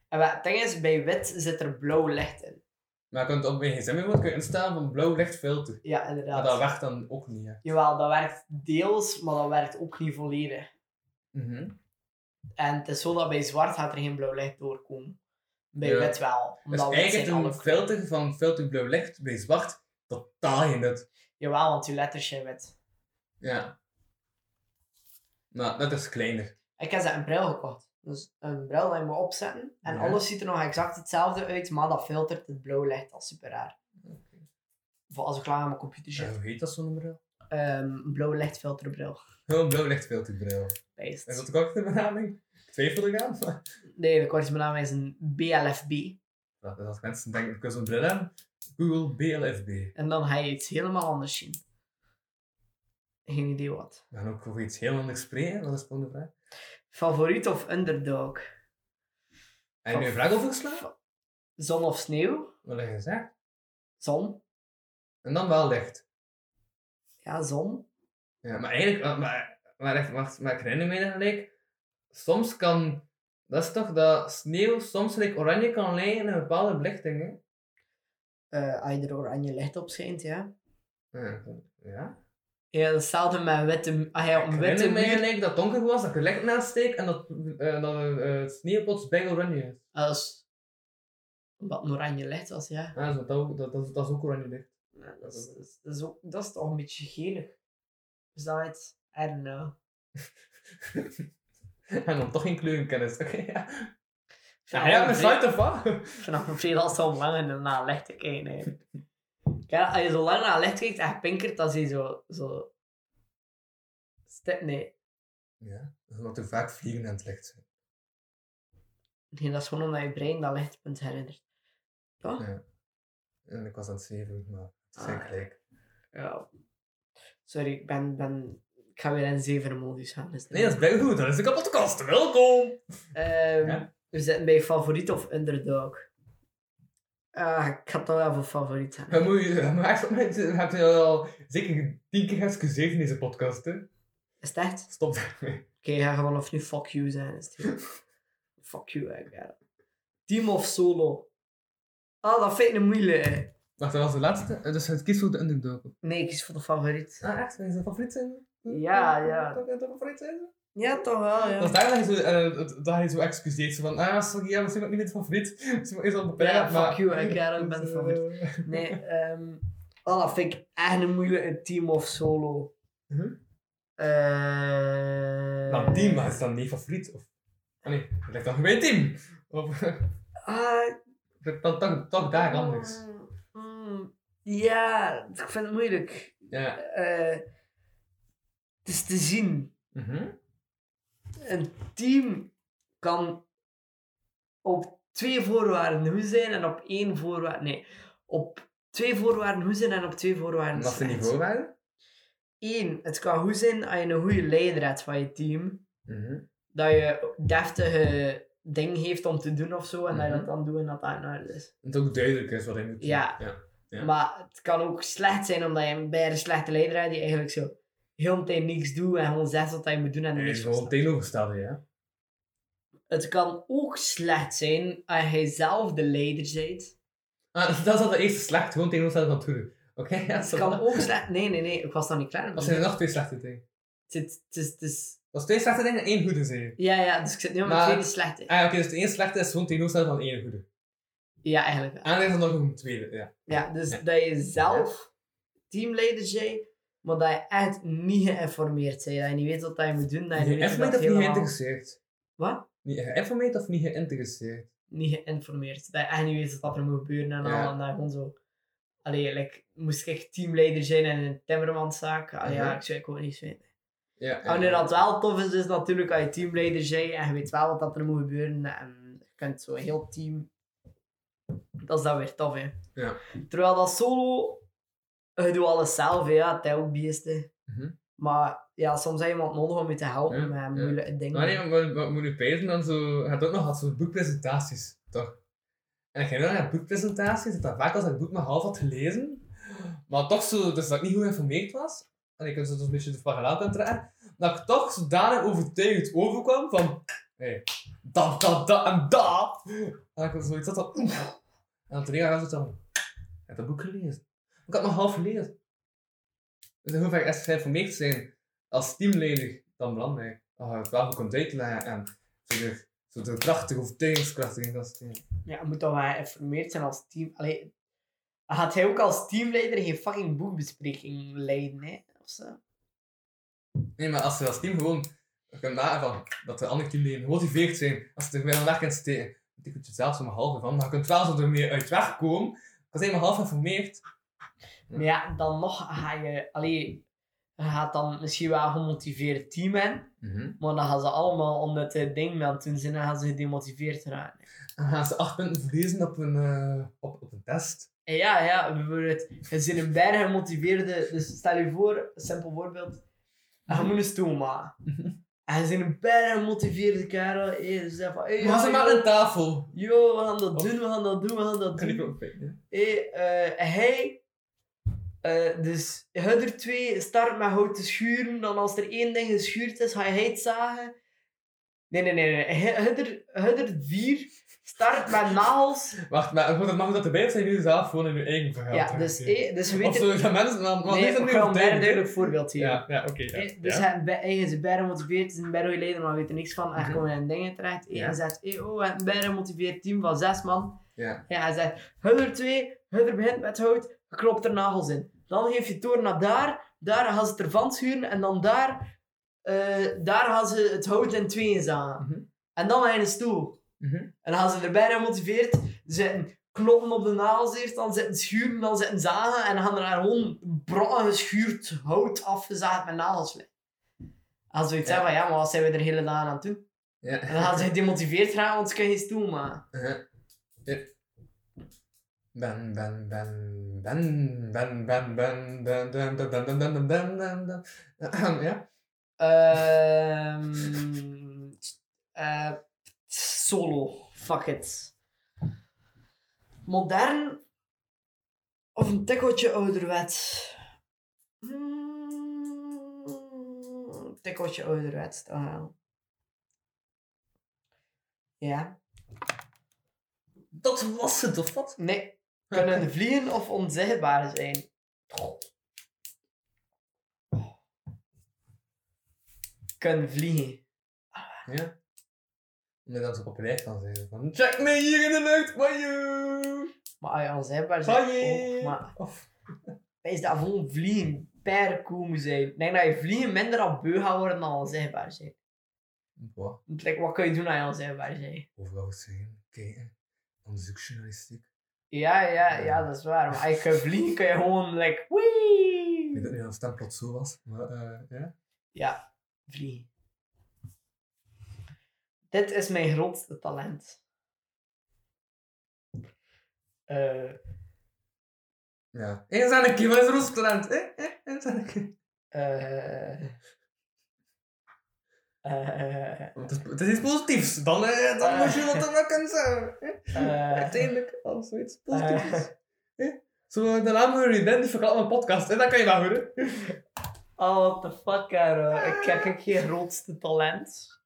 [SPEAKER 3] En wat het ding is, bij wit zit er blauw licht in.
[SPEAKER 4] Maar je kunt op mijn gsm bijvoorbeeld kun je instellen van blauw lichtfilter.
[SPEAKER 3] Ja,
[SPEAKER 4] Maar
[SPEAKER 3] inderdaad.
[SPEAKER 4] dat werkt dan ook niet, hè.
[SPEAKER 3] Jawel, dat werkt deels, maar dat werkt ook niet volledig.
[SPEAKER 4] Mhm.
[SPEAKER 3] En het is zo dat bij zwart gaat er geen blauw licht doorkomen. Bij
[SPEAKER 4] Ja.
[SPEAKER 3] wit wel.
[SPEAKER 4] Dus
[SPEAKER 3] Omdat wit
[SPEAKER 4] eigenlijk
[SPEAKER 3] zijn alle
[SPEAKER 4] een
[SPEAKER 3] kleuren.
[SPEAKER 4] filter van filter blauw licht bij zwart totaal geen nut.
[SPEAKER 3] Jawel, want je letters zijn wit.
[SPEAKER 4] Ja. Nou, dat is kleiner.
[SPEAKER 3] Ik heb ze een bril gekocht. Dus een bril dat je moet opzetten. En
[SPEAKER 4] Ja.
[SPEAKER 3] alles ziet er nog exact hetzelfde uit, maar dat filtert het blauw licht al super raar. Voor als ik klaar aan mijn computer zit.
[SPEAKER 4] Ja, hoe heet dat zo'n bril?
[SPEAKER 3] Ehm, blauw lichtfilterbril.
[SPEAKER 4] Heel blauw lichtfilterbril.
[SPEAKER 3] Based.
[SPEAKER 4] Is dat ook ook de benaming? Ik Twijfel ik aan? [LAUGHS] maar-
[SPEAKER 3] Nee, de kortste naam is een BLFB.
[SPEAKER 4] Ja, dus als mensen denken, ik wil zo'n bril hebben, Google BLFB.
[SPEAKER 3] En dan ga je iets helemaal anders zien. Geen idee wat.
[SPEAKER 4] We gaan ook over iets heel anders spreken, wat is de volgende vraag?
[SPEAKER 3] Favoriet of underdog?
[SPEAKER 4] En nu een vraag overgeslagen?
[SPEAKER 3] Va- Zon of sneeuw?
[SPEAKER 4] Wat heb je gezegd?
[SPEAKER 3] Zon.
[SPEAKER 4] En dan wel licht.
[SPEAKER 3] Ja, zon.
[SPEAKER 4] Ja, maar eigenlijk, maar, maar, maar, echt, wacht, maar ik herinner me dat gelijk. Soms kan, dat is toch dat sneeuw soms gelijk oranje kan lijken in een bepaalde belichting, hè?
[SPEAKER 3] Eh als je er oranje licht op schijnt, ja.
[SPEAKER 4] Ja. ja.
[SPEAKER 3] Ja, hetzelfde met witte... Ah ja,
[SPEAKER 4] Ik
[SPEAKER 3] om witte
[SPEAKER 4] herinner me
[SPEAKER 3] muur...
[SPEAKER 4] gelijk dat het donker was, dat ik er licht naast steek en dat, eh dat eh, het sneeuw plots bij oranje is.
[SPEAKER 3] Als... Wat een oranje licht was, ja.
[SPEAKER 4] Ja, Ah, zo, dat, ook- dat, dat, is- dat is ook oranje licht.
[SPEAKER 3] Ja, Dat is, dat is, dat is ook, dat is toch een beetje gelig. Is dat het... I don't know.
[SPEAKER 4] [LAUGHS] en dan toch geen kleurenkennis, oké? ja. Ja,
[SPEAKER 3] Ja,
[SPEAKER 4] ja, mijn
[SPEAKER 3] vrij-
[SPEAKER 4] site of wat? [LAUGHS]
[SPEAKER 3] Vanaf een vrijdag zo lang en naar licht te kijken. [LAUGHS] eigenlijk. Ja, als je zo lang naar licht kijkt en je pinkert, dan zie je zo... zo... Stip, nee.
[SPEAKER 4] Ja, omdat er vaak vliegen aan het licht zijn.
[SPEAKER 3] nee. Dat is gewoon omdat je brein dat lichtpunt herinnert. Toch?
[SPEAKER 4] Ja. En ik was aan het zeven, maar het is
[SPEAKER 3] Ah,
[SPEAKER 4] eigenlijk gelijk.
[SPEAKER 3] Ja. Sorry, ik ben, ben... Ik ga weer in zeven modus gaan. Dus
[SPEAKER 4] Nee, dat is blijkbaar goed. Dat is de kapotkast. Welkom.
[SPEAKER 3] Ehm,
[SPEAKER 4] Ja.
[SPEAKER 3] We zitten bij favoriet of underdog. Ah, ik ga toch wel voor favoriet zijn.
[SPEAKER 4] Dan moet je, maar echt, maar je hebt je al zeker tien keer geëxcuseerd in deze podcast, hè?
[SPEAKER 3] Is het echt?
[SPEAKER 4] Stop daarmee.
[SPEAKER 3] Oké, ga gewoon of nu fuck you zijn. Is het
[SPEAKER 4] [LAUGHS]
[SPEAKER 3] goed. fuck you, I got it. Team of solo? Ah, dat vind ik een moeilijke.
[SPEAKER 4] Wacht, dat was de laatste. Eh, Dus het kies voor de underdog.
[SPEAKER 3] Nee, ik kies voor de favoriet.
[SPEAKER 4] Ah, echt? Is dat favoriet zijn? Ah,
[SPEAKER 3] Ja, ja.
[SPEAKER 4] Dat dat favoriet zijn?
[SPEAKER 3] Ja, toch wel, ja.
[SPEAKER 4] Dat is daar dat je zo, eh, dat- dat je zo excuseert. Zo van, ah, sorry, ja, misschien ben ik niet meer favoriet. [LAUGHS] Misschien is dat beperkt,
[SPEAKER 3] Ja, fuck
[SPEAKER 4] maar...
[SPEAKER 3] you, I get it, ik ben
[SPEAKER 4] [LAUGHS] Dus, eh,
[SPEAKER 3] favoriet. Nee, ehm ah, dat vind ik echt een moeilijke. Team of solo?
[SPEAKER 4] Mhm.
[SPEAKER 3] Eh,
[SPEAKER 4] Nou, team, maar is dan niet favoriet? Of... Ah nee, dat ligt dan bij het team. Of... [LAUGHS]
[SPEAKER 3] Ah,
[SPEAKER 4] Dan toch, toch daar anders.
[SPEAKER 3] mm, mm, ja, ik vind het moeilijk.
[SPEAKER 4] Ja.
[SPEAKER 3] Eh, het is te zien.
[SPEAKER 4] Mhm.
[SPEAKER 3] een team kan op twee voorwaarden goed zijn en op één voorwaarde. Nee, op twee voorwaarden goed zijn en op twee voorwaarden
[SPEAKER 4] Wat zijn die
[SPEAKER 3] slecht.
[SPEAKER 4] voorwaarden?
[SPEAKER 3] Eén, het kan goed zijn als je een goede leider hebt van je team.
[SPEAKER 4] Mhm.
[SPEAKER 3] Dat je deftige dingen heeft om te doen of zo en dat je
[SPEAKER 4] Mhm.
[SPEAKER 3] dat dan doet en dat dat in orde is.
[SPEAKER 4] Dat het ook duidelijk is wat hij moet doen.
[SPEAKER 3] Ja.
[SPEAKER 4] ja. Ja.
[SPEAKER 3] Maar het kan ook slecht zijn omdat je een bijna slechte leider hebt die eigenlijk zo heel de tijd niks doet en gewoon zegt wat je moet doen en er
[SPEAKER 4] Het
[SPEAKER 3] niks
[SPEAKER 4] is
[SPEAKER 3] van
[SPEAKER 4] gewoon
[SPEAKER 3] snapt.
[SPEAKER 4] tegenovergestelde, ja.
[SPEAKER 3] Het kan ook slecht zijn als jij zelf de leider bent.
[SPEAKER 4] Ah, [LAUGHS] dat is al de eerste slecht, gewoon tegenovergestelde van Toeren. Oké, [LAUGHS] ja,
[SPEAKER 3] Het kan ook slecht... Nee, nee, nee. Ik was nog niet klaar.
[SPEAKER 4] Als
[SPEAKER 3] met-
[SPEAKER 4] zijn er
[SPEAKER 3] Het
[SPEAKER 4] nog twee slechte dingen.
[SPEAKER 3] is- het is- het is...
[SPEAKER 4] Dat is twee slechte dingen en één goede serie.
[SPEAKER 3] Ja, ja. Dus ik zit nu met
[SPEAKER 4] Maar-
[SPEAKER 3] twee die slecht zijn.
[SPEAKER 4] Ah, oké, dus de één slechte is gewoon tegenovergestelde van één goede.
[SPEAKER 3] Ja, eigenlijk wel.
[SPEAKER 4] En er is er nog een tweede, ja.
[SPEAKER 3] Ja, dus dat je zelf teamleider bent, maar dat je echt niet geïnformeerd bent. Dat je niet weet wat je moet doen. Dat je niet weet hoe
[SPEAKER 4] Geïnformeerd
[SPEAKER 3] dat
[SPEAKER 4] of niet
[SPEAKER 3] helemaal...
[SPEAKER 4] geïnteresseerd?
[SPEAKER 3] Wat?
[SPEAKER 4] Niet Geïnformeerd of niet geïnteresseerd?
[SPEAKER 3] Niet geïnformeerd. Dat je echt niet weet wat er moet gebeuren en
[SPEAKER 4] Ja.
[SPEAKER 3] al. En dat je gewoon zo... Allee, like, moest ik teamleider zijn in een timmermanszaak? Allee, ja,
[SPEAKER 4] Mhm.
[SPEAKER 3] ik zou ik ook niks weten.
[SPEAKER 4] Ja.
[SPEAKER 3] En nu Oh, dat wel tof is, is natuurlijk als je teamleider bent en je weet wel wat dat er moet gebeuren. En je kunt zo een heel team... Dat is dan weer tof, hè.
[SPEAKER 4] Ja.
[SPEAKER 3] Terwijl dat solo... Je doet alles zelf, hè, ja. Het is ook beesten.
[SPEAKER 4] Mhm.
[SPEAKER 3] Maar ja, soms heb je iemand nodig om je te helpen
[SPEAKER 4] Ja,
[SPEAKER 3] met
[SPEAKER 4] ja.
[SPEAKER 3] moeilijke dingen.
[SPEAKER 4] Maar nee, maar wat, wat moet je pezen dan zo... Je hebt ook nog wat zo'n boekpresentaties, toch? En ik ging naar boekpresentaties, dat dat vaak als ik het boek maar half had gelezen. Maar toch zo, dus dat ik niet goed geïnformeerd was. En ik heb zo dus een beetje de parallel aan trekken. Dat ik toch zodanig overtuigd overkwam van... Hé, hey, dat, dat, dat en dat. En ik had zoiets had van... oef. En dan toen was het dan... Ik heb dat boek gelezen. Ik had maar half gelezen. Dus dan hoef ik echt geïnformeerd te zijn als teamleder dan belangrijk. Oh, het wel komt uit te leggen en zo de, zo de krachtige overtuigingskracht in dat systeem.
[SPEAKER 3] Ja, je moet dan wel geïnformeerd zijn als team. Allee, gaat hij ook als teamleider geen fucking boekbespreking leiden, hè? Of zo?
[SPEAKER 4] Nee, maar als ze als team gewoon kunnen maken van dat de andere teamleden gemotiveerd zijn, als ze er weer aan weg kunnen steken, want ik moet je zelfs om halve van, maar je kunt wel zo er meer uit wegkomen. Ik was helemaal half geïnformeerd.
[SPEAKER 3] Maar ja, dan nog ga je... Allee, je gaat dan misschien wel een gemotiveerd team in, maar dan gaan ze allemaal eh, onnutte dingen aan het doen zijn en gaan ze gedemotiveerd raken.
[SPEAKER 4] En gaan ze acht punten verliezen op een, eh, op, op een test.
[SPEAKER 3] En ja, ja, bijvoorbeeld, je zit een bijna gemotiveerde... Dus stel je voor, simpel voorbeeld, je moet een stoel maken. En je zit een bijna gemotiveerd kerel, en je zegt van... Hey,
[SPEAKER 4] Maar ze
[SPEAKER 3] ja,
[SPEAKER 4] maar een tafel.
[SPEAKER 3] Yo, we gaan dat doen, we gaan dat doen, we gaan dat
[SPEAKER 4] Kan ik
[SPEAKER 3] doen.
[SPEAKER 4] ook weten.
[SPEAKER 3] Hey, eh, hij, eh, dus hij er twee, start met hout te schuren. Dan als er één ding geschuurd is, ga je het zagen. Nee, nee, nee. nee. Hij, hij er- hij er vier, start met nagels.
[SPEAKER 4] Wacht, maar goed, dat mag dat erbij zijn, jullie zelf gewoon in uw eigen verhaal.
[SPEAKER 3] Ja, dus, hey, dus je
[SPEAKER 4] Of
[SPEAKER 3] weet
[SPEAKER 4] zo,
[SPEAKER 3] het.
[SPEAKER 4] dat mensen, maar, maar
[SPEAKER 3] Nee,
[SPEAKER 4] niet
[SPEAKER 3] ik
[SPEAKER 4] dat nu
[SPEAKER 3] ga een bijna
[SPEAKER 4] vertellen.
[SPEAKER 3] duidelijk voorbeeld geven.
[SPEAKER 4] Ja, ja oké. ja.
[SPEAKER 3] Hey, dus
[SPEAKER 4] ja.
[SPEAKER 3] hij, hij is bijna gemotiveerd, is een bijna geleden, maar weet er niks van. En hij
[SPEAKER 4] Mhm.
[SPEAKER 3] komt in dingen terecht. Hey,
[SPEAKER 4] Ja.
[SPEAKER 3] Hij zegt, hey, oh, we hebben een bijna gemotiveerd team van zes man.
[SPEAKER 4] ja.
[SPEAKER 3] Ja, hij zegt, Hudder 2, Hudder begint met hout, je klopt er nagels in. Dan geef je het door naar daar, daar gaan ze het ervan schuren en dan daar, eh, daar gaan ze het hout in tweeën zagen.
[SPEAKER 4] Mhm.
[SPEAKER 3] En dan ga je een stoel.
[SPEAKER 4] Mhm.
[SPEAKER 3] En dan gaan ze er bijna gemotiveerd zitten kloppen op de nagels eerst, dan zitten schuren, dan zitten zagen en dan gaan er daar gewoon brokken geschuurd hout afgezaagd met nagels. Als zoiets
[SPEAKER 4] Ja.
[SPEAKER 3] zeggen van, ja, maar wat zijn we er hele dagen aan toe?
[SPEAKER 4] Ja.
[SPEAKER 3] En dan
[SPEAKER 4] [LAUGHS]
[SPEAKER 3] gaan ze gedemotiveerd raken, want ze kunnen geen stoel maken.
[SPEAKER 4] Ja. Ja. Ben, ben, ben, ben, ben, ben, ben, ben, ben, ben, ben, ben, ben, ben, ben, ben, ben. Ahem, Ja?
[SPEAKER 3] Ehm eh, solo. Fuck it. Modern of een tikkeltje ouderwets? Hmm, tikkeltje ouderwets, toch wel. Ja.
[SPEAKER 4] Dat was het, of wat?
[SPEAKER 3] Nee. Kunnen vliegen of onzichtbaar zijn? Kunnen vliegen.
[SPEAKER 4] Ja. Omdat dat zo populair kan zijn. Van, check me hier in de lucht, wajoo!
[SPEAKER 3] Maar ah als je onzichtbaar zijn ook, oh, maar
[SPEAKER 4] Wajee! Of-
[SPEAKER 3] is dat gewoon vliegen per komen zijn. Ik denk dat je vliegen minder al beu gaat worden dan onzichtbaar zijn.
[SPEAKER 4] Boah,
[SPEAKER 3] Want, like, wat kun je doen als je onzichtbaar zijn?
[SPEAKER 4] overal zien, kijken, onderzoeksjournalistiek.
[SPEAKER 3] Ja, ja, ja, dat is waar. Maar als je kunt vliegen kun je gewoon, like,
[SPEAKER 4] Ik weet
[SPEAKER 3] wee!
[SPEAKER 4] ook niet of dat plots zo was, maar eh, ja.
[SPEAKER 3] Ja, vliegen. Dit is mijn grootste talent. Eh,
[SPEAKER 4] Ja. Eens aan de keer, wat is Roostalent? Eh, eh, eens aan de keer.
[SPEAKER 3] eh, eh,
[SPEAKER 4] Dat is, dat is iets positiefs. Dan, eh, dan moet je wat dan ook kunnen zeggen.
[SPEAKER 3] eh,
[SPEAKER 4] Uiteindelijk, als zoiets positiefs is. Zo, de naam Murray, ben die verklapt mijn podcast. En dat kan je wel horen.
[SPEAKER 3] Oh, what the fuck, Caro. Ik heb ook geen grootste talent.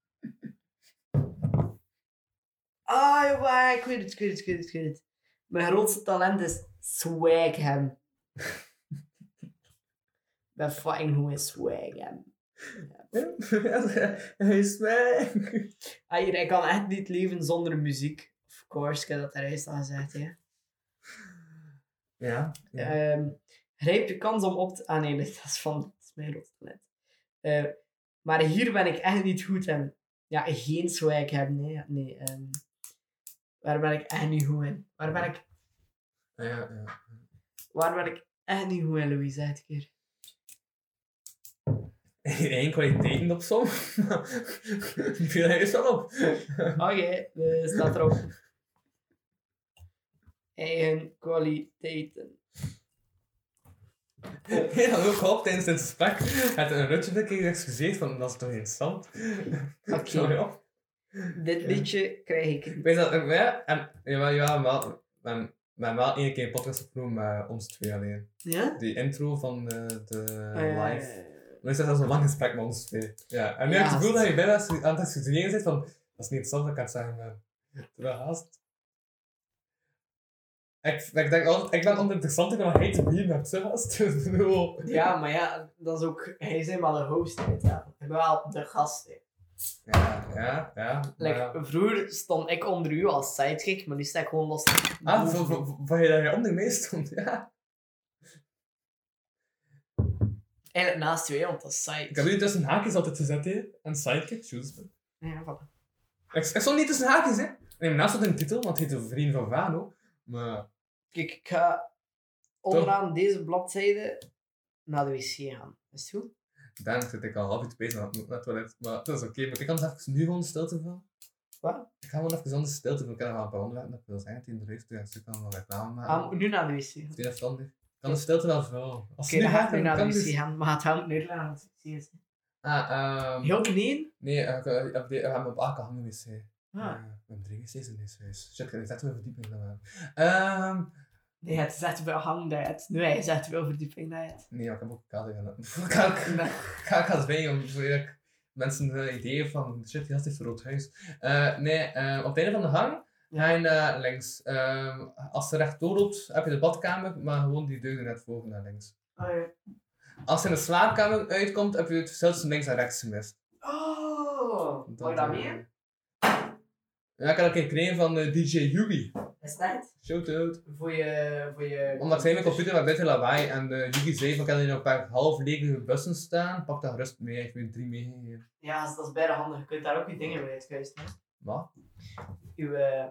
[SPEAKER 3] Ah, jawel, ik weet het, ik weet het, ik weet het, ik weet het. Mijn grootste talent is swag hem. Ik ben fucking goed in swag hem.
[SPEAKER 4] Hij is weg.
[SPEAKER 3] Ah, hier, ik kan echt niet leven zonder muziek. Of course, ik heb dat er eerst al gezegd, hè.
[SPEAKER 4] Ja.
[SPEAKER 3] Ehm, grijp je kans om op te... Ah nee, [LAUGHS] dat is van... Dat is mijn rood talent. Eh, maar hier ben ik echt niet goed in. Ja, geen swag hebben. Nee, ja, nee. ehm, waar ben ik echt niet goed in? Waar ben ik,
[SPEAKER 4] nou Ja, ja. [LAUGHS]
[SPEAKER 3] waar ben ik echt niet goed in, Louise? Zeg het een keer.
[SPEAKER 4] Eén kwaliteiten op som. [LAUGHS] Die viel hij eerst al op. [LAUGHS]
[SPEAKER 3] Oké, eh, staat erop. Eigen kwaliteiten.
[SPEAKER 4] Hij had ook gehoopt tijdens dit gesprek. Hij had een rutje dat ik excuseer van dat is toch interessant.
[SPEAKER 3] Oké,
[SPEAKER 4] [LAUGHS] Sorry op.
[SPEAKER 3] dit liedje krijg ik niet.
[SPEAKER 4] Weet je dat, eh, ja, en, jawel, jawel, wel, we hebben wel één keer een podcast opgenomen met ons twee alleen.
[SPEAKER 3] Ja?
[SPEAKER 4] Die intro van de, de
[SPEAKER 3] Eh,
[SPEAKER 4] live. Maar is dat zelfs een lang gesprek met ons twee. Ja. En nu heb ik
[SPEAKER 3] Ja.
[SPEAKER 4] het gevoel dat je bijna aan het excuseren bent van... Dat is niet interessant dat ik aan het zeggen ben. Terwijl haast... Ik, ik denk altijd, ik ben oninteressanter dan hij te bieden hebt, zeg haast. [LAUGHS] Dus ik bedoel,
[SPEAKER 3] Eh, Ja, maar ja, dat is ook... Hij is helemaal de host in het Ik ben wel de gast, hè.
[SPEAKER 4] Ja, ja, ja. maar
[SPEAKER 3] Like,
[SPEAKER 4] ja.
[SPEAKER 3] Vroeger stond ik onder u als sidekick, maar nu sta ik gewoon los.
[SPEAKER 4] Ah, voor- voor- voor- voor je daar onder mee stond, ja.
[SPEAKER 3] Eigenlijk naast twee, want dat is
[SPEAKER 4] Ik heb
[SPEAKER 3] side.
[SPEAKER 4] nu tussen haakjes altijd gezet, hè. En sidekick, shoes.
[SPEAKER 3] Ja, voilà.
[SPEAKER 4] Ik, ik stond niet tussen haakjes, hè. Nee, maar naast stond een titel, want het heet de Vriend van Vano. Maar...
[SPEAKER 3] Kijk, ik ga onderaan deze bladzijde naar de wc gaan. Is het goed?
[SPEAKER 4] Daarom zit ik al half uur bezig met het toilet. Maar dat is oké, maar ik kan het even nu gewoon stil te vullen.
[SPEAKER 3] Wat?
[SPEAKER 4] Ik ga gewoon even zonder stil te vullen. Ik kan er wel een paar onderwerpen dat ik wil zeggen tegen de rest. Dus ik kan wel reclame maken.
[SPEAKER 3] Ah, nu naar de wc gaan.
[SPEAKER 4] Vind je dat verstandig? Ik kan de stilte wel vullen. Als
[SPEAKER 3] Oké, dan ga ik nu
[SPEAKER 4] gaat,
[SPEAKER 3] naar de
[SPEAKER 4] kan
[SPEAKER 3] wc
[SPEAKER 4] dus-
[SPEAKER 3] gaan, maar het hangt nu aan het wc is.
[SPEAKER 4] Ah, ehm...
[SPEAKER 3] Heel kneen?
[SPEAKER 4] Nee, eh, ik eh, ik heb die- we hebben op elke hand een wc.
[SPEAKER 3] Ah.
[SPEAKER 4] Eh, we hebben drie wc's in deze huis. Shit, ik zet wel verdieping dan aan. Ehm...
[SPEAKER 3] Nee, het is echt veel hang daaruit. Nu, hij is echt veel verdieping daaruit.
[SPEAKER 4] Nee, maar ik heb ook kader gedaan. [LAUGHS] Ik ga ik ga ik als bij om zodat mensen eh, ideeën van shit, die had dit rood huis. Eh, nee, eh, op het einde van de gang ga je naar eh, links. Ehm, als je rechtdoor loopt, heb je de badkamer, maar gewoon die deur net voor naar links.
[SPEAKER 3] Oh, ja.
[SPEAKER 4] Als je in de slaapkamer uitkomt, heb je het zelfs links en rechts gemist.
[SPEAKER 3] oh hoor je dat meer?
[SPEAKER 4] eh, Ja, ik had ook een gekregen van eh, DJ Yugi.
[SPEAKER 3] Is dat het?
[SPEAKER 4] Shout out.
[SPEAKER 3] Voor je... Voor je
[SPEAKER 4] Omdat zij mijn computer met witte lawaai en de Yugi zei van kan er nog een paar half lege bussen staan, pak dat gerust mee. Ik heb je drie meegegeven.
[SPEAKER 3] Ja, dat is bijna handig. Je kunt daar ook je dingen mee uitkuisen. hè.
[SPEAKER 4] Wat?
[SPEAKER 3] Uw... eh,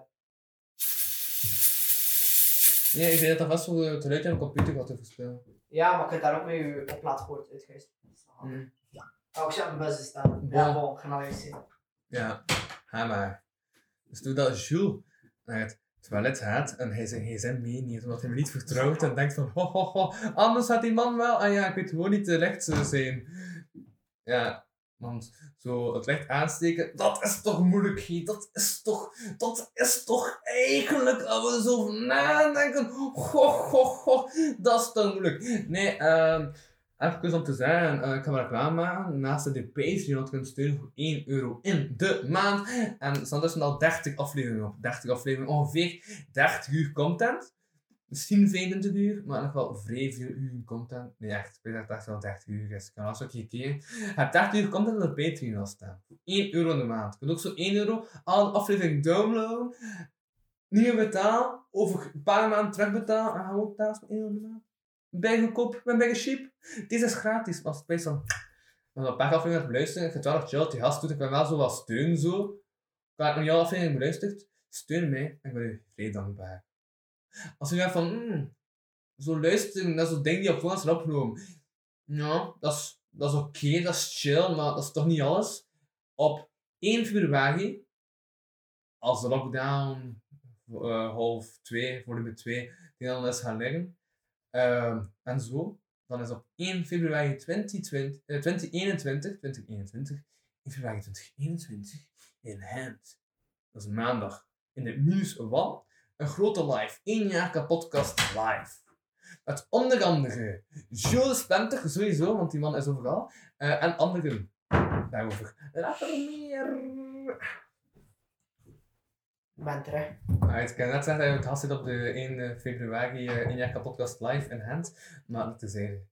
[SPEAKER 4] Nee, ik zei dat dat vast voor het geluid aan de computer gaat te verspillen.
[SPEAKER 3] Ja, maar je kunt daar ook mee je oplaadpoort uitgeven.
[SPEAKER 4] Mm.
[SPEAKER 3] Oh, ik zet mijn bussen staan.
[SPEAKER 4] Ja.
[SPEAKER 3] Ja, bon, ik ga naar de wc.
[SPEAKER 4] Ja, ga maar. Dus toen dat Jules naar het toilet gaat en hij zijn gsm meeneemt omdat hij me niet vertrouwt en denkt van ho ho ho, anders gaat die man wel, ah ja, ik weet gewoon niet terecht eh, zijn. Ja, want zo het licht aansteken, dat is toch moeilijk, Guy. dat is toch, dat is toch eigenlijk, als we er zo over nadenken, ho ho ho, dat is toch moeilijk. Nee, ehm... Even om te zeggen, eh, ik ga maar reclame maken. Naast de Patreon kunt steunen voor 1 euro in de maand. En er staan dus al 30 afleveringen op. 30 afleveringen, ongeveer 30 uur content. Misschien 25 uur, maar nog wel vrij veel uur content. Nee, echt, ik weet dat het echt wel 30 uur is. Ik kan alles ook een keer. Je hebt 30 uur content op de Patreon al staan. Voor 1 euro in de maand. Je kunt ook zo 1 euro alle afleveringen downloaden. Nieuwe betaal, over een paar maanden terugbetaal. En gaan we ook thuis met 1 euro in de maand. Bijgekoop, mijn bijge cheap. Deze is dus gratis, maar het is dan. Maar een paar afleveringen beluisteren, ik vind het wel echt chill dat die gast doet. Ik ben wel zo wat steun zo. Ik heb nog niet alle afleveringen beluisterd. Steun mij en ik ben u vrij dankbaar. Als je denkt van, hmm, zo luisteren, dat is zo'n ding die op voorhand zijn opgenomen. Ja, dat is, dat is oké, dat is chill, maar dat is toch niet alles. Op 1 februari, als de lockdown eh, half 2, volume 2, die dan is gaan liggen, ehm, en zo, dan is op 1 februari 2020, eh, 2021, 2021, 1 februari 2021, in Gent. Dat is maandag. In de Minuswal. Een grote live. 1 jaar kapotcast live. Met onder andere Jules Penter, sowieso, want die man is overal. eh, en anderen daarover. Later meer.
[SPEAKER 3] Ik ben terug.
[SPEAKER 4] Right, Ah, ik kan net zeggen dat je het gast zit op de 1 februari eh, in Jacka Podcast live in hand. Maar dat is eigenlijk.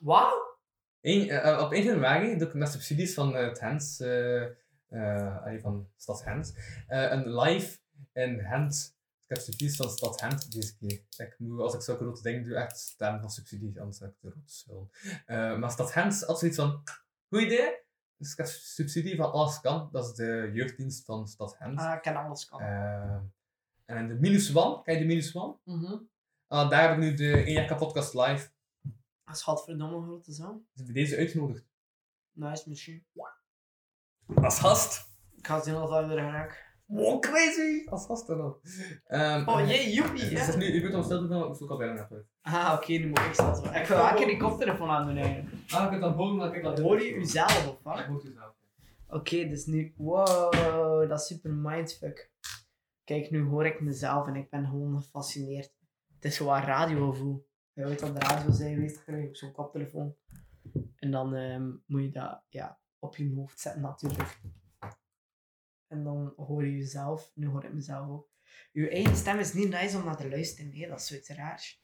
[SPEAKER 3] Wat?
[SPEAKER 4] Eén- eh, eh, op 1 januari doe ik met subsidies van eh, het Hens, eh, eh, allee, van Stad Hens, eh, een live in Hent. Ik heb subsidies van Stad Hent deze keer. Ik moet, als ik zulke grote dingen doe, echt stemmen van subsidies, anders heb ik de rood spul. Eh, maar Stad Hens had zoiets van, goed idee. Dus ik heb subsidie van Alles Kan, dat is de jeugddienst van Stad Hent.
[SPEAKER 3] Ah, ik ken alles kan.
[SPEAKER 4] Eh, en in de Minus One, ken je de Minus One?
[SPEAKER 3] Mhm.
[SPEAKER 4] Ah, daar heb ik nu de 1 Jacka podcast live.
[SPEAKER 3] Dat is godverdomme een grote zaal.
[SPEAKER 4] Dus bij deze uitgenodigd.
[SPEAKER 3] Nice machine.
[SPEAKER 4] Als gast.
[SPEAKER 3] Ik ga zien of dat weer raak.
[SPEAKER 4] Wow, crazy! Als gast dan al. Ehm,
[SPEAKER 3] Oh jee, joepie.
[SPEAKER 4] Het
[SPEAKER 3] hè.
[SPEAKER 4] is nu, je kunt hem stil doen, maar ik zoek al bijna naar uit.
[SPEAKER 3] Ah, oké, nu moet ik stil zijn. Ik wil elke keer die koptelefoon aan doen eigenlijk.
[SPEAKER 4] Ah, ik heb dat horen, dat ik
[SPEAKER 3] Dat hoor je jezelf of wat?
[SPEAKER 4] Ik hoor het zelf.
[SPEAKER 3] Oké, dus nu... Wow, dat is super mindfuck. Kijk, nu hoor ik mezelf en ik ben gewoon gefascineerd. Het is gewoon radiogevoel. Je weet op de radio zijn geweest, dan krijg je op zo'n koptelefoon. En dan ehm, moet je dat ja, op je hoofd zetten natuurlijk. En dan hoor je jezelf, nu hoor ik mezelf ook. Je eigen stem is niet nice om naar te luisteren, nee, dat is zoiets raars.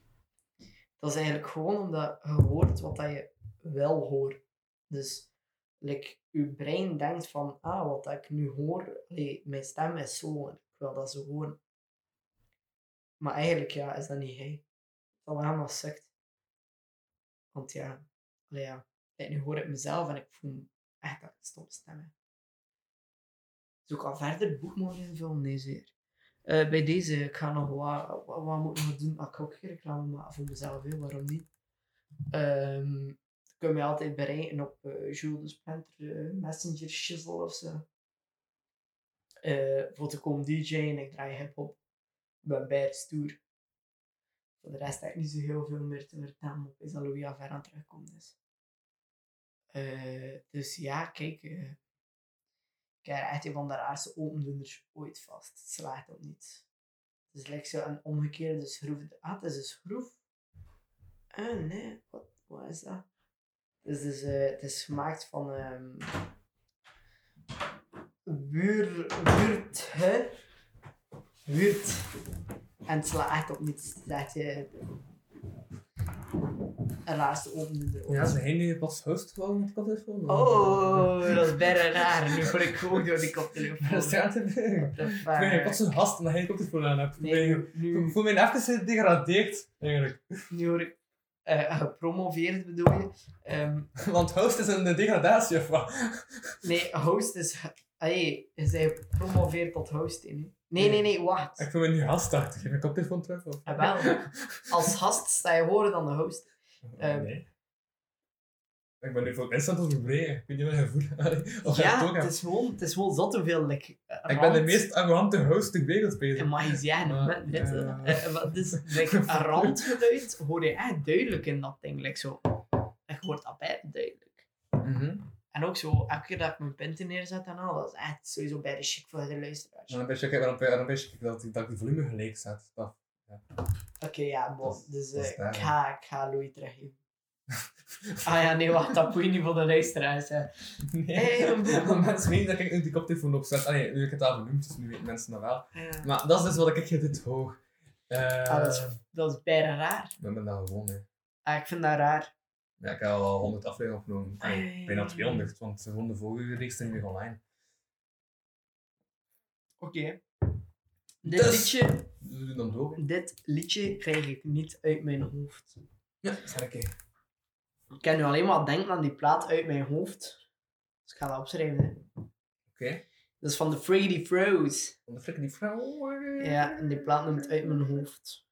[SPEAKER 3] Dat is eigenlijk gewoon omdat je hoort wat dat je wel hoort. Dus like, je brein denkt van, ah, wat dat ik nu hoor, allee, mijn stem is zo en ik wil dat zo horen. Maar eigenlijk, ja, is dat niet hij. Dat is helemaal sukt. Want ja, allee, ja. Kijk, nu hoor ik mezelf en ik voel echt dat ik stom stem heb. Zoek al verder boekmorgen invullen? Nee, zeer. Eh, bij deze, ik ga nog wat, wat, wat moet ik nog doen? Ah, ik ga ook geen reclame maken voor mezelf, hè, waarom niet? Ehm kun je mij altijd bereiken op eh Jules de Splinter, eh, Messenger, Shizzle of zo. Eh, voor te komen DJ en ik draai hip-hop. Ik ben bij stoer. Voor de rest heb ik niet zo heel veel meer te vertellen, op is dat Louis Aver aan terugkomt. Dus. Eh, dus ja, kijk. eh, ik heb echt een van de raarste opendoeners ooit vast. Het slaat op niets. Het is lekker zo een omgekeerde schroef. Ah, het is een schroef. Ah, nee. Wat, wat is dat? Dus, dus eh, het is gemaakt van ehm wuur, wuurt, hè? Wuurt. En het slaat echt op niets. Dat je een laatste opende erop.
[SPEAKER 4] Ja, ze heen nu pas host gewoon met de koptelefoon. [LAUGHS]
[SPEAKER 3] Oh, dat is bijna raar. Nu word ik gewoon door die koptelefoon.
[SPEAKER 4] Dat staat te
[SPEAKER 3] What
[SPEAKER 4] doen.
[SPEAKER 3] the fuck?
[SPEAKER 4] Nee, pas een gast omdat hij geen koptelefoon aan hebt.
[SPEAKER 3] Nee,
[SPEAKER 4] Nee.
[SPEAKER 3] nu, nu,
[SPEAKER 4] Ik voel me even gedegradeerd, eigenlijk.
[SPEAKER 3] nu hoor ik eh, gepromoveerd bedoel je. Ehm,
[SPEAKER 4] Want host is een degradatie of wat?
[SPEAKER 3] nee, host is. Hey, is hij gepromoveerd tot host in? hè? Nee, nee, nee, wacht.
[SPEAKER 4] Ik voel me nu gastachtig. Heb ik koptelefoon terug? Of?
[SPEAKER 3] Ah, wel, als gast sta je horen dan de host. Ehm,
[SPEAKER 4] nee. Ik ben nu voor instant overbreken. Ik weet niet wat je voelt. [LAUGHS] Allee, Of jij het
[SPEAKER 3] ja,
[SPEAKER 4] ook
[SPEAKER 3] het
[SPEAKER 4] hebt.
[SPEAKER 3] is gewoon, het is gewoon zot hoeveel. like, eh,
[SPEAKER 4] Ik ben de
[SPEAKER 3] rand-
[SPEAKER 4] meest arrogante host ter wereld bezig.
[SPEAKER 3] En mag je zeggen,
[SPEAKER 4] Maar,
[SPEAKER 3] met- met-
[SPEAKER 4] eh,
[SPEAKER 3] eh, eh, wat is
[SPEAKER 4] [LAUGHS]
[SPEAKER 3] like, een randgeluid hoor je echt duidelijk in dat ding. Like zo. Ik hoor dat bij duidelijk.
[SPEAKER 4] Mhm.
[SPEAKER 3] En ook zo, elke keer dat ik mijn punten neerzet en al, dat is echt sowieso bij de chic voor de luisteraars.
[SPEAKER 4] En dan ben je kijken, dan ben je- dan ben je kijken dat, die- dat die volume gelijk staat. Dat.
[SPEAKER 3] Oké, ja, bon.
[SPEAKER 4] Dat is-
[SPEAKER 3] Dus
[SPEAKER 4] dat is
[SPEAKER 3] eh,
[SPEAKER 4] daar,
[SPEAKER 3] ik, ga, ik ga Louis
[SPEAKER 4] [LAUGHS]
[SPEAKER 3] teruggeven. ah ja, nee, wacht, dat moet je niet voor de luisteraars. Hè.
[SPEAKER 4] Nee, [LAUGHS]
[SPEAKER 3] Hey, een boel.
[SPEAKER 4] want mensen weten dat ik nu die koptelefoon opzet. Allee, nu heb ik het al genoemd, dus nu weten mensen dat wel.
[SPEAKER 3] Ja.
[SPEAKER 4] Maar dat is dus wat ik hier dit hoog. Eh
[SPEAKER 3] Ah, dat, is, dat is bijna raar.
[SPEAKER 4] Ik ben daar gewoon, hè.
[SPEAKER 3] Ah, ik vind dat raar.
[SPEAKER 4] Ja, ik heb al 100 afleveringen opgenomen.
[SPEAKER 3] Ah, ja, ja,
[SPEAKER 4] Nee,
[SPEAKER 3] ja.
[SPEAKER 4] bijna 200, want ze vonden de vorige reeks staan niet meer online.
[SPEAKER 3] Oké. Dit,
[SPEAKER 4] Dus-
[SPEAKER 3] liedje,
[SPEAKER 4] Dus we doen dan door.
[SPEAKER 3] dit liedje krijg ik niet uit mijn hoofd.
[SPEAKER 4] Ja, zeg ik. eh,
[SPEAKER 3] Ik kan nu alleen maar denken aan die plaat uit mijn hoofd. Dus ik ga dat opschrijven. Hè.
[SPEAKER 4] Oké.
[SPEAKER 3] Dat is van de Freddy Froze.
[SPEAKER 4] Want dan flikken die vrouw. eh.
[SPEAKER 3] Ja, en die plaat noemt uit mijn hoofd.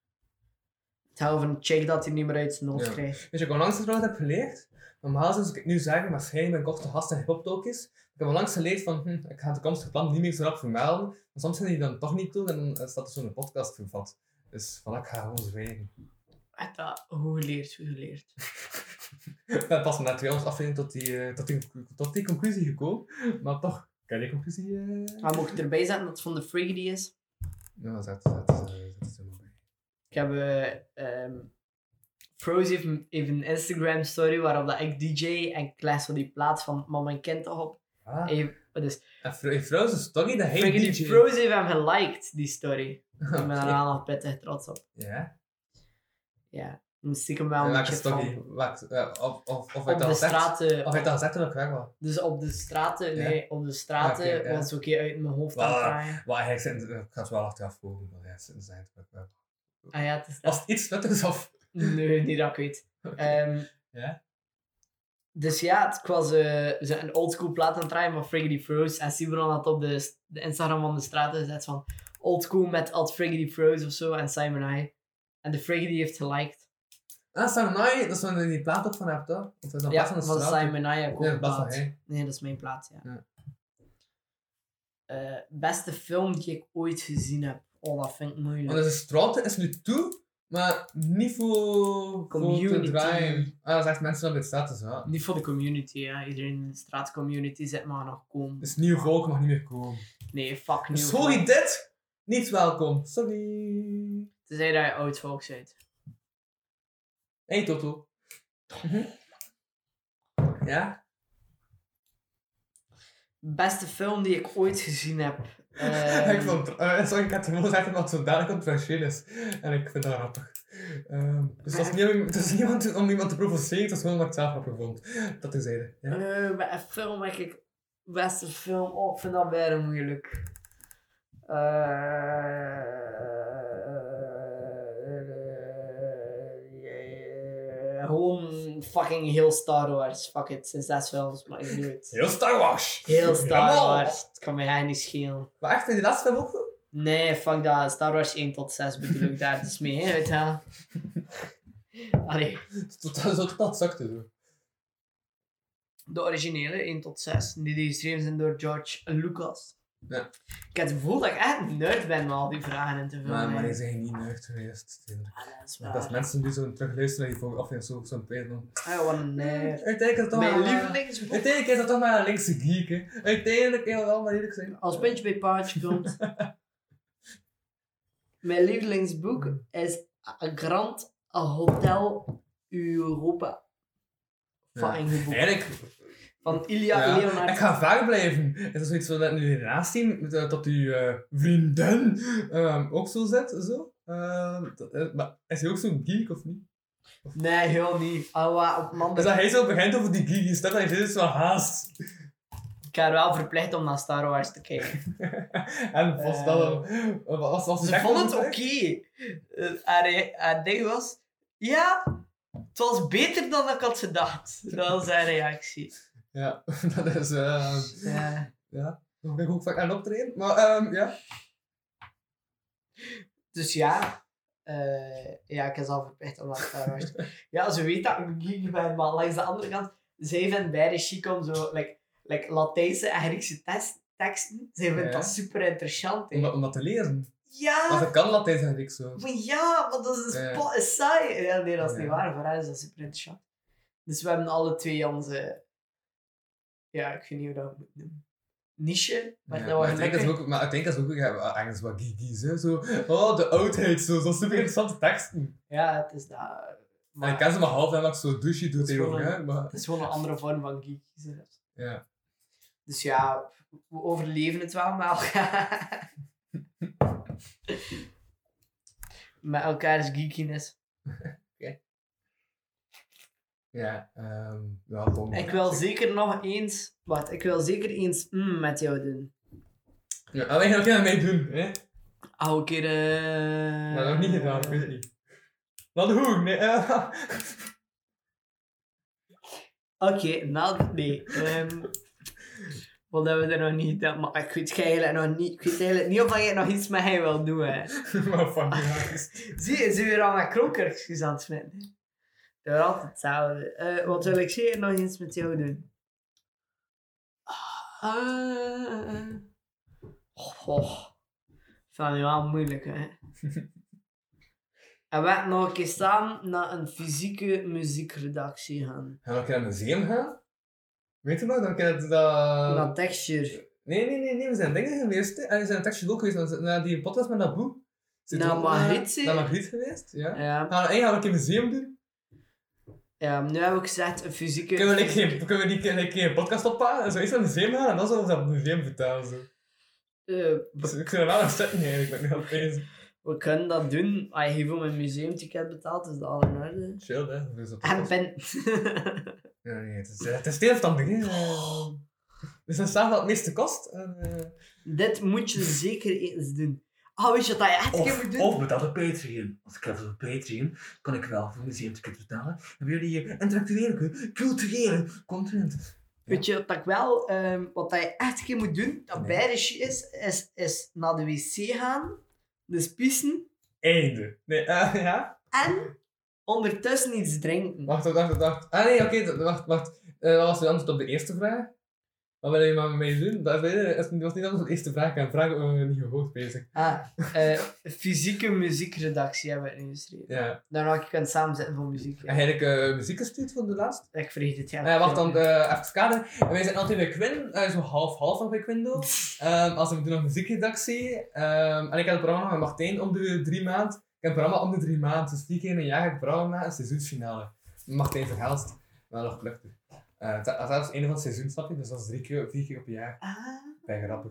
[SPEAKER 3] Het hou van check dat hij niet meer uit zijn hoofd
[SPEAKER 4] Ja.
[SPEAKER 3] krijgt.
[SPEAKER 4] Weet je, wat Dus ik onlangs trouwens heb geleerd. Normaal zou ik het nu zeggen, maar schijn ben korte gast en hip is. Ik heb onlangs geleerd van, hm, ik ga het toekomstige plan niet meer zo rap vermelden. Maar soms zijn die dan toch niet toe en dan eh, staat er zo'n podcast vervat. Dus voilà, ik ga gewoon [LAUGHS] zwijgen.
[SPEAKER 3] Echt dat, hoe geleerd, hoe geleerd.
[SPEAKER 4] ik ben pas na 200 aflevering tot die, eh, tot, die, tot die conclusie gekomen. Maar toch, kan je die conclusie... eh?
[SPEAKER 3] Maar mocht ik erbij zetten dat het van de Freddy is?
[SPEAKER 4] Ja, zet, zet, zet, zet, zet, zet, zet, zet, zet,
[SPEAKER 3] Ik heb eh, ehm, Froze heeft een, heeft een Instagram story waarop dat ik DJ en Klaas zo die plaats van Mama en Kind toch op.
[SPEAKER 4] Ah.
[SPEAKER 3] Even, dus
[SPEAKER 4] En Fro- Frozen Story, dat heet
[SPEAKER 3] Frankie
[SPEAKER 4] DJ. [LAUGHS]
[SPEAKER 3] Froze heeft hem geliked, die story. Ik ben er
[SPEAKER 4] Oké.
[SPEAKER 3] wel nog pittig trots op.
[SPEAKER 4] Ja.
[SPEAKER 3] Ja, moest ik hem wel
[SPEAKER 4] En
[SPEAKER 3] een
[SPEAKER 4] welke
[SPEAKER 3] beetje
[SPEAKER 4] story?
[SPEAKER 3] van.
[SPEAKER 4] Wat, eh, of, of, of
[SPEAKER 3] Op
[SPEAKER 4] het al
[SPEAKER 3] de
[SPEAKER 4] zegt.
[SPEAKER 3] straten,
[SPEAKER 4] Of hij het al zegt toen ik weg was.
[SPEAKER 3] dus op de straten,
[SPEAKER 4] Ja.
[SPEAKER 3] nee, op de straten
[SPEAKER 4] Ja, oké, ja.
[SPEAKER 3] was ook hier uit mijn hoofd
[SPEAKER 4] Wow.
[SPEAKER 3] aan het draaien.
[SPEAKER 4] Maar hij zei, ik ga het wel achteraf volgen, maar hij zei het ook wel.
[SPEAKER 3] Ah ja, het is dat.
[SPEAKER 4] eh, Als het iets nuttigs of...
[SPEAKER 3] Nee, niet dat ik
[SPEAKER 4] [LAUGHS]
[SPEAKER 3] weet. Ehm,
[SPEAKER 4] Ja?
[SPEAKER 3] Dus ja, het- ik was eh, zo een oldschool plaat aan het draaien van Friggity Froze. En Simon had op de, s- de Instagram van de straten gezet van oldschool met alt Friggity Froze of zo en Simon I. En de Friggity heeft geliked.
[SPEAKER 4] Ah, Samurai, dat is van die plaat ook van hem, toch? Of is dat een
[SPEAKER 3] Ja,
[SPEAKER 4] plaat van de
[SPEAKER 3] van
[SPEAKER 4] straat?
[SPEAKER 3] Simon I. heb ik ook
[SPEAKER 4] Ja, dat was van
[SPEAKER 3] geplaatst.
[SPEAKER 4] hij.
[SPEAKER 3] Nee, dat is mijn plaat, ja.
[SPEAKER 4] Ja.
[SPEAKER 3] Eh, beste film die ik ooit gezien heb. Oh, dat vind ik moeilijk.
[SPEAKER 4] Want de straat is nu toe, maar niet voor... Voor
[SPEAKER 3] Community.
[SPEAKER 4] te draaien. Ah, dat is echt mensen op de straat, dus ja.
[SPEAKER 3] Niet voor de community, ja. Iedereen in de straatcommunity zit maar nog komen.
[SPEAKER 4] Dus nieuw volk mag niet meer komen. Dus
[SPEAKER 3] Nee, fuck nu.
[SPEAKER 4] Sorry, dit! Niet welkom. Sorry.
[SPEAKER 3] Tenzij dat je oud volk bent.
[SPEAKER 4] Hey, Toto. Mhm. Ja?
[SPEAKER 3] Beste film die ik ooit gezien heb.
[SPEAKER 4] [LAUGHS] ik
[SPEAKER 3] Ehm,
[SPEAKER 4] vond, eh, sorry, ik had gewoon zeggen dat het zo dadelijk controversieel is. En ik vind dat grappig. Ehm, dus het was, niet, om- het was niet om te- om iemand te provoceren, het was gewoon omdat ik het zelf grappig vond. Dat terzijde. Ja?
[SPEAKER 3] eh, bij een film denk ik. Beste film. Oh, ik vind dat bijna moeilijk. Eh, Gewoon fucking heel Star Wars. Fuck it, sinds zes films, maar ik doe het.
[SPEAKER 4] Heel Star Wars!
[SPEAKER 3] Heel Star
[SPEAKER 4] Jawel.
[SPEAKER 3] Wars. Het kan mij eigenlijk niet schelen.
[SPEAKER 4] Maar echt, in die laatste film ook goed?
[SPEAKER 3] Nee, fuck dat. Star Wars 1 tot 6 bedoel ik daar dus mee uit, hè. Allee,
[SPEAKER 4] Tot- tot- Zo totaal zakte zo.
[SPEAKER 3] de originele 1 tot 6, die die geschreven zijn door George Lucas.
[SPEAKER 4] Ja.
[SPEAKER 3] Ik heb het gevoel dat ik echt een nerd ben met al die vragen en te veel.
[SPEAKER 4] Maar, maar
[SPEAKER 3] nee.
[SPEAKER 4] die zijn niet neugd geweest. de indruk.
[SPEAKER 3] Ah, dat is waar.
[SPEAKER 4] Dat is mensen die zo terugluisteren en die volgen af en zo zo'n prijs doen.
[SPEAKER 3] Ah, wat een nerd.
[SPEAKER 4] Uiteindelijk is het toch
[SPEAKER 3] Mijn
[SPEAKER 4] maar-
[SPEAKER 3] lievelingsboek.
[SPEAKER 4] Uiteindelijk is dat toch maar een linkse geek, hè. Uiteindelijk kan we wel maar eerlijk zijn.
[SPEAKER 3] Als puntje bij paardje
[SPEAKER 4] [LAUGHS]
[SPEAKER 3] komt. Mijn lievelingsboek is A Grand Hotel Europa.
[SPEAKER 4] Ja.
[SPEAKER 3] Van een boek.
[SPEAKER 4] Eigenlijk,
[SPEAKER 3] Van Ilya
[SPEAKER 4] ja,
[SPEAKER 3] Leonard.
[SPEAKER 4] ik ga vaak blijven. Is dat zoiets wat dat nu naast zien, dat dat uw eh, vriendin ehm, ook zo zet? Zo? Ehm, dat- eh, maar is hij ook zo'n geek of niet?
[SPEAKER 3] Nee, heel niet. Awa, op man.
[SPEAKER 4] Dus dat hij zo begint over die geek, is dat hij is wel haast.
[SPEAKER 3] Ik ga er wel verplicht om naar Star Wars te kijken.
[SPEAKER 4] en was dat dan- eh, was, was
[SPEAKER 3] Ze vond het oké. Eh, haar, haar ding was... Ja, het was beter dan ik had gedacht. Dat was haar reactie.
[SPEAKER 4] Ja, [LAUGHS] dat is. eh
[SPEAKER 3] Ja.
[SPEAKER 4] ja, daar ben ik ook vaak aan optreden. Maar ehm, ja.
[SPEAKER 3] Dus ja... eh, ja, ik is al verplicht om naar Star Wars te kijken. Ja, ze weet dat ik een geek ben, maar langs de andere kant... Zij vindt beide chic om zo... Like, like Latijnse en Griekse tes- teksten. Zij vindt
[SPEAKER 4] Ja.
[SPEAKER 3] dat super interessant. hè.
[SPEAKER 4] Om, dat- om dat te leren.
[SPEAKER 3] Ja!
[SPEAKER 4] Want dat kan Latijn zijn, ik zo.
[SPEAKER 3] Maar ja, want dat is
[SPEAKER 4] Ja.
[SPEAKER 3] een spot, is saai. Ja, nee, dat is
[SPEAKER 4] Ja.
[SPEAKER 3] niet waar. Voor haar is dat super interessant. Dus we hebben alle twee onze... Ja, ik weet niet hoe dat we moeten noemen. Niche. Maar
[SPEAKER 4] Ja,
[SPEAKER 3] dat
[SPEAKER 4] maar
[SPEAKER 3] was
[SPEAKER 4] ik denk dat
[SPEAKER 3] gelukkig...
[SPEAKER 4] is ook, maar ik denk dat is ook ja, ergens wat geekies, hè. Zo, oh, de oudheid, zo, zo super interessante teksten.
[SPEAKER 3] Ja, het is dat.
[SPEAKER 4] En ik
[SPEAKER 3] Maar
[SPEAKER 4] ken ze maar half en ik zo douche doe
[SPEAKER 3] Het is
[SPEAKER 4] tegen
[SPEAKER 3] gewoon
[SPEAKER 4] hè. Maar,
[SPEAKER 3] het is gewoon een andere vorm van geek. zelfs.
[SPEAKER 4] ja.
[SPEAKER 3] Dus ja, we overleven het wel met elkaar. [LAUGHS] met elkaars geekiness.
[SPEAKER 4] Ja, ehm ja, bon.
[SPEAKER 3] Ik wil zeker nog eens... Wat? Ik wil zeker eens mm met jou doen.
[SPEAKER 4] Ja, alleen gaan we mee doen, hè.
[SPEAKER 3] Oude keer. eh,
[SPEAKER 4] Maar nog niet gedaan, ik weet het niet. Wat hoe? Nee, eh, [LAUGHS]
[SPEAKER 3] Oké, nou, nee. ehm, wat hebben we er nog niet gedaan? Maar ik weet eigenlijk nog niet, ik weet eigenlijk niet of jij nog iets met hij wil doen. Hè.
[SPEAKER 4] maar fuck, ja.
[SPEAKER 3] Zie je, zijn weer al met krokertjes aan het vinden. Dat is altijd hetzelfde. Eh, wat wil ik zeker nog eens met jou doen? Ah. Goh. Vind je wel moeilijk, hè? [LAUGHS] en we hebben nog een keer samen naar een fysieke muziekredactie gaan.
[SPEAKER 4] Gaan we een keer naar het museum gaan? Weet je nog? Dan kan het dat...
[SPEAKER 3] naar Texture.
[SPEAKER 4] Nee, nee, nee, nee, we zijn dingen geweest. hè. En we zijn naar Texas ook geweest, want na die podcast met Naboe. Zit
[SPEAKER 3] Naar
[SPEAKER 4] ook-
[SPEAKER 3] Magritte?
[SPEAKER 4] Naar Magritte geweest, ja.
[SPEAKER 3] Ja.
[SPEAKER 4] Gaan we eigenlijk een keer museum doen?
[SPEAKER 3] Ja, nu heb ik gezegd een fysieke...
[SPEAKER 4] Kunnen we een keer- kunnen we die keer- een keer een podcast ophalen en zoiets naar het museum gaan en dan zullen we dat op het museum vertalen? Zo.
[SPEAKER 3] Eh,
[SPEAKER 4] Dus ik zou er wel aan zitten eigenlijk, ik ben nu al bezig.
[SPEAKER 3] we kunnen dat doen. Als je hiervoor mijn museumticket betaalt, is dat al in orde.
[SPEAKER 4] Chill, hè? Dus dat
[SPEAKER 3] En pen...
[SPEAKER 4] Ja, nee, het is, eh, het is tegenstandig, hè? Eh, Dus dan staat dat het meeste kost. En, eh,
[SPEAKER 3] Dit moet je zeker eens doen. Ah, weet je wat je echt een keer moet
[SPEAKER 6] Of,
[SPEAKER 3] doen?
[SPEAKER 6] of betaal op Patreon. Als ik dat dus op Patreon, kan ik wel voor museumticket betalen. Dan willen jullie hier interactuele, culturele content.
[SPEAKER 3] Weet je wat ik wel, ehm, wat dat je echt een keer moet doen, dat bij de shit is, is, is naar de wc gaan, dus pissen
[SPEAKER 4] einde. Nee, eh, [LAUGHS] ja?
[SPEAKER 3] en ondertussen iets drinken.
[SPEAKER 4] Wacht, wacht, wacht, wacht. Ah nee, oké, dat- wacht, wacht. Eh, dat was de antwoord op de eerste vraag. Wat wil je maar mee doen? Dat is- eh, dat was niet anders op de eerste vraag. Ik heb een vraag over niet gehoord bezig.
[SPEAKER 3] Ah, eh, fysieke muziekredactie hebben we ingeschreven.
[SPEAKER 4] Ja.
[SPEAKER 3] Daarna kun je het samenzetten voor muziek. ja.
[SPEAKER 4] En heb ik eh, muziek gestuurd voor de laatste?
[SPEAKER 3] Ik vergeet het, ja.
[SPEAKER 4] Eh, wacht dan, eh, even het kader. En wij zijn altijd bij Quinn, eh, zo half-half nog bij
[SPEAKER 3] [LAUGHS]
[SPEAKER 4] Quindo. Ehm, als we doen nog muziekredactie. Ehm, en ik heb een programma met Martijn om de drie maanden. Ik heb een programma om de drie maanden. Dus vier keer in een jaar heb ik een programma na een seizoensfinale. Martijn verhelst. Maar nog gelukkig. Eh, dat dat is het einde van het seizoen, snap je? Dus dat is drie keer, vier keer op een jaar.
[SPEAKER 3] Ah,
[SPEAKER 4] Bij grappig.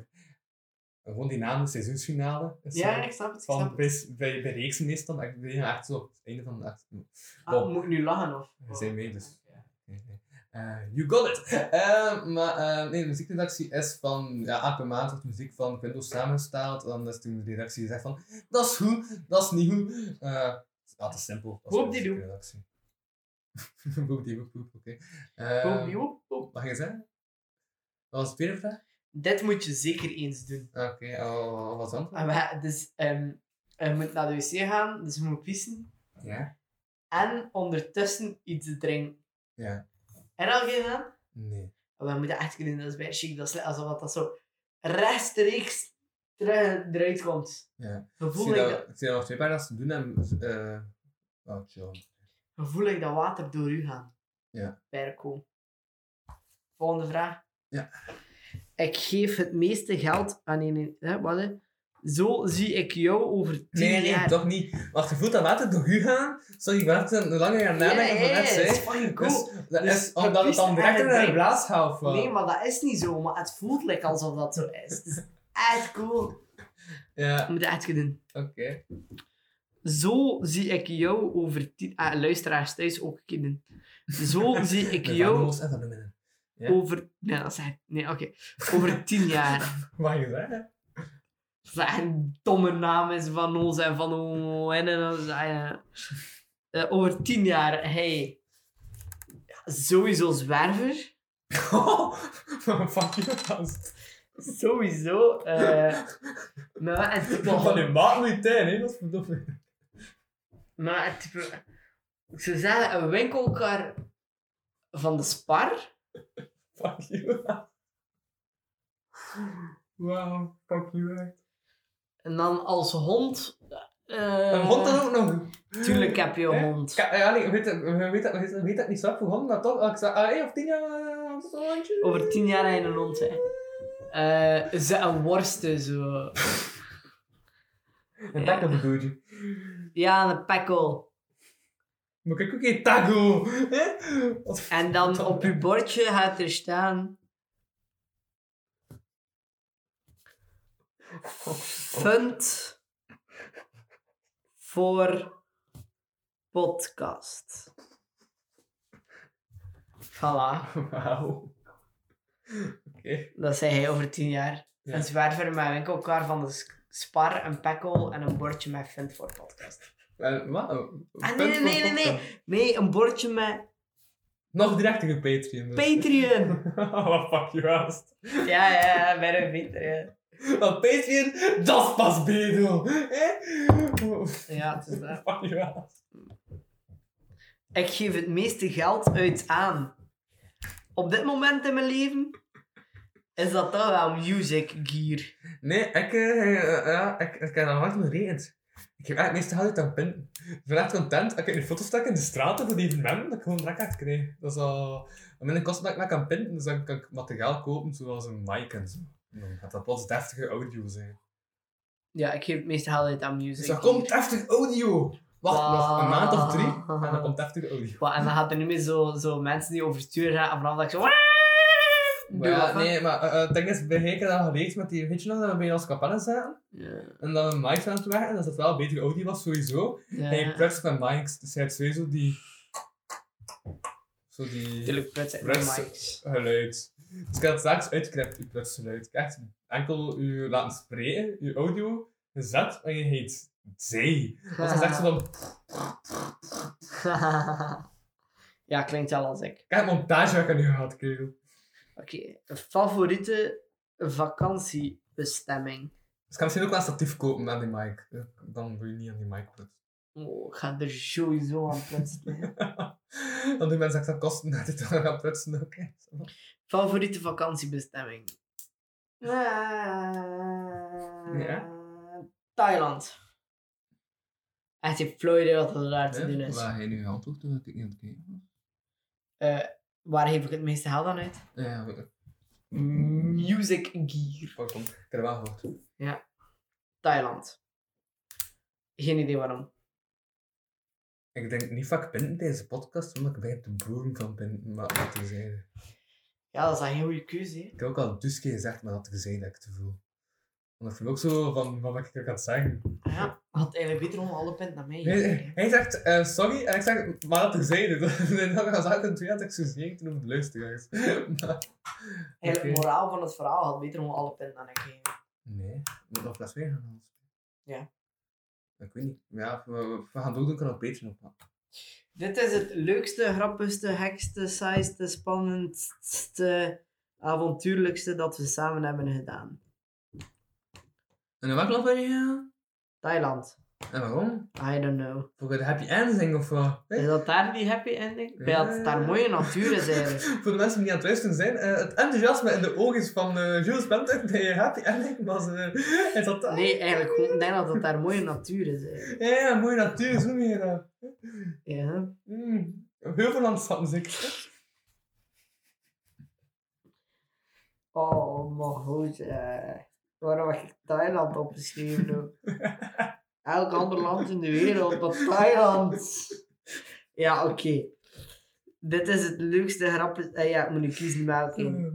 [SPEAKER 4] En gewoon die naam, de seizoensfinale. is zo
[SPEAKER 3] ja, ik snap het, ik
[SPEAKER 4] Van
[SPEAKER 3] snap het.
[SPEAKER 4] bij, bij, bij reeksen meestal, maar ik ben echt zo op het einde van de echt.
[SPEAKER 3] Ah, moet ik nu lachen of?
[SPEAKER 4] We zijn mee, dus. [LAUGHS] Eh, you got it! Eh, maar eh, nee, de muziekredactie is van ja, elke maand wordt muziek van Quindo samenstaat. Dan is toen de redactie gezegd van dat is goed, dat is niet goed. Eh, ja, dat is simpel. Dat is
[SPEAKER 3] Boop die
[SPEAKER 4] de
[SPEAKER 3] doep.
[SPEAKER 4] muziekredactie. [LAUGHS] boep die boep, boep, oké. Eh,
[SPEAKER 3] Boop, die woep, woep.
[SPEAKER 4] Mag je zeggen? Wat was de tweede vraag?
[SPEAKER 3] Dit moet je zeker eens doen.
[SPEAKER 4] Ah, Oké, oh, wat was het antwoord?
[SPEAKER 3] En we- dus, ehm, je moet naar de wc gaan, dus je moet pissen.
[SPEAKER 4] Ja?
[SPEAKER 3] en ondertussen iets drinken.
[SPEAKER 4] Ja.
[SPEAKER 3] En al gedaan?
[SPEAKER 4] Nee.
[SPEAKER 3] We moeten echt kunnen doen, dat is bij chic. Dat is net alsof dat zo rechtstreeks terug- eruit komt.
[SPEAKER 4] Ja. Ik
[SPEAKER 3] Gevoel
[SPEAKER 4] zie
[SPEAKER 3] ik
[SPEAKER 4] dat-
[SPEAKER 3] dat,
[SPEAKER 4] ik zie dat nog twee pagina's te doen en. eh oh, John.
[SPEAKER 3] gevoel ik dat water door u gaan.
[SPEAKER 4] Ja.
[SPEAKER 3] Perco. Volgende vraag.
[SPEAKER 4] Ja.
[SPEAKER 3] Ik geef het meeste geld aan een... Hè, wat, hè? Zo zie ik jou over tien
[SPEAKER 4] Nee, nee, nee,
[SPEAKER 3] jaar.
[SPEAKER 4] toch niet. Wacht, je voelt dat water door u gaan. Sorry, ik ben echt een lange jaar
[SPEAKER 3] Ja,
[SPEAKER 4] nadenken
[SPEAKER 3] ja,
[SPEAKER 4] van
[SPEAKER 3] ja,
[SPEAKER 4] net,
[SPEAKER 3] dat is
[SPEAKER 4] hè.
[SPEAKER 3] fucking cool.
[SPEAKER 4] Dus, dat
[SPEAKER 3] Dus
[SPEAKER 4] is omdat het
[SPEAKER 3] verkiest
[SPEAKER 4] dan direct in
[SPEAKER 3] eigenlijk
[SPEAKER 4] een blaas gaat. wel.
[SPEAKER 3] Nee, maar dat is niet zo. Maar het voelt lekker alsof dat zo is. Het is echt cool.
[SPEAKER 4] Ja,
[SPEAKER 3] We moeten echt gaan doen.
[SPEAKER 4] oké.
[SPEAKER 3] Zo zie ik jou over tien... Ah, luisteraars thuis ook een keer doen. [LAUGHS] Zo zie ik
[SPEAKER 4] Met
[SPEAKER 3] jou
[SPEAKER 4] Vamos en Van de Minnen. ja.
[SPEAKER 3] over... Nee, dat zeg ik- Nee, oké. Over tien jaar.
[SPEAKER 4] Mag je zeggen?
[SPEAKER 3] Dat is echt een domme naam is van ons en van ons en dan is- ah, ja. Eh, Over tien jaar, hey. Ja, Sowieso [LAUGHS] zwerver.
[SPEAKER 4] Fuck you, gast.
[SPEAKER 3] Sowieso. eh maar het type...
[SPEAKER 4] Van je maat moet je tuin, hè. Dat is verdomme.
[SPEAKER 3] Maar het type... Ik zou zeggen, een winkelkar van de Spar.
[SPEAKER 4] Fuck you. Wauw, fuck you, echt.
[SPEAKER 3] En dan als hond. eh,
[SPEAKER 4] Een hond dan ook nog.
[SPEAKER 3] Tuurlijk heb je een
[SPEAKER 4] Hè?
[SPEAKER 3] hond.
[SPEAKER 4] Ka- Ja, nee, weet, weet, weet, dat- weet, weet dat niet zo voor honden, maar toch. ah, Ik zei, ah, hey, of tien jaar, zo'n hondje.
[SPEAKER 3] Over tien jaar heb je een hond. Hè. Eh, ze een worsten zo.
[SPEAKER 4] Een taco bedoel je?
[SPEAKER 3] Ja, een pekkel.
[SPEAKER 4] Maar kijk ook geen taco! hè? Wat-
[SPEAKER 3] En dan op je bordje gaat er staan. Fund voor podcast. Voilà.
[SPEAKER 4] Wauw. Oké.
[SPEAKER 3] Dat zei hij over tien jaar.
[SPEAKER 4] Ja.
[SPEAKER 3] Een zwerver met een winkelkar van de s- spar, een pekkel en een bordje met vind voor podcast.
[SPEAKER 4] Eh, Wauw.
[SPEAKER 3] Ah, nee, nee,
[SPEAKER 4] Punt voor
[SPEAKER 3] nee, nee,
[SPEAKER 4] Popcorn.
[SPEAKER 3] nee. Nee, een bordje met
[SPEAKER 4] Nog direct in Patreon. Dus.
[SPEAKER 3] Patreon.
[SPEAKER 4] [LAUGHS] Wat fuck je haast.
[SPEAKER 3] [LAUGHS] Ja, ja, ja, bij een Patreon.
[SPEAKER 4] Want Patreon, dat is pas bedel. hè? Oh,
[SPEAKER 3] Ja, het is dat.
[SPEAKER 4] Fuck je haast.
[SPEAKER 3] Ik geef het meeste geld uit aan. Op dit moment in mijn leven is dat toch wel music gear.
[SPEAKER 4] Nee, ik, eh, eh, ja, ik, ik heb nog nooit meer regend. Ik heb eigenlijk meestal altijd aan pinten. Ik ben echt content. Ik heb een foto stak in de straten voor die evenementen dat ik gewoon direct echt kreeg. Dat is al... En mijn kosten dat ik maar kan pinten, dus dan kan ik materiaal kopen, zoals een mic en zo. En dan gaat dat plots deftige audio zijn.
[SPEAKER 3] Ja, ik geef het meeste geld uit aan music
[SPEAKER 4] Dus dan komt deftig audio! Wacht, nog een maand of drie. En
[SPEAKER 13] dan komt heftige audio.
[SPEAKER 3] Wat, en dan gaat er niet meer zo, zo mensen die overstuur gaan en vanaf dat ik zo...
[SPEAKER 4] Maar ja, nee, maar eh, eh, het ding is, bij Henk hadden we geleerd met die, weet je nog, dat we bij ons campagne zaten? En dat we mics aan het weg en dat dat wel een betere audio was, sowieso.
[SPEAKER 3] Ja.
[SPEAKER 4] En je prutst met mics, dus je hebt sowieso die... Zo die...
[SPEAKER 3] Tuurlijk, prut zijn
[SPEAKER 4] Prut-
[SPEAKER 3] mics. [LAUGHS]
[SPEAKER 4] geluid. Dus je had straks uitknipt, je prutsgeluid. Echt enkel je laten spreken, je audio, gezet en je heet zij. Want dat is echt zo dan...
[SPEAKER 3] ja, klinkt wel als ik.
[SPEAKER 4] Kijk, montage heb ik aan u gehad, kerel. Dus
[SPEAKER 3] Oké, favoriete vakantiebestemming?
[SPEAKER 4] Dus ik kan misschien ook wel een statief kopen met die mic. Dan doe je niet aan die mic prutsen. [LAUGHS]
[SPEAKER 3] Oh, ik ga er sowieso aan prutsen.
[SPEAKER 4] Dan doen mensen extra kosten dat dit dan gaan prutsen ook. hè.
[SPEAKER 3] favoriete vakantiebestemming? Eh,
[SPEAKER 4] Ja?
[SPEAKER 3] Thailand. Echt, je hebt flauw idee wat er daar te doen
[SPEAKER 4] Ja,
[SPEAKER 3] is.
[SPEAKER 4] Waar hij nu antwoordt, dat ik niet aan het kijken was.
[SPEAKER 3] Eh, waar geef ik het meeste geld aan uit?
[SPEAKER 4] Ja, weet ik. Mm.
[SPEAKER 3] Music gear.
[SPEAKER 4] Pak Ik heb er wel gehoord.
[SPEAKER 3] Thailand. Geen idee waarom.
[SPEAKER 4] Ik denk niet vaak pinten deze podcast, omdat ik bij te broeren van pinten, maar dat te zijn.
[SPEAKER 3] Ja, dat is een heel goede keuze. hè.
[SPEAKER 4] Ik heb ook al dus keer gezegd, maar dat te zijn dat ik te voel. Want ik voel ook zo van, wat ben ik er kan zeggen.
[SPEAKER 3] Ah Ja, had eigenlijk beter om alle punten naar mij.
[SPEAKER 4] Nee, hij zegt, eh, sorry, en ik zeg, maar [LAUGHS] dat te zijn. En dan was ik een twee had ik zo zeker toen op de luisteraars. [LAUGHS] Maar,
[SPEAKER 3] Eigenlijk,
[SPEAKER 4] Oké.
[SPEAKER 3] Het moraal van het verhaal had beter om alle punten aan mij geven.
[SPEAKER 4] Nee, we moeten nog plaats weer gaan halen.
[SPEAKER 3] Ja.
[SPEAKER 4] Ik weet niet. Ja, we, we we gaan doen, dan kan het beter nog. maar-
[SPEAKER 3] Dit is het leukste, grappigste, gekste, saaiste, spannendste, avontuurlijkste dat we samen hebben gedaan.
[SPEAKER 4] En in welk land ben je gegaan?
[SPEAKER 3] Thailand.
[SPEAKER 4] En waarom?
[SPEAKER 3] I don't know.
[SPEAKER 4] Voor de happy ending of wat?
[SPEAKER 3] Is dat daar die happy ending? Bij dat het daar mooie natuur is eigenlijk.
[SPEAKER 4] Voor de mensen die aan het luisteren zijn, eh, het enthousiasme in de ogen van eh, Jules Penter bij Happy Ending was... eh is dat dat?
[SPEAKER 3] Nee, eigenlijk gewoon, ik denk dat het daar mooie natuur is eigenlijk.
[SPEAKER 4] Ja, ja, mooie natuur, zo meer. eh.
[SPEAKER 3] Ja.
[SPEAKER 4] Mm. Heel veel land zaten zeker.
[SPEAKER 3] Oh, maar goed. eh. waarom heb ik Thailand opgeschreven [LAUGHS] ook? Elk ander land in de wereld, maar Thailand. Ja, oké. Dit is het leukste grapje. eh, ja, ik moet nu kiezen welke.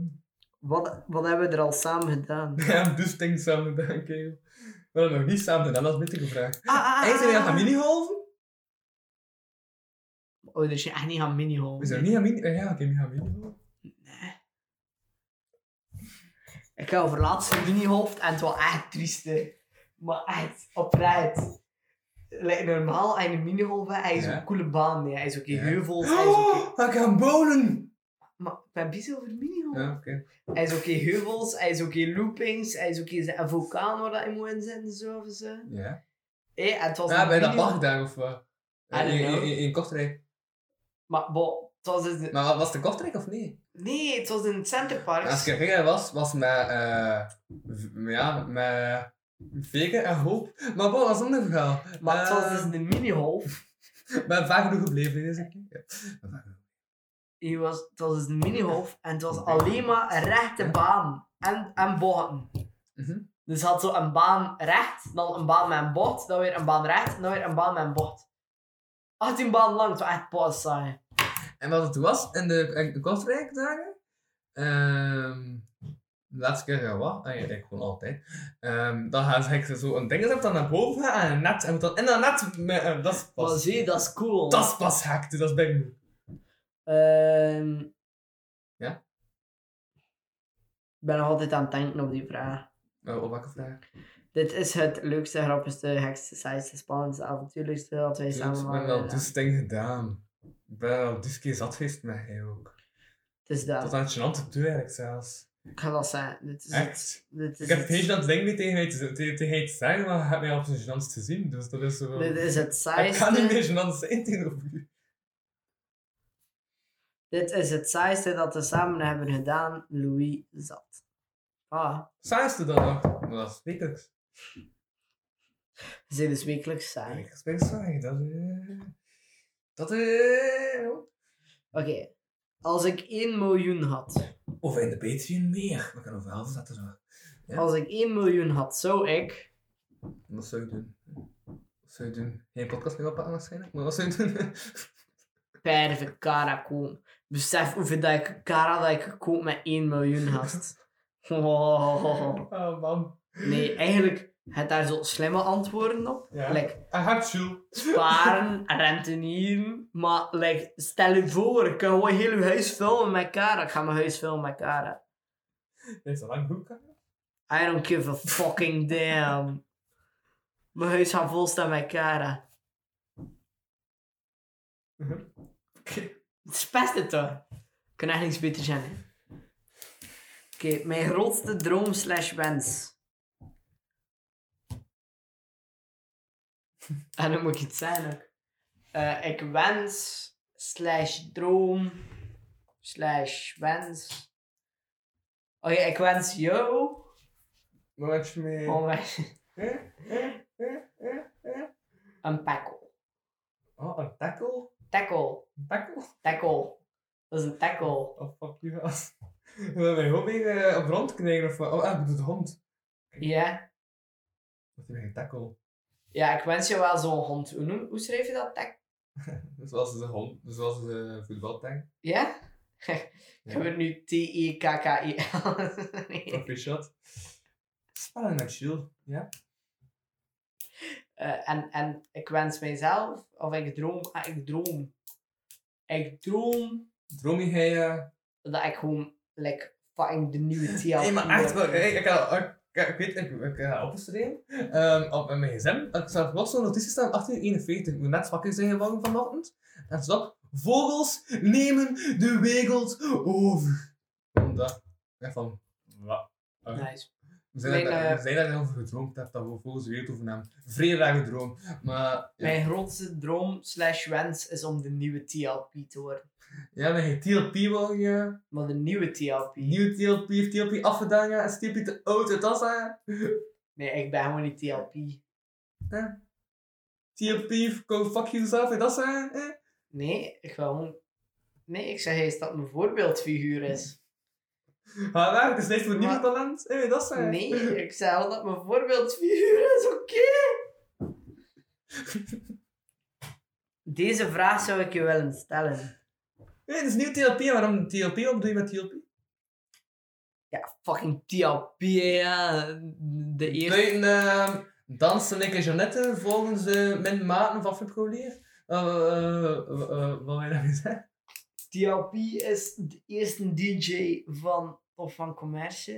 [SPEAKER 3] Wat, wat hebben we er al samen gedaan?
[SPEAKER 4] [LAUGHS] Ja, dus denk samen [LAUGHS] gedaan, kerel. We hadden nog niet samen gedaan, dat is een betere vraag.
[SPEAKER 3] Ah, ah,
[SPEAKER 4] Hij zijn we gaan minigolven?
[SPEAKER 3] Oh, dus je echt niet gaan
[SPEAKER 4] We
[SPEAKER 3] miniholen.
[SPEAKER 4] zijn niet gaan minigolven. Ja, oké, we gaan minigolven.
[SPEAKER 3] Ik heb over laatst een minihoofd en het was echt triest. hè. Maar echt, oprecht. Like, normaal, hij een minihoofd, hij is
[SPEAKER 4] Ja.
[SPEAKER 3] een coole baan. hè. Hij is ook in
[SPEAKER 4] Ja.
[SPEAKER 3] heuvels, hij is ook in-
[SPEAKER 4] Oh, we gaan bowlen!
[SPEAKER 3] Maar ik ben bezig over minihoofd.
[SPEAKER 4] Ja, oké.
[SPEAKER 3] Hij is ook in heuvels, hij is ook in loopings, hij is ook in zijn vulkaan waar dat hij moet inzetten. Zo, of zo.
[SPEAKER 4] Ja.
[SPEAKER 3] Hé, en het was
[SPEAKER 4] Ja,
[SPEAKER 3] een
[SPEAKER 4] bij dat
[SPEAKER 3] minihoofd.
[SPEAKER 4] bag daar of wat?
[SPEAKER 3] I don't
[SPEAKER 4] In, in,
[SPEAKER 3] know.
[SPEAKER 4] in, in Kortrijk.
[SPEAKER 3] Maar bo, het was dus... de-
[SPEAKER 4] Maar was het in Kortrijk of niet?
[SPEAKER 3] Nee, het was in het Centerpark.
[SPEAKER 4] Als ik er was, was met, eh, v- ja, met Veken en Hoop. Maar wat was een ander verhaal.
[SPEAKER 3] Maar het was
[SPEAKER 4] Eh,
[SPEAKER 3] dus een minihoofd.
[SPEAKER 4] Ik ben vaak genoeg gebleven deze keer. Ja. Ik ben vaak genoeg.
[SPEAKER 3] Hij was, het was dus een minihoofd en het was alleen maar een rechte baan en, en bochten.
[SPEAKER 4] Mhm.
[SPEAKER 3] Dus het had zo een baan recht, dan een baan met een bocht, dan weer een baan recht, en dan weer een baan met een bocht. 18 baan lang, het was echt pas saai.
[SPEAKER 4] En wat het was, in de in Kortrijk dagen, ehm, de laatste keer ja, wat, ah, ja, ik gewoon altijd, Ehm, dan gaan ze eigenlijk zo een ding zetten, dan naar boven gaan en een net, en moet dan in dat net, met, eh, dat is
[SPEAKER 3] Maar
[SPEAKER 4] pas,
[SPEAKER 3] zie, je, dat is cool.
[SPEAKER 4] dat is pas hekte, dat is bij me.
[SPEAKER 3] Ehm.
[SPEAKER 4] Ja?
[SPEAKER 3] Ik ben nog altijd aan het denken op die vraag.
[SPEAKER 4] Eh, op welke vraag?
[SPEAKER 3] Dit is het leukste, grappigste, gekste, saaiste, spannendste, avontuurlijkste dat eh, wij
[SPEAKER 4] Dus
[SPEAKER 3] samen
[SPEAKER 4] ik
[SPEAKER 3] hadden
[SPEAKER 4] ben wel
[SPEAKER 3] gedaan.
[SPEAKER 4] dus ding gedaan. Ik ben al dus keer zat geweest met hij ook.
[SPEAKER 3] Het is dat.
[SPEAKER 4] Tot aan het gênante toe eigenlijk zelfs.
[SPEAKER 3] Ik ga dat zeggen. Dit is het.
[SPEAKER 4] Echt.
[SPEAKER 3] Dit
[SPEAKER 4] Ik
[SPEAKER 3] is
[SPEAKER 4] heb geen
[SPEAKER 3] het.
[SPEAKER 4] gênant ding niet tegen hij te- tegen- tegen hij te zeggen, maar hij heeft mij al op zijn gênant te zien. Dus [LAUGHS] dat is zo...
[SPEAKER 3] Dit is het
[SPEAKER 4] Ik kan niet meer
[SPEAKER 3] saaiste.
[SPEAKER 4] gênant zijn tegenover u.
[SPEAKER 3] Dit is het saaiste dat we samen hebben gedaan. Louis zat. Ah,
[SPEAKER 4] Saaiste dan nog. Maar dat is wekelijks.
[SPEAKER 3] ze zijn dus wekelijks saai.
[SPEAKER 4] Wekelijks ben ik saai. Dat eh, Dat eh,
[SPEAKER 3] Oké. Als ik 1 miljoen had.
[SPEAKER 4] Of in de Patreon meer. We kunnen over half zetten zo. Ja.
[SPEAKER 3] Als ik 1 miljoen had, zou ik...
[SPEAKER 4] [LAUGHS] Wat zou ik doen? Wat zou ik doen? Geen podcast meer oppakken waarschijnlijk, maar wat zou ik doen?
[SPEAKER 3] perve Kara koop. Besef hoeveel dat ik Kara dat ik koop met 1 miljoen gast. Oh.
[SPEAKER 4] Ah,
[SPEAKER 14] Oh man.
[SPEAKER 3] Nee, eigenlijk het daar zo slimme antwoorden op.
[SPEAKER 14] Ja.
[SPEAKER 3] Like,
[SPEAKER 14] Een
[SPEAKER 4] Ah,
[SPEAKER 14] hartsjoel.
[SPEAKER 3] sparen, rentenieren. Maar like, stel je voor, ik kan gewoon heel je huis filmen met Kara. Ik ga mijn huis filmen met Kara.
[SPEAKER 14] Is dat lang goed, kan
[SPEAKER 3] I don't give a fucking damn. Mijn huis gaat volstaan met Kara. Het is best het toch? Kan echt niks beter zijn. hè. Oké, mijn grootste droom slash wens. [LAUGHS] En dan moet ik iets zijn ook. Eh, ik wens slash droom slash wens. Oké, ik wens jou
[SPEAKER 4] Wat je mee...
[SPEAKER 3] om een tackle.
[SPEAKER 4] Oh, een tackle?
[SPEAKER 3] Tackle.
[SPEAKER 4] Een tackle?
[SPEAKER 3] Tackle. Dat is een tackle.
[SPEAKER 4] Oh, fuck you, gast. We willen mijn hobby eh, op de hond krijgen of wat? Oh, ah, ik bedoel de hond.
[SPEAKER 3] Ja.
[SPEAKER 4] Wat heb je een tackle?
[SPEAKER 3] Ja, ik wens je wel zo'n hond. Hoe, noem- hoe schrijf je dat? Tak?
[SPEAKER 4] Zoals de hond, zoals de eh, voetbaltank.
[SPEAKER 3] Ja? [LAUGHS] Ik heb er nu T-E-K-K-I. nee.
[SPEAKER 4] Proper shot. Spelen met chill.
[SPEAKER 3] [LAUGHS]
[SPEAKER 4] Ja.
[SPEAKER 3] Eh, en, en ik wens mijzelf, of ik droom, ah, ik droom. Ik droom
[SPEAKER 4] Droom je hij... eh,
[SPEAKER 3] dat ik gewoon, like, fucking de nieuwe TL.
[SPEAKER 4] [LAUGHS] Nee, maar echt, wel, ik, ik, had- ik, ik, ik weet, ik, ik ga opgeschreven ehm, op mijn gsm. Ik zag nog zo'n notitie staan, 1841. Ik moet net wakker zijn geworden vanochtend. En stop. Vogels nemen de wereld over. Omdat, ja, van, wat?
[SPEAKER 3] Nice.
[SPEAKER 4] We zijn,
[SPEAKER 3] Mijn,
[SPEAKER 4] daar,
[SPEAKER 3] eh,
[SPEAKER 4] we zijn daar heel veel gedroomd, dat dat we vogels de wereld overnamen. Vrij rare droom. Maar, ja,
[SPEAKER 3] Mijn grootste droom slash wens is om de nieuwe TLP te worden.
[SPEAKER 4] ja mijn TLP wil je.
[SPEAKER 3] Maar de nieuwe TLP.
[SPEAKER 4] Nieuwe TLP, heeft TLP afgedaan, ja. Is TLP te oud, het was, ja.
[SPEAKER 3] Nee, ik ben gewoon niet TLP.
[SPEAKER 4] TLP, go fuck yourself, dat zijn. Eh.
[SPEAKER 3] Nee, ik wil gewoon... Nee, ik zeg eens dat mijn voorbeeldfiguur is.
[SPEAKER 4] Maar waar, het is niks voor nieuw
[SPEAKER 3] Maar-
[SPEAKER 4] talent. Hé, dat zijn.
[SPEAKER 3] Nee, ik zeg wel dat mijn voorbeeldfiguur is, oké? Deze vraag zou ik je willen stellen.
[SPEAKER 4] Hé, het is nieuw TLP, en waarom TLP? Wat bedoel je met TLP?
[SPEAKER 3] Ja, fucking TLP, ja. De eerste...
[SPEAKER 4] Buiten ehm dansen ik en Jeannette volgens eh mijn maten van Flipgolier. Eh eh, eh, eh, wat wil je daarmee zeggen?
[SPEAKER 3] TLP is de eerste DJ van Tof van Commercie.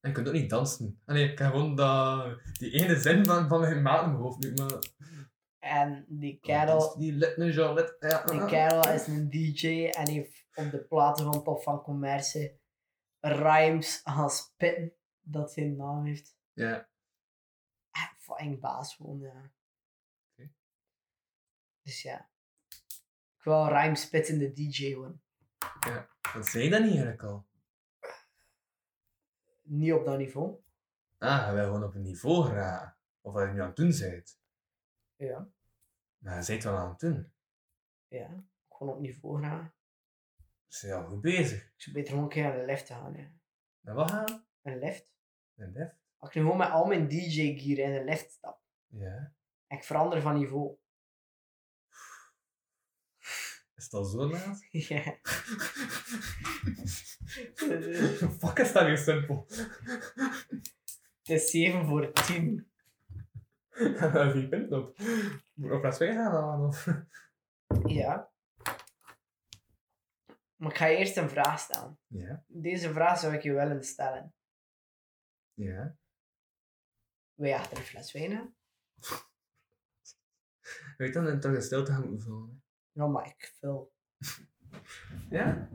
[SPEAKER 4] En je kunt ook niet dansen. Ah, nee, ik heb gewoon dat, die ene zin van, van mijn maat in mijn hoofd nu. Maar,
[SPEAKER 3] En die kerel
[SPEAKER 4] Die Litne Jeannette. Ja,
[SPEAKER 3] Die
[SPEAKER 4] ah, ah.
[SPEAKER 3] kerel is een DJ en heeft op de platen van Top van Commerce rhymes gaan spitten dat zijn naam heeft.
[SPEAKER 4] Ja.
[SPEAKER 3] En fucking baas gewoon, ja. Dus ja. Ik wil rhymes spitten de DJ worden.
[SPEAKER 4] Wat zei je dat niet eigenlijk al?
[SPEAKER 3] Niet op dat niveau.
[SPEAKER 4] Ah, je wil gewoon op een niveau geraken. Of wat je nu aan het doen bent.
[SPEAKER 3] Ja.
[SPEAKER 4] Maar je bent wel aan het doen.
[SPEAKER 3] Ja. Gewoon op niveau gaan.
[SPEAKER 4] Ze zijn Dus al goed bezig.
[SPEAKER 3] Ik zou beter gewoon een keer naar de lift gaan, ja.
[SPEAKER 4] Dan wat gaan?
[SPEAKER 3] Een lift.
[SPEAKER 4] Een def.
[SPEAKER 3] Als ik nu gewoon met al mijn DJ gear in een lift stap.
[SPEAKER 4] Ja.
[SPEAKER 3] En ik verander van niveau. [LAUGHS]
[SPEAKER 4] Is het al zo laat? [LAUGHS]
[SPEAKER 3] ja.
[SPEAKER 4] Fuck, is dat weer simpel. [LAUGHS]
[SPEAKER 3] Het is 7 voor 10.
[SPEAKER 4] Wie bent op? Moet ik op plaats 2 gaan halen? Of?
[SPEAKER 3] Ja. Maar ik ga je eerst een vraag stellen.
[SPEAKER 4] Ja.
[SPEAKER 3] Deze vraag zou ik je willen stellen.
[SPEAKER 4] Ja.
[SPEAKER 3] Wij achter een fles wijn aan?
[SPEAKER 4] Weet dan dat je stil te gaan moeten vullen?
[SPEAKER 3] Ja, maar ik vul.
[SPEAKER 4] Ja?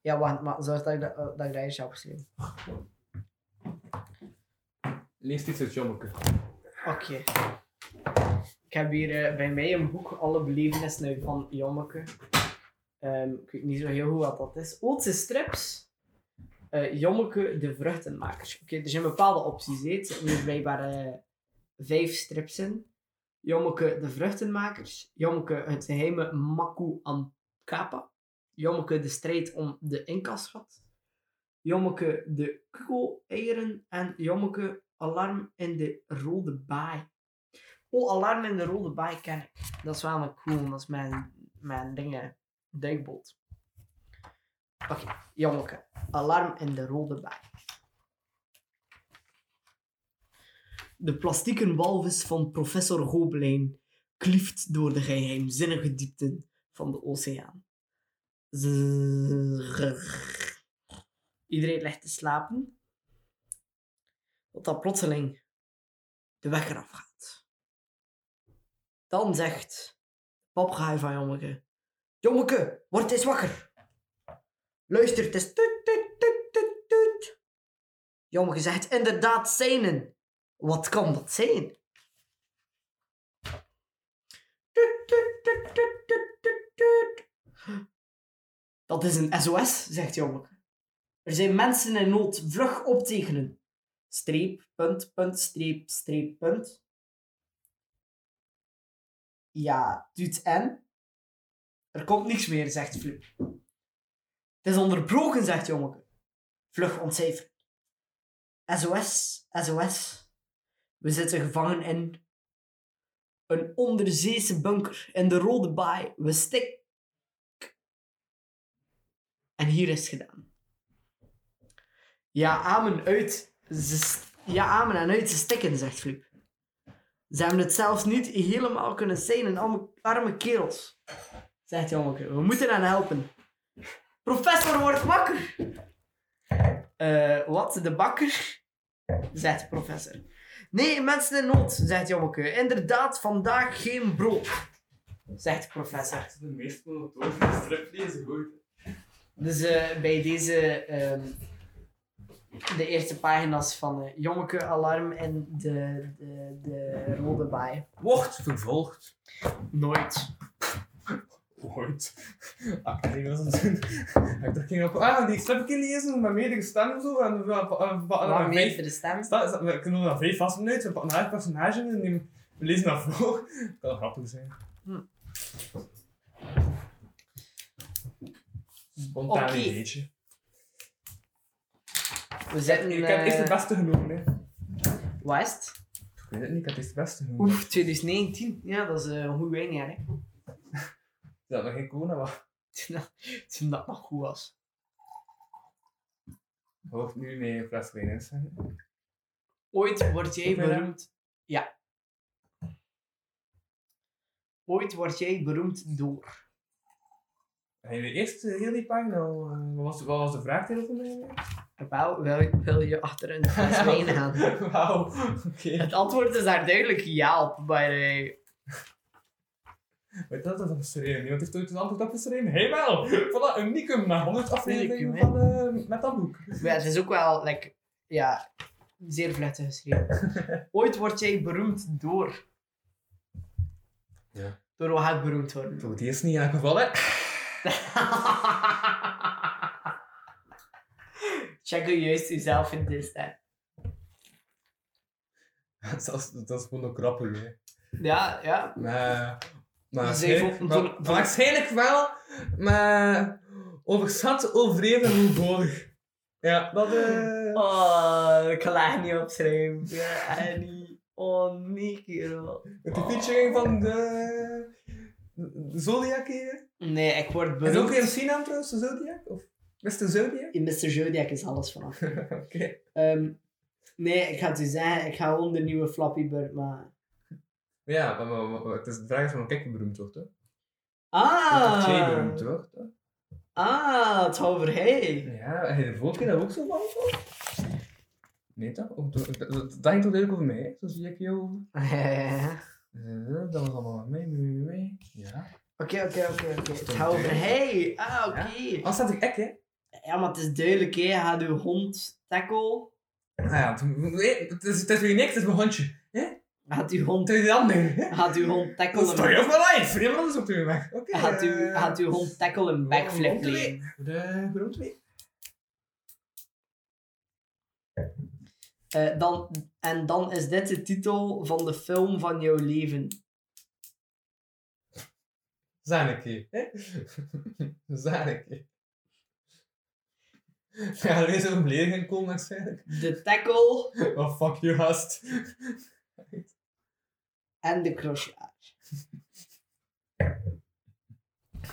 [SPEAKER 3] Ja, wacht, maar zorg dat ik dat, dat, ik dat eerst opschrijf.
[SPEAKER 4] Lees iets uit Jommeke.
[SPEAKER 3] Oké. Ik heb hier eh, bij mij een boek, Alle belevenissen uit van Jommeke. Ehm, ik weet niet zo heel goed wat dat is. Ootse strips. Eh, Jommeke, de vruchtenmakers. Oké, er zijn bepaalde opties. hè. Het zitten hier blijkbaar eh, vijf strips in. Jommeke, de vruchtenmakers. Jommeke, het geheime Maku Ankapa. Jommeke, de strijd om de Inca-schat. Jommeke, de kukkel-eieren. En Jommeke, alarm in de rode baai. Oh, alarm in de rode baai ken ik. Dat is wel een cool, dat is mijn mijn dingen, duikboot. Oké, jongeke. Alarm in de rode baai. De plastieken walvis van professor Gobelijn klieft door de geheimzinnige diepten van de oceaan. Zrrr. Iedereen ligt te slapen. Tot dat plotseling de wekker afgaat. Dan zegt de papegaai van Jommeke. Jommeke, word eens wakker. Luister, het is tut tut tut tut tut. Jommeke zegt inderdaad zijnen. Wat kan dat zijn? Tut, tut, tut, tut, tut, tut, tut. Dat is een SOS, zegt Jommeke. Er zijn mensen in nood. Vlug optekenen. Streep, punt, punt, streep, streep, punt. Ja, doet en? Er komt niks meer, zegt Flip. Het is onderbroken, zegt Jommeke. Vlug ontcijferen. SOS, SOS. We zitten gevangen in een onderzeese bunker in de Rode Baai. We stik. En hier is het gedaan. Ja, amen uit. Ze st- ja, amen en uit. Ze stikken, zegt Flip. Ze hebben het zelfs niet helemaal kunnen zijn, een arme, arme kerels. Zegt jongeke, we moeten hen helpen. Professor wordt wakker! Eh, wat? De bakker? Zegt de professor. Nee, mensen in nood, zegt Jommeke. Inderdaad, vandaag geen brood, zegt de professor.
[SPEAKER 15] De meest monotoon striplezen, goed.
[SPEAKER 3] Dus eh, bij deze, ehm, de eerste pagina's van eh Jommeke Alarm en de, de, de Rode Baai.
[SPEAKER 15] Wordt vervolgd.
[SPEAKER 3] Nooit.
[SPEAKER 4] Ooit. [LAUGHS] Ah, ik was aan het doen. Ik dacht, ging op. Ah, die stripje lezen met meerdere stemmen zo. En we
[SPEAKER 3] Maar
[SPEAKER 4] hadden
[SPEAKER 3] meerdere stem.
[SPEAKER 4] We kunnen dan vijf vasten uit. We pakken elk personage en nemen- we lezen dat voor. Dat kan grappig zijn.
[SPEAKER 3] Hm.
[SPEAKER 4] Spontaan
[SPEAKER 3] Oké.
[SPEAKER 4] ideetje.
[SPEAKER 3] We zitten
[SPEAKER 4] Ik heb eerst het
[SPEAKER 3] eh,
[SPEAKER 4] beste genomen, hè.
[SPEAKER 3] wat is het?
[SPEAKER 4] Ik weet het niet, ik heb eerst het beste genomen.
[SPEAKER 3] Oef, 2019. Ja, dat is eh, een goed wijnjaar, hè. [LAUGHS]
[SPEAKER 4] Ja, nog geen corona was.
[SPEAKER 3] Toen dat- Toen dat nog goed was.
[SPEAKER 4] Hoofd nu mee een fles wijn inschenken.
[SPEAKER 3] Ooit word jij
[SPEAKER 4] Ik ben hem.
[SPEAKER 3] beroemd. Ja. Ooit word jij beroemd door.
[SPEAKER 4] En jullie eerst eh, heel die pagina al, eh, wat, was, wat was de vraag van mij?
[SPEAKER 3] Wel, wil, wil je achter een fles wijn gaan?
[SPEAKER 4] [LAUGHS] Wauw, oké.
[SPEAKER 3] [LAUGHS] Het antwoord is daar duidelijk ja op, maar eh,
[SPEAKER 4] Weet je dat, dat is een serene. Niemand heeft ooit een antwoord op een serene. Helemaal! Voilà, unicum na 100 afleveringen
[SPEAKER 3] Unicum,
[SPEAKER 4] van, eh, met dat boek.
[SPEAKER 3] maar het is ook wel, like, ja, zeer vluchtig geschreven. [LAUGHS] Ooit word jij beroemd door.
[SPEAKER 4] Ja.
[SPEAKER 3] Door wat gaat beroemd worden?
[SPEAKER 4] Voor het eerst niet in elk geval, hè.
[SPEAKER 3] [LAUGHS] Check hoe juist jezelf in dit staat.
[SPEAKER 4] [LAUGHS] dat, is, dat is gewoon ook grappig, hè.
[SPEAKER 3] Ja, ja.
[SPEAKER 4] Maar,
[SPEAKER 3] Dus
[SPEAKER 4] maar, waarschijnlijk,
[SPEAKER 3] even-
[SPEAKER 4] maar-
[SPEAKER 3] voor-
[SPEAKER 4] maar
[SPEAKER 3] voor-
[SPEAKER 4] waarschijnlijk wel, maar overzat, overreden en moedbodig. Ja, dat... eh
[SPEAKER 3] Oh, ik kan dat niet opschrijven. Ja, [LAUGHS] en niet. Oh, nee, kerel.
[SPEAKER 4] Met de featuring van de... de Zodiac hier.
[SPEAKER 3] Nee, ik word
[SPEAKER 4] Is ook
[SPEAKER 3] beroemd.
[SPEAKER 4] een naam trouwens, de Zodiac? Of Mr. Zodiac?
[SPEAKER 3] In Mr. Zodiac is alles vanaf. [LAUGHS]
[SPEAKER 4] Oké.
[SPEAKER 3] Ehm, nee, ik ga het u zeggen, ik ga onder nieuwe Flappy Bird maken.
[SPEAKER 4] Ja, maar, maar- maar- maar het is de vraag is van kijk hoe beroemd wordt, hè. Dat jij beroemd
[SPEAKER 3] Ah!
[SPEAKER 4] wordt, hè.
[SPEAKER 3] Ah, het gaat over hey.
[SPEAKER 4] Ja, en de vorige keer dat ook zo van was? Nee toch? Ook door- Dat dat- dat ging toch duidelijk over mij, hè? zo zie ik jou. Eh, Dat was allemaal mee, mee, mee, mee. Ja.
[SPEAKER 3] [LAUGHS] Oké, oké, oké, oké. Het
[SPEAKER 4] Stond
[SPEAKER 3] gaat over
[SPEAKER 4] duidelijk.
[SPEAKER 3] hey. Ah, oké.
[SPEAKER 4] Als dat ik ek, hè?
[SPEAKER 3] Ja, maar het is duidelijk, hè. Gaat uw hond tackle?
[SPEAKER 4] Nou ja, toen- nee, het is, het is weer niks, het is mijn hondje.
[SPEAKER 3] Gaat uw hond,
[SPEAKER 4] Toen die andere.
[SPEAKER 3] gaat uw hond [LAUGHS]
[SPEAKER 4] Dat is toch
[SPEAKER 3] tackle?
[SPEAKER 4] heel veel life! Niemand anders op de weg. Oké.
[SPEAKER 3] Gaat uw,
[SPEAKER 4] eh,
[SPEAKER 3] gaat uw hond tackle een backflip leren?
[SPEAKER 4] De beroemd weer.
[SPEAKER 3] Eh, dan, en dan is dit de titel van de film van jouw leven.
[SPEAKER 4] Zaneke. hè? [LAUGHS] Zaneke. Ja, er is een leerling komen waarschijnlijk.
[SPEAKER 3] De tackle
[SPEAKER 4] Oh, fuck you, gast. [LAUGHS]
[SPEAKER 3] en de crochet.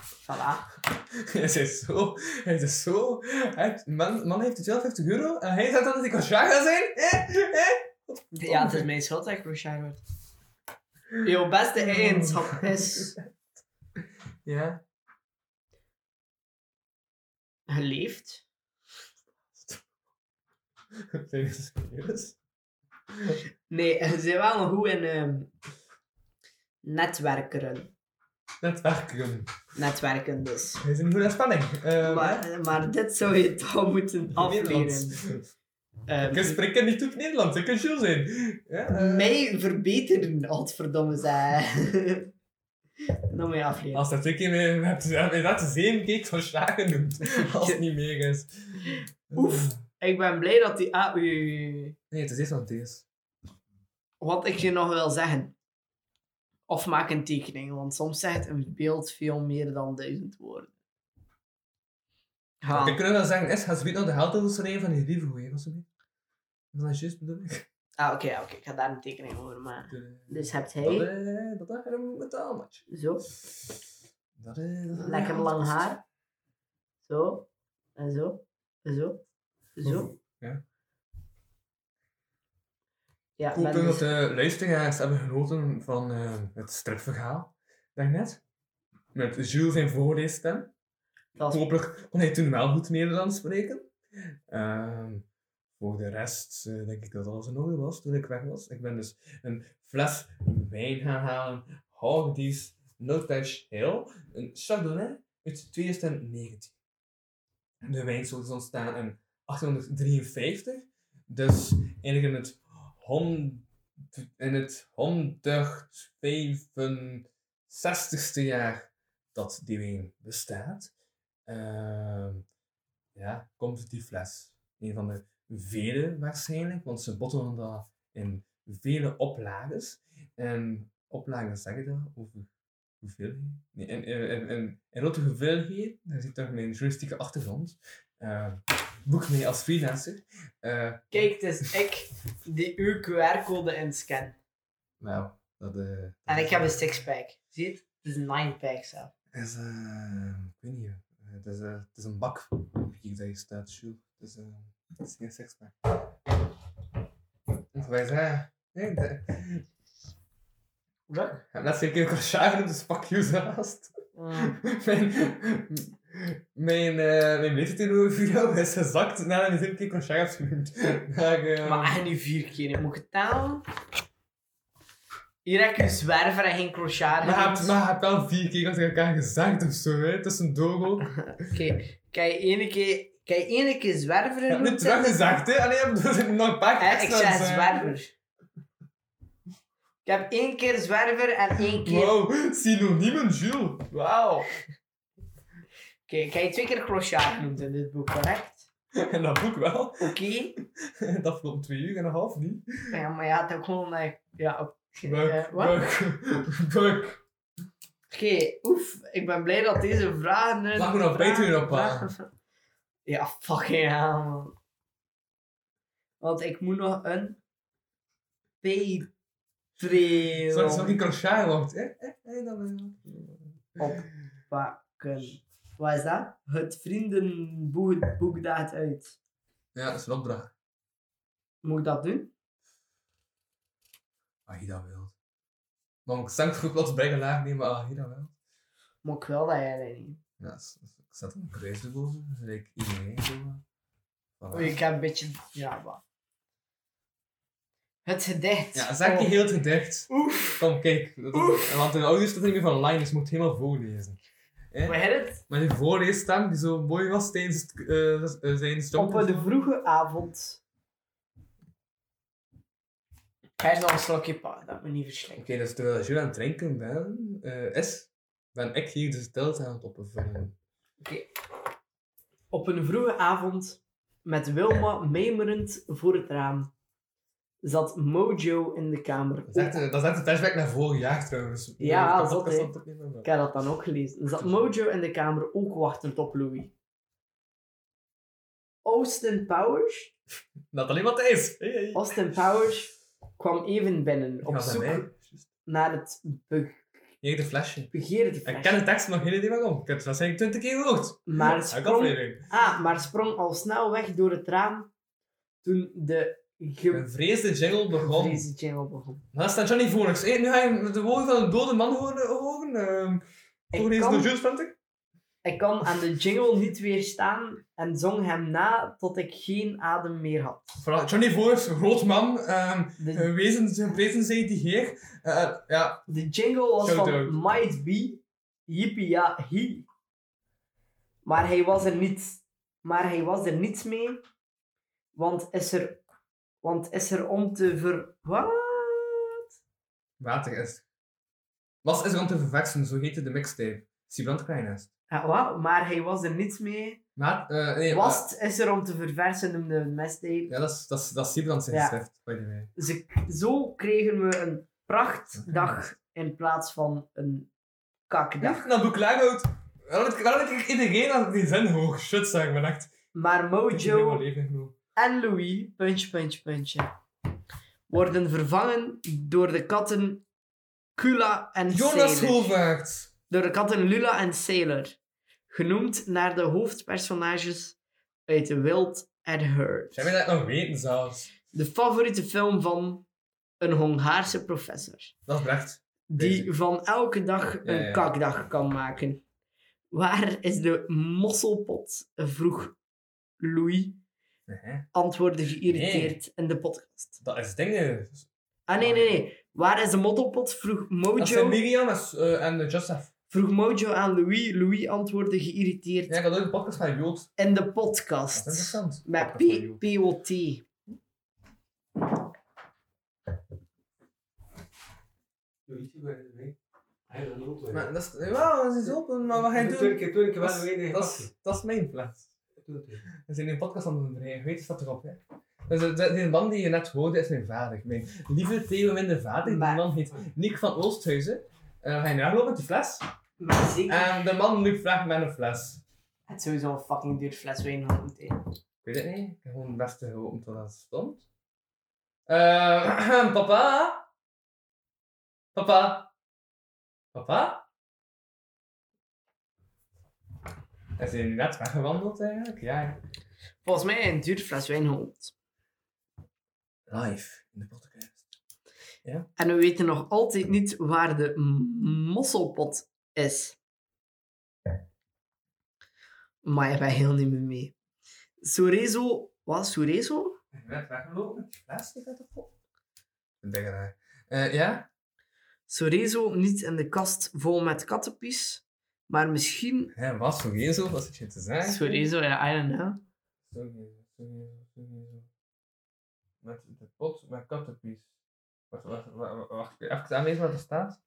[SPEAKER 3] [LAUGHS] Voilà.
[SPEAKER 4] Hij is zo, hij is zo. Hij heeft, man, man heeft 250 euro en hij zegt dan dat hij Koshaga gaat zijn? Eh, eh.
[SPEAKER 3] Ja, het is mijn schuld dat ik Roshai word. Jouw beste eigenschap is
[SPEAKER 4] Ja.
[SPEAKER 3] geleefd.
[SPEAKER 4] Zijn jullie serieus?
[SPEAKER 3] Nee, ze zijn wel goed in ehm, netwerken.
[SPEAKER 4] Net wegkomen.
[SPEAKER 3] Netwerken dus.
[SPEAKER 4] Hij is in goede spanning. Ehm,
[SPEAKER 3] Maar, maar dit zou je toch moeten afleren.
[SPEAKER 4] Nederlands.
[SPEAKER 3] Ehm,
[SPEAKER 4] Ik spreek het niet goed Nederlands, ik kan Jules zijn. Ja, eh,
[SPEAKER 3] mij verbeteren, godverdomme zei. [LAUGHS] Dan moet je afleren.
[SPEAKER 4] Als dat twee keer mee hebt, heb je dat zeven keer Koshaga
[SPEAKER 3] [LAUGHS]
[SPEAKER 4] genoemd. Als het niet meer is.
[SPEAKER 3] Oef. Ik ben blij dat die... Ah, oei, oei, oei.
[SPEAKER 4] Nee, het is eerst van het is.
[SPEAKER 3] Wat ik je nog wil zeggen. Of maak een tekening, want soms zegt een beeld veel meer dan duizend woorden.
[SPEAKER 4] Ik
[SPEAKER 3] Gaan.
[SPEAKER 4] kan wel zeggen, is, ga ze weten de held overschrijven van die lieve goeie, was het niet? Was dat juist bedoel ik?
[SPEAKER 3] Ah, oké, ja, oké. Ik ga daar een tekening over maken. Dus hebt
[SPEAKER 4] Dat,
[SPEAKER 3] hij,
[SPEAKER 4] eh, dat is een betaalmatje.
[SPEAKER 3] zo,
[SPEAKER 4] Dat, eh, dat is-
[SPEAKER 3] lekker lang haar. Zo, en zo, en zo, en zo.
[SPEAKER 4] Ja.
[SPEAKER 3] Ja,
[SPEAKER 4] Ik hoop
[SPEAKER 3] ben
[SPEAKER 4] dat
[SPEAKER 3] dus-
[SPEAKER 4] de luisteraars hebben genoten van eh, het stripverhaal daarnet. Met Jules zijn voorleesstem.
[SPEAKER 3] dat was-
[SPEAKER 4] Hopelijk kon hij toen wel goed Nederlands spreken. Ehm, voor de rest eh, denk ik dat alles in orde was toen ik weg was. Ik ben dus een fles wijn gaan halen. Hogdies Notash Hill. Een Chardonnay uit 2019. De wijnsoort is ontstaan in 1853. Dus eigenlijk in het hond... In het 165ste jaar dat die wijn bestaat. Ehm, ja, komt die fles. Een van de vele waarschijnlijk, want ze botten dat in vele oplages. En oplagen zeg ik dat over hoeveelheid? Nee, in, in, in, in, in grote hoeveelheid, daar zit toch mijn juristieke achtergrond. Eh, boek mee als freelancer. Eh,
[SPEAKER 3] Kijk, het is ik die uw QR-code inscan.
[SPEAKER 4] nou, dat... eh,
[SPEAKER 3] En ik heb een sixpack. Zie je het? Het is een ninepack zelf.
[SPEAKER 4] is, eh, ik weet niet, eh, het is, eh, het is een bak. Hier daar staat Jules. Het is, eh, het is geen sekspaar. Wij zijn. Nee, de-
[SPEAKER 3] Wat?
[SPEAKER 4] Ik heb net zeker een crochage, dus fuck you zelfs.
[SPEAKER 3] Ah.
[SPEAKER 4] mijn, mijn, eh mijn metertenoor voor [LAUGHS] jou is gezakt nadat ik een keer crochage heb genoemd. Maar, eh,
[SPEAKER 3] Maar en nu vier keer, moet ik het talen? Hier heb ik een zwerver en geen crochet.
[SPEAKER 4] maar je
[SPEAKER 3] gehad.
[SPEAKER 4] hebt- maar je hebt wel vier keer tegen elkaar gezegd of zo, hè? Tussendoor ook.
[SPEAKER 3] Oké, kan je ene keer, kan je ene keer zwerver
[SPEAKER 4] Je hebt
[SPEAKER 3] noemen?
[SPEAKER 4] nu teruggezegd, hè? Alleen heb je nog een paar
[SPEAKER 3] Eh, ik
[SPEAKER 4] extra's,
[SPEAKER 3] zei
[SPEAKER 4] eh.
[SPEAKER 3] zwerver. Ik heb één keer zwerver en één keer...
[SPEAKER 4] Wow, synoniemen, Jules. Wauw.
[SPEAKER 3] Oké, ik heb je twee keer crochet genoemd in dit boek, correct?
[SPEAKER 4] En [LAUGHS] dat boek wel. [LAUGHS]
[SPEAKER 3] Oké.
[SPEAKER 4] Dat vloopt twee uur en een half niet.
[SPEAKER 3] Ja, maar ja, het ook gewoon... eh, ja, oké.
[SPEAKER 4] Buk,
[SPEAKER 3] eh, wat?
[SPEAKER 4] buk, buk.
[SPEAKER 3] Oké, oef. Ik ben blij dat deze vragen... eh,
[SPEAKER 4] Laat me nog
[SPEAKER 3] vragen-
[SPEAKER 4] beter op aan.
[SPEAKER 3] vragen- Ja, fucking hell, man. Want ik moet nog een... Patreon...
[SPEAKER 4] Zodat het ook niet crochet wordt. Eh, eh, eh, dan, eh.
[SPEAKER 3] oppakken. Wat is dat? Het vriendenboek boek daagt uit.
[SPEAKER 4] Ja, dat is een opdracht.
[SPEAKER 3] Moet ik dat doen?
[SPEAKER 4] Als je dat wilt. Maar ik zet het goed plots bij een laag nemen, maar ah, als je dat wilt.
[SPEAKER 3] Moet ik wel dat jij dat niet.
[SPEAKER 4] Ja, dat is- dat is- ik zet een kruis erboven. Dan zeg ik iedereen zo. Voilà.
[SPEAKER 3] Oei, ik heb een beetje. Ja, wat. Het gedicht.
[SPEAKER 4] Ja, zeg je
[SPEAKER 3] Oh,
[SPEAKER 4] heel gedicht.
[SPEAKER 3] Oef.
[SPEAKER 4] Kom, kijk. Dat is- want de audio staat er niet meer van online, dus je moet het helemaal voorlezen. Eh?
[SPEAKER 3] We hebben het
[SPEAKER 4] Maar die voorleesstem die zo mooi was tijdens het, eh, z- eh, zijn
[SPEAKER 3] op
[SPEAKER 4] stomp.
[SPEAKER 3] eh, de vroege avond. Ga je nog een slokje pakken, dat me niet
[SPEAKER 4] Oké,
[SPEAKER 3] verslikken.
[SPEAKER 4] dus terwijl je aan het drinken ben, eh, is, ben ik hier de stilte aan het opvullen.
[SPEAKER 3] Op een vroege avond, met Wilma meemerend voor het raam, zat Mojo in de kamer.
[SPEAKER 4] Dat is echt, eh, dat is echt een flashback naar vorig jaar trouwens.
[SPEAKER 3] Ja,
[SPEAKER 4] Ik heb
[SPEAKER 3] zot,
[SPEAKER 4] podcast
[SPEAKER 3] hè.
[SPEAKER 4] aan het opnemen, maar-
[SPEAKER 3] Ik heb dat dan ook gelezen. Zat Mojo in de kamer ook wachtend op Louis. Austin Powers,
[SPEAKER 4] Dat alleen Matthijs. Hey, hey.
[SPEAKER 3] Austin Powers kwam even binnen op
[SPEAKER 4] Ja, dat
[SPEAKER 3] zoek
[SPEAKER 4] mij.
[SPEAKER 3] naar het be-
[SPEAKER 4] Begeerde flesje.
[SPEAKER 3] Begeerde die
[SPEAKER 4] Ik
[SPEAKER 3] flesje.
[SPEAKER 4] ken de tekst nog geen idee waarom. Ik heb het waarschijnlijk twintig keer gehoord.
[SPEAKER 3] Maar
[SPEAKER 4] Ik
[SPEAKER 3] sprong,
[SPEAKER 4] aflevering.
[SPEAKER 3] ah, maar sprong al snel weg door het raam toen de ge-
[SPEAKER 4] Een vreesde jingle begon.
[SPEAKER 3] gevreesde jingle begon.
[SPEAKER 4] Maar dat staat Johnny Phoenix. Hey, nu ga je de woorden van een dode man horen. eh, horen. ehm, Voor
[SPEAKER 3] Ik
[SPEAKER 4] deze door
[SPEAKER 3] kon,
[SPEAKER 4] Jules Pantic.
[SPEAKER 3] ik kon aan de jingle niet weerstaan en zong hem na tot ik geen adem meer had.
[SPEAKER 4] Vooral Johnny Phoenix, groot man. ehm
[SPEAKER 3] De,
[SPEAKER 4] een wezen, wezen zei die heer. Eh, ja,
[SPEAKER 3] de jingle was
[SPEAKER 4] Shout-out.
[SPEAKER 3] van Might Be, Yippie Ja He. Maar hij was er niet. Maar hij was er niets mee. Want is er... Want is er om te ver... Wat?
[SPEAKER 4] water is. Was is er om te verversen, zo heette de mixtape. Sibrand Kleinest.
[SPEAKER 3] Ja, wat? Ah, Maar hij was er niets mee.
[SPEAKER 4] Maar, eh, nee, maar-
[SPEAKER 3] Was is er om te verversen om de mestdate.
[SPEAKER 4] Ja, dat is, dat is, dat is Sibrand zijn
[SPEAKER 3] Ja.
[SPEAKER 4] geschrift, by the way.
[SPEAKER 3] Ze, zo kregen we een prachtdag in plaats van een kakdag.
[SPEAKER 4] Nou, Boek Lagout. Waarom denk ik iedereen als ik die zin hoog shit zeg, maar echt.
[SPEAKER 3] Maar
[SPEAKER 4] Ik heb mijn
[SPEAKER 3] Mojo
[SPEAKER 4] leven genoeg.
[SPEAKER 3] en Louis, puntje, puntje, puntje, worden vervangen door de katten Kula en
[SPEAKER 4] Jonas
[SPEAKER 3] Sailor.
[SPEAKER 4] Hovaert.
[SPEAKER 3] Door de katten Lula en Sailor. Genoemd naar de hoofdpersonages uit Wild and Hurt.
[SPEAKER 4] Zijn we dat nog weten zelfs?
[SPEAKER 3] De favoriete film van een Hongaarse professor.
[SPEAKER 4] Dat is Brecht.
[SPEAKER 3] Die
[SPEAKER 4] Basic.
[SPEAKER 3] van elke dag een
[SPEAKER 4] ja.
[SPEAKER 3] kakdag kan maken. Waar is de mosselpot? vroeg Louis.
[SPEAKER 4] Nee,
[SPEAKER 3] Antwoordde geïrriteerd in de podcast.
[SPEAKER 4] dat is dingen.
[SPEAKER 3] Ah nee, nee, nee. Waar is de mosselpot? vroeg
[SPEAKER 4] Dat zijn
[SPEAKER 3] Mojo.
[SPEAKER 4] Miriam en, S- eh, en eh, Joseph.
[SPEAKER 3] Vroeg Mojo aan Louis. Louis antwoordde geïrriteerd
[SPEAKER 4] Ja, ik had ook een podcast van Jood.
[SPEAKER 3] in de
[SPEAKER 4] Dat is
[SPEAKER 3] podcast.
[SPEAKER 4] interessant.
[SPEAKER 3] Met
[SPEAKER 4] Podcast van
[SPEAKER 3] P-
[SPEAKER 4] Jood.
[SPEAKER 3] POT.
[SPEAKER 4] Maar dat is... Wauw, dat is open, maar wat ga je doen?
[SPEAKER 15] keer, twee keer
[SPEAKER 4] Dat is, dat is, dat is mijn plaats. We zijn in een podcast aan het ondernemen, weet je, staat erop, hè? Dus eh, de- die man die je net hoorde is mijn vader. Mijn lieve Theo minder vader. Die
[SPEAKER 3] Maar-
[SPEAKER 4] man heet Nick van Oosthuizen. Eh, En dan ga je naar lopen met die fles.
[SPEAKER 3] Maar zeker.
[SPEAKER 4] En de man nu vraagt met een fles.
[SPEAKER 3] Het is sowieso een fucking duur fles wijn. had moeten.
[SPEAKER 4] Ik weet het niet. Ik heb gewoon het beste gehoopt dat het stond. Eh, [CLEARS THROAT] papa? Papa? Papa? Is hij nu net weggewandeld eigenlijk? Ja.
[SPEAKER 3] Volgens mij een duur fles wijn had.
[SPEAKER 4] Live in de podcast.
[SPEAKER 3] En we weten nog altijd niet waar de m- mosselpot is. Maar je bent heel niet meer mee. Sorezo... Wat? Sorezo?
[SPEAKER 4] Is hij net weggelopen met die fles die gaat erop? Ik denk dat Eh Ja?
[SPEAKER 3] Sorezo niet in de kast vol met kattenpies. Maar misschien...
[SPEAKER 4] Hij was zo geen zo, was het je te zeggen?
[SPEAKER 3] Sorezo, ja, I don't know.
[SPEAKER 4] Sorry, sorry, sorry. Met de pot, met kattenpies. Wacht, wacht, wacht, wacht. Even aanlezen wat er staat.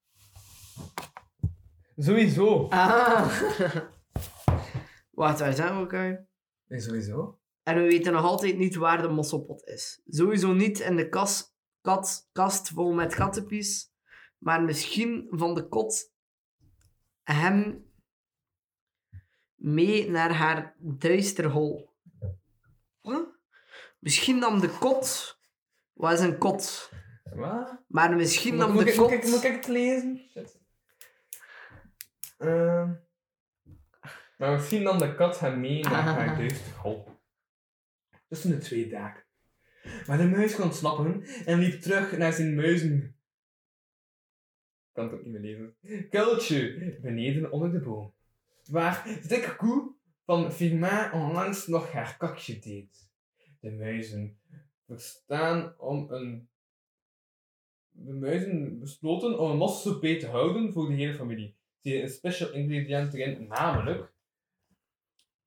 [SPEAKER 4] Sowieso.
[SPEAKER 3] Ah. [LAUGHS] Wacht, waar zijn we elkaar?
[SPEAKER 4] Nee, sowieso.
[SPEAKER 3] En we weten nog altijd niet waar de mosselpot is. Sowieso niet in de kas, kat, kast vol met kattenpies. Maar misschien van de kot hem mee naar haar duisterhol. Huh? Misschien nam de kot... Wat is een kot?
[SPEAKER 4] Wat?
[SPEAKER 3] Maar misschien nam
[SPEAKER 4] moet,
[SPEAKER 3] de
[SPEAKER 4] ik, moet, ik, moet
[SPEAKER 3] kot...
[SPEAKER 4] ik het lezen? Shit. Ehm. maar misschien nam de kat hem mee naar haar duistere hol. Tussen de twee daken. Maar de muis kon snappen en liep terug naar zijn muizen. Ik kan het ook niet meer lezen. Kuiltje, beneden onder de boom. Waar de dikke koe van Firmin onlangs nog haar kakje deed. De muizen verstaan om een de muizen besloten om een mosselsoepé te houden voor de hele familie. Die een special ingrediënt erin, namelijk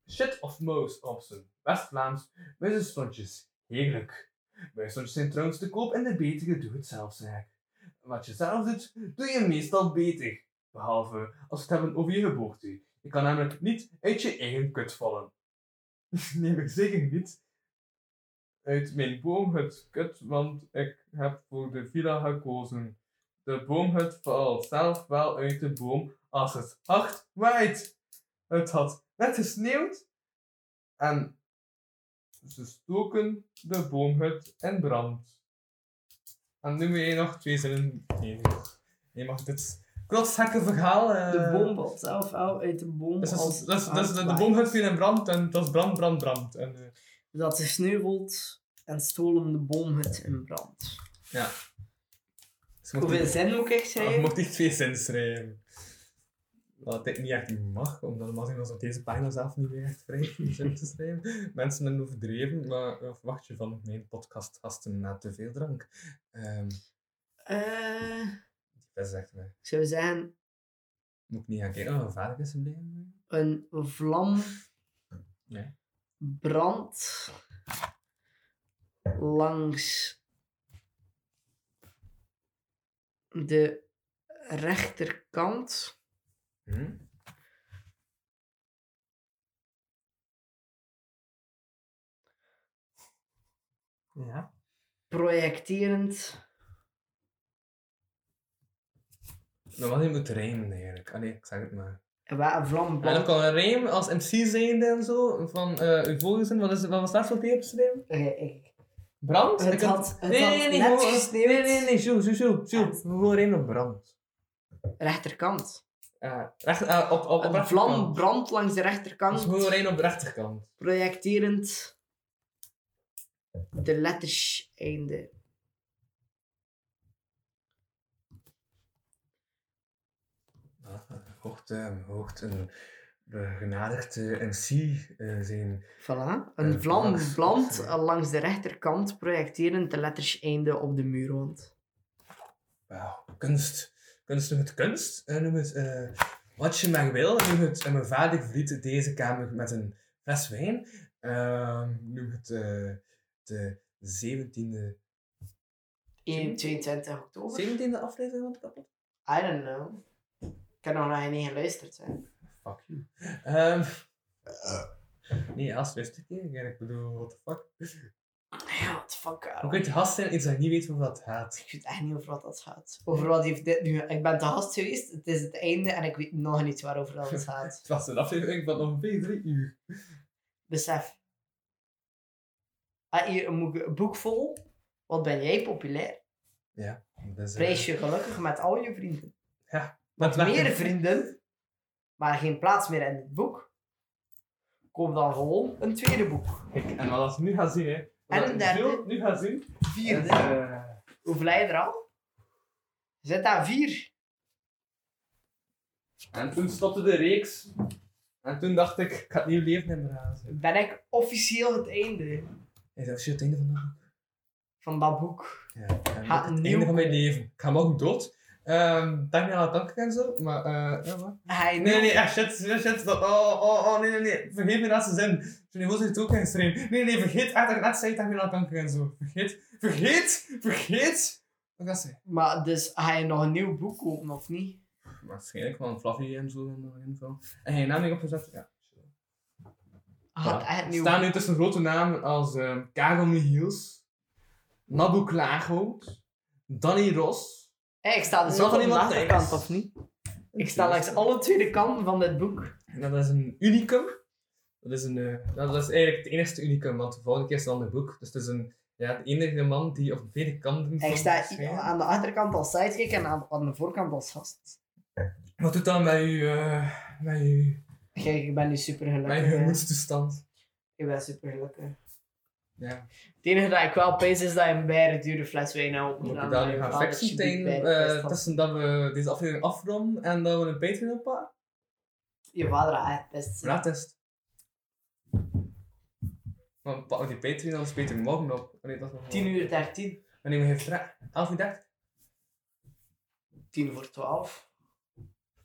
[SPEAKER 4] shit of mouse opsen. West-Vlaams, muizenstontjes. Heerlijk. Muizenstontjes zijn trouwens te koop in de betere doe-het-zelf-zaak. Wat je zelf doet, doe je meestal beter. Behalve als we het hebben over je geboorte. Je kan namelijk niet uit je eigen kut vallen. [LAUGHS] Neem ik zeker niet uit mijn boomhut kut, want ik heb voor de villa gekozen. De boomhut valt zelf wel uit de boom als het hard waait. Het had net gesneeuwd en ze stoken de boomhut in brand. En nu wil je nog twee zinnen. Nee, nee. Je mag dit knotsgekke verhaal. eh,
[SPEAKER 3] De boom valt zelf uit, uit de boom.
[SPEAKER 4] Dus dat
[SPEAKER 3] als
[SPEAKER 4] is, dat is, dat is, de
[SPEAKER 3] aardbei.
[SPEAKER 4] boom gaat veel in brand en dat is brand, brand, brand. En, eh,
[SPEAKER 3] Dat ze sneuvelt en stolen de boom het in brand.
[SPEAKER 4] ze Dus mocht
[SPEAKER 3] Hoeveel
[SPEAKER 4] niet-
[SPEAKER 3] zin moet ik
[SPEAKER 4] je
[SPEAKER 3] schrijven?
[SPEAKER 4] Ah, mocht niet twee zinnen schrijven. Wat ik niet echt mag, omdat normaal gezien was op deze pagina zelf niet meer echt vrij om zin te schrijven. [LAUGHS] Mensen hebben overdreven, maar wat verwacht je van mijn podcastgasten na te veel drank? Ehm
[SPEAKER 3] Eh,
[SPEAKER 4] dat is echt, eh,
[SPEAKER 3] ik zou zeggen,
[SPEAKER 4] moet ik niet gaan kijken. Oh, gevaarlijk is het blijven.
[SPEAKER 3] een vlam
[SPEAKER 4] Nee.
[SPEAKER 3] brandt langs de rechterkant
[SPEAKER 4] Hm? Ja.
[SPEAKER 3] projecterend
[SPEAKER 4] Maar wat je moet rijmen eigenlijk. Allee, ik zeg het maar.
[SPEAKER 3] en waar een vlam
[SPEAKER 4] En dan
[SPEAKER 3] brandt.
[SPEAKER 4] kan een rijm als MC zijnde en zo, van eh uw volgezin, wat, is, wat was dat voor die opschrijven?
[SPEAKER 3] Oké, eh, ik-
[SPEAKER 4] Brand?
[SPEAKER 3] Het
[SPEAKER 4] Ik had-
[SPEAKER 3] had- het
[SPEAKER 4] nee,
[SPEAKER 3] had
[SPEAKER 4] nee, nee,
[SPEAKER 3] net
[SPEAKER 4] gewoon-
[SPEAKER 3] gesneeuwd.
[SPEAKER 4] Nee, nee, nee, zo, zo, zo, zo. Gewoon rijmen op brand.
[SPEAKER 3] Rechterkant.
[SPEAKER 4] Ja, recht, eh, op, op, op
[SPEAKER 3] Een vlam brandt langs de rechterkant.
[SPEAKER 4] Gewoon rijmen op de rechterkant.
[SPEAKER 3] projecterend de letters einde.
[SPEAKER 4] Hoogt, hoogt Ah, een begenadigde MC zijn
[SPEAKER 3] Voilà.
[SPEAKER 4] Eh,
[SPEAKER 3] Een vlam
[SPEAKER 4] langs-
[SPEAKER 3] brandt
[SPEAKER 4] sorry.
[SPEAKER 3] langs de rechterkant, projecterend de letters einde op de muurwand.
[SPEAKER 4] Wauw, kunst. Kunst noem het kunst. En noem het eh, wat je maar wil. Noem het en mijn vader verliet deze kamer met een fles wijn. Ehm, noem het eh, de 17e.
[SPEAKER 3] 1, 22 oktober?
[SPEAKER 4] 17e aflevering van de kapot?
[SPEAKER 3] I don't know. Ik heb nog naar je niet geluisterd. Hè. Ah
[SPEAKER 4] Fuck you. Ehm, nee, als wist ik niet. Ik bedoel, what the fuck.
[SPEAKER 3] Ja, what the fuck. Karel.
[SPEAKER 4] Hoe kun je te gast zijn iets dat je niet weet over wat het gaat?
[SPEAKER 3] Ik weet echt niet over wat dat gaat. Over wat heeft dit nu... Ik ben te gast geweest, het is het einde en ik weet nog niet waarover dat het gaat.
[SPEAKER 4] Het was een aflevering van ongeveer drie uur.
[SPEAKER 3] Besef. Ah, hier een boek- een boek vol. Wat ben jij populair?
[SPEAKER 4] Dus, eh,
[SPEAKER 3] Prijs je gelukkig met al je vrienden.
[SPEAKER 4] wat werd
[SPEAKER 3] Meer
[SPEAKER 4] er-
[SPEAKER 3] vrienden, maar geen plaats meer in het boek. Koop dan gewoon een tweede boek.
[SPEAKER 6] Kijk, en wat we nu gaan zien, hè.
[SPEAKER 3] En
[SPEAKER 6] Wat
[SPEAKER 3] een
[SPEAKER 6] we
[SPEAKER 3] derde.
[SPEAKER 6] nu gaan zien,
[SPEAKER 3] Vierde.
[SPEAKER 6] eh,
[SPEAKER 3] Hoeveel heb je er al? Je Zit aan vier.
[SPEAKER 6] En toen stopte de reeks. En toen dacht ik, ik ga het nieuw leven in Brazen.
[SPEAKER 3] Ben ik officieel het einde
[SPEAKER 4] Is dat het einde van de
[SPEAKER 3] van dat boek?
[SPEAKER 4] Ja, en
[SPEAKER 3] Ha,
[SPEAKER 4] het
[SPEAKER 3] een
[SPEAKER 4] einde
[SPEAKER 3] nieuw
[SPEAKER 4] van mijn leven. Ik ga morgen dood. Ehm dank je wel, dank ik en zo. Maar, eh ja, maar.
[SPEAKER 3] Hij
[SPEAKER 4] Nee, nee, nee, ah, shit, shit, shit. dat- Oh, oh, oh, nee, nee, nee. Vergeet mijn laatste zin. Johnny Woos heeft het ook ingeschreven. Nee, nee, vergeet echt dat ik net zei, dank je wel, dank ik en zo. Vergeet, vergeet, vergeet. Wat dat zei.
[SPEAKER 3] Maar dus, ga je nog een nieuw boek kopen of niet?
[SPEAKER 4] Waarschijnlijk wel een fluffy en zo in de info. En je naam niet opgezet? Ja.
[SPEAKER 3] Gaat echt een nieuw
[SPEAKER 4] Staan nu tussen grote namen als ehm Karel Michiels, Nabu Klaaghout, Danny Ros.
[SPEAKER 3] Hé, ik sta dus
[SPEAKER 4] Nog
[SPEAKER 3] ook aan de
[SPEAKER 4] iemand
[SPEAKER 3] achterkant,
[SPEAKER 4] thuis?
[SPEAKER 3] of niet? Ik sta langs alle tweede kanten van dit boek.
[SPEAKER 4] En Dat is een unicum. Dat is, een, eh, dat is eigenlijk het enigste unicum, want de volgende keer is een ander boek. Dus het is een, ja, de enige man die op beide kanten...
[SPEAKER 3] Ik
[SPEAKER 4] kan
[SPEAKER 3] sta i-
[SPEAKER 4] schrijven.
[SPEAKER 3] aan de achterkant als sidekick en aan, aan de voorkant als gast.
[SPEAKER 4] Wat doet dat met je, eh, met eh, je,
[SPEAKER 3] Kijk, ik ben nu super
[SPEAKER 4] met je
[SPEAKER 3] gelukkig.
[SPEAKER 4] gemoedstoestand?
[SPEAKER 3] Ik ben super gelukkig.
[SPEAKER 4] Ja.
[SPEAKER 3] Het enige dat ik wel pees is dat je een bijna dure fles wijn nou
[SPEAKER 4] Moet ik daar nu gaan fixen tegen, eh, tussen dat we deze aflevering afronden en dat we een Patreon oppakken?
[SPEAKER 3] Je vader had echt best.
[SPEAKER 4] Ja, test. Maar pakken we die Patreon dan speelt hij morgen op. Wanneer dat nog-
[SPEAKER 3] 10 uur 13,
[SPEAKER 4] Wanneer we geen 11 uur 30?
[SPEAKER 3] 10 voor 12.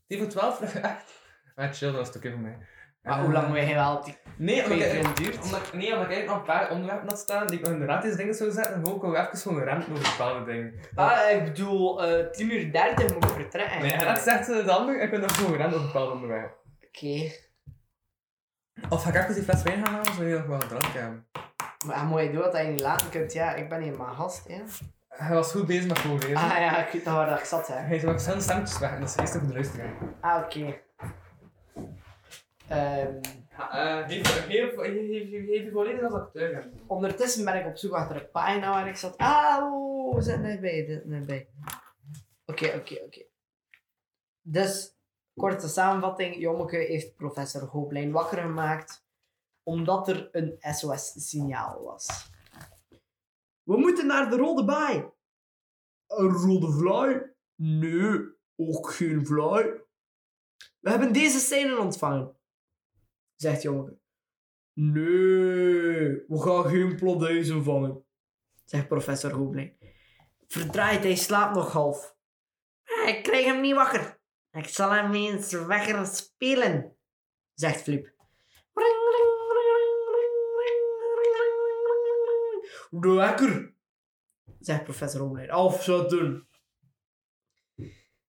[SPEAKER 4] 10 voor 12? Echt? Ah, chill, dat is het oké voor mij.
[SPEAKER 3] Maar
[SPEAKER 4] Eh,
[SPEAKER 3] hoe lang wil je wel op die
[SPEAKER 4] Nee, omdat ik,
[SPEAKER 3] Patreon duurt?
[SPEAKER 4] omdat, ik- nee, omdat ik eigenlijk nog een paar onderwerpen had staan die ik nog in de raadjes dingen zou zetten. En gewoon kon ik even gewoon renten over bepaalde dingen.
[SPEAKER 3] Ah, ik bedoel, eh 10 uur 30 moet ik vertrekken.
[SPEAKER 4] Nee, en dat zegt eh, de ander, ik kan nog gewoon renten over bepaalde onderwerpen.
[SPEAKER 3] Oké,
[SPEAKER 4] Of ga ik even die fles wijn gaan halen, zodat je nog wel een drank hebben.
[SPEAKER 3] maar moet je doen wat je niet laten kunt? Ja, ik ben hier maar gast, ja.
[SPEAKER 4] Hij was goed bezig met voorlezen.
[SPEAKER 3] Ah ja, ik weet nog waar dat ik zat, hè.
[SPEAKER 4] Hij zou ook zijn stemmetjes weg en dat is eerst voor de luisteraar.
[SPEAKER 3] Ah, oké. Ehm,
[SPEAKER 4] Uh, heeft u volledig als acteur? ja.
[SPEAKER 3] ondertussen ben ik op zoek achter een pagina waar ik zat. Ah, oh, we zitten erbij, we zitten erbij. Oké, oké, oké. Dus, korte samenvatting. Jommeke heeft professor Hooplijn wakker gemaakt omdat er een SOS-signaal was. We moeten naar de rode baai. Een rode vlaai? Nee, ook geen vlaai. We hebben deze scène ontvangen, zegt Jommeke. Nee, we gaan geen plodduizen vangen, zegt professor Hooplijn. Verdraait, hij slaapt nog half. Ik krijg hem niet wakker. Ik zal hem eens wekker spelen, zegt Flip. De wekker, zegt professor Homelijn. Of zo doen.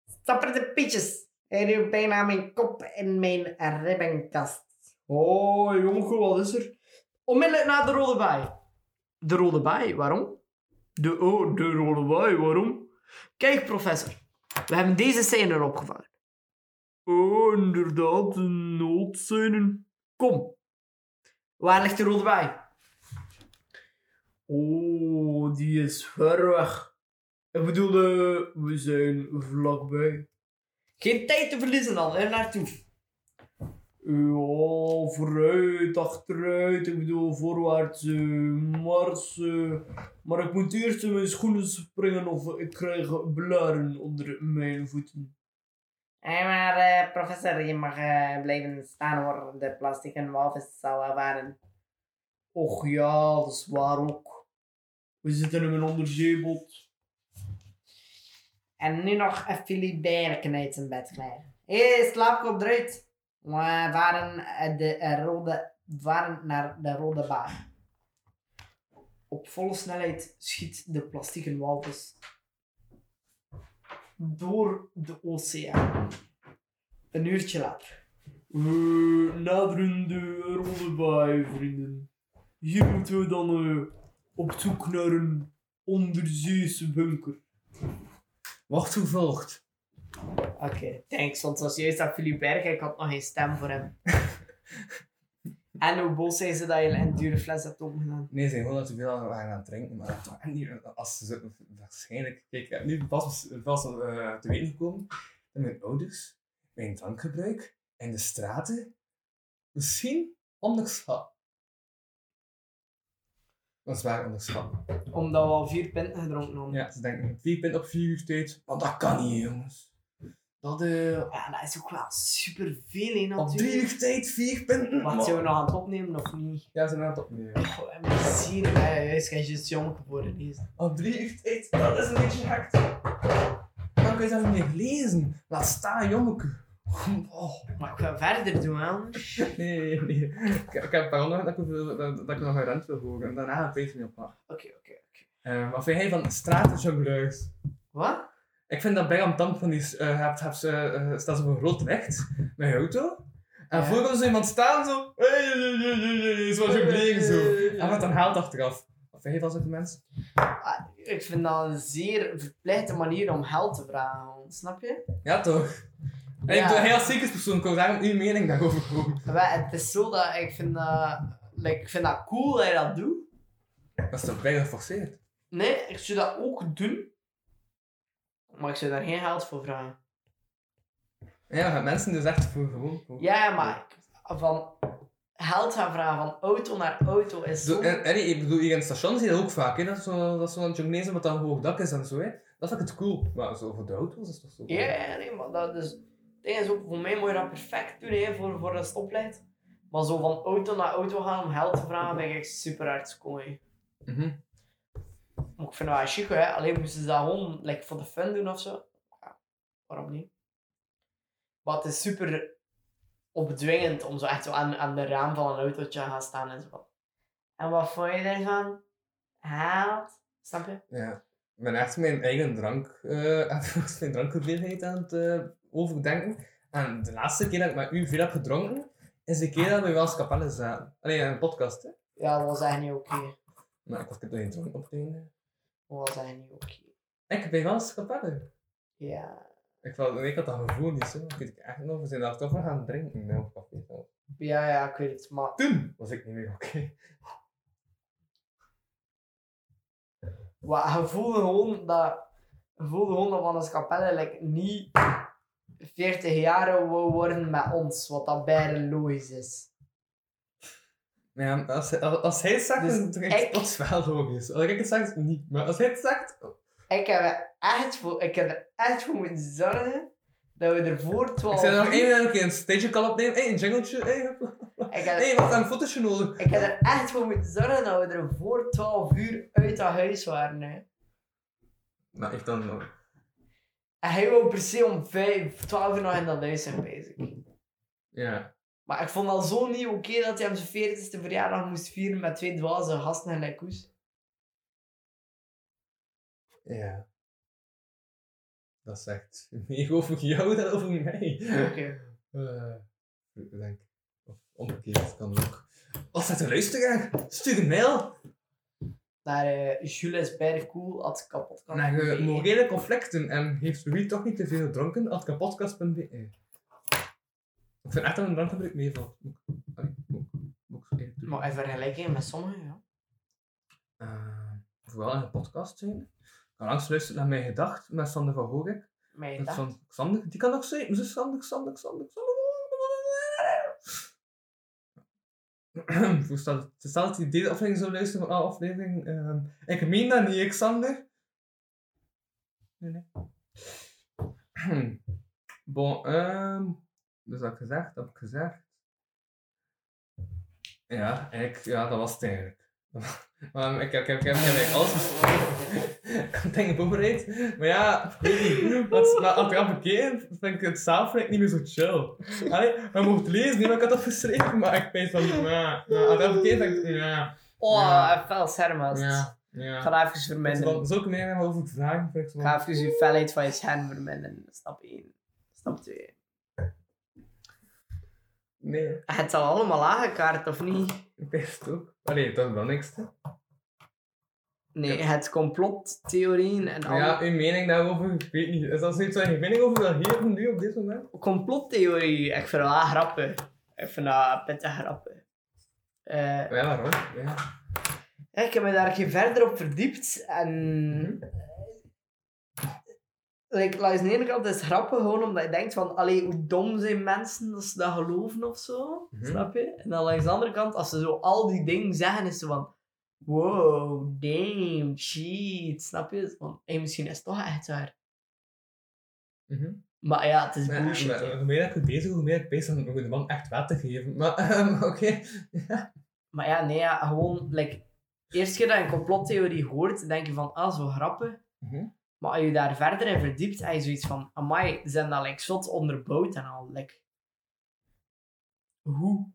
[SPEAKER 3] Stapper de pietjes. Hij duwt bijna mijn kop in mijn ribbenkast. Oh, jongen, wat is er? Onmiddellijk na de rode baai. De rode baai, waarom? De, oh, de rode baai, waarom? Kijk, professor. We hebben deze scène opgevangen. Oh, inderdaad, de noodscène. Kom. Waar ligt de rode bij? Oh, die is ver weg. Ik bedoel, eh, we zijn vlakbij. Geen tijd te verliezen dan, er naartoe. Ja, vooruit, achteruit, ik bedoel voorwaarts, eh, mars. eh. Maar ik moet eerst in mijn schoenen springen of ik krijg blaren onder mijn voeten. Hé, maar eh, professor, je mag eh, blijven staan hoor. De plastic walvis zou waren. Och ja, dat is waar ook. We zitten in mijn onderzeebot. En nu nog een filibijnen uit zijn bed krijgen. Hé, slaap op eruit. We waren, eh, de, eh, rode, waren naar de rode baan. Op volle snelheid schiet de plastieken walvis door de oceaan. Een uurtje later. We naderen de rode baai, vrienden. Hier moeten we dan eh, op zoek naar een onderzeese bunker.
[SPEAKER 4] Wacht hoe volgt.
[SPEAKER 3] Oké, thanks, want zoals juist dat Philip Berg, ik had nog geen stem voor
[SPEAKER 4] [LAUGHS]
[SPEAKER 3] hem. en hoe boos zijn ze dat je een dure fles hebt opgedaan?
[SPEAKER 4] Nee, ze zijn gewoon dat te veel waren aan het drinken, maar dat waren niet, als ze zo- waarschijnlijk, kijk, ik heb nu pas, pas eh, te weten gekomen dat mijn ouders mijn drankgebruik en de straten misschien onderschat. Dat is waar onderschat.
[SPEAKER 3] Omdat we al vier pinten gedronken hadden.
[SPEAKER 4] Ja, ze denken vier pint op vier uur tijd, maar dat kan niet, jongens. Dat eh,
[SPEAKER 3] Ja, dat is ook wel superveel, hè,
[SPEAKER 4] op drie
[SPEAKER 3] natuurlijk.
[SPEAKER 4] uur tijd vier punten.
[SPEAKER 3] Wat
[SPEAKER 4] man.
[SPEAKER 3] zijn we nog aan het opnemen, of niet?
[SPEAKER 4] Ja, ze zijn aan het opnemen.
[SPEAKER 3] Goh, en we zien, eh, juist, ik heb juist jong geworden. hè.
[SPEAKER 4] Op drie uur tijd, dat is een beetje hard. Dan kun je dat niet meer lezen. Laat staan, jongeke. Oh,
[SPEAKER 3] Maar ik ga verder doen, hè.
[SPEAKER 4] nee, nee, nee. Ik, ik heb daarom nog dat ik, wil- dat, dat ik nog een rent wil horen. En daarna weet ik niet op wat.
[SPEAKER 3] Oké, oké, oké.
[SPEAKER 4] Eh, wat vind jij van stratenjongleurs?
[SPEAKER 3] Wat?
[SPEAKER 4] Ik vind dat bij tand van die... eh hebt, hebt ze, eh, staan ze op een rood recht met je auto. En
[SPEAKER 3] Ja.
[SPEAKER 4] voor komt zo iemand staan zo... Hey, hey, hey, hey, hey, hey, zoals je bleef zo. En wat dan haalt achteraf. Wat vind jij van zulke mensen?
[SPEAKER 3] Ah, Ik vind dat een zeer verplichte manier om geld te vragen, snap je?
[SPEAKER 4] Ja, toch? En
[SPEAKER 3] Ja.
[SPEAKER 4] ik doe heel zeker persoon. Ik wil graag uw mening daarover horen.
[SPEAKER 3] Wel, het is zo dat ik vind dat, like, ik vind dat cool dat je dat doet.
[SPEAKER 4] Dat is toch bijna geforceerd?
[SPEAKER 3] Nee, ik zou dat ook doen. Maar ik zou daar geen geld voor vragen.
[SPEAKER 4] Ja, maar mensen dus echt voor gewoon... voor-
[SPEAKER 3] Ja, maar ik- van geld gaan vragen van auto naar auto is
[SPEAKER 4] Zo,
[SPEAKER 3] zo...
[SPEAKER 4] en, en ik bedoel, hier in het station zie je dat ook vaak, hè? Dat is zo- dat is zo'n Jonglezen wat dan hoog dak is en zo, hè? Dat vind ik het cool. Maar zo voor de auto's is het toch zo?
[SPEAKER 3] Ja, ja, nee, maar dat is... Het ding is ook, voor mij moet je dat perfect doen, hè, voor, voor dat stoplicht. Maar zo van auto naar auto gaan om geld te vragen, ben ik echt super hard kooi.
[SPEAKER 4] Mhm.
[SPEAKER 3] Maar ik vind dat wel chic, hè. Alleen moesten ze dat gewoon like, voor de fun doen of zo. Ja, waarom niet? Maar het is super opdwingend om zo echt zo aan, aan de raam van een autootje te gaan staan en zo. En wat vond je daarvan? Haalt? Snap je?
[SPEAKER 4] Ja. Ik ben echt mijn eigen drank, eh [LAUGHS] mijn drankhoeveelheid aan het eh, overdenken. En de laatste keer dat ik met u veel heb gedronken, is de keer dat we wel Capelle zaten. Allee, een podcast, hè.
[SPEAKER 3] Ja, dat was echt niet oké.
[SPEAKER 4] Maar ik was er geen dronk op het einde.
[SPEAKER 3] Dat was echt niet oké.
[SPEAKER 4] Ik ben wel Capelle.
[SPEAKER 3] Ja.
[SPEAKER 4] Ik, wou- nee, ik had dat gevoel niet zo. Ik weet het echt nog. We zijn daar toch wel gaan drinken hè, op café. zelf.
[SPEAKER 3] ja, ja, ik weet het, maar...
[SPEAKER 4] Toen was ik niet meer oké.
[SPEAKER 3] Wat, je voelde gewoon dat... Je voelde gewoon dat Van Capelle like, niet 40 jaar wou worden met ons, wat dat bijna logisch is.
[SPEAKER 4] Maar ja, als, als, als hij het zegt,
[SPEAKER 3] Dus
[SPEAKER 4] dan is het
[SPEAKER 3] ik-
[SPEAKER 4] plots wel logisch. Als ik het zeg, niet. Maar als hij het zegt...
[SPEAKER 3] Ik heb, er echt voor, ik heb er echt voor moeten zorgen dat we er voor 12
[SPEAKER 4] Ik zei er nog één en een stage call opnemen. Hé, een jingletje. Hé, hop.
[SPEAKER 3] Ik heb,
[SPEAKER 4] Hé, wat een fotootje nodig.
[SPEAKER 3] ik heb er echt voor moeten zorgen dat we er voor 12 uur uit dat huis waren. Hè.
[SPEAKER 4] Maar ik dan nog...
[SPEAKER 3] En hij wou per se om 5, 12 uur nog in dat huis zijn bezig.
[SPEAKER 4] Ja.
[SPEAKER 3] Maar ik vond al zo niet oké dat hij hem zijn 40ste verjaardag moest vieren met twee dwaze gasten en lekkoes.
[SPEAKER 4] Ja. Dat zegt meer over jou dan over mij.
[SPEAKER 3] Oké.
[SPEAKER 4] Eh, ik denk. Of omgekeerd kan ook. Als dat een luisteraar, stuur een mail
[SPEAKER 3] Naar eh Jules Bergkoel at kapot kan.
[SPEAKER 4] naar eh, morele conflicten en heeft Louis toch niet te veel gedronken at kapotkast.be. Eh. Ik vind echt dat een drankgebruik meevalt. Moet ik- allee, moet ik- moet ik zo eerlijk doen.
[SPEAKER 3] Maar in vergelijking met sommigen, ja.
[SPEAKER 4] Eh, Vooral in een podcast zijn. Ik kan langs luisteren naar mijn gedacht met Sander van Hoorek.
[SPEAKER 3] Mij
[SPEAKER 4] Met
[SPEAKER 3] dacht.
[SPEAKER 4] Sander, Sander, die kan ook zijn. Mijn zus Sander, Sander, [CLEARS THROAT] Sander, Sander. Voorstel dat- Stel dat hij deze aflevering zou luisteren van alle aflevering. ehm, ik meen dat niet, ik Sander. Nee, [CLEARS THROAT] nee. bon, ehm dus dat gezegd, dat heb ik gezegd. Ja, ik, ja, dat was het eigenlijk. [LAUGHS] Maar ik heb, ik heb, ik heb, ik heb eigenlijk alles [LAUGHS] besproken. Ik had dingen voorbereid. Maar ja, ik weet niet. Dat, maar achteraf bekeken vind ik het zelf niet meer zo chill. Allee, we mogen het lezen, niet, maar ik had dat geschreven. Maar ik weet van, ja, ja, achteraf bekeken vind ik, ja,
[SPEAKER 3] Oh,
[SPEAKER 4] Ja.
[SPEAKER 3] ja. fel schermast.
[SPEAKER 4] ja, ja.
[SPEAKER 3] Ik ga dat even
[SPEAKER 4] Dus
[SPEAKER 3] verminderen.
[SPEAKER 4] dan zulke meer over vragen. vind ik zo
[SPEAKER 3] Ik
[SPEAKER 4] van-
[SPEAKER 3] ga even je felheid van je scherm verminderen. Stap 1. Stap 2.
[SPEAKER 4] Nee,
[SPEAKER 3] Het zal allemaal aangekaart, of niet?
[SPEAKER 4] best ook. Allee, dat is wel niks. hè.
[SPEAKER 3] Nee, het complottheorieën en
[SPEAKER 4] Maar
[SPEAKER 3] al.
[SPEAKER 4] ja, uw mening daarover, ik weet niet. Is dat zoiets waar je mening over wil geven nu op dit moment?
[SPEAKER 3] Complottheorie, ik vind dat grappen. Ik vind dat pittige grappen. Eh,
[SPEAKER 4] Ja, waarom? Ja.
[SPEAKER 3] ik heb me daar geen verder op verdiept en.
[SPEAKER 4] Mhm.
[SPEAKER 3] Like, langs de ene kant is het grappig gewoon omdat je denkt van, allee, hoe dom zijn mensen dat ze dat geloven of zo,
[SPEAKER 4] Mhm.
[SPEAKER 3] snap je? En dan langs de andere kant, als ze zo al die dingen zeggen, is ze van, wow, damn, shit, snap je? Van, hey, misschien is het toch echt waar.
[SPEAKER 4] Mhm.
[SPEAKER 3] Maar ja, het is
[SPEAKER 4] Nee,
[SPEAKER 3] bullshit.
[SPEAKER 4] maar,
[SPEAKER 3] hè.
[SPEAKER 4] hoe meer ik het bezig, hoe meer ik bezig ben om de man echt water te geven. Maar [LAUGHS] ehm, oké. Ja.
[SPEAKER 3] Maar ja, nee, ja, gewoon, like, eerst keer dat je een complottheorie hoort, denk je van, ah, zo grappig.
[SPEAKER 4] Mhm.
[SPEAKER 3] Maar als je daar verder in verdiept, heb je zoiets van, amai, ze zijn dat, like, zot onderbouwd en al, like... Hoe?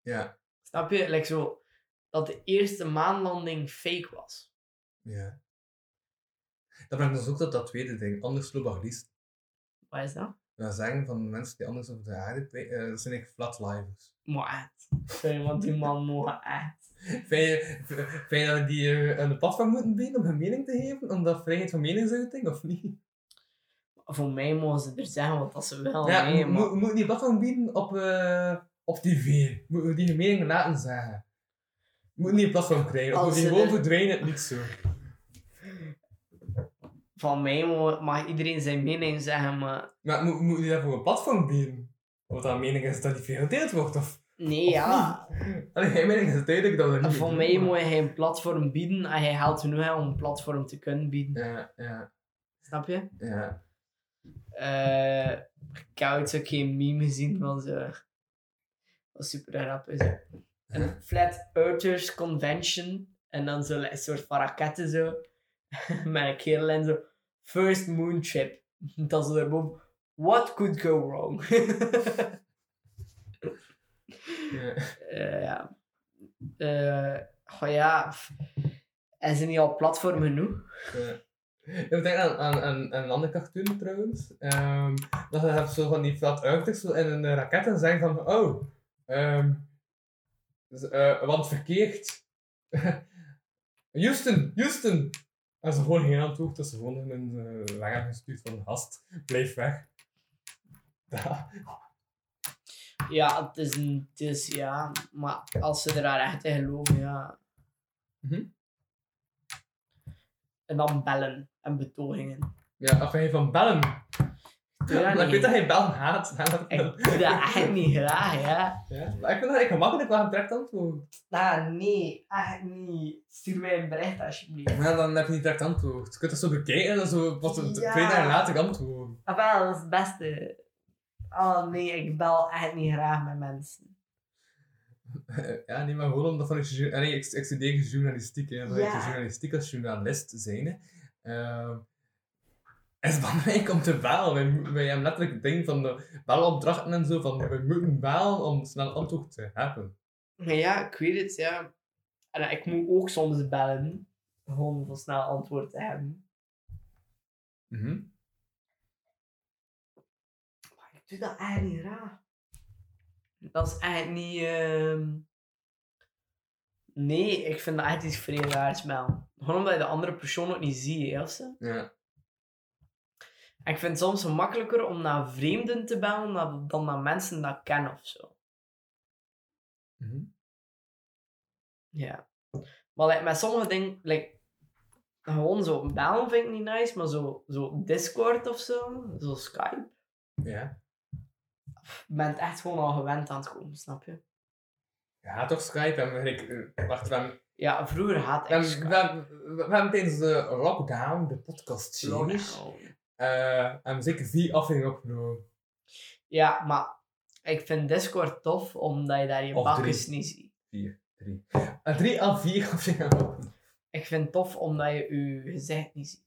[SPEAKER 4] Ja.
[SPEAKER 3] Snap je? Like, zo, dat de eerste maanlanding fake was.
[SPEAKER 4] ja. Dat brengt ons ook tot dat tweede ding. Anders globalist.
[SPEAKER 3] Wat is dat?
[SPEAKER 4] Dat zeggen van mensen die anders over de aarde pre- eh, dat zijn echt flatlivers. [LAUGHS]
[SPEAKER 3] Maar echt. Sorry, want die man mogen echt.
[SPEAKER 4] Vind je, v- vind je dat we die eh, een platform moeten bieden om hun mening te geven? Omdat vrijheid van meningsuiting,
[SPEAKER 3] [LAUGHS]
[SPEAKER 4] of niet?
[SPEAKER 3] Voor mij mogen ze er zeggen wat dat ze willen.
[SPEAKER 4] ja,
[SPEAKER 3] Oh, nee,
[SPEAKER 4] moet
[SPEAKER 3] maar-
[SPEAKER 4] moet- moeten die platform bieden op, eh, op tv. Moeten we die hun mening laten zeggen. Moeten die een platform krijgen. Of
[SPEAKER 3] Als
[SPEAKER 4] moet die
[SPEAKER 3] ze
[SPEAKER 4] gewoon
[SPEAKER 3] er-
[SPEAKER 4] verdwijnen, het niet zo.
[SPEAKER 3] Van mij mo- mag iedereen zijn mening zeggen, maar...
[SPEAKER 4] Maar moet, moet je daarvoor een platform bieden? Wat dan mening is dat die veel gedeeld wordt? Of...
[SPEAKER 3] Nee, ja.
[SPEAKER 4] Allee, mijn mening is duidelijk dat we niet...
[SPEAKER 3] Voor mij moet je een platform bieden en je geld genoeg hebt om een platform te kunnen bieden.
[SPEAKER 4] Ja, ja,
[SPEAKER 3] Snap je?
[SPEAKER 4] ja.
[SPEAKER 3] Eh ik heb ooit zo'n keer een meme gezien van zo. Wat super grappig. Een Flat Earthers Convention. En dan zo een soort van raketten zo. [LAUGHS] Met een kerel en zo. First moon trip. [LAUGHS] Dan zo daarboven. What could go wrong? [LAUGHS]
[SPEAKER 4] ja.
[SPEAKER 3] Eh, ja. Eh goh ja. En zijn niet al platform genoeg?
[SPEAKER 4] Ja. Ik denk aan, aan, aan, aan een andere cartoon trouwens. Ehm, dat ze zo van die flat earthers zo in een eh, raket en zeggen van oh, ehm, z- eh, want verkeerd. [LAUGHS] Houston, Houston! En ze gewoon geen antwoord, dat ze gewoon in een eh, langer gestuurd van een gast. Blijf weg. Ja.
[SPEAKER 3] Ja, het is, een- het is ja, maar als ze er daar echt in geloven, ja.
[SPEAKER 4] Mhm.
[SPEAKER 3] En dan bellen en betogingen.
[SPEAKER 4] Ja, afijn van bellen.
[SPEAKER 3] doe dat
[SPEAKER 4] Maar ik weet
[SPEAKER 3] niet.
[SPEAKER 4] dat hij Belgen haat. [LAUGHS]
[SPEAKER 3] Ik doe dat echt niet graag, ja.
[SPEAKER 4] Ja, maar ik vind dat eigenlijk gemakkelijk wel een direct antwoord.
[SPEAKER 3] Ah, nee, echt niet. Stuur mij een bericht alsjeblieft.
[SPEAKER 4] Ja, dan heb je niet direct antwoord. Je kunt dat zo bekijken en dan zo pas een
[SPEAKER 3] Ja.
[SPEAKER 4] twee dagen later antwoord.
[SPEAKER 3] Ah, wel, dat is het beste. Oh nee, ik bel echt niet graag met mensen.
[SPEAKER 4] [LAUGHS] Ja, nee, maar gewoon omdat van een jour- en nee, ik, ik studeer journalistiek, hè. Dat
[SPEAKER 3] Ja.
[SPEAKER 4] je journalistiek als journalist zijn, hè. Ehm, is [LAUGHS] het belangrijk om te bellen. Wij, mo- wij hebben letterlijk het ding van de belopdrachten en zo, van we moeten bellen om snel antwoord te hebben.
[SPEAKER 3] Ja, ik weet het, ja. En eh, ik moet ook soms bellen. Gewoon voor snel antwoord te hebben.
[SPEAKER 4] Mhm.
[SPEAKER 3] Maar ik doe dat echt niet raar. Dat is echt niet... ehm, Nee, ik vind dat echt iets vreemdaards, man. Gewoon omdat je de andere persoon ook niet ziet, hè, of zo.
[SPEAKER 4] Ja.
[SPEAKER 3] En ik vind het soms makkelijker om naar vreemden te bellen dan- dan naar mensen dat ik ken of zo.
[SPEAKER 4] Mhm.
[SPEAKER 3] Ja. Maar like, met sommige dingen, like, gewoon zo bellen vind ik niet nice, maar zo, zo Discord of zo, zo Skype,
[SPEAKER 4] Ja.
[SPEAKER 3] je bent echt gewoon al gewend aan het komen, snap je?
[SPEAKER 4] Ja, toch Skype. En ik, eh, wacht, we hebben,
[SPEAKER 3] Ja, vroeger had
[SPEAKER 4] we,
[SPEAKER 3] ik
[SPEAKER 4] hebben, we,
[SPEAKER 3] Skype.
[SPEAKER 4] hebben, we hebben tijdens de lockdown, de podcast series,
[SPEAKER 3] Lockdown.
[SPEAKER 4] eh hebben we zeker vier afleveringen opgenomen.
[SPEAKER 3] Ja, maar ik vind Discord tof, omdat je daar je
[SPEAKER 4] Of
[SPEAKER 3] bakjes niet ziet.
[SPEAKER 4] Drie. Eh, drie à vier [LAUGHS] afleveringen opgenomen.
[SPEAKER 3] Ik vind het tof, omdat je je gezicht niet ziet.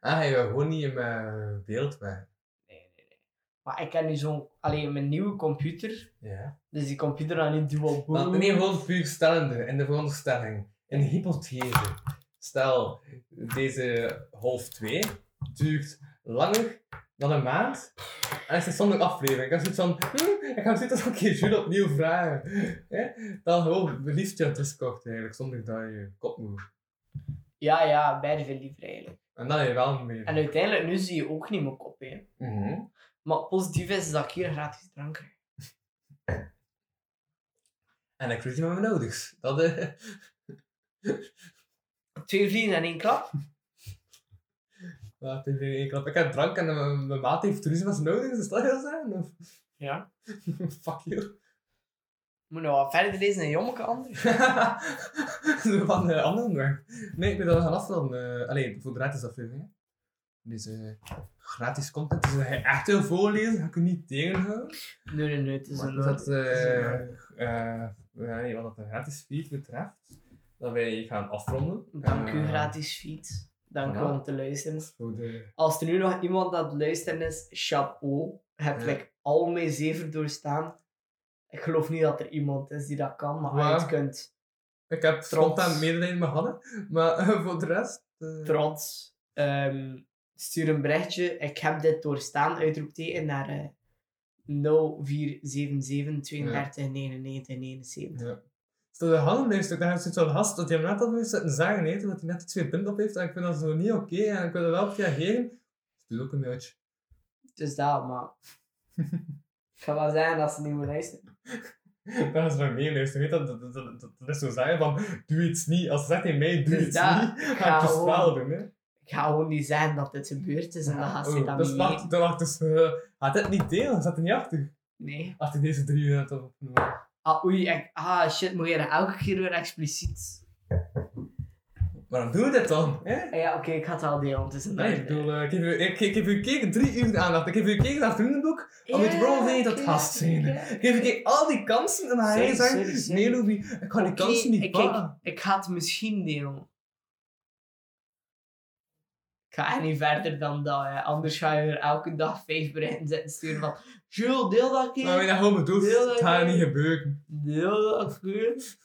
[SPEAKER 4] Ah, je wil gewoon niet in mijn beeld weg.
[SPEAKER 3] Nee, nee, nee. Maar ik heb nu zo'n, alleen mijn nieuwe computer,
[SPEAKER 4] Ja.
[SPEAKER 3] dus die computer dan niet dual boot.
[SPEAKER 4] Want nee, gewoon puur stellende, in de veronderstelling, in de hypothese. Stel, deze half 2 duurt langer dan een maand. En is het zonder aflevering. Ik heb zoiets van, hm, ik ga dit toch een keer Jules opnieuw vragen. Ja? Dan gewoon liefst je Discord eigenlijk, zonder dat je kop moet.
[SPEAKER 3] Ja, ja, beide veel liever eigenlijk.
[SPEAKER 4] En dan heb je wel meer.
[SPEAKER 3] En uiteindelijk, nu zie je ook niet mijn kop, hè.
[SPEAKER 4] Mhm.
[SPEAKER 3] Maar positief is dat ik hier gratis drank krijg.
[SPEAKER 4] En ik weet niet met mijn ouders. Dat, eh,
[SPEAKER 3] Twee vliegen en één klap.
[SPEAKER 4] Wat heb je in klap? Ik heb drank en eh, mijn, mijn maat heeft toerisme als nodig, is dat heel zijn? Of... [LAUGHS]
[SPEAKER 3] Ja.
[SPEAKER 4] Fuck you. [LAUGHS]
[SPEAKER 3] Moet nou wat verder lezen in Jommeke anders.
[SPEAKER 4] Zo van de anderen weg. Nee, ik ben dat gaan afvallen. eh allee, voor de gratis aflevering. hè. Dus eh, gratis content. Dus dat ga je echt heel voorlezen, ga ik je niet tegenhouden.
[SPEAKER 3] Nee, nee, nee, het is
[SPEAKER 4] Maar
[SPEAKER 3] een
[SPEAKER 4] dus dat,
[SPEAKER 3] lul. Het is een
[SPEAKER 4] eh,
[SPEAKER 3] lul.
[SPEAKER 4] eh, ja, nee, wat dat de gratis feed betreft, dat wij gaan afronden.
[SPEAKER 3] Dank u,
[SPEAKER 4] Eh,
[SPEAKER 3] gratis fiets. Dank u
[SPEAKER 4] voilà.
[SPEAKER 3] om te luisteren.
[SPEAKER 4] Voor de...
[SPEAKER 3] Als er nu nog iemand aan het luisteren is, chapeau. Je hebt
[SPEAKER 4] Ja.
[SPEAKER 3] like, al mijn zeven doorstaan. Ik geloof niet dat er iemand is die dat kan, maar als je
[SPEAKER 4] Ja.
[SPEAKER 3] het kunt.
[SPEAKER 4] Ik heb spontaan medelijden met Hanne, maar eh, voor de rest... eh,
[SPEAKER 3] Trots. Ehm, stuur een berichtje. Ik heb dit doorstaan. Uitroepteken naar eh 0477 32 99 79.
[SPEAKER 4] Ja. Stel de handen heeft, dan is het zo'n gast dat hij hem net al heeft zitten zagen eten, dat hij net die twee punten op heeft. En ik vind dat zo niet oké en ik wil er wel op reageren. Dus doe ook een mailtje.
[SPEAKER 3] Dus dat, maar... ik ga wel zeggen dat ze niet meer luisteren.
[SPEAKER 4] [LAUGHS] Dat is mijn meeluisteren. Weet dat, dat, dat, dat, dat is zo zeggen van, doe iets niet. Als ze zegt tegen mij, doe
[SPEAKER 3] Dus
[SPEAKER 4] iets
[SPEAKER 3] dat-
[SPEAKER 4] niet, ga
[SPEAKER 3] ga
[SPEAKER 4] ik het wel
[SPEAKER 3] gewoon-
[SPEAKER 4] doen. Hè.
[SPEAKER 3] Ik ga gewoon niet zeggen dat dit gebeurd is en dan gaat ze
[SPEAKER 4] Oh,
[SPEAKER 3] dat
[SPEAKER 4] dat
[SPEAKER 3] niet
[SPEAKER 4] wacht,
[SPEAKER 3] weten.
[SPEAKER 4] dat wacht dus, eh, had het niet delen, zat er niet achter.
[SPEAKER 3] Nee.
[SPEAKER 4] Achter deze drie uur net op.
[SPEAKER 3] Ah, oei. ik- ah, shit. Moet je dat elke keer weer expliciet...
[SPEAKER 4] Waarom doen we dit dan? Hè?
[SPEAKER 3] Ah Ja, oké. ik ga het wel delen. Het is een
[SPEAKER 4] Nee, ik bedoel, eh, ik heb u- ik- ik heb u gekeken drie uur aandacht. Ik heb u gekeken naar het vriendenboek.
[SPEAKER 3] Oh,
[SPEAKER 4] Om het Brawl niet dat gast zijn. Geef ik je al die kansen en dan ga
[SPEAKER 3] Sorry,
[SPEAKER 4] jij
[SPEAKER 3] sorry,
[SPEAKER 4] zeggen:
[SPEAKER 3] sorry.
[SPEAKER 4] Nee, Louis, ik kan die
[SPEAKER 3] Oké,
[SPEAKER 4] kansen niet
[SPEAKER 3] ik, ik,
[SPEAKER 4] pakken.
[SPEAKER 3] ik ga het misschien delen. Ik ga echt niet verder dan dat, hè. anders ga je er elke dag vijf berichten zitten sturen van Jules, deel dat keer,
[SPEAKER 4] Maar wanneer je dat gewoon bedoelt,
[SPEAKER 3] Heel erg.
[SPEAKER 4] het gaat niet gebeuren.
[SPEAKER 3] deel dat keer,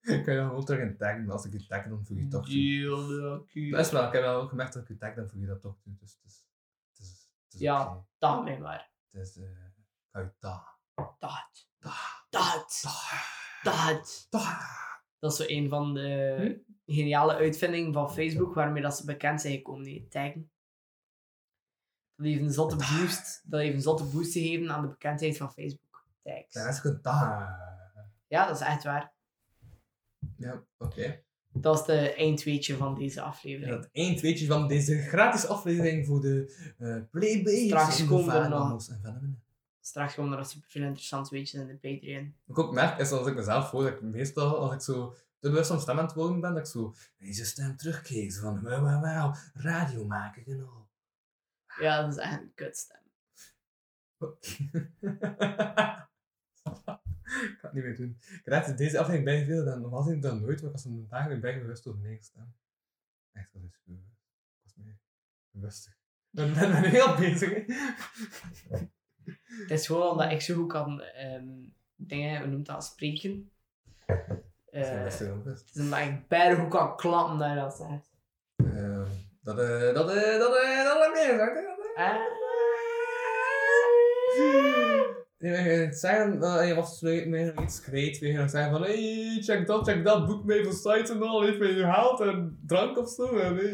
[SPEAKER 4] Ik kan je dat gewoon terug in taggen. Als ik je tag, dan voeg je toch toe.
[SPEAKER 3] deel dat
[SPEAKER 4] Best
[SPEAKER 3] keer.
[SPEAKER 4] wel, ik heb wel gemerkt dat ik je tag, dan voeg je dat toch toe. Dus het is. Het is, het is
[SPEAKER 3] Ja.
[SPEAKER 4] oké.
[SPEAKER 3] Dat mij maar.
[SPEAKER 4] Het is. eh, Ik ga je daar.
[SPEAKER 3] Dat. Dat. Dat. Dat is zo een van de geniale uitvindingen van Facebook waarmee dat ze bekend zijn gekomen, die taggen. Dat heeft een zotte boost, dat heeft een zotte boost gegeven aan de bekendheid van Facebook. Tags.
[SPEAKER 4] Daar is ik daar.
[SPEAKER 3] Ja, dat is echt waar.
[SPEAKER 4] Ja, oké.
[SPEAKER 3] Dat is de eindweetje van deze aflevering.
[SPEAKER 4] Het één tweetje van deze gratis aflevering voor de eh Playbays.
[SPEAKER 3] Straks
[SPEAKER 4] en
[SPEAKER 3] komen er
[SPEAKER 4] vaderlanders en vaderen.
[SPEAKER 3] Straks komen er nog superveel interessante weetjes in de Patreon.
[SPEAKER 4] Wat ik ook merk is als ik mezelf hoor, dat ik meestal, als ik zo te bewust van stem aan het worden ben, dat ik zo deze stem terugkeek. Zo van wauw, wauw, wauw, radio maken en [LAUGHS] al.
[SPEAKER 3] Ja, dat is echt een kutstem.
[SPEAKER 4] ik ga het niet meer doen. Ik raad in deze aflevering bijgeveel dan normaal gezien dan nooit, maar ik was er vandaag weer bijgewust over mijn eigen stem. Echt, dat is super. Ik was meer bewustig. Ik ben, ben, ben heel bezig. hè. [LAUGHS]
[SPEAKER 3] Het is gewoon omdat ik zo goed kan ehm, dingen, hoe noemt dat, spreken.
[SPEAKER 4] Ik ben
[SPEAKER 3] Eh,
[SPEAKER 4] best heel bewust.
[SPEAKER 3] het is omdat ik bijna goed kan klappen dat je dat zegt.
[SPEAKER 4] Eh, Dat, eh, dat, eh, dat, eh, dat heb ik gezegd, hè, dat, eh.
[SPEAKER 3] Ah.
[SPEAKER 4] Nee, maar je het zeggen, eh, je was meer nog iets kwijt. Je ging zeggen van, hey, check dat, check dat, boek mee voor sites en al, heeft mij gehaald en drank of zo. En hey,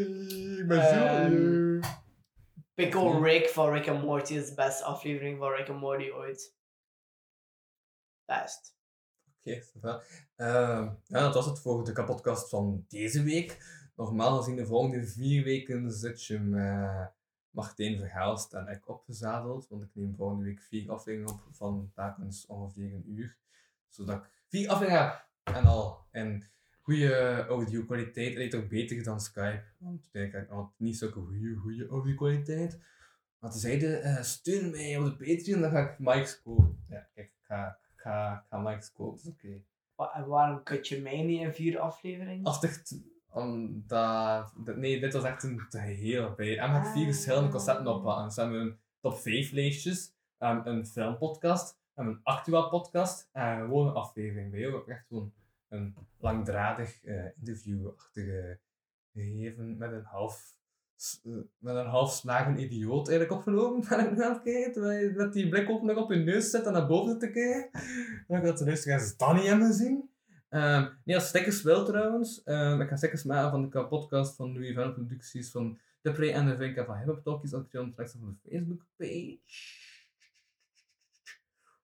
[SPEAKER 4] ik ben
[SPEAKER 3] Ehm,
[SPEAKER 4] zo...
[SPEAKER 3] Pickle Rick van Rick and Morty is de beste aflevering van Rick and Morty ooit. Best.
[SPEAKER 4] Oké, is dat wel. Ehm, ja, dat was het voor de kapotkast van deze week. Normaal gezien de volgende vier weken zit je met Martijn Verhelst en ik opgezadeld. Want ik neem volgende week vier afleveringen op van telkens ongeveer een uur. Zodat ik vier afleveringen heb en al. En goede audio-kwaliteit lijkt ook beter dan Skype. Want ik denk altijd niet zulke goede, goede audio-kwaliteit. Maar ze zeiden, eh, steun mij op de Patreon, dan ga ik Mike's kopen. Ja, kijk, ik ga, ik ga, ik ga Mike's kopen, dat is oké.
[SPEAKER 3] Wa- en waarom kut je mij niet in vier afleveringen?
[SPEAKER 4] Als echt om dat, dat- nee, dit was echt een te heel bij. En we hebben vier verschillende concepten opgehangen. Dus we hebben een top 5 lijstjes, ehm, een filmpodcast, we hebben een actueel podcast en gewoon een aflevering. Bij jou echt gewoon een langdradig eh, interviewachtige gegeven met een half s- eh, met een half slagen idioot eigenlijk opgenomen [LAUGHS] ben ik nu aan het kijken, terwijl je met die blik ook nog op je neus zit en naar boven zit te kijken. En ik had de luisteraars dat niet hebben gezien. Ehm, nee, als stickers wel trouwens. Ehm, ik ga stickers maken van de podcast van Louis Vuitton Producties van De Pre en de Vinka van Hip Hop Talkies. Als je dan straks op de Facebook page.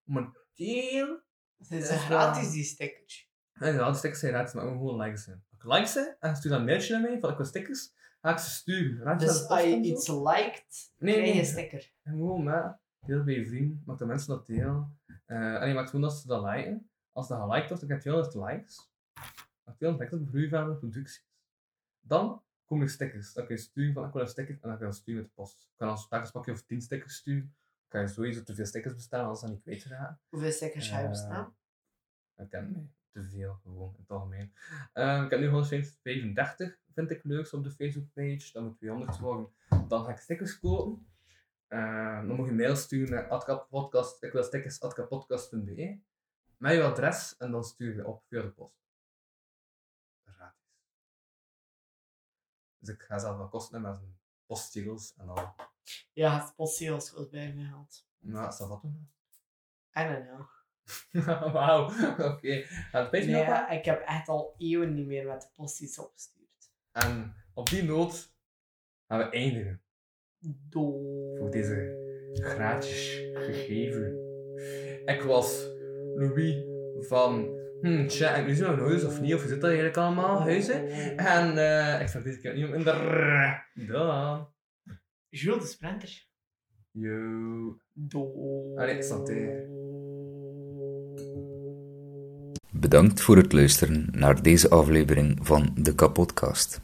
[SPEAKER 4] Momenteel.
[SPEAKER 3] Dit is
[SPEAKER 4] eh,
[SPEAKER 3] gratis, die stickers.
[SPEAKER 4] En ja, Ah, de stickers zijn gratis, maar ook gewoon likes zijn. Als ik like ze en stuur dan een mailtje naar mij van ik wil stickers, ga ik ze sturen. Raad je naar de
[SPEAKER 3] Dus
[SPEAKER 4] post
[SPEAKER 3] als je
[SPEAKER 4] en zo?
[SPEAKER 3] iets liked,
[SPEAKER 4] Nee,
[SPEAKER 3] krijg je
[SPEAKER 4] nee.
[SPEAKER 3] een sticker.
[SPEAKER 4] En gewoon, maar deel bij je vrienden, maak de mensen dat deel. Eh, en je maakt gewoon dat ze dat liken. Als dat geliked wordt, dan krijg je 200 likes. Als 200 likes op vloeibare producties. Dan komen er stickers. Dan kun je sturen van, ik wil een sticker, en dan kan je dat sturen met de post. Je kan als telkens pakje of 10 stickers sturen. Dan kan je sowieso te veel stickers bestellen, anders dan niet kwijt raken.
[SPEAKER 3] Hoeveel stickers ga je
[SPEAKER 4] Eh,
[SPEAKER 3] bestaan?
[SPEAKER 4] Ik ken mij te veel gewoon in het algemeen. Ehm, ik heb nu 135, vind ik leuks op de Facebookpage. Dan moet 200 worden. Dan ga ik stickers kopen. Ehm, dan moet je mail sturen naar atkapodcast. Ik wil stickers atkapodcast.be. Met je adres en dan stuur je op via de post. Gratis. Dus ik ga zelf wel kosten hebben met een postzegels en al.
[SPEAKER 3] Ja, het postzegels wordt bij me gehaald.
[SPEAKER 4] Nou, is dat wat doen? [LAUGHS]
[SPEAKER 3] I don't know.
[SPEAKER 4] Wauw, oké. Gaat het beetje helpen?
[SPEAKER 3] Ja, ik heb echt al eeuwen niet meer met de post iets opgestuurd.
[SPEAKER 4] En op die noot gaan we eindigen.
[SPEAKER 3] Doei.
[SPEAKER 4] Voor deze gratis gegeven. Ik was Louis van. Hmm, tja, en nu zijn we huis of niet? Of hoe zit dat eigenlijk allemaal? Huizen? En eh, ik zag deze keer niet om in de. r- Dan.
[SPEAKER 3] Jules de Sprinter.
[SPEAKER 4] Yo.
[SPEAKER 3] Doei.
[SPEAKER 4] Allee, santé.
[SPEAKER 16] Bedankt voor het luisteren naar deze aflevering van de Kapodcast.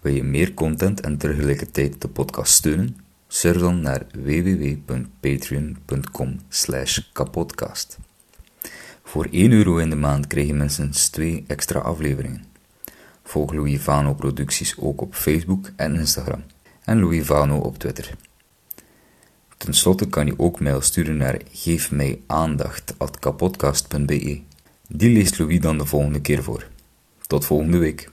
[SPEAKER 16] Wil je meer content en tegelijkertijd de podcast steunen? Surf dan naar www.patreon.com kapodcast. Voor 1 euro in de maand krijg je minstens 2 extra afleveringen. Volg Louis Vano producties ook op Facebook en Instagram en Louis Vano op Twitter. Ten slotte kan je ook mail sturen naar geefmijaandacht.kapodcast.be. Die leest Louis dan de volgende keer voor. Tot volgende week.